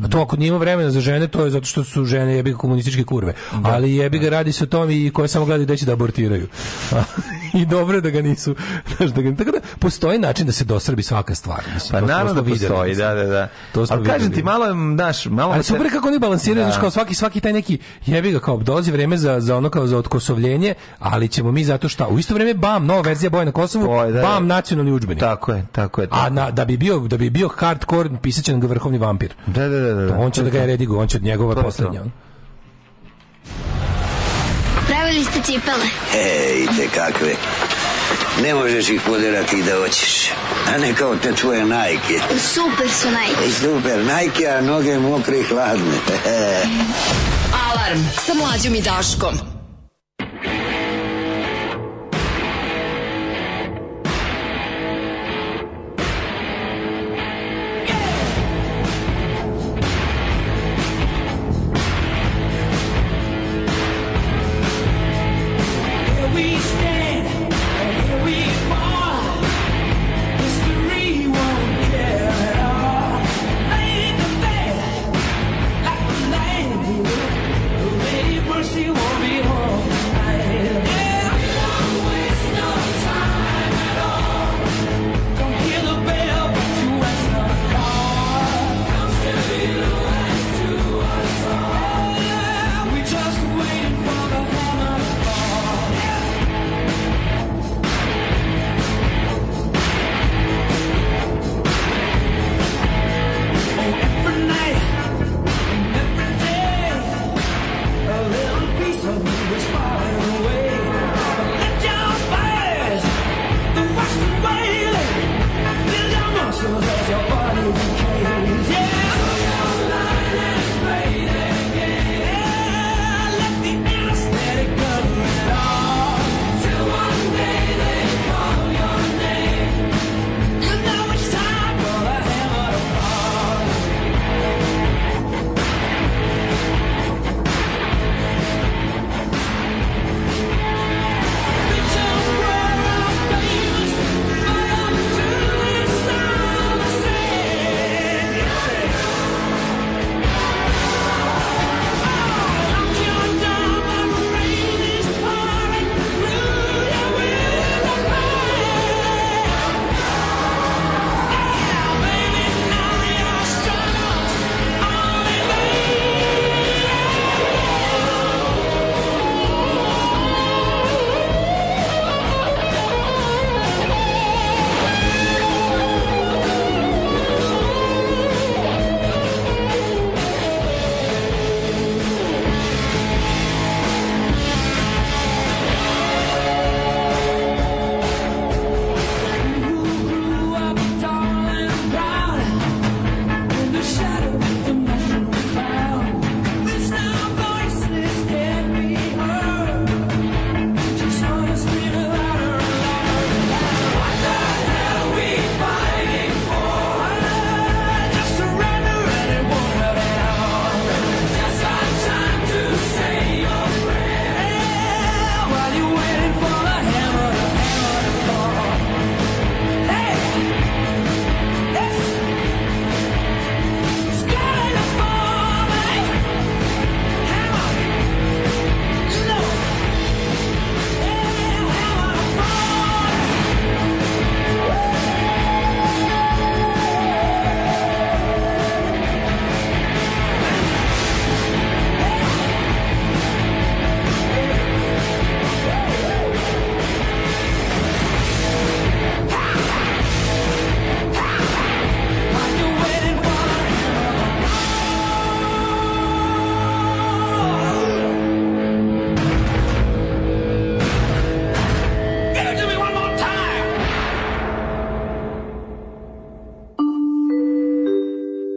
Speaker 6: A to ako nima vremena za žene, to je zato što su žene jebi ga komunističke kurve. Ali jebi ga radi se o tom i koje samo gledaju da će da abortiraju. I dobro je da ga nisu. Znaš, da ga, tako da postoji način da se dosrbi svaka stvar. Mislim,
Speaker 7: Pa
Speaker 6: to- to
Speaker 7: naravno
Speaker 6: smo
Speaker 7: da
Speaker 6: videli,
Speaker 7: postoji,
Speaker 6: mislim.
Speaker 7: da, da, da.
Speaker 6: To smo
Speaker 7: Ali kažem
Speaker 6: videli.
Speaker 7: ti, malo je, znaš, malo...
Speaker 6: Ali
Speaker 7: me
Speaker 6: super
Speaker 7: te-
Speaker 6: kako oni
Speaker 7: Da.
Speaker 6: balansiraju, znači kao svaki svaki taj neki jebi ga kao dolazi vreme za za ono kao za otkosovljenje, ali ćemo mi zato šta u isto vreme bam, nova verzija boja na Kosovu,
Speaker 7: To je, da, da.
Speaker 6: bam nacionalni udžbenik.
Speaker 7: Tako je, tako je.
Speaker 6: A
Speaker 7: Tako.
Speaker 6: na, da bi bio da bi bio hardcore pisaće nam ga vrhovni vampir.
Speaker 7: Da, da, da, da, da.
Speaker 6: On će da ga je redigo, on će od njegova
Speaker 7: To je to.
Speaker 6: poslednja. ono.
Speaker 13: Pravili ste cipele.
Speaker 2: Ej, te kakve. Ne možeš ih poderati da hoćeš. A ne kao te tvoje najke.
Speaker 13: Super su najbolji.
Speaker 2: I super, najke, a noge mokre i hladne.
Speaker 5: Alarm sa mlađom i Daškom.
Speaker 3: Here we stand, and here we are. History won't care at all. Laid the bed, like the land. The mercy won't be home.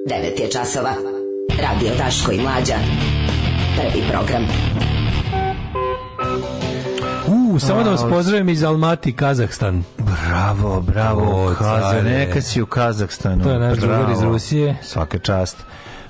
Speaker 9: 9 je časova. Radio Daško i Mlađa. Prvi program.
Speaker 6: U, samo da vas pozdravim iz Almati, Kazahstan.
Speaker 7: Bravo, bravo,
Speaker 6: O,
Speaker 7: Kaza,
Speaker 6: care.
Speaker 7: neka si u Kazahstanu.
Speaker 6: To je naš
Speaker 7: Bravo.
Speaker 6: drugar iz Rusije.
Speaker 7: Svaka čast.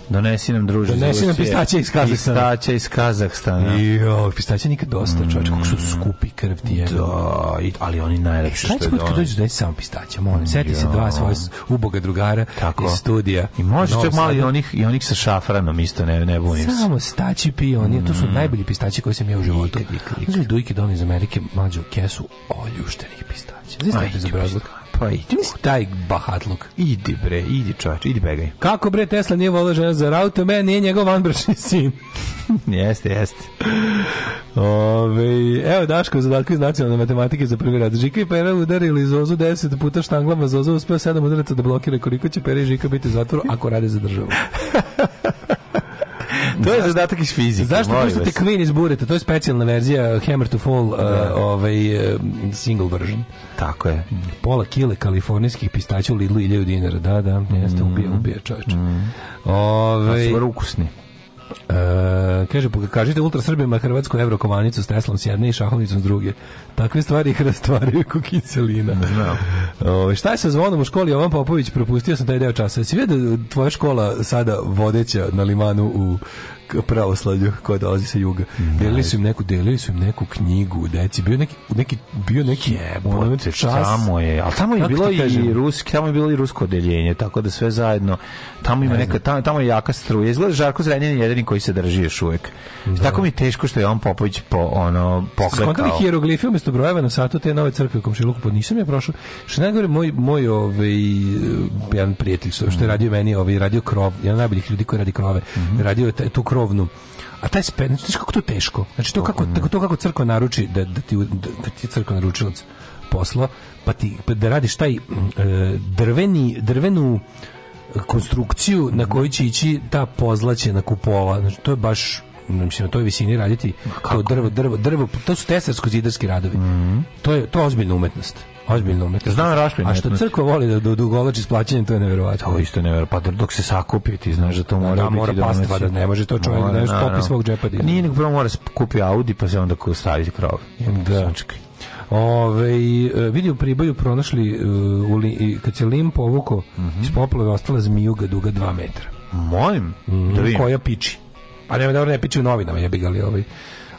Speaker 7: Donesi nam druže iz
Speaker 6: Donesi nam
Speaker 7: Rusije.
Speaker 6: pistaće iz Kazahstana.
Speaker 7: Pistaće iz Kazahstana.
Speaker 6: Jo, pistaće nikad dosta, čovječ, kako su skupi krv ti je.
Speaker 7: Da, i- ali oni najlepši
Speaker 6: Šta
Speaker 7: što
Speaker 6: će
Speaker 7: je
Speaker 6: kod kad
Speaker 7: dono.
Speaker 6: dođeš daj samo pistaća, molim, seti se dva svoje s- uboga drugara
Speaker 7: Tako.
Speaker 6: iz studija.
Speaker 7: I može
Speaker 6: Novog
Speaker 7: čak malo i
Speaker 6: Sada.
Speaker 7: onih, i onih sa šafranom isto, ne, ne bunim se.
Speaker 6: Samo staći pionir, to
Speaker 7: Mm.
Speaker 6: su najbolji pistaći koji sam jeo u životu. Uzeli dujke dom iz Amerike, mlađu kesu oljuštenih pistaća. Znaš
Speaker 7: Ajde,
Speaker 6: kako za brazlog?
Speaker 7: Pa idi,
Speaker 6: Mislim, taj bahatluk.
Speaker 7: idi bre, idi čovječ, idi begaj.
Speaker 6: Kako bre Tesla nije volio žena za auto, meni nije njegov vanbračni sin.
Speaker 7: jeste, jeste.
Speaker 6: Ove, evo Daško u zadatku iz nacionalne matematike za prvi rad. Žika i Pera udarili Zozu 10 puta štanglama, Zozu uspeo 7 udaraca da blokira koliko će Pera i Žika biti u zatvoru ako rade za državu.
Speaker 7: To je zadatak iz fizike.
Speaker 6: Zašto
Speaker 7: molim
Speaker 6: puštate
Speaker 7: vas.
Speaker 6: Queen iz bureta? To je specijalna verzija Hammer to Fall uh, ovaj, uh, single version.
Speaker 7: Tako je.
Speaker 6: Pola kile kalifornijskih pistaća u Lidlu 1000 dinara. Da, da, jeste, ubija, ubija čovječ. Ovaj,
Speaker 7: Mhm. Super ukusni.
Speaker 6: E, kaže, pokažite ultra Srbima hrvatsku evrokovanicu s Teslom s jedne i šahovnicom s druge. Takve stvari ih rastvaraju ko kiselina. Ove, šta je sa zvonom u školi? Ovan Popović, propustio sam taj deo časa. Jesi vidio da je tvoja škola sada vodeća na limanu u k- pravoslavlju koja dolazi sa juga. Delili su im neku, delili su im neku knjigu, deci. Bio neki, neki bio neki ono,
Speaker 7: Jebote, tamo je, ali tamo je
Speaker 6: Kako
Speaker 7: bilo
Speaker 6: ti kažem?
Speaker 7: i ruski, tamo je bilo i rusko odeljenje, tako da sve zajedno, tamo ima neka, tamo, tamo je jaka struja, izgleda Žarko Zrenjan je jedini koji se drži još uvek. Tako mi je teško što je on Popović po, ono,
Speaker 6: Skontali
Speaker 7: poklekao.
Speaker 6: hieroglife umesto brojeva na satu te nove crkve u komšiluku, pa nisam ja prošao. Što najgore, moj, moj ovaj, eh, jedan prijatelj što, što je radio meni, ovaj, radio krov, jedan od najboljih ljudi koji radi krove, radio je taj- tu krovnu. A taj spen, znači, znaš kako to teško? Znači, to kako, tako to kako crkva naruči, da, da, ti, da, da ti je crkva naručilac posla, pa ti, pa da radiš taj mm, eh, drveni, drvenu konstrukciju na koju će ići ta pozlaćena kupola. Znači, to je baš mislim na toj visini raditi to drvo, drvo, drvo, to su tesarsko zidarski radovi. To je to je ozbiljna umetnost. Ozbiljna umetnost.
Speaker 7: Mhm. Znam rašpinu
Speaker 6: A što
Speaker 7: umetnost.
Speaker 6: crkva voli da dogovlači s plaćanjem, to je neverovatno.
Speaker 7: To isto ne pa dok se sakupi, ti znaš da to mora
Speaker 6: da,
Speaker 7: biti
Speaker 6: mora
Speaker 7: donesi.
Speaker 6: pastva, da ne može to čovjek
Speaker 7: Mora,
Speaker 6: da nešto
Speaker 7: naravno.
Speaker 6: popi svog džepa da izvadi.
Speaker 7: Nije nego prvo mora kupi Audi pa se onda ko- staviti krov.
Speaker 6: Da. Ove, e, vidi u Priboju pronašli e, u li, i kad se lim povukao
Speaker 7: Mhm.
Speaker 6: iz poplave ostala zmijuga duga 2 metra.
Speaker 7: Molim, da vidim.
Speaker 6: koja piči. Pa nema dobro ne piči u novinama, jebi ga li ovaj.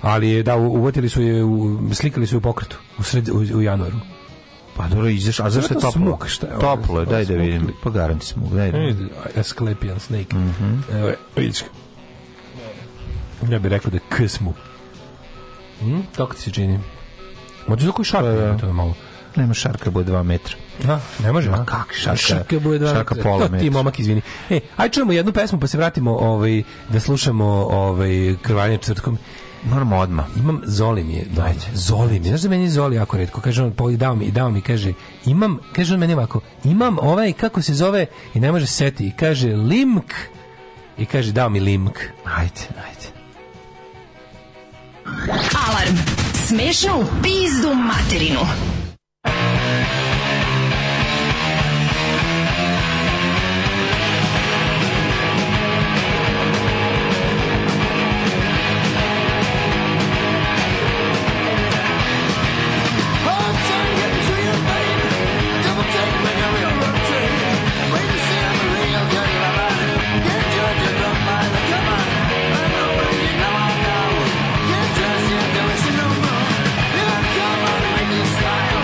Speaker 6: Ali je, da, u- uvatili su je, u, slikali su je u pokretu u, sred, u, u januaru.
Speaker 7: Pa dobro, izaš, a zašto je
Speaker 6: Vjerojatno
Speaker 7: toplo?
Speaker 6: smuk, šta je ovo?
Speaker 7: Toplo je, daj da
Speaker 6: Smuk
Speaker 7: vidim.
Speaker 6: ili-
Speaker 7: Pa garanti smuk, daj da vidim.
Speaker 6: Asclepian snake. Evo je, vidiš ga. Ja bih rekao da je ksmu. Hm? Kako ti se čini? Ma ti tako i šarpe, to je malo.
Speaker 7: Nema šarka, bude dva metra.
Speaker 6: A, ne može, a?
Speaker 7: kak šarka-
Speaker 6: Šarka bude dva
Speaker 7: šarka
Speaker 6: metra.
Speaker 7: pola
Speaker 6: To ti,
Speaker 7: metra.
Speaker 6: momak, izvini. E, aj čujemo jednu pesmu, pa se vratimo ovaj, da slušamo ovaj, krvanje četvrtkom.
Speaker 7: Moramo odmah.
Speaker 6: imam Zoli mi je doneo. Zoli mi, je. znaš da meni je Zoli jako redko, kaže on, pa i dao mi, i dao mi, kaže, imam, kaže on meni ovako, imam ovaj, kako se zove, i ne može se seti, i kaže Limk, i kaže dao mi Limk.
Speaker 7: Ajde, ajde.
Speaker 5: Alarm. Smešno u pizdu materinu.
Speaker 3: Smile.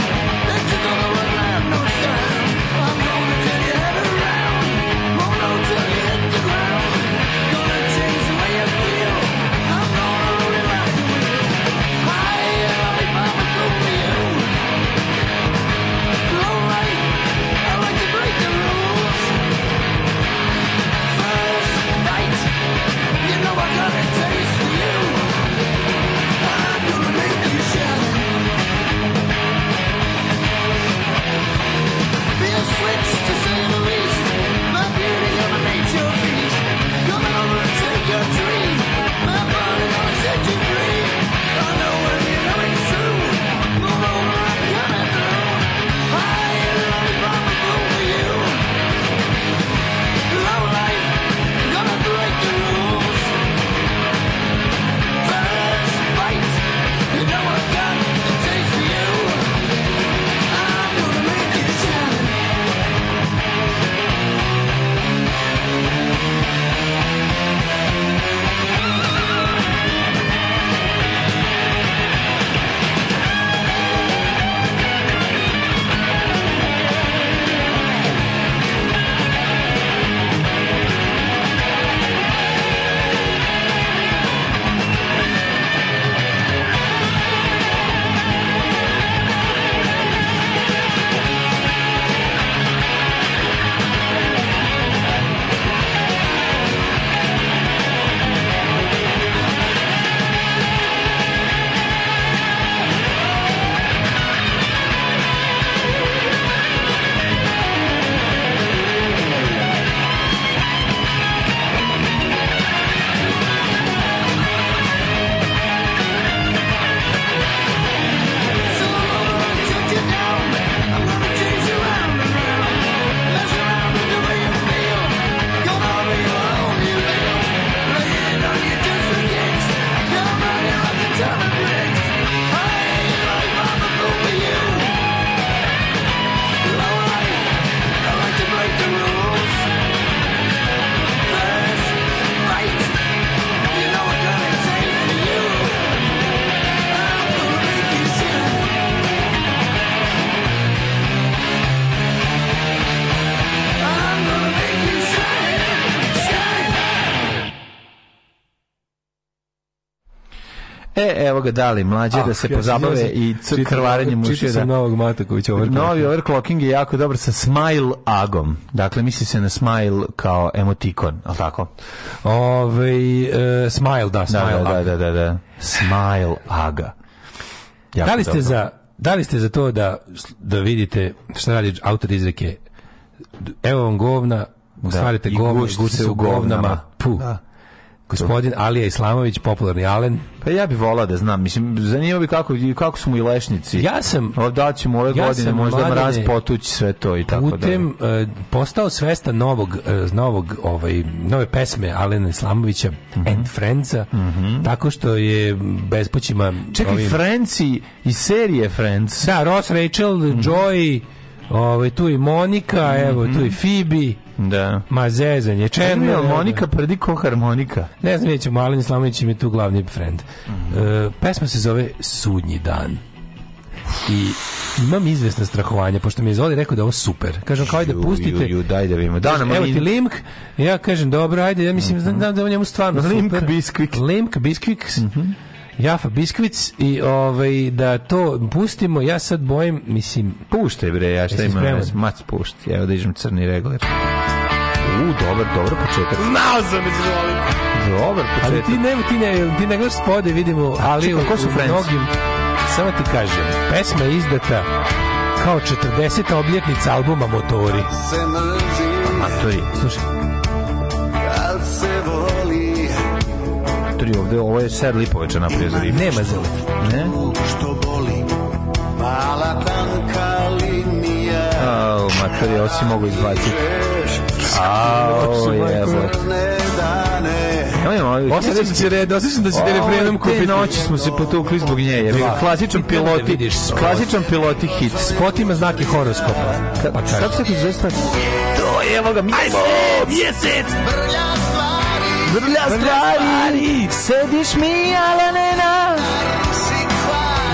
Speaker 7: E, evo ga dali, mlađe
Speaker 6: Ah,
Speaker 7: da se
Speaker 6: ja
Speaker 7: pozabave
Speaker 6: sam-
Speaker 7: i
Speaker 6: čitao sam-
Speaker 7: krvarenjem
Speaker 6: čitao
Speaker 7: ušija.
Speaker 6: sam
Speaker 7: da-
Speaker 6: novog Matakovića overclocking.
Speaker 7: Novi overclocking je jako dobar sa smile agom. Dakle, misli se na smile kao emotikon, ali tako?
Speaker 6: Ove, Ovaj, e, smile, da, smile
Speaker 7: da, da,
Speaker 6: ag.
Speaker 7: da, da, da. Smile aga. Jako
Speaker 6: Da li ste
Speaker 7: dobro.
Speaker 6: za da li ste za to da da vidite šta radi autor izreke evo vam govna
Speaker 7: Da.
Speaker 6: stvarite
Speaker 7: I
Speaker 6: govna
Speaker 7: gušite
Speaker 6: guste
Speaker 7: se
Speaker 6: u
Speaker 7: u govnama.
Speaker 6: govnama pu
Speaker 7: Da.
Speaker 6: gospodin Alija Islamović popularni Alen
Speaker 7: Pa ja bih volao da znam, mislim, zanima bi kako, kako su mu i lešnici.
Speaker 6: Ja sam-
Speaker 7: O, da će mu ove
Speaker 6: ja
Speaker 7: godine
Speaker 6: sam,
Speaker 7: možda
Speaker 6: Mladene,
Speaker 7: mraz potući sve to i tako da.
Speaker 6: putem e, postao svestan novog e, novog ovaj nove pesme Alena Islamovića
Speaker 7: Mhm.
Speaker 6: and Friendsa tako što je bespućima
Speaker 7: Čekaj,
Speaker 6: ovim-
Speaker 7: Frenci iz serije Friends.
Speaker 6: Da, Ross, Rachel,
Speaker 7: Mhm.
Speaker 6: Joy, ovaj, tu i Monika, evo, tu i Phoebe.
Speaker 7: Da.
Speaker 6: Ma zezanje,
Speaker 7: Černo
Speaker 6: černo. evo.
Speaker 7: Monika prdi ko harmonika.
Speaker 6: Ne znam, nećemo, Alen Islamović im je tu glavni friend.
Speaker 7: Mhm.
Speaker 6: E, pesma se zove Sudnji dan. I imam izvesna strahovanja, pošto mi je Zoli rekao da je ovo super. Kažem, kao ajde,
Speaker 7: Ju,
Speaker 6: pustite.
Speaker 7: ju, ju, daj da vidimo. Da,
Speaker 6: Kaže,
Speaker 7: nam
Speaker 6: evo
Speaker 7: link.
Speaker 6: ti link. Ja kažem, dobro, ajde, ja mislim, znam da je ovo njemu stvarno
Speaker 7: Link
Speaker 6: super.
Speaker 7: Biskvik. Mhm.
Speaker 6: Lemk Biskviks. Jafa Biskvic i ovaj, da to pustimo, ja sad bojim, mislim,
Speaker 7: Puštaj bre, ja šta
Speaker 6: Jesi
Speaker 7: imam,
Speaker 6: spreman?
Speaker 7: veze? mac pušti, evo da ižem crni regler. U, dobar, dobar početak. Znao sam, izvolim. Dobar
Speaker 6: Ali
Speaker 7: početak.
Speaker 6: ti ne, ti ne, ti ne gledaš spode, vidimo, ali
Speaker 7: čekaj, ko su Friends?
Speaker 6: mnogim, samo ti kažem, pesma je izdata kao 40. obljetnica albuma Motori.
Speaker 11: se mrzim,
Speaker 7: Matori,
Speaker 6: Slušaj,
Speaker 11: kad se voli
Speaker 7: matori ovde, ovo je sad lipoveća napravio za ribu.
Speaker 6: nema zelo.
Speaker 7: Ne?
Speaker 11: Što boli Mala tanka linija
Speaker 7: Au, matori, ovo si mogu izbaciti. Au, jebote.
Speaker 11: Crne dane
Speaker 7: Nemojmo, ovo-
Speaker 6: Osjećam se red, osjećam da si te
Speaker 7: Ovo,
Speaker 6: referendum
Speaker 7: Te
Speaker 6: kupiti.
Speaker 7: noći smo se potukli zbog nje, jer
Speaker 6: Da.
Speaker 7: klasičan
Speaker 6: Ti treba da
Speaker 7: piloti,
Speaker 6: vidiš ovo.
Speaker 7: klasičan piloti hit.
Speaker 6: Spot ima znake horoskopa. Pa
Speaker 7: Kako
Speaker 6: kaži.
Speaker 7: se ti zove stvar? To je, evo ga, mjesec! Mjesec! Vrlja stvari! Sediš mi, Alanena!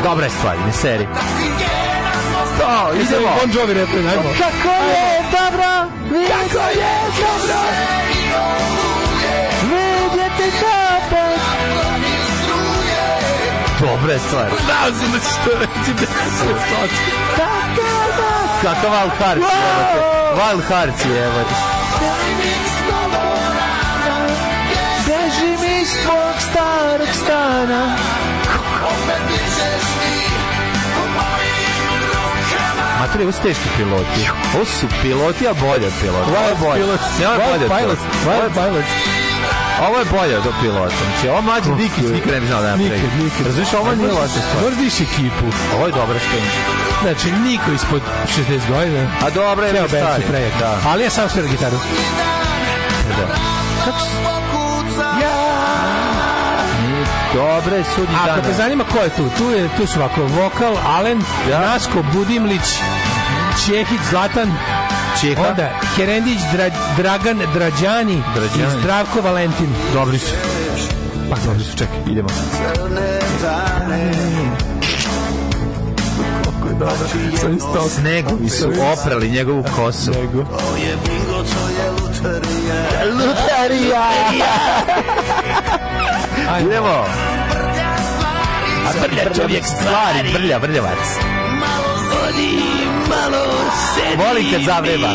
Speaker 7: Dobra je stvar, ne seri. To, idemo!
Speaker 6: Bon Jovi refren, ajmo.
Speaker 7: Kako je dobro! Kako je dobro! Vidjeti opet! Dobra je stvar. Znao sam da ćeš to reći da se Kakav Wild Hearts jebate. Wild Hearts jebate. Beži mi iz tvog starog stana. Mater, ovo su teški piloti. Ovo su piloti, a bolje od pilota. Ovo je bolje. Ne, ovo je bolje od pilota.
Speaker 6: Wild Pilots.
Speaker 7: Ovo je bolje od pilota. Znači, ovo mlađe Dikić nikad ne bi znao da napravi.
Speaker 6: Nikad, nikad.
Speaker 7: Razumiješ, ovo nije loša stvar.
Speaker 6: Možda iš ekipu.
Speaker 7: Ovo je dobra stvar.
Speaker 6: Znači, niko ispod 60 godina.
Speaker 7: A dobro je,
Speaker 6: Ceo
Speaker 7: mi
Speaker 6: band
Speaker 7: stari.
Speaker 6: su prejak.
Speaker 7: Da.
Speaker 6: Ali ja sam svira gitaru.
Speaker 7: I Dobre, sudnji
Speaker 6: A
Speaker 7: dan.
Speaker 6: Ako te zanima ko je tu, tu, je, tu su ovako Vokal, Alen, Nasko, Budimlić, Čehić, Zlatan,
Speaker 7: Čeha.
Speaker 6: onda Herendić, Dra, Dragan, Drađani,
Speaker 7: Drađani.
Speaker 6: i Zdravko Valentin.
Speaker 7: Dobri su. Pa dobri su, čekaj, idemo. Snegovi su oprali njegovu kosu. Lutarija! Idemo! A brlja čovjek stvari, brlja, brljavac. Volim kad zavreba.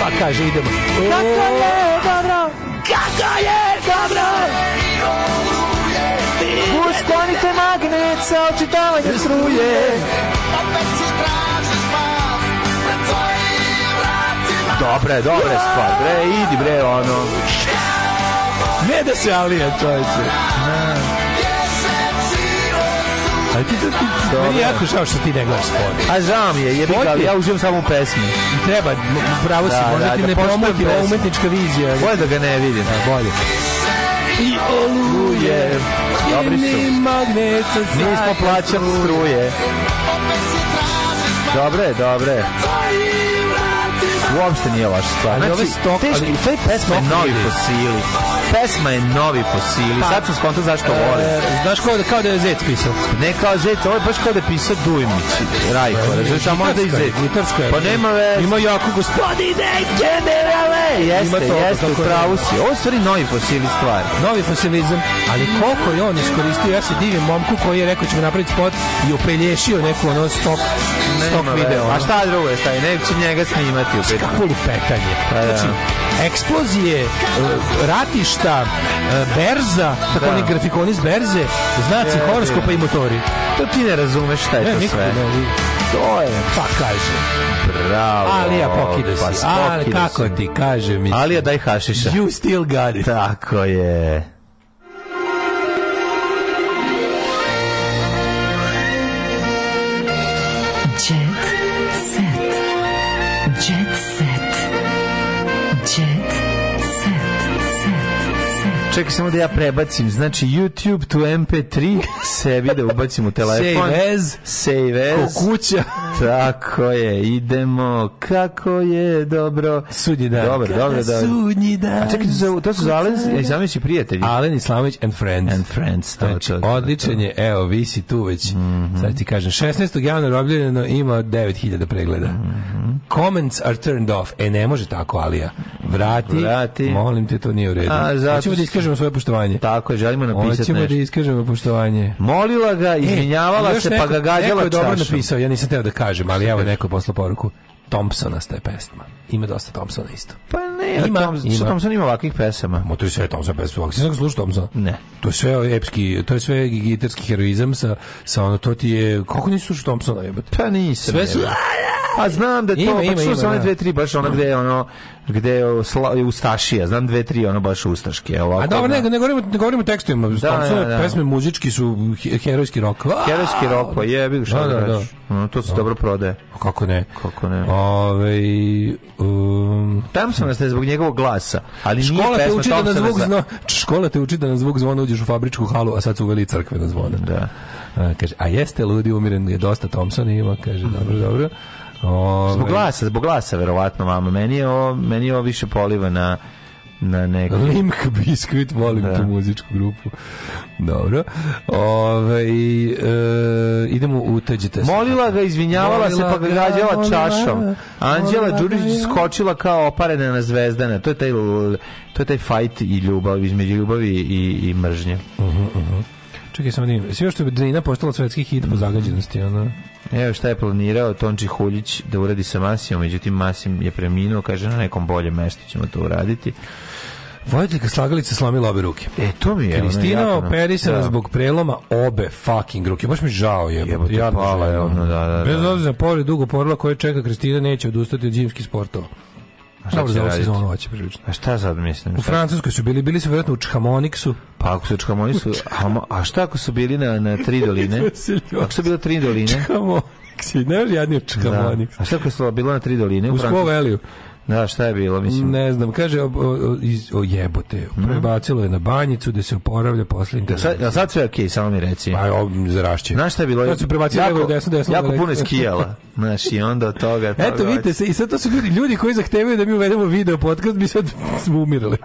Speaker 6: Pa kaže, idemo. E,
Speaker 7: Usklonite magnet sa očitavanjem struje. Dobre, dobre stvar, bre, idi bre, ono.
Speaker 6: Ne da se Alija, čovječe. Ali ti to ti, ti
Speaker 7: Dobro.
Speaker 6: meni je jako žao što ti ne gledaš spod.
Speaker 7: A žao mi je, jebi ga, ali ja uživam samo u pesmi.
Speaker 6: Treba, m- pravo si,
Speaker 7: Da,
Speaker 6: možda
Speaker 7: da,
Speaker 6: ti
Speaker 7: da
Speaker 6: ne
Speaker 7: poštujem
Speaker 6: promoti
Speaker 7: pesmu.
Speaker 6: ova umetnička vizija.
Speaker 7: Bolje da ga ne vidim.
Speaker 6: Bolje.
Speaker 7: I oluje. Dobri su.
Speaker 6: magnet sa
Speaker 7: Nismo plaćali struje. Dobre, dobre. Uopšte nije vaša stvar.
Speaker 6: Ali
Speaker 7: Znači,
Speaker 6: ove stok-
Speaker 7: teški,
Speaker 6: ali
Speaker 7: to je pesma
Speaker 6: stok
Speaker 7: novi
Speaker 6: ljudi. Pa,
Speaker 7: po sili. pesma je novi po sili. Sad sam skontao zašto
Speaker 6: e,
Speaker 7: volim.
Speaker 6: Znaš kao da, kao da je Zec pisao?
Speaker 7: Ne kao Zec, ovo je baš kao da je pisao Dujmić, Rajko. Znači, a možda i
Speaker 6: Pa, Gitarska je,
Speaker 7: Zec.
Speaker 6: gitarska je.
Speaker 7: Pa nema veze.
Speaker 6: Ima jako gospodine generale.
Speaker 7: Jeste, jeste, u pravu si. Ovo je u stvari novi po sili stvar.
Speaker 6: Novi fosilizam, ali koliko je on iskoristio, ja se divim momku koji je rekao ćemo napraviti spot i opelješio neku ono stop, stop
Speaker 7: Nema
Speaker 6: video.
Speaker 7: veze.
Speaker 6: ono.
Speaker 7: A šta drugo je staje? Neće njega snimati u petak.
Speaker 6: Kako lupetanje.
Speaker 7: Pa da.
Speaker 6: Znači, eksplozije, e, ratišta, e, berza, tako
Speaker 7: Da.
Speaker 6: oni grafikoni iz berze, znaci
Speaker 7: Je,
Speaker 6: horoskopa
Speaker 7: je.
Speaker 6: i motori.
Speaker 7: To ti ne razumeš šta je
Speaker 6: Ne,
Speaker 7: to
Speaker 6: nikako
Speaker 7: sve.
Speaker 6: ne, vi-
Speaker 7: To je.
Speaker 6: Pa kaže.
Speaker 7: Bravo.
Speaker 6: Ali ja pokido si.
Speaker 7: Pa
Speaker 6: Ali
Speaker 7: pokido
Speaker 6: kako
Speaker 7: si.
Speaker 6: ti kaže mi.
Speaker 7: Ali ja daj hašiša.
Speaker 6: You still got it.
Speaker 7: Tako je.
Speaker 5: Jet set. Jet set. Jet set.
Speaker 7: Čekaj samo da ja prebacim. Znači YouTube to MP3 sebi da ubacim u telefon.
Speaker 6: Save as.
Speaker 7: Save as.
Speaker 6: Kuća.
Speaker 7: Tako je. Idemo. Kako je dobro.
Speaker 6: Sudnji dan.
Speaker 7: Dobro, dobro, dobro.
Speaker 6: Sudnji dan.
Speaker 7: A čekaj, to su- to su Zalen i Zamići prijatelji.
Speaker 6: Alen Islamović and Friends.
Speaker 7: And friends. To,
Speaker 6: Znači,
Speaker 7: to, to,
Speaker 6: odličan je, evo, visi tu već.
Speaker 7: Mhm.
Speaker 6: Sad ti kažem, 16. januara objavljeno ima 9000 pregleda.
Speaker 7: Mhm.
Speaker 6: Comments are turned off. E, ne može tako, Alija. Vrati,
Speaker 7: Vrati.
Speaker 6: molim te, to nije u redu.
Speaker 7: A, zato
Speaker 6: Hoćemo da
Speaker 7: što-
Speaker 6: iskažemo svoje poštovanje.
Speaker 7: Tako je, želimo napisati
Speaker 6: Hoćemo da
Speaker 7: nešto.
Speaker 6: iskažemo poštovanje.
Speaker 7: Molila ga, izvinjavala
Speaker 6: E, još
Speaker 7: se,
Speaker 6: neko-
Speaker 7: pa ga gađala
Speaker 6: Neko je dobro
Speaker 7: čašom.
Speaker 6: napisao, ja nisam teo da kažem, ali evo neko je poslao poruku. Thompsona staje pesma. Ima dosta Thompsona isto.
Speaker 7: Pa ne,
Speaker 6: Ima,
Speaker 7: ima, Tom,
Speaker 6: ima.
Speaker 7: ima. Thompson ima ovakvih pesama.
Speaker 6: Ma to je sve Thompson pesma. Ako si sam slušao Thompsona?
Speaker 7: Ne.
Speaker 6: To je sve epski, to je sve gitarski heroizam sa, sa ono, to ti je, kako nisi slušao Thompsona jebate?
Speaker 7: Pa nisam.
Speaker 6: Sve su-
Speaker 7: jebe. Pa znam da to,
Speaker 6: Ima,
Speaker 7: ima,
Speaker 6: ima,
Speaker 7: pa čuo
Speaker 6: ima,
Speaker 7: sam one
Speaker 6: da.
Speaker 7: dve, tri, baš ono gde je ono, gde je osla- je Ustašija, znam dve, tri, ono baš Ustaške. Ovako,
Speaker 6: A dobro,
Speaker 7: da.
Speaker 6: ne, ne govorimo, ne govorimo o tekstovima. Da, Thompsonove
Speaker 7: da, da.
Speaker 6: pesme muzički su he- herojski rok.
Speaker 7: Herojski rok, pa jebi ga šta
Speaker 6: Da,
Speaker 7: da,
Speaker 6: da, da.
Speaker 7: kažeš. Ono, to se dobro prodaje.
Speaker 6: pa Kako ne?
Speaker 7: Kako ne.
Speaker 6: Ove, um,
Speaker 7: Thompson ste zbog njegovog glasa, ali
Speaker 6: škola
Speaker 7: nije
Speaker 6: te
Speaker 7: pesma
Speaker 6: uči da na
Speaker 7: Thompsona
Speaker 6: zvuk
Speaker 7: za-
Speaker 6: zna, škola te uči da na zvuk zvona uđeš u fabričku halu, a sad su uveli i crkvena zvona.
Speaker 7: Da.
Speaker 6: A, kaže, a jeste ludi umiren, je dosta Thompsona ima, kaže, dobro, dobro. Ove,
Speaker 7: Zbog glasa, zbog glasa, verovatno, mama. Meni je ovo, meni je ovo više poliva na, na neku...
Speaker 6: Limk Biskvit, volim tu muzičku grupu. Dobro. Ove, e, idemo u Tađi Test.
Speaker 7: Molila ga, izvinjavala se, pa ga
Speaker 6: Molila ga,
Speaker 7: gađala
Speaker 6: molila,
Speaker 7: čašom. Anđela
Speaker 6: molila ga,
Speaker 7: Đurić
Speaker 6: ja.
Speaker 7: skočila kao oparedena na zvezdana. To je taj, l- to je taj fight i ljubav, između ljubavi i, i mržnje.
Speaker 6: Čekaj, samo da vidim. Sve što je Drina postala svetski hit po zagađenosti, ono...
Speaker 7: Evo šta je planirao Tonči Huljić da uradi sa Masijom, međutim Masim je preminuo, kaže na nekom boljem mestu ćemo to uraditi.
Speaker 6: Voditeljka slagalice slomila obe ruke.
Speaker 7: E, to mi je... ono,
Speaker 6: Kristina
Speaker 7: jako, ono,
Speaker 6: operisana
Speaker 7: da.
Speaker 6: zbog preloma obe fucking ruke. Baš mi žao je.
Speaker 7: Jebote, pala je ono, da, da, da.
Speaker 6: Bez obzira na povred dugo porla koje čeka Kristina neće odustati od zimskih sportova. Dobro,
Speaker 7: će
Speaker 6: za ovu
Speaker 7: raditi?
Speaker 6: sezonu hoće prilično.
Speaker 7: A šta sad mislim?
Speaker 6: U
Speaker 7: Šta-
Speaker 6: Francuskoj su bili, bili su vjerojatno u Čhamoniksu.
Speaker 7: Pa ako su čkamoni su... A, mo- a šta ako su bili na, na tri doline? Ako su bilo tri doline?
Speaker 6: Čhamoniks je najjadniji od
Speaker 7: Da.
Speaker 6: Čhamoniks.
Speaker 7: A šta ako su bilo na tri doline? u
Speaker 6: U Squaw
Speaker 7: Francusku?
Speaker 6: Valley-u.
Speaker 7: Da, šta je bilo, mislim?
Speaker 6: Ne znam, kaže, o, o- o- iz- o jebote, prebacilo je na banjicu da se oporavlja posle
Speaker 7: Mhm. Da, sad, a sad sve okej, samo mi reci.
Speaker 6: Pa, o, zarašće.
Speaker 7: Znaš šta je bilo?
Speaker 6: Sad su prebacili levo, desno, desno.
Speaker 7: jako
Speaker 6: levo.
Speaker 7: puno je skijala. Znaš, i onda od toga... toga
Speaker 6: Eto, vidite se, i sad to su ljudi, ljudi koji zahtevaju da mi uvedemo video podcast, bi sad umirali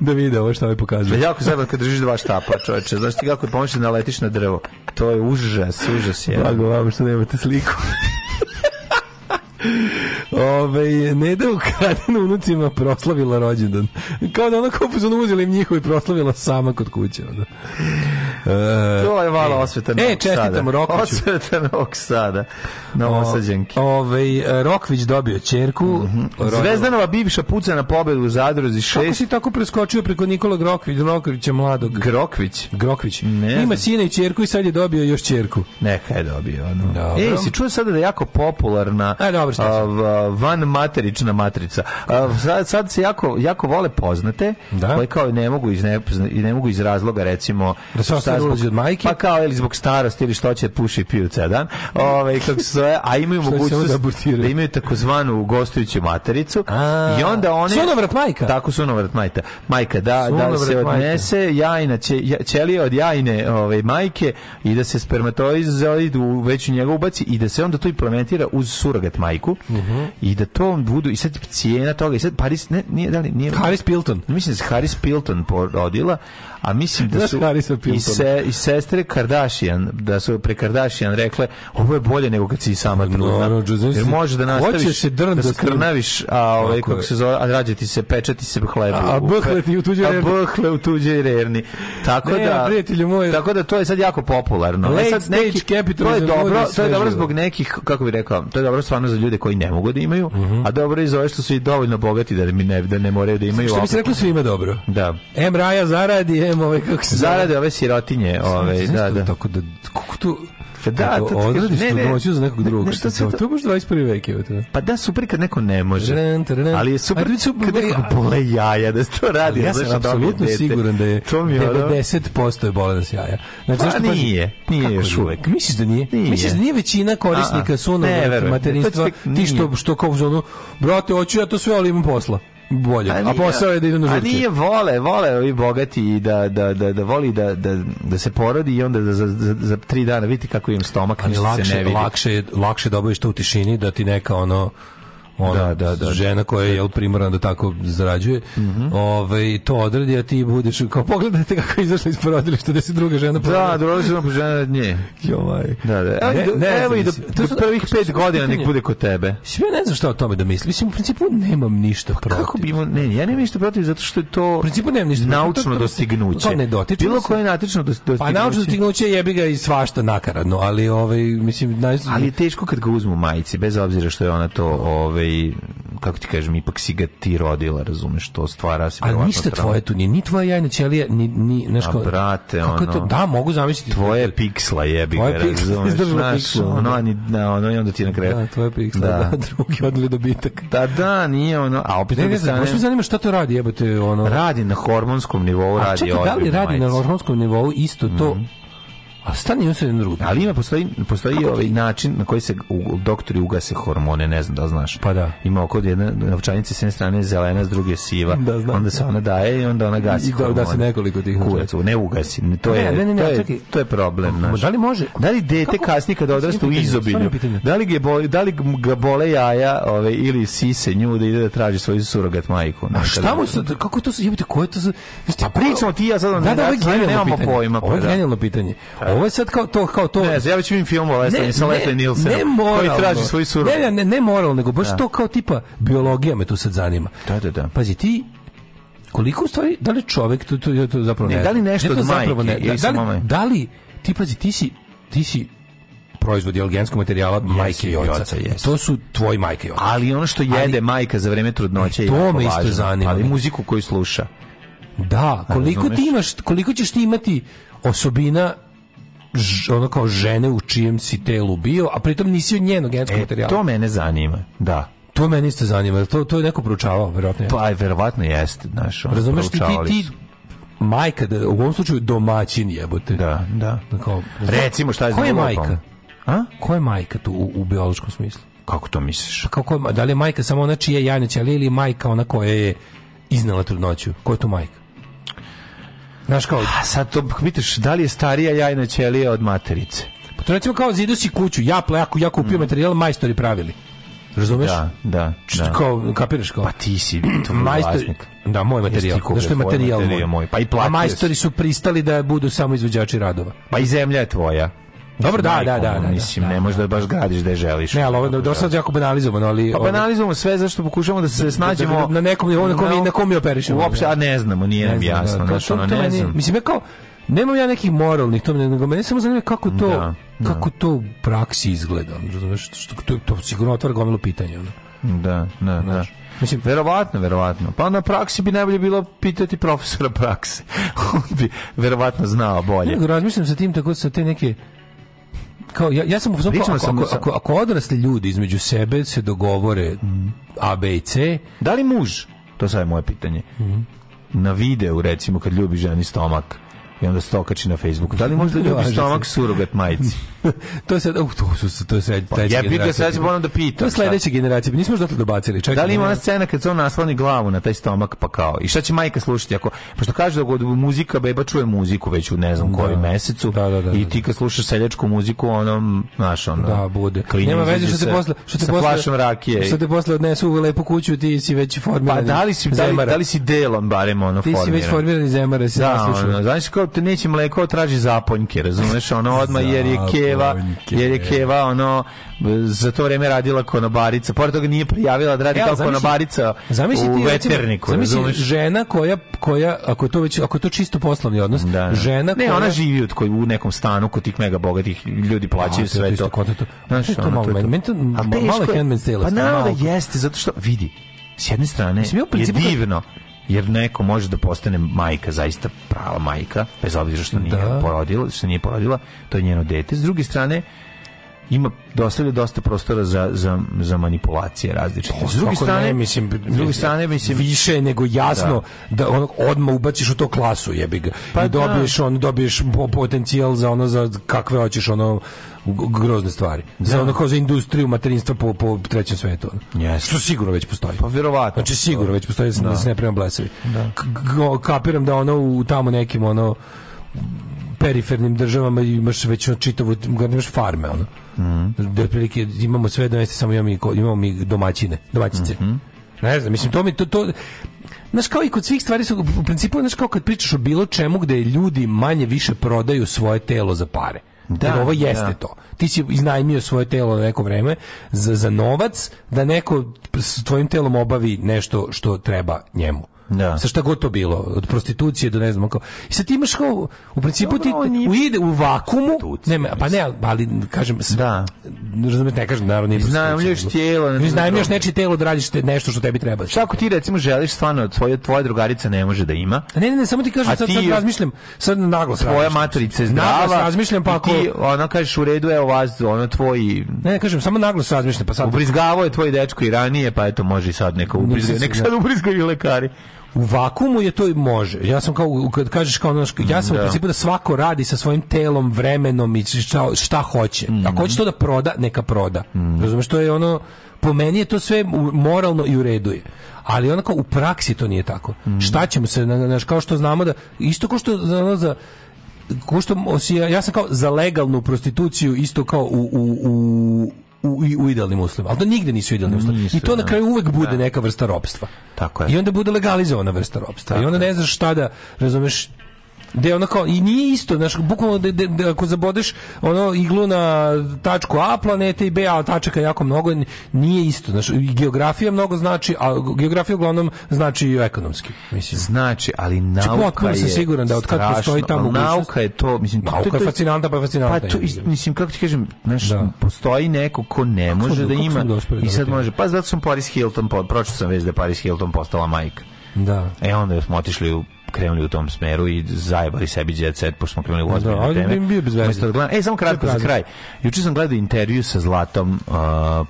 Speaker 6: da vide ovo što ovaj
Speaker 7: Da,
Speaker 6: pokazuje.
Speaker 7: Pa jako zajebano kad držiš dva štapa, čoveče. Znaš ti kako pomoći da naletiš na drvo? To je užas, užas je.
Speaker 6: Blago vam što nemate sliku. Ove, Neda ukradena unucima proslavila rođendan. Kao da ona kupuzom uzela im njihovo i proslavila sama kod kuće. Onda. E,
Speaker 7: To je malo osveta
Speaker 6: E,
Speaker 7: Novog
Speaker 6: čestitam
Speaker 7: Sada.
Speaker 6: Rokiću.
Speaker 7: Osveta Novog Sada. Novosađanki.
Speaker 6: Ovaj, Rokvić dobio čerku.
Speaker 7: Mhm, Zvezdanova bivša puca na pobedu u Zadruzi
Speaker 6: Kako
Speaker 7: 6.
Speaker 6: si tako preskočio preko Nikola Grokvić, Grokvića mladog?
Speaker 7: Grokvić.
Speaker 6: Grokvić.
Speaker 7: Ne
Speaker 6: Ima
Speaker 7: znam.
Speaker 6: sina i čerku i sad je dobio još čerku.
Speaker 7: Neka je dobio. Ono.
Speaker 6: Dobro.
Speaker 7: Ej, si čuo sada da je jako popularna
Speaker 6: E, dobro, šta
Speaker 7: a, v- van materična matrica. A, sad, sad se jako, jako vole poznate,
Speaker 6: Da.
Speaker 7: koje kao ne mogu, iz ne, i ne mogu iz razloga recimo
Speaker 6: Da se se ulazi od majke.
Speaker 7: Pa kao ili zbog starosti ili što će puši piju ceo dan. Ovaj kako se zove, a imaju
Speaker 6: Što će samo
Speaker 7: mogućnost
Speaker 6: da
Speaker 7: da,
Speaker 6: abortiraju.
Speaker 7: imaju takozvanu gostujuću matericu i onda one
Speaker 6: Sunovrat majka?
Speaker 7: Tako sunovrat majka. Majka da da
Speaker 6: Sunovrat
Speaker 7: se
Speaker 6: majka.
Speaker 7: odnese jajna će, ja- ćelije od jajne ovaj majke i da se spermatozoid u već u njega ubaci i da se onda to implementira uz surogat majku
Speaker 6: Mhm.
Speaker 7: i da to budu i sad cijena toga i sad Paris ne nije da li nije
Speaker 6: Paris Pilton.
Speaker 7: Mislim da se Haris Pilton porodila, a mislim da
Speaker 6: Znaš
Speaker 7: su
Speaker 6: Harrisa
Speaker 7: i,
Speaker 6: Piltona?
Speaker 7: se, i sestre Kardashian, da su pre Kardashian rekle, ovo je bolje nego kad si i sama trudna.
Speaker 6: no, Joseph,
Speaker 7: Jer može da
Speaker 6: hoće
Speaker 7: nastaviš,
Speaker 6: se drn
Speaker 7: da
Speaker 6: da
Speaker 7: skrnaviš, a, ovaj,
Speaker 6: Tako
Speaker 7: kako
Speaker 6: je.
Speaker 7: se zove, a rađa ti se, pečati se hlebu.
Speaker 6: A- a bhle ti u tuđoj
Speaker 7: A
Speaker 6: rerni.
Speaker 7: bhle u tuđoj rerni. Tako
Speaker 6: Ne,
Speaker 7: da,
Speaker 6: prijatelju moj.
Speaker 7: tako da to je sad jako popularno. E
Speaker 6: Late
Speaker 7: sad
Speaker 6: stage capitalism
Speaker 7: to je
Speaker 6: vodi
Speaker 7: dobro, to
Speaker 6: sve
Speaker 7: je dobro
Speaker 6: živo.
Speaker 7: zbog nekih, kako bih rekao, to je dobro stvarno za ljude koji ne mogu da imaju,
Speaker 6: Mhm.
Speaker 7: a dobro je i za ove što su i dovoljno bogati da mi ne, da ne moraju da imaju.
Speaker 6: Što bi se
Speaker 7: opet.
Speaker 6: reklo svima dobro.
Speaker 7: Da.
Speaker 6: Em Raja zaradi, em ovaj kako se zove.
Speaker 7: Zarade ove sirotinje, ove,
Speaker 6: Znaš
Speaker 7: ovaj, da,
Speaker 6: to
Speaker 7: da.
Speaker 6: Tako da, kako tu...
Speaker 7: Pa da,
Speaker 6: kako
Speaker 7: to ti kažem,
Speaker 6: odradiš
Speaker 7: ne,
Speaker 6: tu
Speaker 7: ne.
Speaker 6: domaćinu za nekog
Speaker 7: Ne,
Speaker 6: drugog.
Speaker 7: ne,
Speaker 6: Što
Speaker 7: što
Speaker 6: se
Speaker 7: se
Speaker 6: to?
Speaker 7: to-
Speaker 6: To je baš 21. vek je to.
Speaker 7: Pa da, super kad neko ne može.
Speaker 6: Tren, tren.
Speaker 7: Ali je
Speaker 6: A
Speaker 7: super
Speaker 6: da su-
Speaker 7: kad neko bole jaja da se to radi.
Speaker 6: Ja
Speaker 7: znaš,
Speaker 6: sam
Speaker 7: da dobije
Speaker 6: apsolutno
Speaker 7: dete.
Speaker 6: siguran da je
Speaker 7: To mi je ono-
Speaker 6: 90% je bolan s jaja. Znači,
Speaker 7: Pa
Speaker 6: zašto pazi-
Speaker 7: nije, nije
Speaker 6: Kako
Speaker 7: još
Speaker 6: nije?
Speaker 7: uvek.
Speaker 6: Misliš da nije?
Speaker 7: Nije.
Speaker 6: Misliš da nije većina korisnika
Speaker 7: A-a.
Speaker 6: sunog
Speaker 7: Ne, verujem.
Speaker 6: materinstva,
Speaker 7: To će tek-
Speaker 6: ti što,
Speaker 7: nije.
Speaker 6: što kao u zonu, brate, hoću ja to sve, ali imam posla. Bolje. A,
Speaker 7: Pa nije-
Speaker 6: posao je da idem na
Speaker 7: A
Speaker 6: žurke.
Speaker 7: nije vole, vole ovi bogati i da, da, da, da voli da, da, da se porodi i onda da za, za, za tri dana vidite kako im stomak,
Speaker 6: ali
Speaker 7: ništa se
Speaker 6: lakše,
Speaker 7: ne vidi.
Speaker 6: lakše, je- lakše je da obaviš to u tišini, da ti neka ono
Speaker 7: Da,
Speaker 6: ona
Speaker 7: da, Mhm. da.
Speaker 6: žena koja je jel, primorana da tako zarađuje ovaj, to odradi, a ti budeš kao pogledajte kako je izašla iz porodilišta da si druga žena
Speaker 7: Da, drugo se žena od nje.
Speaker 6: Joj.
Speaker 7: Da, da. ovaj, Evo, i do- evo i do, do prvih pet godina nek bude kod tebe.
Speaker 6: Sve ne znam šta o tome da mislim. Mislim, u principu nemam ništa protiv.
Speaker 7: Pa Kako bi imao, ne, ja nemam ništa protiv zato što je to
Speaker 6: U principu nemam ništa protiv. To- to-
Speaker 7: naučno
Speaker 6: to-
Speaker 7: dostignuće.
Speaker 6: to ne dotiče
Speaker 7: Bilo
Speaker 6: se.
Speaker 7: koje naučno dos- dostignuće.
Speaker 6: Pa naučno dostignuće jebi ga i svašta nakaradno, ali ovaj, mislim, naj...
Speaker 7: Ali je teško kad ga uzmu majici, bez obzira što je ona to, ovaj, kako ti kažem, ipak si ga ti rodila, razumeš, to stvara se.
Speaker 6: A
Speaker 7: verovatno
Speaker 6: ništa
Speaker 7: trauma.
Speaker 6: tvoje tu nije, ni tvoja jajna ćelija, ni, ni, znaš
Speaker 7: A,
Speaker 6: kao-
Speaker 7: brate,
Speaker 6: kako je to,
Speaker 7: ono,
Speaker 6: da, mogu zamisliti.
Speaker 7: Tvoje piksla jebi ga,
Speaker 6: Dakle, Tvoje piksla,
Speaker 7: razumeš,
Speaker 6: izdržala
Speaker 7: znaš,
Speaker 6: piksla,
Speaker 7: ono,
Speaker 6: da.
Speaker 7: a ni- na, ono, i onda ti na kraju.
Speaker 6: Da, tvoje piksla, da, drugi odli dobitak.
Speaker 7: Da, da, nije ono, a opet
Speaker 6: Ne, ne
Speaker 7: druge
Speaker 6: znam,
Speaker 7: strane,
Speaker 6: baš me zanima šta to radi, jebote, ono...
Speaker 7: radi na hormonskom nivou,
Speaker 6: A
Speaker 7: radi Mhm.
Speaker 6: čekaj, da li
Speaker 7: odrib
Speaker 6: radi na
Speaker 7: majici.
Speaker 6: hormonskom nivou isto to? A stani on se jedno drugo.
Speaker 7: Ali ima postoji postoji i ovaj način na koji se u- doktori ugase hormone, ne znam da li znaš.
Speaker 6: Pa da.
Speaker 7: Ima oko jedna novčanica s jedne strane je zelena, s druge je siva.
Speaker 6: Da, znam.
Speaker 7: Onda se ona daje i onda ona gasi.
Speaker 6: I da- da se
Speaker 7: hormone.
Speaker 6: nekoliko tih
Speaker 7: Kurac, ne ugasi, ne, to je
Speaker 6: Ne, ne, ne, ne,
Speaker 7: to je
Speaker 6: čekaj.
Speaker 7: to je problem,
Speaker 6: Ma
Speaker 7: znaš.
Speaker 6: Da li može?
Speaker 7: Da li dete
Speaker 6: Kako?
Speaker 7: kasnije kad odrasta
Speaker 6: Stvarno
Speaker 7: u
Speaker 6: pitanje,
Speaker 7: izobilju?
Speaker 6: stvarno pitanje.
Speaker 7: Da li ga boli, da li ga bole jaja, ove ili sise nju da ide da traži svoju surogat majku?
Speaker 6: A
Speaker 7: znaš,
Speaker 6: šta
Speaker 7: kada-
Speaker 6: mu sad, kako to se, jebote, ko je to za...
Speaker 7: Pa pričamo ti i ja sad,
Speaker 6: Da, da, ovo je
Speaker 7: sad
Speaker 6: genijalno
Speaker 7: nemamo
Speaker 6: pitanje.
Speaker 7: pojma, pa
Speaker 6: Ovo je
Speaker 7: da.
Speaker 6: genijalno pitanje. Ovo je sad kao to, kao to...
Speaker 7: Ne, znam, ja već vidim film o Leslie, sa Leslie Nielsenom,
Speaker 6: ne moralno.
Speaker 7: koji traži svoju surogat.
Speaker 6: Ne, ne, ne moralno, nego baš to kao tipa biologija me tu sad zanima.
Speaker 7: Da, da, da.
Speaker 6: Pazi, ti koliko u stvari, da li čovek, to, to, ja to zapravo ne,
Speaker 7: Ne,
Speaker 6: znam.
Speaker 7: da li nešto
Speaker 6: Ja to
Speaker 7: od
Speaker 6: zapravo
Speaker 7: majke
Speaker 6: ne,
Speaker 7: ili
Speaker 6: da, da,
Speaker 7: samo
Speaker 6: li,
Speaker 7: majke?
Speaker 6: da li, ti pazi, ti si, ti si proizvod jel, genskog materijala majke i
Speaker 7: i
Speaker 6: oca.
Speaker 7: oca, jesi.
Speaker 6: To su tvoji majke i oca.
Speaker 7: Ali ono što jede majka za vreme trudnoće je
Speaker 6: To
Speaker 7: jako
Speaker 6: me isto
Speaker 7: važno.
Speaker 6: zanima.
Speaker 7: Ali muziku koju sluša.
Speaker 6: Da, koliko ti
Speaker 7: razumeš?
Speaker 6: imaš, koliko ćeš ti imati osobina ž, ono kao žene u čijem si telu bio, a pritom nisi od njenog genskog
Speaker 7: E,
Speaker 6: materijala.
Speaker 7: to
Speaker 6: To,
Speaker 7: mene zanima, da.
Speaker 6: meni isto zanima, jer to, to je neko proučavao, verovatno.
Speaker 7: Pa je, verovatno jeste, znaš. ono,
Speaker 6: Razumeš ti, ti,
Speaker 7: proučavali
Speaker 6: ti
Speaker 7: su.
Speaker 6: majka, da, u ovom slučaju domaćin jebote.
Speaker 7: Da, da.
Speaker 6: Kao,
Speaker 7: Recimo, šta je s
Speaker 6: Ko je
Speaker 7: drugom?
Speaker 6: majka?
Speaker 7: A?
Speaker 6: Ko je majka tu u, u biološkom smislu?
Speaker 7: Kako to misliš?
Speaker 6: Pa kao, ko je ma- da li je majka samo ona čija je jajna ćelija ili je majka ona koja je iznala trudnoću? Ko je tu majka? Znaš kao,
Speaker 7: A sad to pitaš, da li je starija jajna ćelija od materice?
Speaker 6: Pa to recimo kao zidu si kuću, ja plaku, ja kupio materijal, majstori pravili. Razumeš?
Speaker 7: Mm. Da, da,
Speaker 6: Č-
Speaker 7: da.
Speaker 6: Kao, kapiraš kao?
Speaker 7: Pa ti si tvoj
Speaker 6: majstori,
Speaker 7: vlasnik.
Speaker 6: da, moj
Speaker 7: Jesi
Speaker 6: materijal.
Speaker 7: ti kupio
Speaker 6: Zašto je
Speaker 7: tvoj
Speaker 6: materijal moj?
Speaker 7: materijal moj? Pa i platio
Speaker 6: A majstori
Speaker 7: si.
Speaker 6: su pristali da budu samo izvođači radova.
Speaker 7: Pa i zemlja je tvoja.
Speaker 6: Dobro, da,
Speaker 7: Majko,
Speaker 6: da, da, da, da.
Speaker 7: Mislim, ne možeš da baš gradiš gde želiš.
Speaker 6: Ne, ali Ono- ovo je do sad jako banalizovano, ali...
Speaker 7: Pa
Speaker 6: ovo-
Speaker 7: banalizujemo sve zašto pokušavamo da se snađemo
Speaker 6: na nekom nivou na kom mi- na kom mi operišemo.
Speaker 7: Uopšte, a ne znamo, nije
Speaker 6: Ne
Speaker 7: nam
Speaker 6: znam,
Speaker 7: jasno.
Speaker 6: da,
Speaker 7: znaš,
Speaker 6: to-
Speaker 7: ono,
Speaker 6: to
Speaker 7: ne
Speaker 6: meni-
Speaker 7: znam.
Speaker 6: Mislim, ja kao, nemam ja nekih moralnih, to mene, nego mene samo zanima kako to,
Speaker 7: Da, da.
Speaker 6: kako to u praksi izgleda. Razumeš, što, to, to sigurno otvara gomilu pitanja. ono.
Speaker 7: Da, da, da.
Speaker 6: Mislim,
Speaker 7: Verovatno, verovatno. Pa na praksi bi najbolje bilo pitati profesora prakse. On bi verovatno znao bolje.
Speaker 6: Nego razmišljam sa tim tako sa te neke kao ja, ja sam u fazonu kao,
Speaker 7: Pričamo
Speaker 6: ako,
Speaker 7: samo
Speaker 6: ako,
Speaker 7: sa-
Speaker 6: ako, ako odrasli ljudi između sebe se dogovore A, B i C,
Speaker 7: Da
Speaker 6: Mhm.
Speaker 7: li muž, to sad je moje pitanje, na videu recimo kad ljubi ženi stomak, i onda se to okači na Facebooku. Da li možda ljubi
Speaker 6: Važi
Speaker 7: stomak
Speaker 6: se.
Speaker 7: surogat majici?
Speaker 6: to je sad, uh, to su to je sad
Speaker 7: Pa
Speaker 6: treća
Speaker 7: jebi ga,
Speaker 6: generacija.
Speaker 7: sad ćemo onda pitati,
Speaker 6: To je sledeća generacija, nismo još dotle dobacili. Čekaj.
Speaker 7: Da li ima ona scena kad se on nasloni glavu na taj stomak pa kao? I šta će majka slušati ako pošto kaže da god muzika beba čuje muziku već u ne znam kojem mesecu.
Speaker 6: Da, da, da,
Speaker 7: I
Speaker 6: da.
Speaker 7: ti kad slušaš seljačku muziku onom, znaš, ono.
Speaker 6: Da, bude.
Speaker 7: klinje
Speaker 6: Nema veze
Speaker 7: izađe
Speaker 6: što te
Speaker 7: sa-
Speaker 6: posle, što te
Speaker 7: sa
Speaker 6: posle
Speaker 7: flašom rakije.
Speaker 6: Što te posle odnesu u lepu kuću, ti si već
Speaker 7: Pa
Speaker 6: formiran.
Speaker 7: da li si da li, da li si delom barem ono
Speaker 6: Ti si već formiran iz zemara, si
Speaker 7: Da,
Speaker 6: naslušao.
Speaker 7: ono, znaš kao te neće mleko traži zaponjke, razumeš, ono odmah jer je Keva,
Speaker 6: Zaponjke.
Speaker 7: jer je Keva ono za to vreme radila konobarica, pored toga nije prijavila da radi
Speaker 6: E, ali
Speaker 7: kao
Speaker 6: zamisli-
Speaker 7: konobarica
Speaker 6: Zamisli
Speaker 7: u
Speaker 6: ti, recimo,
Speaker 7: veterniku,
Speaker 6: zamisli
Speaker 7: razumeš?
Speaker 6: žena koja koja ako je to već ako je to čisto poslovni odnos,
Speaker 7: Da, da.
Speaker 6: žena
Speaker 7: ne,
Speaker 6: koja
Speaker 7: ona živi od koji u nekom stanu kod tih mega bogatih ljudi plaćaju
Speaker 6: A, to je
Speaker 7: sve
Speaker 6: isto
Speaker 7: to.
Speaker 6: kod- to- to-
Speaker 7: Znaš,
Speaker 6: to je to
Speaker 7: ono,
Speaker 6: malo
Speaker 7: je
Speaker 6: meni- meni to
Speaker 7: A
Speaker 6: malo je
Speaker 7: teško
Speaker 6: Handmaid's Tale,
Speaker 7: Pa
Speaker 6: stvarno
Speaker 7: naravno
Speaker 6: malo.
Speaker 7: da jeste, zato što vidi, s jedne strane
Speaker 6: Mislim, ja u principu
Speaker 7: je
Speaker 6: kad-
Speaker 7: divno jer neko može da postane majka, zaista prava majka, bez obzira što nije
Speaker 6: Da.
Speaker 7: porodila, što nije porodila, to je njeno dete. S druge strane, ima dostavlja dosta prostora za, za, za manipulacije različite. S druge
Speaker 6: Kako
Speaker 7: strane,
Speaker 6: Pa ne, mislim,
Speaker 7: s druge strane mislim,
Speaker 6: više je nego jasno da, ono odmah ubaciš u to klasu jebi ga
Speaker 7: Pa
Speaker 6: i dobiješ
Speaker 7: da.
Speaker 6: on dobiješ po- potencijal za ono za kakve hoćeš ono g- grozne stvari za ono kao za industriju materinstva po, po trećem svetu ono.
Speaker 7: Jeste.
Speaker 6: što sigurno već postoji
Speaker 7: pa verovatno.
Speaker 6: Znači sigurno već postoji da se- da se ne prema blesavi. K- k- Kapiram da ono u tamo nekim ono perifernim državama imaš već ono čitavu garni imaš farme ono.
Speaker 7: Mhm.
Speaker 6: Da otprilike imamo sve da jeste samo imamo mi ko- imamo mi domaćine, domaćice.
Speaker 7: Mhm.
Speaker 6: Ne znam, mislim to mi to to Znaš, kao i kod svih stvari su, u principu, znaš, kao kad pričaš o bilo čemu gde ljudi manje više prodaju svoje telo za pare.
Speaker 7: Da,
Speaker 6: Jer ovo jeste
Speaker 7: da.
Speaker 6: to to. Ti si iznajmio svoje telo na neko vreme za, za novac da neko s tvojim telom obavi nešto što treba njemu.
Speaker 7: Da.
Speaker 6: Sa šta god to bilo, od prostitucije do ne znam kao. I sad ti imaš kao, u principu
Speaker 7: Dobro, on
Speaker 6: ti
Speaker 7: nije
Speaker 6: u, ide u vakumu,
Speaker 7: prostitucija,
Speaker 6: ne, ma- pa ne, ali- ali kažem, s-
Speaker 7: Da.
Speaker 6: razumete, ne kažem, naravno nije
Speaker 7: Iznajmljuješ
Speaker 6: prostitucija,
Speaker 7: tijelo na
Speaker 6: nego- Iznajmljuješ
Speaker 7: drugom.
Speaker 6: nečije telo da radiš te- nešto što tebi treba.
Speaker 7: Šta ako ti recimo želiš stvarno, tvoja, tvoja drugarica ne može da ima,
Speaker 6: Ne, ne, ne, samo ti kažem,
Speaker 7: A
Speaker 6: sad,
Speaker 7: ti-
Speaker 6: sad razmišljam, sad naglas
Speaker 7: tvoja
Speaker 6: razmišljam.
Speaker 7: matrica je
Speaker 6: Naglas
Speaker 7: zdrava.
Speaker 6: razmišljam, pa
Speaker 7: i
Speaker 6: ako...
Speaker 7: Ti, ono kažeš u redu, evo vas, ono tvoji...
Speaker 6: Ne, ne, kažem, samo naglas razmišljam, pa sad...
Speaker 7: Ubrizgavao je tvoj dečko i ranije, pa eto, može i sad neka ubrizga.
Speaker 6: Ne,
Speaker 7: Neka
Speaker 6: ne.
Speaker 7: sad ubrizgaju lekari.
Speaker 6: u vakumu je to i može. Ja sam kao u- kad kažeš kao ono, ja sam u
Speaker 7: da.
Speaker 6: principu da svako radi sa svojim telom, vremenom i šta, šta hoće.
Speaker 7: Mhm.
Speaker 6: Ako hoće to da proda, neka proda. Razumeš to je ono po meni je to sve u- moralno i u redu je. Ali onako u praksi to nije tako.
Speaker 7: Mhm.
Speaker 6: Šta ćemo se na- na- znaš, kao što znamo da isto kao što za, ono, za ko što osi- ja sam kao za legalnu prostituciju isto kao u, u, u u, i- u idealnim uslovima, ali to nigde nisu idealni uslovi.
Speaker 7: Nisu,
Speaker 6: I to na
Speaker 7: da.
Speaker 6: kraju uvek bude neka vrsta ropstva.
Speaker 7: Tako je.
Speaker 6: I onda bude legalizovana vrsta ropstva. I onda ne znaš šta da, razumeš, gde ono kao, i nije isto, znaš, bukvalno da, da, da ako zabodeš ono iglu na tačku A planete i B, a tačaka je jako mnogo, n- nije isto, znaš, i geografija mnogo znači, a geografija uglavnom znači i ekonomski, mislim.
Speaker 7: Znači, ali nauka
Speaker 6: potpuno
Speaker 7: je
Speaker 6: sam siguran da od kad postoji
Speaker 7: strašno,
Speaker 6: ta
Speaker 7: ali
Speaker 6: mogućnost-
Speaker 7: Nauka je to, mislim... to- to-
Speaker 6: Nauka je
Speaker 7: to-
Speaker 6: fascinanta, pa je
Speaker 7: Pa
Speaker 6: fascinanta.
Speaker 7: to,
Speaker 6: jebi ga.
Speaker 7: mislim, kako ti kažem, znaš,
Speaker 6: Da.
Speaker 7: postoji neko ko ne može
Speaker 6: smo-
Speaker 7: da
Speaker 6: kako
Speaker 7: ima
Speaker 6: smo dospeli
Speaker 7: i
Speaker 6: do
Speaker 7: sad
Speaker 6: toga?
Speaker 7: može, pa zato sam Paris Hilton, po- pročitao sam već da je Paris Hilton postala majka.
Speaker 6: Da.
Speaker 7: E onda smo otišli u krenuli u tom smeru i zajebali sebi jet set, pošto smo krenuli u ozbiljne
Speaker 6: ali
Speaker 7: teme.
Speaker 6: bi bio bez veze.
Speaker 7: Umesto da gledam- E, samo kratko za
Speaker 6: prazno.
Speaker 7: kraj. Juče sam gledao intervju sa Zlatom uh,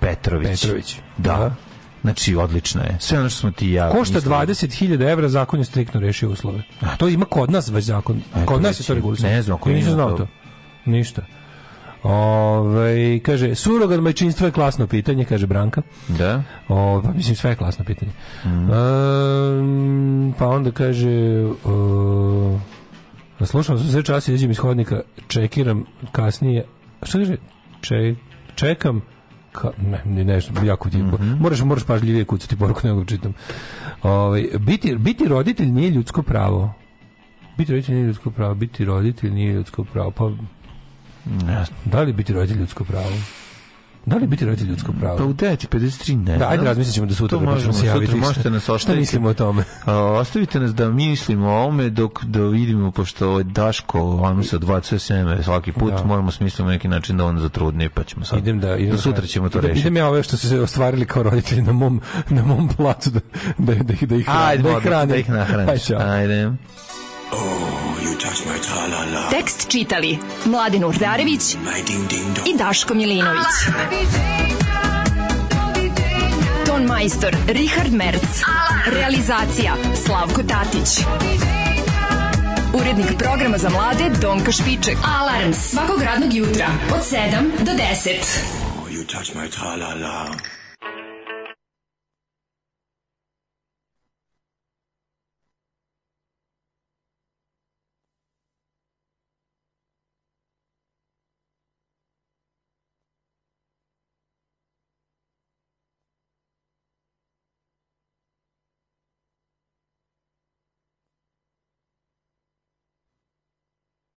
Speaker 7: Petrović.
Speaker 6: Petrović.
Speaker 7: Da.
Speaker 6: Da.
Speaker 7: Znači, odlično je. Sve ono što smo ti i ja...
Speaker 6: Košta
Speaker 7: mislili.
Speaker 6: 20.000 evra, zakon je striktno rešio uslove. To ima kod nas već zakon.
Speaker 7: Eto,
Speaker 6: Kod nas je
Speaker 7: već
Speaker 6: to
Speaker 7: je.
Speaker 6: regulisano.
Speaker 7: Ne znam ako
Speaker 6: Ja nisam
Speaker 7: ima
Speaker 6: znao
Speaker 7: to.
Speaker 6: to. Ništa. Ove, kaže, surogat majčinstvo je klasno pitanje, kaže Branka.
Speaker 7: Da.
Speaker 6: O, pa mislim sve je klasno pitanje. Ehm, pa onda kaže uh, slušam se sve čas iđem iz hodnika, čekiram kasnije. Šta kaže? Če, čekam ka, ne, ne, nešto, jako ti je- moraš, moraš pažljivije kucati poruku nego čitam. Ovaj, biti, biti roditelj nije ljudsko pravo. Biti roditelj nije ljudsko pravo, biti roditelj nije ljudsko pravo. Pa,
Speaker 7: Ne znam.
Speaker 6: da li je biti roditelj ljudsko pravo? Da li je biti roditelj ljudsko pravo?
Speaker 7: Pa u 9.53 ne
Speaker 6: Da, E, ajde
Speaker 7: znam.
Speaker 6: razmislit ćemo da sutra
Speaker 7: To
Speaker 6: pa ćemo
Speaker 7: možemo,
Speaker 6: se javiti.
Speaker 7: sutra možete nas
Speaker 6: Šta
Speaker 7: ostaviti.
Speaker 6: mislimo o tome?
Speaker 7: A, ostavite nas da mislimo o ovome dok da vidimo, pošto ovo je Daško, ono se odbacuje seme svaki put,
Speaker 6: Da.
Speaker 7: moramo smisliti na neki način da on zatrudni, pa ćemo sad.
Speaker 6: Idem da idem
Speaker 7: do sutra ćemo to
Speaker 6: idem,
Speaker 7: rešiti.
Speaker 6: Idem ja ove što su se ostvarili kao roditelji na mom na mom placu da da da, ih- da ih hranim.
Speaker 7: Ajde,
Speaker 6: da
Speaker 7: Bodo,
Speaker 6: ih hranim.
Speaker 7: da ih nahraniš.
Speaker 6: Aj, čao.
Speaker 7: Ajde.
Speaker 2: Oh,
Speaker 5: Tekst čitali Mladin Urdarević i Daško Milinović. Ton majstor Richard Merc. Realizacija Slavko Tatić. Urednik programa za mlade Donka Špiček. Alarms svakog radnog jutra od 7 do 10.
Speaker 2: Oh, you touch my tra-la-la. la la